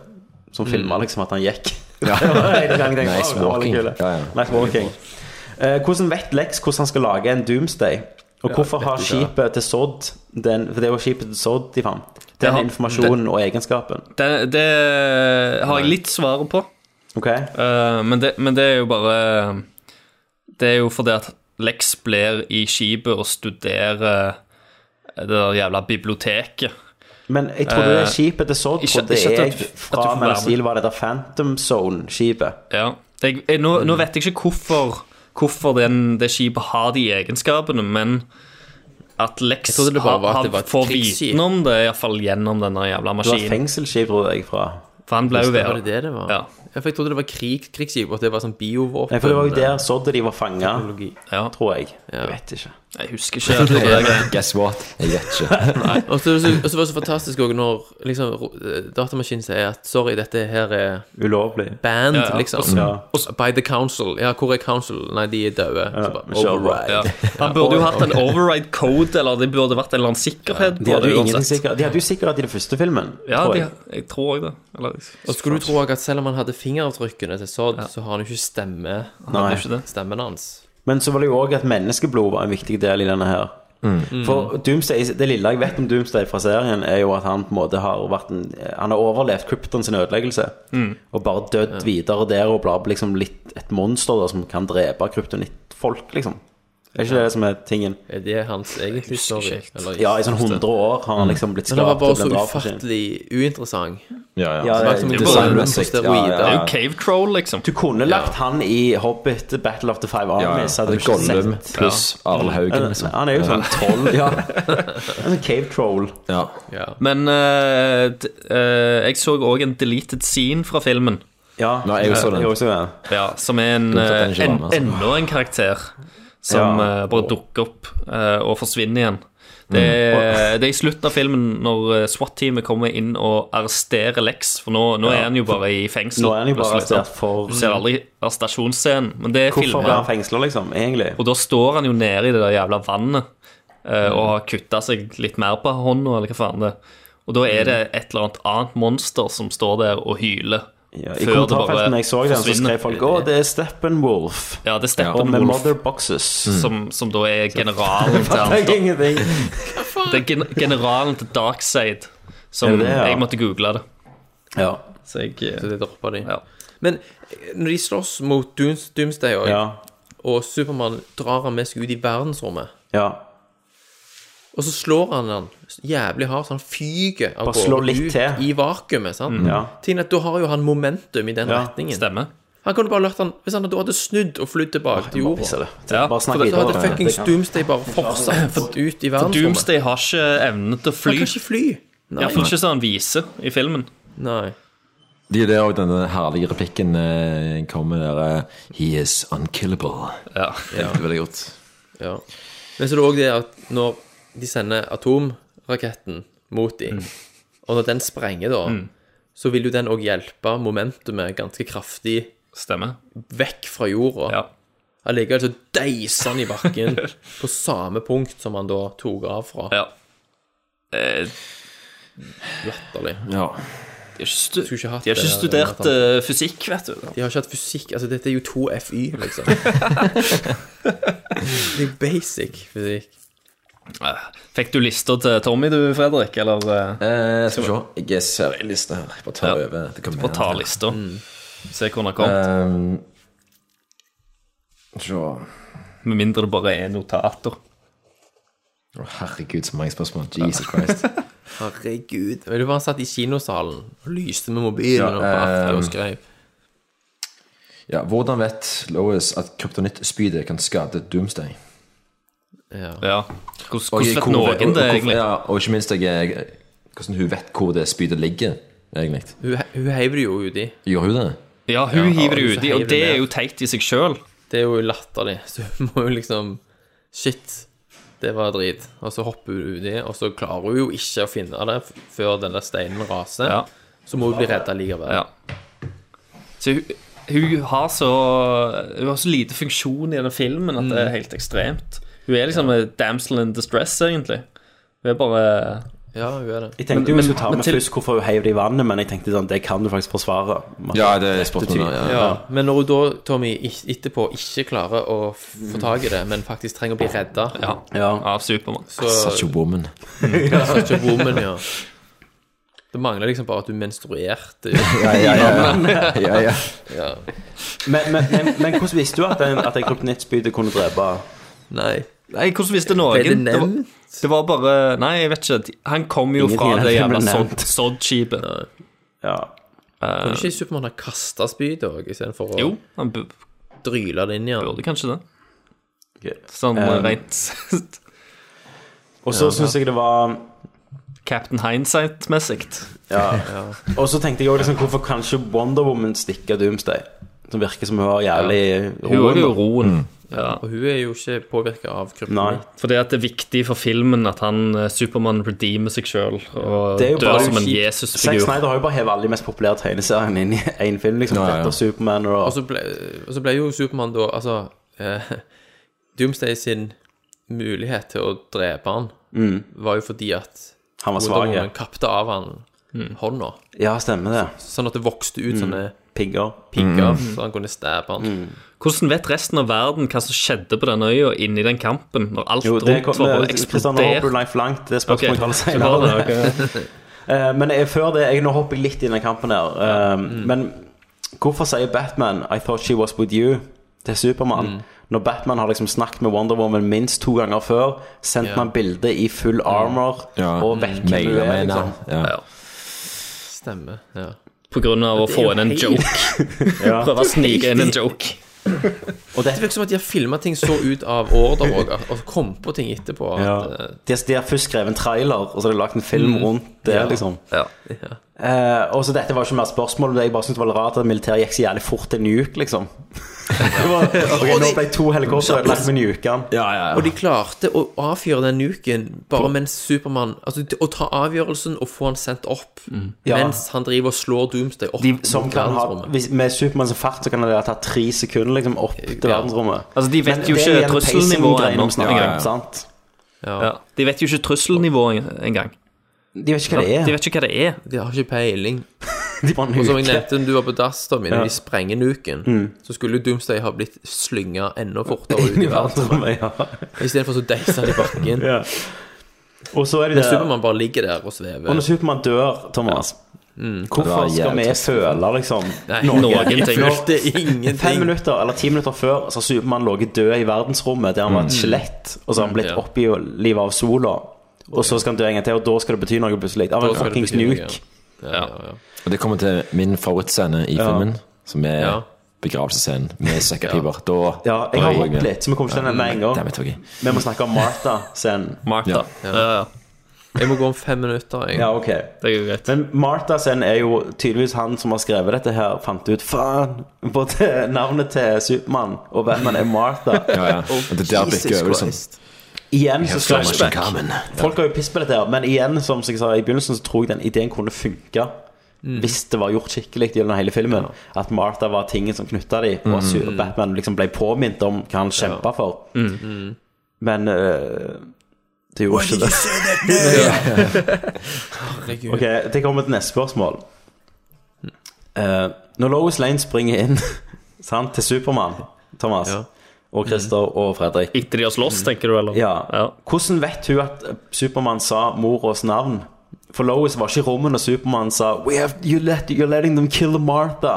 Speaker 1: Som
Speaker 16: Mm.
Speaker 1: filma liksom at han gikk.
Speaker 9: Ja.
Speaker 1: Det var en gang jeg tenkte,
Speaker 9: Nice
Speaker 1: «Wow, det var
Speaker 9: walking».
Speaker 1: litt kule.
Speaker 9: Ja, ja.
Speaker 1: Nice walking. Eh, hvordan vet Lex hvordan han skal lage en Doomsday? Og
Speaker 9: Ja,
Speaker 1: hvorfor
Speaker 9: vet
Speaker 1: har
Speaker 9: ikke.
Speaker 1: skipet til Sod den, For det var skipet til Sod de fant.
Speaker 16: Det
Speaker 1: Den
Speaker 16: har-
Speaker 1: informasjonen og egenskapen.
Speaker 16: Det, det har jeg litt svaret på.
Speaker 1: Ok.
Speaker 16: Eh, men, det, men det er jo bare Det er jo fordi at Lex eh, blir i skipet og studerer det der jævla biblioteket.
Speaker 1: Men jeg tror det er skipet til Sod,
Speaker 16: Ikke-
Speaker 1: for det
Speaker 16: ikke at
Speaker 1: er
Speaker 16: du- at du får
Speaker 1: fra
Speaker 16: være
Speaker 1: Man
Speaker 16: med.
Speaker 1: of Steel var det der Phantom Zone-skipet.
Speaker 16: Ja. Jeg, jeg, nå, nå vet jeg ikke hvorfor, hvorfor den, det skipet har de egenskapene, men at
Speaker 10: Jeg
Speaker 16: Lex
Speaker 10: trodde det bare var at det var et
Speaker 16: får
Speaker 10: krigsskip.
Speaker 16: viten om det, iallfall gjennom denne jævla
Speaker 1: Det var et
Speaker 16: maskinen.
Speaker 1: fengselsskip, tror jeg, fra
Speaker 16: For han ble jo
Speaker 10: Var det
Speaker 16: værende.
Speaker 10: det det var?
Speaker 16: Ja.
Speaker 10: Ja, for jeg trodde det var krig, krigsskip, og at det var sånn biovåpen.
Speaker 1: Nei, for det var jo der Sod og de var fanga,
Speaker 16: Ja.
Speaker 1: tror jeg. Jeg vet ikke.
Speaker 16: Jeg husker ikke. at det var det.
Speaker 9: Guess what? Jeg vet ikke.
Speaker 10: Nei. Og så og så- og så var det så fantastisk også når liksom, ro- eh, datamaskinen sier at sorry, dette her er
Speaker 1: Ulovlig.
Speaker 10: banned,
Speaker 1: Ja, ja.
Speaker 10: liksom.
Speaker 1: Og så- Ja.
Speaker 10: Og så- By the council. Ja, hvor er council? Nei, de er døde. Så bare,
Speaker 1: kjør på.
Speaker 10: override.
Speaker 16: Ja. Han burde jo hatt en override code, eller det burde vært en eller annen sikkerhet
Speaker 1: De
Speaker 16: på
Speaker 1: hadde
Speaker 16: det
Speaker 1: jo ingenting
Speaker 16: uansett.
Speaker 1: sikkert De hadde jo sikkerhet i den første filmen,
Speaker 16: Ja,
Speaker 1: tror
Speaker 16: de,
Speaker 1: jeg.
Speaker 16: jeg tror også det. Eller,
Speaker 10: Og skulle du tro at selv om han hadde fingeravtrykkene til Sod, så har han jo ikke stemme. Han
Speaker 1: Nei.
Speaker 10: hadde ikke det. Stemmen hans.
Speaker 1: Men så var det jo òg at menneskeblod var en viktig del i denne her.
Speaker 10: Mm.
Speaker 1: For Doomsday, det lille jeg vet om Doomsday fra serien, er jo at han på en måte har vært en, Han har overlevd Krypton sin ødeleggelse.
Speaker 16: Mm.
Speaker 1: Og bare dødd videre der og blitt liksom litt et monster da, som kan drepe kryptonittfolk, liksom. Er ikke det det som er tingen?
Speaker 10: Er det hans egentlige story? Eller-
Speaker 1: Ja, i sånn 100 år har han liksom blitt
Speaker 10: Men han var
Speaker 1: skapt
Speaker 10: bare
Speaker 1: og
Speaker 10: så
Speaker 1: blitt drapsmaskin.
Speaker 10: ufattelig uinteressant.
Speaker 9: Ja,
Speaker 1: Ja,
Speaker 10: Snakket om
Speaker 1: det er bare-
Speaker 10: en designmessig steroid,
Speaker 16: Det er jo cave troll, liksom.
Speaker 1: Du kunne lagt han i Hobbit Battle of the Five Armies. hadde du ikke
Speaker 9: Gollum
Speaker 1: sett.
Speaker 9: pluss Arle Haugen, liksom.
Speaker 1: Han er jo sånn troll. Ja. En sånn cave troll.
Speaker 9: Ja.
Speaker 16: Men eh, d- eh, jeg så òg en deleted scene fra filmen.
Speaker 1: Ja,
Speaker 9: Nei, jeg så den.
Speaker 1: Jeg også den.
Speaker 16: Ja, som er en,
Speaker 9: Dumt at den
Speaker 16: eh,
Speaker 9: ikke var
Speaker 16: en,
Speaker 9: med, altså.
Speaker 16: enda en karakter som
Speaker 1: Ja.
Speaker 16: eh, bare dukker opp eh, og forsvinner igjen. Det er, det er i slutten av filmen når eh, SWAT-teamet kommer inn og arresterer Lex. For nå, nå
Speaker 1: Ja.
Speaker 16: er han jo bare i fengsel.
Speaker 1: Nå er han jo bare
Speaker 16: plutselig, sant?
Speaker 1: arrestert for-
Speaker 16: Du ser aldri arrestasjonsscenen, men det er
Speaker 1: Hvorfor ble han
Speaker 16: filmet.
Speaker 1: fengsla, liksom? Egentlig?
Speaker 16: Og da står han jo nede i det der jævla vannet eh, og har kutta seg litt mer på hånda, eller hva faen det er. Og da er det et eller annet annet monster som står der og hyler.
Speaker 1: Ja, I kommentarfeltet når jeg så den, så skrev folk 'Å, det er Steppenwolf'.
Speaker 16: Ja, det er
Speaker 1: Og med
Speaker 16: Steppenwolf.
Speaker 1: Mother Boxes.
Speaker 16: Som, som da er generalen til
Speaker 1: Fatter
Speaker 16: han.
Speaker 1: jeg ingenting.
Speaker 16: Det er gen generalen til Darkside. Som
Speaker 1: Er det det, ja?
Speaker 16: jeg måtte google det.
Speaker 1: Ja.
Speaker 16: Så jeg
Speaker 10: Så eh, det droppa de.
Speaker 16: Ja.
Speaker 10: Men eh, når de slåss mot Dooms, Doomsday også,
Speaker 1: Ja.
Speaker 10: og Supermann drar han med seg ut i verdensrommet,
Speaker 1: ja.
Speaker 10: og så slår han han jævlig hardt, så han fyker av
Speaker 1: Bare slår litt
Speaker 10: ut
Speaker 1: til.
Speaker 10: i vakuumet. sant?
Speaker 1: Mm. Ja.
Speaker 10: Tingen er at Da har jo han momentum i den
Speaker 1: Ja,
Speaker 10: retningen.
Speaker 16: Stemmer.
Speaker 10: Han kunne bare latt han, Hvis han da hadde snudd og flydd tilbake til
Speaker 1: Bare pisse
Speaker 10: jorda
Speaker 1: det. Bare snakk
Speaker 10: For da
Speaker 1: videre. om
Speaker 10: hadde
Speaker 1: det.
Speaker 10: fuckings
Speaker 1: Det kan-
Speaker 10: Doomsday bare fortsatt ut i
Speaker 16: For
Speaker 10: verdensrommet.
Speaker 16: Doomsday har ikke evne til å fly.
Speaker 10: Han kan ikke fly. Nei.
Speaker 16: Iallfall ikke som han viser i filmen.
Speaker 10: Nei.
Speaker 9: Det er jo det og denne herlige replikken eh, kommer der eh, He is unkillable.
Speaker 16: Ja.
Speaker 9: Det er veldig godt.
Speaker 10: Ja. Men så er det òg det at når de sender atomraketten mot dem,
Speaker 16: Mm.
Speaker 10: og når den sprenger, da, så vil jo den òg hjelpe momentumet ganske kraftig
Speaker 16: Stemmer.
Speaker 10: vekk fra jorda.
Speaker 16: Ja.
Speaker 10: Allikevel så deiser han i bakken på samme punkt som han da tok av fra.
Speaker 16: Ja. Eh,
Speaker 10: Latterlig.
Speaker 9: Ja.
Speaker 16: de har ikke, stu
Speaker 10: Skulle ikke hatt
Speaker 16: de har
Speaker 10: det,
Speaker 16: ikke studert
Speaker 10: Jonathan.
Speaker 16: eh, fysikk, vet du.
Speaker 10: De har ikke hatt fysikk Altså, dette er jo to FY, liksom. det er jo basic fysikk.
Speaker 16: Eh, Fikk du lister til Tommy, du, Fredrik? Eller eh,
Speaker 9: Eh, skal vi se. Jeg er seriøs liste her. Jeg bare tar
Speaker 16: Ja.
Speaker 9: over. Det
Speaker 16: bare ta lister. Se hvor den har kommet.
Speaker 9: Um, se Å,
Speaker 16: Med mindre det bare er notater.
Speaker 9: herregud, så mange spørsmål. Jesus Christ.
Speaker 10: Herregud. Men du var satt i kinosalen og lyste med mobilen
Speaker 9: Ja,
Speaker 10: og bare
Speaker 16: eh,
Speaker 10: aften og
Speaker 9: ehm.
Speaker 10: skrev.
Speaker 9: Ja, hvordan vet Lois at kryptonittspydet kan skade Doomsday?
Speaker 10: Ja.
Speaker 16: Ja. Hvordan,
Speaker 9: Og
Speaker 16: hvordan vet
Speaker 9: hvor- og-
Speaker 16: noen det,
Speaker 9: og-
Speaker 16: egentlig?
Speaker 9: Ja, og ikke minst jeg, jeg, hvordan hun vet hvor det spydet ligger, egentlig.
Speaker 10: Hun, hun heiver det jo uti.
Speaker 9: Gjør hun det?
Speaker 16: Ja, hun hiver det
Speaker 10: hun
Speaker 16: uti,
Speaker 10: heiver
Speaker 16: og det
Speaker 10: ned.
Speaker 16: er jo teit i seg sjøl.
Speaker 10: Det er jo latterlig. Så hun må jo liksom Shit, det var drit. Og så hopper hun uti, og så klarer hun jo ikke å finne det f- før den der steinen raser.
Speaker 16: Ja.
Speaker 10: Så må hun bli redda likevel.
Speaker 16: Ja. Så hun, hun, har så, hun har så lite funksjon i denne filmen at det er helt ekstremt. Hun er liksom en damsel in distress, egentlig. Hun er bare
Speaker 10: Ja, hun er det.
Speaker 1: Jeg tenkte jo vi
Speaker 16: Men-
Speaker 1: skulle ta
Speaker 16: men
Speaker 1: med
Speaker 16: til-
Speaker 1: først hvorfor hun heiv det i vannet, men jeg tenkte sånn, det kan du faktisk forsvare.
Speaker 9: Ja, det er spørsmålet. Ja, ja.
Speaker 10: Ja, Men når hun da, Tommy, i- etterpå ikke klarer å f- få tak i det, men faktisk trenger å bli redda
Speaker 16: Ja,
Speaker 1: Ja.
Speaker 16: av Supermann.
Speaker 9: Such a woman.
Speaker 10: Such a woman, ja. Det mangler liksom bare at du menstruerte.
Speaker 9: Ja, ja, ja. ja, ja.
Speaker 10: Ja.
Speaker 1: Men, men, men, men hvordan visste du at en, at en kryptonittspyde kunne drepe
Speaker 10: Nei.
Speaker 16: Nei, hvordan visste noen?
Speaker 10: Ble det nevnt?
Speaker 16: var, det var bare Nei, jeg vet ikke. Han kom jo
Speaker 10: Ingenting
Speaker 16: fra
Speaker 10: av
Speaker 16: det
Speaker 10: det
Speaker 16: jævla
Speaker 10: ble
Speaker 16: Sod-
Speaker 10: nevnt.
Speaker 16: Sod-skipet.
Speaker 1: Ja.
Speaker 10: Kunne ikke Supermann ha kasta spydet òg, istedenfor å
Speaker 16: Jo, han bu-
Speaker 10: dryle det inn i han? Burde
Speaker 16: kanskje det. Sånn
Speaker 1: Eh,
Speaker 16: rent
Speaker 1: Og så synes jeg det var
Speaker 16: Captain Hindsight-messig.
Speaker 1: Ja. Og så tenkte jeg også liksom, hvorfor kan ikke Wonder Woman stikke Doomsday? Som virker som hun har jævlig
Speaker 16: Hun er jo roen.
Speaker 1: Mm.
Speaker 10: Og hun er jo ikke påvirka av kryptonitt.
Speaker 16: Fordi at det er viktig for filmen at han eh, Supermann redeemer seg sjøl og
Speaker 1: Det er jo
Speaker 16: dør
Speaker 1: bare
Speaker 16: som en
Speaker 1: kjipt. Zack
Speaker 16: Jesus-figur.
Speaker 1: Snyder har jo bare hevet alle de mest populære tegneseriene inn i én film. liksom
Speaker 16: Ja, ja, ja.
Speaker 1: Etter Superman og,
Speaker 10: Og
Speaker 16: Altså,
Speaker 10: så ble, og så ble jo Supermann da Altså eh, Doomsday sin mulighet til å drepe han
Speaker 1: Mm.
Speaker 10: var jo fordi at
Speaker 1: Han var
Speaker 10: Wonder
Speaker 1: svag, ja.
Speaker 10: Woman kapte av han hånda.
Speaker 1: Ja, stemmer det.
Speaker 10: Sånn at det vokste ut
Speaker 1: Mm.
Speaker 10: sånne
Speaker 1: pigger,
Speaker 16: Mm.
Speaker 10: så han kunne stabbe han.
Speaker 16: Hvordan vet resten av verden hva som skjedde på den øya inni den kampen, når alt
Speaker 1: Jo, det
Speaker 16: rundt var
Speaker 1: kommer
Speaker 16: bare
Speaker 1: Kristian Håper
Speaker 16: eksplodert?
Speaker 1: Life langt. Det spørsmålet
Speaker 16: Ok,
Speaker 1: kommer
Speaker 16: så
Speaker 1: senere.
Speaker 16: var det,
Speaker 1: Eh, Men jeg, før det jeg, Nå hopper jeg litt inn i den kampen her. Eh, Men hvorfor sier Batman 'I thought she was with you' til Supermann? Når Batman har liksom snakket med Wonder Woman minst to ganger før, sendt
Speaker 10: Ja.
Speaker 1: man bilde i full armor og vet hvem hun er. Liksom.
Speaker 10: Stemmer. Ja.
Speaker 16: På grunn av å
Speaker 10: Det er
Speaker 16: få
Speaker 10: jo
Speaker 16: inn en
Speaker 10: helt-
Speaker 16: joke. Prøve å snike inn en joke.
Speaker 10: Og det, virker som at de har filma ting så ut av ordre og, og kom på ting etterpå. at,
Speaker 1: Ja.
Speaker 10: eh,
Speaker 1: De, har- de har først skrevet en trailer, og så har de lagt en film
Speaker 10: Mm.
Speaker 1: rundt det.
Speaker 10: Ja.
Speaker 1: liksom
Speaker 10: Ja.
Speaker 1: Eh, og så Dette var ikke mer spørsmål, men jeg bare syntes det var litt rart at militæret gikk så jævlig fort til nuke, liksom. det var, ok, nå ble to helikoptre ødelagt med nuken.
Speaker 9: Ja, ja,
Speaker 10: Og de klarte å avfyre den nuken bare mens Supermann Altså til å ta avgjørelsen og få han sendt opp
Speaker 1: Ja.
Speaker 10: mens han driver og slår Doomsday opp.
Speaker 1: De,
Speaker 10: mot
Speaker 1: som kan ha,
Speaker 10: verdensrommet.
Speaker 1: hvis, med Supermanns fart så kan det ha tatt tre sekunder liksom, opp til
Speaker 16: Ja.
Speaker 1: verdensrommet.
Speaker 16: Altså, de vet
Speaker 1: Men
Speaker 16: jo
Speaker 1: det er
Speaker 16: ikke
Speaker 1: igjen
Speaker 16: trusselnivået
Speaker 1: pacing-greiene
Speaker 16: ennå.
Speaker 1: vi snakker om,
Speaker 16: Ja, ja, ja.
Speaker 1: sant?
Speaker 16: Ja. De vet jo ikke trusselnivået engang.
Speaker 1: De vet ikke hva det er.
Speaker 16: De vet ikke hva det er.
Speaker 10: De har ikke peiling.
Speaker 1: De bare
Speaker 10: Og som jeg
Speaker 1: nuker.
Speaker 10: nevnte, når du var på dass, da,
Speaker 1: Ja.
Speaker 10: når de sprenger nuken,
Speaker 1: Mm.
Speaker 10: så skulle jo Doomsday ha blitt slynga enda fortere ut
Speaker 1: Inn i
Speaker 10: i verden.
Speaker 1: verdensrommet, ja.
Speaker 10: Istedenfor så deisa de i bakken.
Speaker 1: Ja. Og så er det
Speaker 10: Men
Speaker 1: det-
Speaker 10: Supermann bare ligger der og
Speaker 1: Og når
Speaker 10: svever.
Speaker 1: Supermann dør, Thomas
Speaker 10: Det var
Speaker 1: Hvorfor skal vi
Speaker 10: jævlig
Speaker 1: føle liksom
Speaker 10: Nei, noen ting.
Speaker 1: Når-
Speaker 10: Følte ingenting.
Speaker 1: Fem minutter eller ti minutter før Så har Supermann ligget død i verdensrommet Der han var et
Speaker 10: Mm.
Speaker 1: skjelett Og så har han blitt
Speaker 10: Ja.
Speaker 1: opplivet av sola Og så skal han dø en gang til Og da skal det bety noe plutselig Av en
Speaker 9: Da skal det
Speaker 1: fucking
Speaker 9: bety noe,
Speaker 1: nuke
Speaker 9: Og det kommer til min favorittscene i
Speaker 1: Ja.
Speaker 9: filmen, som er
Speaker 1: Ja.
Speaker 9: begravelsesscenen med sekkepiper. Da
Speaker 1: Ja, jeg har
Speaker 9: da er
Speaker 1: hoppet
Speaker 9: med.
Speaker 1: litt, så vi kommer ikke til den med en gang.
Speaker 9: Damn it, Torgeir.
Speaker 1: Vi må snakke om Martha sen
Speaker 16: Martha.
Speaker 10: Jeg må gå om fem minutter, jeg.
Speaker 1: Ja, ok Men Martha sen er jo tydeligvis han som har skrevet dette her Fant ut, faen Både navnet til Superman Og hvem han er Martha
Speaker 9: Ja, ja. Og det der blikket over liksom
Speaker 1: Igjen
Speaker 9: We
Speaker 1: så
Speaker 9: have so much in
Speaker 1: flashback.
Speaker 9: common.
Speaker 1: Folk har jo piss på dette her, men igjen, som jeg sa i begynnelsen, så tror jeg den ideen kunne funke. Hvis det var gjort skikkelig gjennom hele filmen. At Martha var tingen som knytta dem, og at Super-
Speaker 16: Mm.
Speaker 1: Batman liksom ble påminnet om hva han kjempa for. Mm. Men øh, det gjorde ikke det.
Speaker 10: Herregud.
Speaker 1: ok, det kommer til neste spørsmål. Eh, når Lois Lane springer inn sant, til Supermann, Thomas og Christer og Fredrik
Speaker 16: Etter de har slåss, tenker du, eller?
Speaker 1: Ja. Hvordan vet hun at Supermann sa moras navn? For Lois var ikke i rommet når Supermann sa We have, you let, You're letting them kill Martha.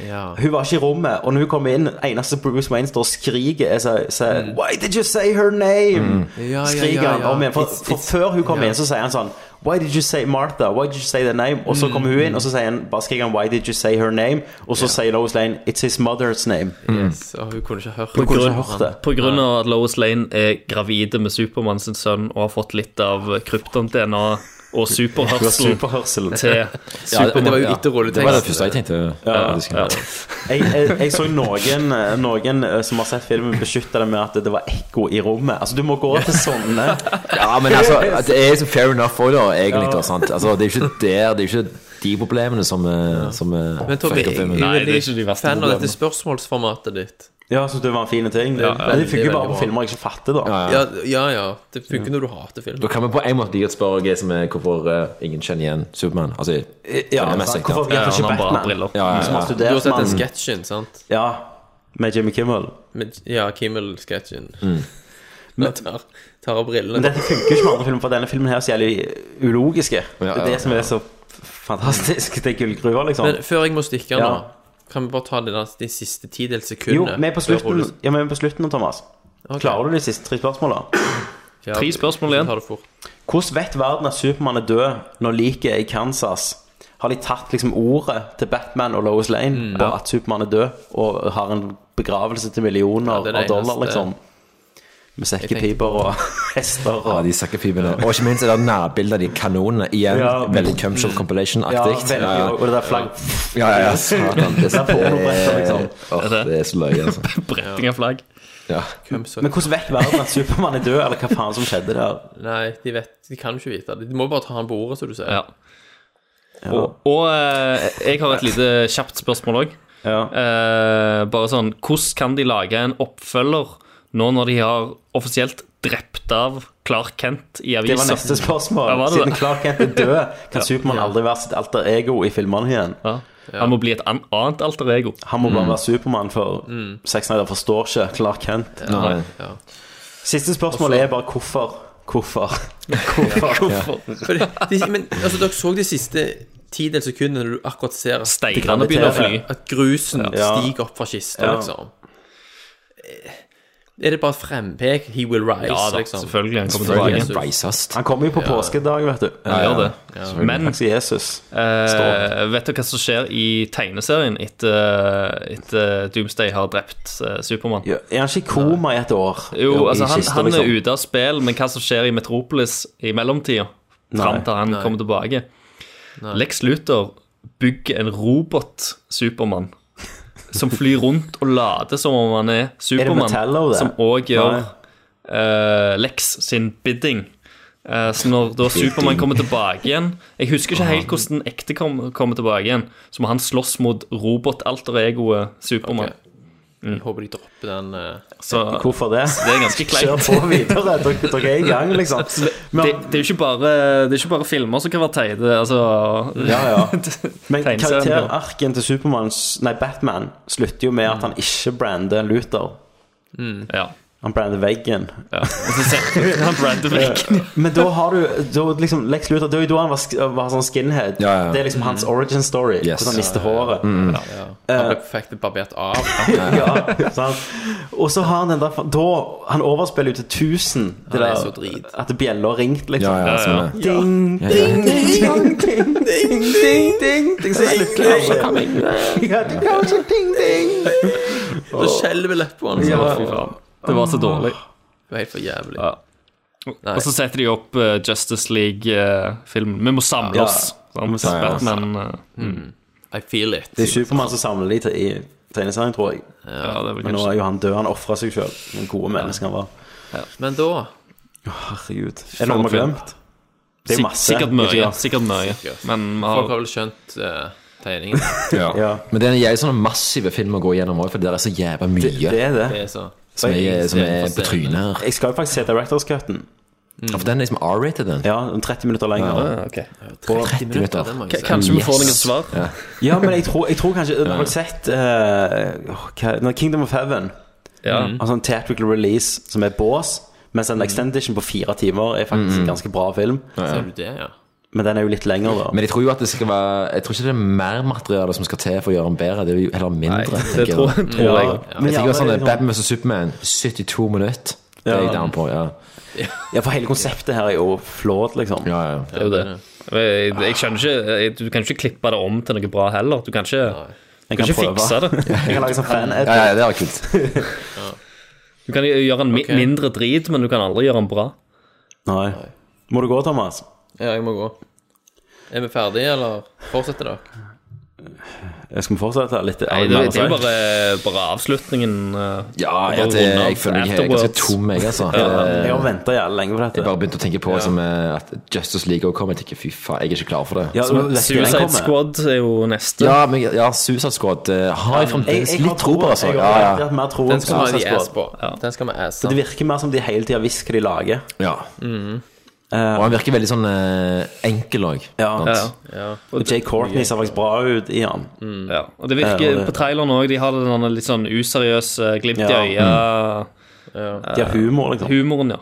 Speaker 10: Ja.
Speaker 1: Hun var ikke i rommet, og når hun kommer inn, eneste Bruce Wayne står og skriker, er så, så, Why did you say her name?
Speaker 10: Ja, ja,
Speaker 1: skriker
Speaker 10: ja,
Speaker 1: han
Speaker 10: ja.
Speaker 1: om igjen. For,
Speaker 10: It's-
Speaker 1: for
Speaker 10: it's-
Speaker 1: før hun kommer
Speaker 10: ja.
Speaker 1: inn, så sier han sånn Why did you say Martha? Why did you say the name? Og så
Speaker 10: Mm,
Speaker 1: kommer hun inn,
Speaker 10: mm.
Speaker 1: og så sier han, bare skriker han Why did you say her name? Og så sier Lois Lane It's his mother's name.
Speaker 10: Yes, og hun kunne ikke hørt
Speaker 1: Mm.
Speaker 16: På
Speaker 1: Hun kunne ikke
Speaker 16: grunn,
Speaker 1: hørt det.
Speaker 16: på grunn av at Lois Lane er gravide med Supermann sin sønn og har fått litt av krypton-DNA og superhørsel
Speaker 1: Superhørselen.
Speaker 16: til Supermann.
Speaker 9: Det var det første jeg tenkte.
Speaker 1: Ja,
Speaker 9: Ja, det skulle-
Speaker 1: jeg, jeg, jeg så noen, noen eh, som har sett filmen, beskytte det med at det var ekko i rommet. Altså, du må gå til sånne.
Speaker 9: Ja, men altså, det er liksom fair enough òg, da, egentlig. Da, sant? Altså, det er jo ikke der, det er jo ikke de problemene som, eh, som eh,
Speaker 10: Men Tobbe,
Speaker 9: fucker
Speaker 10: jeg, jeg,
Speaker 9: filmen.
Speaker 10: er veldig fan av dette spørsmålsformatet ditt.
Speaker 1: Ja, jeg synes det var en fin ting. Det,
Speaker 10: Ja,
Speaker 1: men det
Speaker 10: veldig,
Speaker 1: funker jo bare
Speaker 10: veldig
Speaker 1: på
Speaker 10: bra.
Speaker 1: filmer jeg ikke fatter, da.
Speaker 10: Ja, ja. ja. Det funker når du hater film.
Speaker 9: Da kan vi på en måte like godt spørre hva som er hvorfor eh, ingen kjenner igjen Supermann. Altså, filmmessig,
Speaker 1: hvorfor
Speaker 9: ja.
Speaker 1: vet ikke Batman,
Speaker 9: Ja, ja, ja.
Speaker 1: som har
Speaker 10: Du har
Speaker 1: studert
Speaker 10: sett den
Speaker 1: mannen?
Speaker 10: sketsjen, sant?
Speaker 1: Ja, med Jimmy Kimmel.
Speaker 10: Med, ja, Kimmel-sketsjen.
Speaker 1: Mm.
Speaker 10: Men tar, tar av brillene.
Speaker 1: Men dette funker ikke med andre filmer, for denne filmen her er så jævlig ulogiske. Det
Speaker 10: ja,
Speaker 1: er det som
Speaker 10: ja.
Speaker 1: er så fantastisk. Det er gullgruver, liksom.
Speaker 10: Men før jeg må stikke
Speaker 1: Ja.
Speaker 10: nå, kan vi bare ta de, der- de siste tidels
Speaker 1: Jo,
Speaker 10: sekundene?
Speaker 1: vi er på
Speaker 10: før
Speaker 1: slutten,
Speaker 10: Ole-
Speaker 1: ja, vi er på slutten nå, Thomas. Klarer du de siste tre spørsmålene?
Speaker 16: Tre spørsmål igjen.
Speaker 1: Hvordan vet verden at Supermann er død når liket er i Kansas? Har de tatt liksom ordet til Batman og Lois Lane på at Supermann er død, og har en begravelse til millioner
Speaker 9: Ja, det er det
Speaker 1: av dollar,
Speaker 9: eneste-
Speaker 1: liksom? Med sekkepiper og hester og
Speaker 9: Ja, de sekkepipene. Og ikke minst er det nærbildet av de kanonene. Igjen
Speaker 1: Ja.
Speaker 9: veldig Cumshot Compilation-aktig.
Speaker 1: Ja, veldig, og det der flagg-
Speaker 9: Ja, ja, ja. Satan. Det,
Speaker 1: Det er pornobrettet, liksom.
Speaker 9: Åh, det er så løye, altså.
Speaker 16: Bretting av flagg.
Speaker 9: Ja.
Speaker 1: Men hvordan vet verden at Supermann er død, eller hva faen som skjedde der?
Speaker 10: Nei, de vet De kan jo ikke vite det. De må bare ta han på ordet, som du sier.
Speaker 16: Ja. Og, og eh, jeg har et lite kjapt spørsmål òg. Eh, bare sånn Hvordan kan de lage en oppfølger nå når de har offisielt drept av Clark Kent i
Speaker 1: Det
Speaker 16: avisa?
Speaker 1: var neste spørsmål.
Speaker 16: Ja, var det
Speaker 1: Siden
Speaker 16: det?
Speaker 1: Clark Kent er død, kan
Speaker 16: Ja.
Speaker 1: Supermann
Speaker 16: Ja.
Speaker 1: aldri være sitt alter ego i filmene igjen.
Speaker 16: Han må bli et an annet alter ego.
Speaker 1: Han må bare
Speaker 16: Mm.
Speaker 1: være Supermann, for
Speaker 16: Mm.
Speaker 1: Zack Snyder forstår ikke Clark Kent.
Speaker 16: Ja, Nei.
Speaker 10: ja.
Speaker 1: Siste spørsmål er bare hvorfor. Hvorfor?
Speaker 10: Fordi, de, men altså, dere så de siste tidels sekundene når du akkurat ser at
Speaker 16: Steirene begynner å fly.
Speaker 10: At grusen
Speaker 16: Ja.
Speaker 10: stiger opp fra kista,
Speaker 16: Ja.
Speaker 10: liksom. Eh, Er det bare et frempek? He will rise,
Speaker 16: Ja da,
Speaker 10: liksom.
Speaker 16: selvfølgelig, han kommer
Speaker 10: Selvfølgelig,
Speaker 16: tilbake.
Speaker 10: Jesus.
Speaker 1: Han kommer jo på påskedag, vet du.
Speaker 16: Han gjør det.
Speaker 1: selvfølgelig.
Speaker 16: Men
Speaker 1: Takk til Jesus.
Speaker 16: Eh, vet du hva som skjer i tegneserien etter et, Doomsday har drept eh, Supermann?
Speaker 1: Er han ikke i koma i et år?
Speaker 16: Jo, altså
Speaker 1: I
Speaker 16: han,
Speaker 1: kista,
Speaker 16: han
Speaker 1: liksom.
Speaker 16: er ute av spill, men hva som skjer i Metropolis i mellomtida, fram
Speaker 1: Nei.
Speaker 16: til han
Speaker 1: Nei.
Speaker 16: kommer tilbake
Speaker 1: Nei.
Speaker 16: Lex Luthor bygger en robot-Supermann som flyr rundt og later som om han er Supermann,
Speaker 1: Metallo, det?
Speaker 16: som òg gjør
Speaker 1: Nei.
Speaker 16: eh, Lex sin bidding. Eh, så når da
Speaker 1: Bidding.
Speaker 16: Supermann kommer tilbake igjen Jeg husker ikke helt hvordan den ekte kom, kommer tilbake igjen, så må han slåss mot robot-alter-egoet Supermann.
Speaker 10: Jeg håper de dropper den eh,
Speaker 16: Så-
Speaker 1: Hvorfor det?
Speaker 16: Så det er ganske kleint.
Speaker 1: Kjør på videre. Dere, dere er i gang, liksom.
Speaker 16: det, det, er jo ikke bare, det er ikke bare filmer som kan være teite. Altså,
Speaker 1: Ja, ja. Men
Speaker 16: Tegneserien,
Speaker 1: karakterarken til Supermanns- Nei, Batman slutter jo med at
Speaker 16: Mm.
Speaker 1: han ikke brander Luther.
Speaker 16: Ja.
Speaker 1: Han brander veggen.
Speaker 16: Han brander veggen.
Speaker 1: Men da har du da liksom Lex Luthor Det var jo da han var, sk- var sånn skinhead.
Speaker 9: Ja, ja.
Speaker 1: Det er liksom hans origin story.
Speaker 9: Yes.
Speaker 1: Hvordan han mister håret. Eh,
Speaker 9: Mm.
Speaker 10: ja. Han ble fikk det barbert av.
Speaker 1: ja, sant? Og så har han den der Da Han overspiller jo til 1000.
Speaker 10: Han er
Speaker 1: der-
Speaker 10: så drit.
Speaker 1: At bjella har ringt, liksom.
Speaker 9: Ja, ja, sånn er det.
Speaker 1: Ding,
Speaker 9: Ja, ja.
Speaker 1: ding, ding, ding, ding, ding, ding, ding. Så slutter det aldri. Ja, du kan ikke ding, ding.
Speaker 10: Så skjelver leppene.
Speaker 16: Ja.
Speaker 10: Ja. Ah. Fy faen.
Speaker 16: Det var så dårlig.
Speaker 10: Det var helt for jævlig. Nei.
Speaker 16: Og så setter de opp eh, Justice League-filmen. Vi må samle
Speaker 1: Ja.
Speaker 16: oss.
Speaker 1: Vi må samle oss.
Speaker 16: Batman eh,
Speaker 10: I feel it.
Speaker 1: Det er Supermann som samler de til i tegneserien, tror jeg.
Speaker 16: Ja, det er vel
Speaker 1: Men nå
Speaker 16: kanskje-
Speaker 1: er jo han død. Han ofra seg sjøl. Den gode mennesken han var.
Speaker 10: Men da
Speaker 1: Herregud. Er det noe vi har glemt? Det er
Speaker 16: Sik-
Speaker 1: jo masse.
Speaker 16: Sikkert mye.
Speaker 1: ikke sant?
Speaker 16: Sikkert mye. Men vi har-
Speaker 10: Folk har vel skjønt eh, tegningen.
Speaker 9: Ja. Men det er en jævlig sånn massiv film å gå gjennom òg, for det der er så jævla mye
Speaker 1: Det er det.
Speaker 10: Det er så
Speaker 9: som er, som er på trynet her.
Speaker 1: Jeg skal jo faktisk se Directors Cutten.
Speaker 9: Ja, for den er liksom R-rated, den.
Speaker 1: Ja, 30 minutter lenger.
Speaker 9: Ja,
Speaker 10: ok.
Speaker 9: 30 minutter.
Speaker 10: den må jeg
Speaker 16: K-
Speaker 10: se.
Speaker 16: Kanskje vi får
Speaker 9: Yes.
Speaker 16: noen svar.
Speaker 9: Ja.
Speaker 1: Ja, men jeg tror, jeg tror kanskje Har dere sett eh, åh, hva- når Kingdom of Heaven?
Speaker 9: Mm.
Speaker 16: Ja.
Speaker 10: Mm.
Speaker 1: Altså en theatrical release som er bås, mens
Speaker 9: Mm.
Speaker 1: en extendition på fire timer er faktisk en ganske bra film.
Speaker 10: Ser du det, ja?
Speaker 1: Men den er jo litt lenger, da.
Speaker 9: Men jeg tror jo at det skal være Jeg tror ikke det er mer materiale som skal til for å gjøre den bedre. Det er jo heller mindre.
Speaker 16: Nei, det
Speaker 9: tenker jeg.
Speaker 16: tror- tror jeg.
Speaker 9: Ja.
Speaker 16: Ja.
Speaker 1: Ja, men
Speaker 9: Jeg tenker sånn
Speaker 1: det er liksom-
Speaker 9: at Batman vs Superman 72 minutter. Det er jeg down på, ja.
Speaker 1: Ja, for hele konseptet her er jo flawed, liksom.
Speaker 9: ja, ja.
Speaker 16: Det er jo det. Jeg, jeg skjønner ikke jeg, Du kan ikke klippe det om til noe bra heller. Du kan ikke, du kan
Speaker 1: kan
Speaker 16: ikke
Speaker 1: prøve.
Speaker 16: fikse det.
Speaker 1: Jeg kan lage sånn fan-edit.
Speaker 9: Ja, ja, det er kult.
Speaker 16: Du kan gjøre en mi mindre drit, men du kan aldri gjøre den bra.
Speaker 1: Nei. Må du gå, Thomas?
Speaker 10: Ja, jeg må gå. Er vi ferdige, eller fortsetter dere?
Speaker 1: Eh, Skal vi fortsette litt? altså,
Speaker 16: Nei, det, det er jo bare, bare avslutningen. eh,
Speaker 9: Ja, jeg, det, jeg føler meg helt ganske tom, jeg, altså.
Speaker 1: Jeg har
Speaker 9: Jeg,
Speaker 1: venta jævlig lenge på
Speaker 9: jeg
Speaker 1: dette.
Speaker 9: bare begynte å tenke på som, eh, at Justice League også kommer. Jeg tenker fy faen, jeg er ikke klar for det.
Speaker 1: Ja,
Speaker 9: Så-
Speaker 1: det-
Speaker 16: Suicide
Speaker 1: kommer.
Speaker 16: Squad er jo neste.
Speaker 9: ja, men, ja Suicide Squad eh, har jeg fremdeles
Speaker 1: Jeg- jeg har
Speaker 9: litt tro på,
Speaker 1: troen.
Speaker 9: altså.
Speaker 1: Jeg
Speaker 9: Ja,
Speaker 1: har alltid hatt
Speaker 9: ja.
Speaker 1: mer troen
Speaker 10: Den skal
Speaker 1: på
Speaker 10: vi ha
Speaker 1: Suicide
Speaker 10: de ass
Speaker 1: Squad.
Speaker 10: på. Den skal vi asse.
Speaker 1: For Det virker mer som de hele tida visst hva de lager.
Speaker 9: ja.
Speaker 1: Mm.
Speaker 9: Og han virker veldig sånn eh, enkel Sånn òg.
Speaker 1: Ja.
Speaker 10: Ja.
Speaker 1: Og Jay Courtney ser faktisk bra ut i han.
Speaker 16: Mm. Ja, og det virker
Speaker 1: Ja, det-
Speaker 16: på traileren òg. De har den der litt sånn useriøse glimt i
Speaker 1: Ja.
Speaker 16: øyet.
Speaker 1: De har humor, liksom.
Speaker 16: Humoren, ja.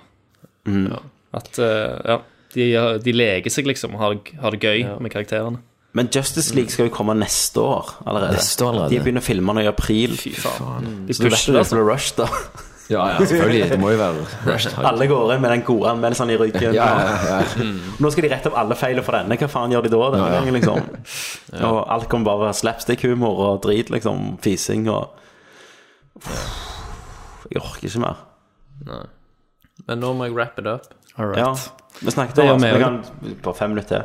Speaker 16: Ja. At eh, ja, de, de leker seg, liksom. og Har, det- har det gøy med karakterene.
Speaker 1: Men Justice League skal jo komme neste år allerede.
Speaker 9: Neste år allerede.
Speaker 1: De begynner filmene i april.
Speaker 16: Fy faen. De
Speaker 1: Så du vet
Speaker 16: pusher
Speaker 1: jo
Speaker 16: det,
Speaker 1: det blir rush, da.
Speaker 9: Ja, ja, selvfølgelig. Det må jo være Rush Tiger.
Speaker 1: Alle går inn med den gode anmeldelsen i ryggen.
Speaker 9: Ja, ja, ja.
Speaker 1: Og Nå skal de rette opp alle feil for denne. Hva faen gjør de da? Denne
Speaker 9: Ja, ja.
Speaker 1: gangen, liksom? Og alt kommer bare å være slapstick-humor og drit, liksom. Fising og Jeg orker ikke mer.
Speaker 10: Nei. Men nå må jeg wrap it up.
Speaker 1: Ja, vi snakket
Speaker 10: Det gjør
Speaker 1: om det.
Speaker 10: vi
Speaker 1: Vi
Speaker 10: også.
Speaker 1: kan på fem minutter til.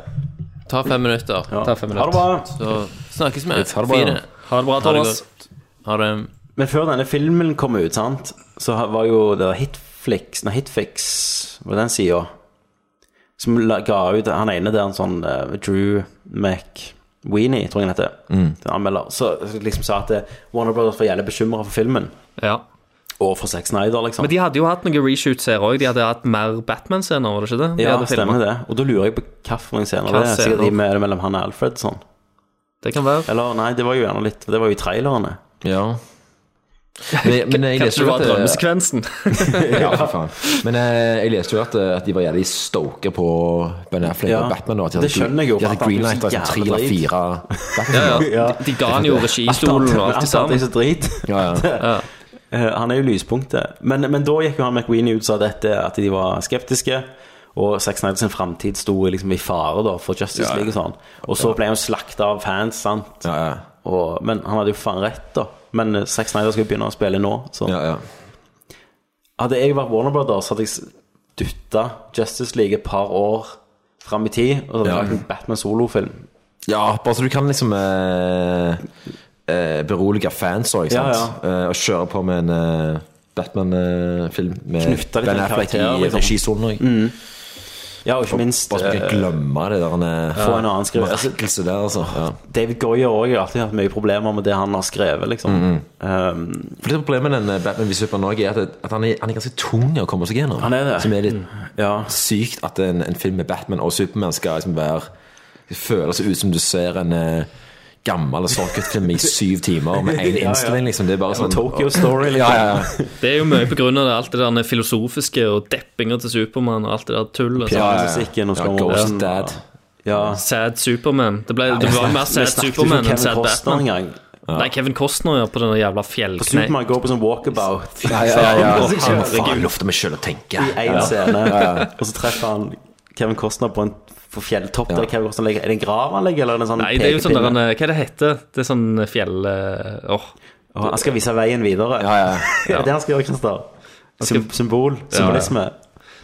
Speaker 10: Ta fem minutter.
Speaker 1: Ja.
Speaker 10: Ta fem
Speaker 1: Ha det bra.
Speaker 10: Så snakkes vi.
Speaker 1: Ha det bra.
Speaker 10: Fine.
Speaker 1: Ha det bra, Thomas.
Speaker 10: godt. Ha det.
Speaker 1: Men før denne filmen kom ut, sant, så ha- var jo det Hitflix Nei, Hitfix, var det den sida? Som la- ga ut Han ene der, en sånn eh, Drew McWeenie, tror jeg han heter.
Speaker 9: Mm.
Speaker 1: Den Anmelder. Så liksom sa at eh, Warner Brothers var jævlig bekymra for filmen.
Speaker 16: Ja.
Speaker 1: Og for Zack Snyder, liksom.
Speaker 16: Men de hadde jo hatt noen reshoots her òg. De hadde hatt mer Batman-scener, var det ikke det? De
Speaker 1: ja,
Speaker 16: hadde
Speaker 1: det stemmer
Speaker 16: filmet.
Speaker 1: det. Og da lurer jeg på hvilken scene
Speaker 16: Hva
Speaker 1: det er. Sikkert de
Speaker 16: scener?
Speaker 1: med, mellom han og Alfred sånn.
Speaker 16: Det kan være.
Speaker 1: Eller nei, det var jo gjerne litt Det var jo i trailerne.
Speaker 9: Ja. Men, men jeg
Speaker 16: Kanskje
Speaker 9: leste
Speaker 16: det
Speaker 9: jo
Speaker 16: var
Speaker 9: at eh,
Speaker 16: drømmesekvensen.
Speaker 9: ja, for faen. Men eh, jeg leste jo at, eh, at de var jævlig stoke på Ben Affleck
Speaker 1: Ja.
Speaker 9: og Batman. Og at
Speaker 1: Det skjønner jeg jo,
Speaker 9: De
Speaker 1: for
Speaker 9: hadde
Speaker 1: han ble så
Speaker 9: greenlighta liksom, tre
Speaker 1: jævlig
Speaker 9: eller
Speaker 1: drit.
Speaker 9: fire
Speaker 16: Ja, ja.
Speaker 9: Batman-filmer.
Speaker 16: De- de ga han jo registolen og alt det
Speaker 1: Han
Speaker 16: sammen.
Speaker 1: er så drit.
Speaker 9: Ja,
Speaker 16: ja.
Speaker 1: Eh, Han er jo lyspunktet. Men, men da gikk jo han McWeenie ut og sa dette, at de var skeptiske. Og Zack Snyder sin framtid sto liksom i fare da for Justice
Speaker 9: Ja, ja.
Speaker 1: League og sånn. Og så ble han slakta av fans, sant. Og, men han hadde jo faen rett, da. Men eh, Zack Snyder skal jo begynne å spille nå. Så. Hadde jeg vært Warner Brothers, hadde jeg dytta Justice League et par år fram i tid. Og så hadde jeg
Speaker 9: Ja.
Speaker 1: lagt en Batman-solofilm.
Speaker 9: Ja, bare så du kan liksom eh, eh, berolige fans òg,
Speaker 1: Ja,
Speaker 9: sant. Eh, og kjøre på med en eh, Batman-film med
Speaker 1: Knytte det til
Speaker 9: Ben
Speaker 1: en
Speaker 9: Affleck i
Speaker 1: karakter, liksom.
Speaker 9: regisonen òg.
Speaker 1: Ja, og ikke minst
Speaker 9: Bare så vi kan
Speaker 1: eh,
Speaker 9: glemme det der
Speaker 1: Få en annen skriver.
Speaker 9: merakelset der, altså. Ja.
Speaker 1: David Goyer også, jeg har alltid hatt mye problemer med det han har skrevet, liksom.
Speaker 9: Mm, For det Problemet med den eh, Batman vi supper nå, er at, at han, er, han er ganske tung å komme seg gjennom.
Speaker 1: Han er det. Mm.
Speaker 9: Som er litt
Speaker 1: Ja.
Speaker 9: sykt at en, en film med Batman og Supermann skal liksom være føles ut som du ser en eh, gammel Socket-film i syv timer med én
Speaker 16: Ja, ja.
Speaker 9: innstilling, liksom. Det er bare
Speaker 1: Ja,
Speaker 9: sånn
Speaker 1: Tokyo Story, liksom.
Speaker 9: Ja, ja,
Speaker 16: Det er jo mye på grunn av det, alt det der filosofiske og deppinger til Supermann og alt det der tullet.
Speaker 9: Ja, ja, ja.
Speaker 1: Pianomusikken og
Speaker 9: Ja,
Speaker 1: Storm
Speaker 9: Ghost
Speaker 1: Ocean,
Speaker 9: Dad.
Speaker 1: Ja.
Speaker 16: Sad Superman. Det, ble, det var jo mer
Speaker 1: Vi
Speaker 16: sad
Speaker 1: snakket
Speaker 16: Superman
Speaker 1: jo om
Speaker 16: enn sad
Speaker 1: Kevin Costner
Speaker 16: Batman.
Speaker 1: en gang.
Speaker 16: Nei, Kevin Costner ja, på den jævla
Speaker 1: For
Speaker 16: fjellkne...
Speaker 1: Superman går på sånn walkabout.
Speaker 9: ja. ja, ja, ja.
Speaker 1: Og
Speaker 9: Jeg må
Speaker 1: herregud,
Speaker 9: faen lufte meg sjøl og tenke.
Speaker 1: I én
Speaker 9: Ja.
Speaker 1: scene.
Speaker 9: Ja, ja.
Speaker 1: Og så treffer han Kevin Costner på en på fjelltopp der Kevin Costner ligger. Er det en grav han ligger, eller er det en sånn
Speaker 16: Nei, det er jo sånn der,
Speaker 1: pekepinne?
Speaker 16: en- hva det heter Det er sånn fjell... eh, Åh.
Speaker 1: Og han skal vise veien videre. Det er det han skal gjøre, Christer. Sym symbol.
Speaker 16: Ja.
Speaker 1: Symbolisme.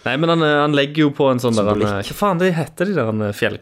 Speaker 16: Nei, men han, eh, han legger jo på en sånn der han, eh,
Speaker 1: Symbolikk.
Speaker 16: Hva faen det heter de der han, eh, fjell...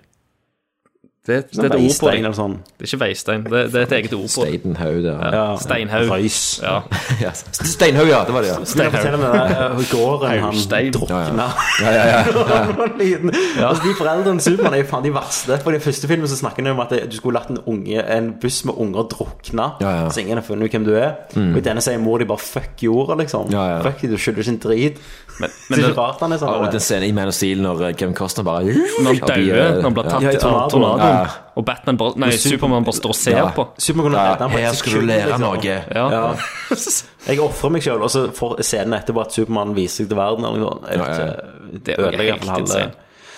Speaker 16: Det, det er et ord på
Speaker 1: Veistein
Speaker 16: det.
Speaker 1: eller sånn.
Speaker 16: Det er ikke veistein, det, det er et eget ord på det.
Speaker 9: Steinhaug der.
Speaker 16: Ja. Steinhaug. Ja.
Speaker 9: Ja. Steinhaug, ja. Det var det, ja.
Speaker 1: Du kan fortelle meg det, eh, gården han
Speaker 16: Haugstein.
Speaker 1: drukna.
Speaker 9: Ja, ja, ja. ja.
Speaker 1: Han var liten. Altså, de foreldrene Supermann er jo faen de verste. For i den første filmen så snakker de om at du skulle latt en, unge, en buss med unger drukne.
Speaker 9: Ja, ja.
Speaker 1: Så ingen har funnet ut hvem du er.
Speaker 9: Mm.
Speaker 1: Og i denne sier mor de bare 'fuck jorda', liksom.
Speaker 9: Ja, ja.
Speaker 1: Fuck, du skylder ikke en drit.
Speaker 9: men
Speaker 1: så det er
Speaker 9: det-
Speaker 1: ikke rart han er sånn.
Speaker 9: Ja, og
Speaker 1: eller?
Speaker 9: den scenen i Man of Steel når eh, Kevin Costner bare eh,
Speaker 16: Når han dauer, når han blir tatt
Speaker 1: eh, Ja, i
Speaker 16: i tornadoen,
Speaker 1: tornadoen.
Speaker 9: Ja.
Speaker 16: og Batman bare, nei,
Speaker 1: Og Super-
Speaker 16: Superman bare står og ser
Speaker 1: Ja.
Speaker 16: på.
Speaker 1: Superman kunne
Speaker 9: Ja,
Speaker 1: redde ham på
Speaker 9: her
Speaker 1: et
Speaker 9: skal du
Speaker 1: sekund,
Speaker 9: lære
Speaker 1: liksom.
Speaker 9: noe.
Speaker 1: Ja. Jeg ofrer meg sjøl, og så får scenen etterpå at Supermann viser seg til verden. Eller noe. sånt. Jeg vet
Speaker 16: Ja, ja,
Speaker 1: ikke.
Speaker 16: Det er jo
Speaker 1: ødelegger i hvert
Speaker 16: helt
Speaker 1: fall halve-
Speaker 16: insane.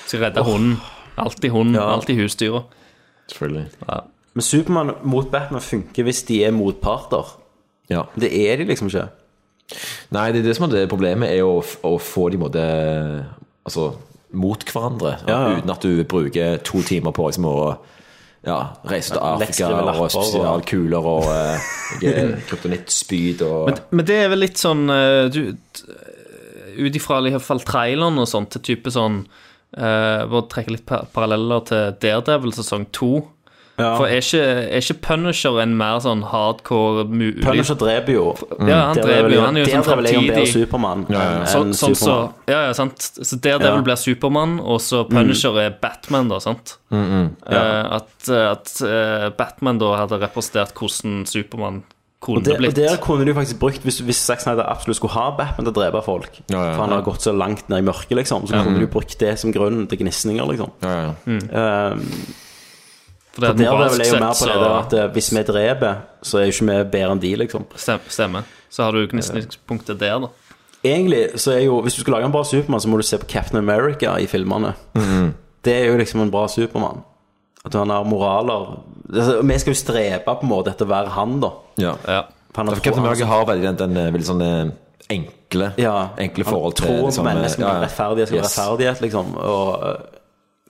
Speaker 16: Skal redde hunden. Alltid hunden, alltid husdyra.
Speaker 9: Selvfølgelig.
Speaker 1: Men Supermann mot Batman funker hvis de er motparter.
Speaker 9: Ja.
Speaker 1: Det er de liksom ikke.
Speaker 9: Nei, det er det som er det problemet, er å, f- å få de måte Altså mot hverandre,
Speaker 1: Ja, ja.
Speaker 9: uten at du bruker to timer på liksom, å ja, reise til Afrika
Speaker 1: Lettskrive lapper
Speaker 9: og
Speaker 1: og-
Speaker 9: spesialkuler og eh, jeg- kryptonittspyd og
Speaker 16: Men, men det er vel litt sånn eh, du, t- Ut ifra i hvert fall traileren og sånt, til type sånn eh, Bare trekke litt pa paralleller til Daredevil sesong to.
Speaker 1: Ja.
Speaker 16: For er ikke, er ikke Punisher en mer sånn hardcore mu
Speaker 1: Punisher dreper jo.
Speaker 16: Ja, han
Speaker 1: Der
Speaker 16: dreper
Speaker 1: vel-
Speaker 16: jo, han er jo
Speaker 1: der
Speaker 16: sånn
Speaker 1: dreper jeg om bedre
Speaker 16: framtidig-
Speaker 1: Supermann eh, enn
Speaker 16: Så, sånn så,
Speaker 1: Superman.
Speaker 16: ja, ja, sant. Så Daredevil
Speaker 1: Ja. Mm.
Speaker 16: blir Supermann, og så Punisher er Batman, da, sant? Eh, at at eh, Batman da hadde representert hvordan Supermann kunne
Speaker 1: Og der, og
Speaker 16: blitt.
Speaker 1: der kunne du faktisk brukt Hvis, hvis Zack Snyder absolutt skulle ha Batman til å drepe folk
Speaker 9: ja,
Speaker 1: For han har
Speaker 9: ja.
Speaker 1: gått så langt ned i mørket liksom Så
Speaker 9: Ja.
Speaker 1: kunne
Speaker 9: Mm.
Speaker 1: du brukt det som grunn til gnisninger liksom Um,
Speaker 16: For det er
Speaker 1: For der vel
Speaker 16: moralsk
Speaker 1: er jo
Speaker 16: sett,
Speaker 1: mer på det
Speaker 16: så-
Speaker 1: der at eh, Hvis vi dreper Så er jo ikke vi bedre enn de liksom
Speaker 16: Stem- Stemmer. Så har du gnisningspunktet der, da.
Speaker 1: Egentlig så er jo Hvis du skal lage en bra Superman Så må du se på Captain America i filmerne
Speaker 16: Mm-hmm.
Speaker 1: Det er jo liksom en bra Superman At han har moraler Altså, Vi skal jo strebe på en måte etter å være han da
Speaker 9: Ja.
Speaker 16: ja.
Speaker 1: For han altså- har
Speaker 9: Captain
Speaker 1: tro-
Speaker 9: America har veldig den, den eh, veldig sånn eh, enkle, enkle forhold til
Speaker 1: tror
Speaker 9: liksom,
Speaker 1: på mennesker
Speaker 9: ja, ja.
Speaker 1: med rettferdighet som
Speaker 9: Yes.
Speaker 1: rettferdighet, liksom. Og eh,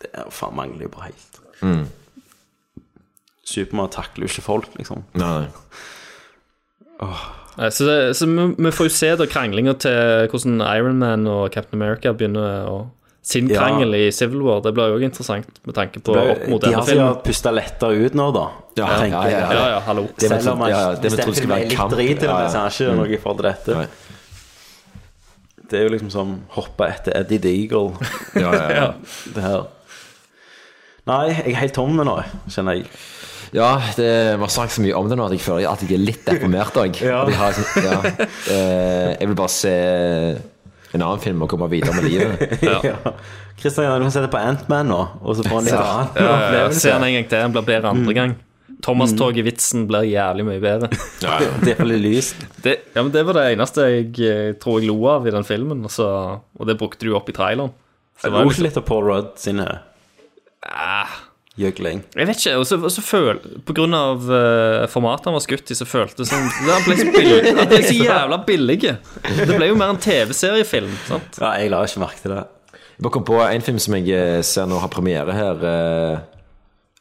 Speaker 1: det er- faen mangler jo bare helt.
Speaker 9: Mm.
Speaker 1: Supermann takler jo ikke folk, liksom.
Speaker 9: Nei.
Speaker 16: Nei, Så, det, så vi, vi får jo se da kranglinga til hvordan Ironman og Captain America begynner å sin
Speaker 1: Ja.
Speaker 16: krangel i Civil War. Det blir jo òg interessant med tanke på
Speaker 1: Det ble-
Speaker 16: opp mot
Speaker 1: de
Speaker 16: denne
Speaker 1: har sikkert
Speaker 16: filmen.
Speaker 1: pusta lettere ut nå, da.
Speaker 16: Ja,
Speaker 1: tenker
Speaker 16: ja, ja,
Speaker 1: jeg.
Speaker 16: ja, ja, hallo. Det vi
Speaker 1: Selv
Speaker 16: trodde-
Speaker 1: om han
Speaker 16: ja, ja, det vi
Speaker 1: hvis den
Speaker 16: trodde skulle
Speaker 1: filmen
Speaker 16: være
Speaker 1: er litt
Speaker 16: kamp.
Speaker 1: drit i det,
Speaker 16: Ja, ja.
Speaker 1: men så er ikke
Speaker 16: Mm.
Speaker 1: noe i forhold til dette. Det er jo liksom som hoppe etter Eddie Deagle.
Speaker 9: Ja, ja, ja.
Speaker 1: det her. Nei, jeg er helt tom nå, kjenner jeg.
Speaker 9: Ja, det, vi har snakket så mye om det nå at jeg føler at jeg er litt deprimert òg.
Speaker 1: Ja.
Speaker 9: sånn- ja. Eh, jeg vil bare se en annen film og komme videre med livet.
Speaker 1: Ja. Kristian, du kan sette på Ant-Man nå, og så får han litt annen
Speaker 16: Ja, ja, ja.
Speaker 1: opplevelse. Mm.
Speaker 16: Se den Eh, en gang til, den blir bedre andre gang. Thomas Toget-vitsen blir jævlig mye bedre.
Speaker 1: Ja, ja. Det er veldig lyst.
Speaker 16: Det, ja, men det var det eneste jeg eh, tror jeg lo av i den filmen, og, så, og det brukte du opp i traileren. Så
Speaker 1: Jeg
Speaker 16: var
Speaker 1: lo
Speaker 16: liksom- Ah,
Speaker 1: ikke litt av Paul Rudd sine gjøgling.
Speaker 16: Jeg vet ikke, og så, og så føl, På grunn av eh, formatet han var skutt i, så føltes det som Han ble så, billig, han ble så jævla billig. Det ble jo mer en TV-seriefilm. sant?
Speaker 1: Ja, jeg la ikke merke til det.
Speaker 9: Jeg bare kom på en film som jeg eh, ser nå har premiere her eh,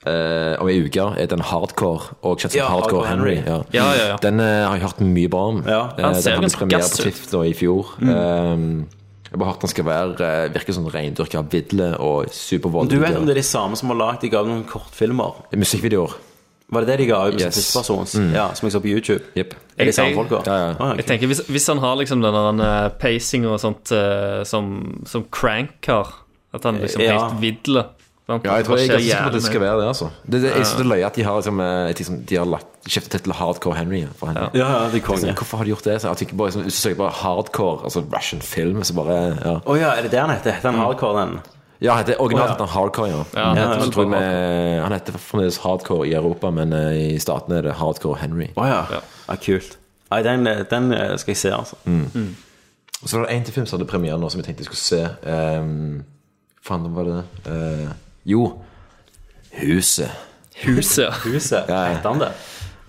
Speaker 9: eh, om ei uke. Er den Hardcore, og kjent som
Speaker 1: Ja,
Speaker 9: Hardcore
Speaker 1: Hardcore
Speaker 9: Henry.
Speaker 1: Henry.
Speaker 9: Ja.
Speaker 1: Ja, ja, ja.
Speaker 9: Den eh, har jeg hørt mye bra om.
Speaker 1: Ja,
Speaker 9: Eh,
Speaker 1: han ser
Speaker 9: den hadde
Speaker 1: ganske
Speaker 9: premiere
Speaker 1: gass
Speaker 9: på
Speaker 1: ut.
Speaker 9: TIFF da i fjor.
Speaker 1: Mm.
Speaker 9: Eh, jeg bare hørt den skal være eh, virker som reindyrka vidle
Speaker 1: Du
Speaker 9: og
Speaker 1: vet om
Speaker 9: supervoldelig.
Speaker 1: det er de samme som har lagd de ga ut noen kortfilmer?
Speaker 9: Musikkvideoer.
Speaker 1: Var det det de ga ut?
Speaker 16: Yes.
Speaker 1: Yes. Førstepersons?
Speaker 16: Mm.
Speaker 1: Ja, som jeg så på YouTube? Er
Speaker 16: Jeg-
Speaker 1: de samme
Speaker 16: jeg-
Speaker 1: folka? Ah, ok.
Speaker 16: Jeg tenker, hvis, hvis han har liksom den der pacing og sånt eh, som, som Crank har, at han liksom
Speaker 9: Eh, Ja.
Speaker 16: helt vidler sant?
Speaker 9: Ja, jeg tror jeg er
Speaker 16: skjer
Speaker 9: ganske sikker på at det
Speaker 16: jævlig
Speaker 9: skal
Speaker 16: mye.
Speaker 9: være det, altså. Det, det,
Speaker 16: Ja.
Speaker 9: jeg synes det er løye at de har, liksom, eh, liksom, de har lagt, skiftet til til Hardcore Henry. For Henry.
Speaker 1: Ja, ja, det er konge.
Speaker 9: Liksom, hvorfor har de gjort det? Så jeg tenker bare, liksom, hvis du søker bare Hardcore, altså Russian Film, så bare ja.
Speaker 1: Å ja, er det det han heter? Heter
Speaker 16: Mm.
Speaker 1: han Hardcore, den?
Speaker 9: Ja, det er
Speaker 1: Å,
Speaker 9: originalt
Speaker 1: ja.
Speaker 9: heter han Hardcore, ja.
Speaker 1: Ja, han
Speaker 9: Jeg
Speaker 1: heter vel
Speaker 9: tror vi- han heter fremdeles Hardcore i Europa, men eh, i statene er det Hardcore Henry.
Speaker 1: Å ja. ja. kult. Nei, den, den skal jeg se, altså.
Speaker 9: Mm. Og så var det en til film som hadde premiere nå, som jeg tenkte jeg skulle se. Um, Faen, hva var det? Eh, jo. Huset.
Speaker 16: Huset.
Speaker 1: Huset. Heter han det?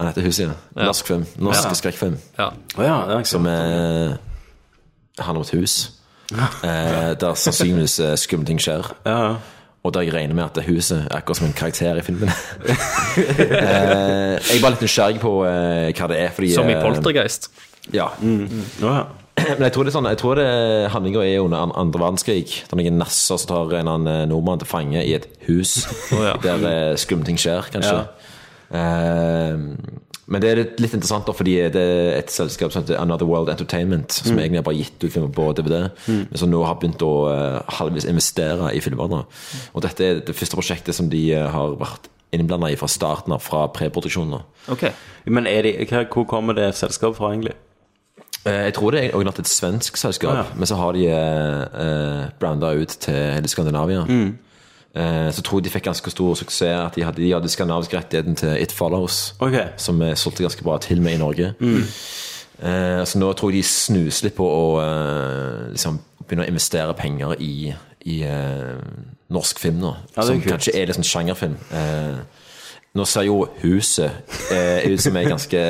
Speaker 9: Han heter Huset, ja. Norsk film. Norsk
Speaker 1: Ja.
Speaker 9: skrekkfilm.
Speaker 1: Å ja, det er
Speaker 9: som eh, handler om et hus. Eh, der sannsynligvis eh, skumle ting skjer. Og der jeg regner med at det huset er akkurat som en karakter i filmen. eh, jeg var litt nysgjerrig på eh, hva det er, fordi
Speaker 16: Som i
Speaker 9: eh,
Speaker 16: Poltergeist.
Speaker 9: ja.
Speaker 1: Mm.
Speaker 9: Men jeg tror det er sånn Jeg tror det handlinga er under an- andre verdenskrig. Det er noen nasser som tar en eller annen nordmann til fange i et hus der eh, skumle ting skjer, kanskje.
Speaker 1: Ja.
Speaker 9: Eh, men det er litt litt interessant, da fordi det er et selskap som heter Another World Entertainment, som
Speaker 1: Mm.
Speaker 9: egentlig har bare gitt ut filmer på DVD,
Speaker 1: Mm.
Speaker 9: men som nå har begynt å eh, halvvis investere i filmer. da.
Speaker 1: Mm.
Speaker 9: Og dette er det første prosjektet som de eh, har vært innblanda i fra starten av, fra preproduksjonen. da.
Speaker 1: Men er de, hva- hvor kommer det selskapet fra, egentlig?
Speaker 9: Eh, Jeg tror det er originalt et svensk selskap,
Speaker 1: Ah, ja.
Speaker 9: men så har de eh, eh, branda ut til hele Skandinavia.
Speaker 1: Mm.
Speaker 9: Eh, så tror jeg de fikk ganske stor suksess at de hadde, de hadde skandinavisk rettigheten til It Follows, som eh, solgte ganske bra til med i Norge.
Speaker 1: Mm.
Speaker 9: Eh, så nå tror jeg de snuser litt på å eh, liksom begynne å investere penger i, i eh, norsk film, nå,
Speaker 1: Ja, det er
Speaker 9: som
Speaker 1: kult.
Speaker 9: kanskje er litt sånn sjangerfilm. Eh, nå ser jo Huset eh, ut som en ganske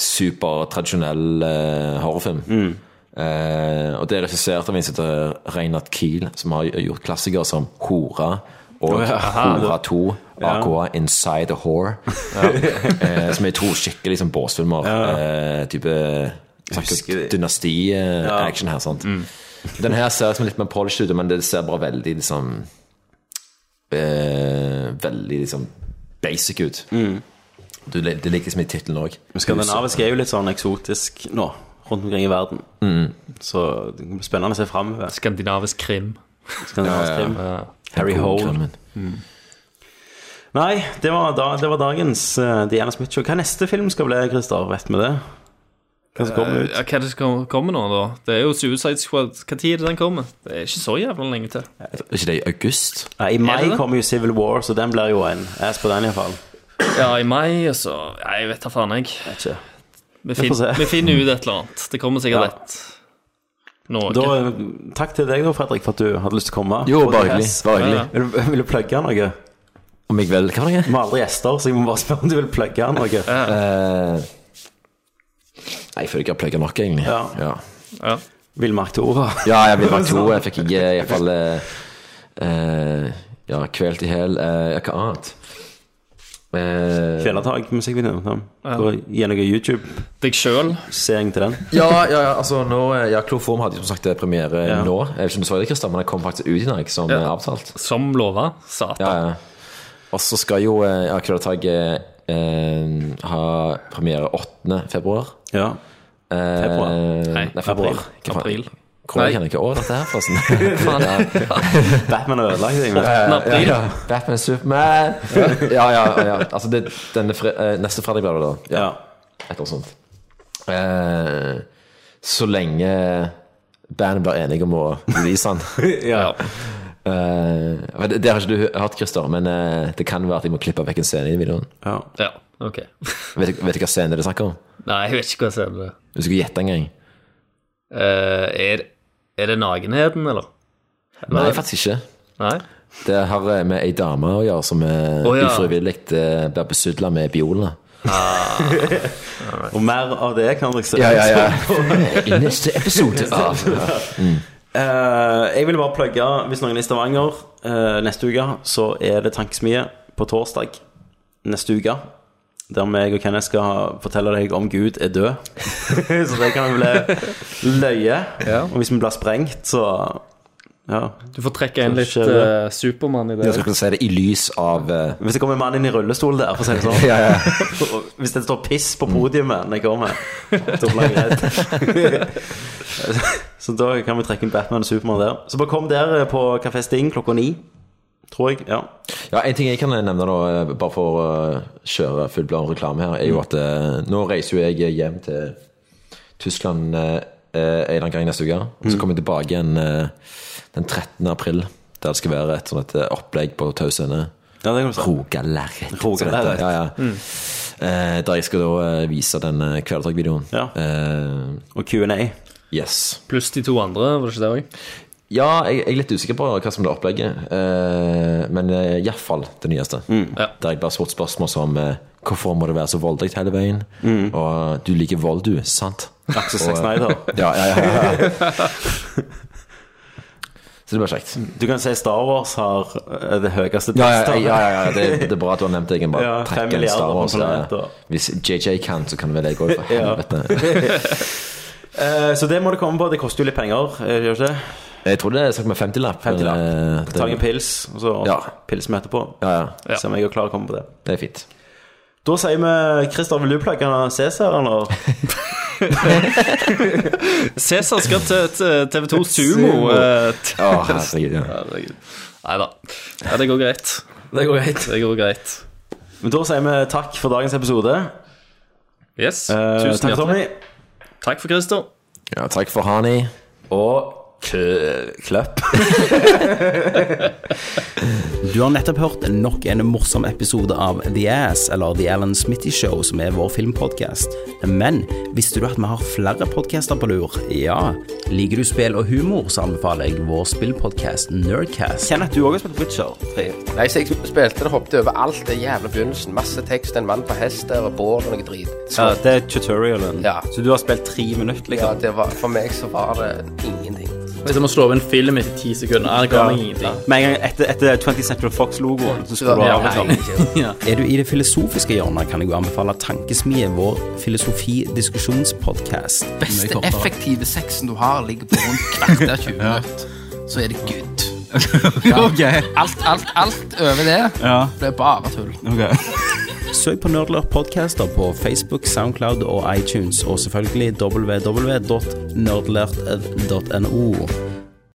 Speaker 9: supertradisjonell eh, horrorfilm. Eh, og det er regissert av en som heter Reinhard Kiel, som har gjort klassikere som Hora og
Speaker 1: Å, ja.
Speaker 9: Hora 2,
Speaker 1: Ja.
Speaker 9: Aqua, Inside a Whore, eh, som er to skikkelig liksom, båsfilmer. Eh, type
Speaker 1: Ja. Mm.
Speaker 9: dynasti-action her, sant. Den her ser liksom litt mer polished ut, men det ser bare veldig liksom eh, Veldig liksom basic ut.
Speaker 1: Mm.
Speaker 9: Du, det ligger liksom i tittelen òg.
Speaker 1: Skandinavisk er jo litt sånn eksotisk nå, rundt omkring i verden.
Speaker 9: Mm.
Speaker 1: Så det blir spennende å se framover.
Speaker 16: Skandinavisk krim.
Speaker 1: Skandinavisk krim.
Speaker 16: Ja, ja, ja.
Speaker 1: Harry
Speaker 16: Den gode
Speaker 1: Hole.
Speaker 16: krimmen.
Speaker 1: Nei, det var, da, det var dagens eh, Diana Smith Show. Hva neste film skal bli, Christer? Vet vi det? Hva som kommer ut?
Speaker 16: Eh, Ja, hva er det som kom- kommer nå, da? Det er jo Suicide Squad. Hva tid er det den kommer? Det er ikke så jævla lenge til.
Speaker 9: Er ikke det i august?
Speaker 1: Nei, I mai
Speaker 16: Er det det?
Speaker 1: kommer jo Civil War, så den blir jo en. Jeg er på den iallfall.
Speaker 16: Ja, i mai, og så Nei, Jeg vet da faen, jeg. Vi,
Speaker 1: Vi får
Speaker 16: fin,
Speaker 1: se.
Speaker 16: vi finner ut et eller annet. Det kommer sikkert
Speaker 1: Ja.
Speaker 16: et Norge.
Speaker 1: Da, takk til deg, da, Fredrik, for at du hadde lyst til å komme.
Speaker 9: Jo, bare hyggelig,
Speaker 1: Yes.
Speaker 9: bare hyggelig.
Speaker 1: Vil du- Vil du plugge noe?
Speaker 9: Om jeg vel, hva var det?
Speaker 1: Vi har aldri gjester, så jeg må bare spørre om du vil plugge noe.
Speaker 9: Eh, Nei, Jeg føler ikke jeg har plugga nok, egentlig.
Speaker 1: Ja.
Speaker 9: Ja.
Speaker 16: ja.
Speaker 1: Villmark til ordet.
Speaker 9: Ja, jeg vil være to. Jeg fikk ikke i hvert fall eh, eh, Ja, kvelt i hæl. Eh, hva annet? Eh,
Speaker 1: Kvelertak, musikkvideo. Ja. Gå gjennom YouTube.
Speaker 16: Deg sjøl.
Speaker 1: Seing til den.
Speaker 9: ja, ja, ja, altså nå eh, Ja, Kloform hadde jo som sagt eh, premiere
Speaker 1: Ja.
Speaker 9: nå. Jeg vet ikke om du så det, Kristian, men det kom faktisk ut i dag, som
Speaker 16: Ja.
Speaker 9: eh, avtalt.
Speaker 16: Som lova. Satan.
Speaker 9: Ja, ja. Og så skal jo eh, ja, Kvelertak eh, eh, ha premiere 8. februar.
Speaker 1: Ja.
Speaker 9: Eh,
Speaker 1: Februar.
Speaker 9: Nei, februar.
Speaker 16: april.
Speaker 9: Hva faen?
Speaker 16: April.
Speaker 9: Hvor
Speaker 16: Nei.
Speaker 9: jeg kjenner ikke året dette her, forresten. Faen, ja.
Speaker 1: Batman har ødelagt deg. men-
Speaker 9: Ja, ja,
Speaker 16: april.
Speaker 9: Eh, ja, ja. Batman Superman. Ja, ja, ja. Altså, det, denne fre eh, neste fredag blir det da. Ja. Et eller annet sånt. Eh, så lenge bandet blir enige om å release den.
Speaker 1: ja.
Speaker 9: Eh, men det, det har ikke du hø- hørt, Christer, men eh, det kan være at jeg må klippe vekk en scene i videoen.
Speaker 16: Ja, ok.
Speaker 9: Vet, du- vet du hva scene det er snakk om?
Speaker 16: Nei, jeg vet ikke hva jeg ser det.
Speaker 9: Hvis du skulle gjette en gang.
Speaker 16: Eh, er, er det nakenheten, eller?
Speaker 9: Nei, faktisk ikke.
Speaker 16: Nei?
Speaker 9: Det har eh, med ei dame å gjøre som eh,
Speaker 16: Å, ja.
Speaker 9: ufrivillig eh, blir besudla med biolene.
Speaker 1: Og mer av det kan dere se.
Speaker 9: Ja, ja, ja. eh, I neste episode av
Speaker 1: Eh, jeg vil bare plugge, hvis noen er i Stavanger eh, neste uke, så er det Tankesmie på torsdag neste uke. Der meg og Kenneth skal fortelle deg om Gud er død. så det kan bli løye. Og hvis vi blir sprengt, så ja.
Speaker 16: Du får trekke inn litt
Speaker 1: Så skjer det.
Speaker 16: eh, Supermann i det.
Speaker 9: Jeg skal ikke si det i lys av eh,
Speaker 1: Hvis det kommer en mann inn i rullestol der, for å si det sånn.
Speaker 9: Ja, ja.
Speaker 1: Og Hvis det står piss på podiumet når jeg kommer, da blir jeg redd. Så da kan vi trekke inn Batman og Supermann der. Så bare kom der eh, på Kafé Sting klokka ni, tror jeg. Ja.
Speaker 9: Ja, En ting jeg kan nevne, da, eh, bare for å eh, kjøre fullbladet reklame her, er jo at eh, nå reiser jo jeg hjem til Tyskland eh, eh, en eller annen gang neste uke. Og så kommer jeg tilbake igjen eh, den 13. april, der det skal være et sånt et eh, opplegg på Tau Scene.
Speaker 1: Ja, det kan du si.
Speaker 9: Rogalerret. som det
Speaker 1: Rogalerret.
Speaker 9: heter. Ja, ja. Eh, der jeg skal da eh, vise den eh, kvelertak-videoen. Eh,
Speaker 1: og Q&A.
Speaker 9: Yes.
Speaker 16: Pluss de to andre, var det ikke det òg?
Speaker 9: Ja, jeg, jeg er litt usikker på hva som blir opplegget, eh, men eh, i hvert fall det nyeste.
Speaker 1: Mm.
Speaker 9: Der jeg bare svart spørsmål som eh, hvorfor må det være så voldelig hele veien? Og eh, du liker vold, du, sant?
Speaker 1: Axel
Speaker 9: Og-
Speaker 1: Mm. Sex Snyder.
Speaker 9: Ja, ja, ja, ja, ja. Så det blir kjekt.
Speaker 1: Du kan si Star Wars har eh, det høyeste
Speaker 9: Ja, ja, ja, ja, ja. Det, det er bra at du har nevnt det. Jeg kan bare
Speaker 1: Ja, fem
Speaker 9: trekke en Star
Speaker 1: milliarder
Speaker 9: Wars.
Speaker 1: abonnenter.
Speaker 9: eh, Hvis JJ kan, så kan vel jeg òg, for
Speaker 1: Ja.
Speaker 9: helvete.
Speaker 1: Eh, Så det må det komme på. Det koster jo litt penger, eh, gjør det ikke?
Speaker 9: Jeg tror det er snakk om en 50-lapp.
Speaker 1: 50
Speaker 9: men, eh,
Speaker 1: Ta en
Speaker 9: det,
Speaker 1: pils, og så
Speaker 9: Ja.
Speaker 1: pilser vi etterpå.
Speaker 9: Ja, ja.
Speaker 16: Ja.
Speaker 1: Se om jeg er klar til å komme på det.
Speaker 9: det er fint.
Speaker 1: Da sier vi Christer, vil du plugge Cæsar, eller?
Speaker 16: Cæsar skal til, til TV2 Sumo.
Speaker 9: Sumo.
Speaker 16: eh,
Speaker 9: Å, herregud. Ja.
Speaker 16: Herregud. Nei da. Ja, det går greit.
Speaker 9: Det går greit.
Speaker 16: Det går greit.
Speaker 1: Men da sier vi takk for dagens episode.
Speaker 16: Yes.
Speaker 1: Eh,
Speaker 16: Tusen
Speaker 1: takk, Tommy.
Speaker 16: hjertelig. Takk for Christer.
Speaker 9: Ja, takk for Hani.
Speaker 1: Og kø- kløpp.
Speaker 21: Du har nettopp hørt nok en morsom episode av The Ass, eller The Alan Smitty Show, som er vår filmpodkast. Men visste du at vi har flere podkaster på lur? Ja. Liker du spill og humor, så anbefaler jeg vår spillpodkast Nerdcast.
Speaker 1: Kenneth, du òg har spilt Witcher 3.
Speaker 22: Nei, så jeg spilte det, hoppet over alt det jævla begynnelsen. Masse tekst, en mann på hest der, og bål og noe drit. Så,
Speaker 1: Ja, det er tutorialen.
Speaker 22: Ja.
Speaker 1: Så du har spilt tre minutter,
Speaker 22: ja,
Speaker 1: liksom?
Speaker 22: det var, for meg så var det ingenting.
Speaker 10: Det er som å slå av en film etter ti sekunder. Ja, det kan meg ingenting.
Speaker 1: Med en gang etter, etter 20th Central Fox-logoen, så skulle du
Speaker 21: Ja,
Speaker 1: ha liksom.
Speaker 21: Ja. Er du i det filosofiske hjørnet, kan jeg jo anbefale Tankesmie, vår filosofidiskusjonspodkast. Mye
Speaker 23: beste
Speaker 21: kortere.
Speaker 23: effektive sexen du har, ligger på rundt kvarter 20 minutter. Så er det good.
Speaker 21: Ok.
Speaker 23: Alt, alt, alt over det
Speaker 21: Ja.
Speaker 23: blir bare tull.
Speaker 21: Søk på Nerdlurp Podcaster på Facebook, Soundcloud og iTunes, og selvfølgelig www.nerdlert.no.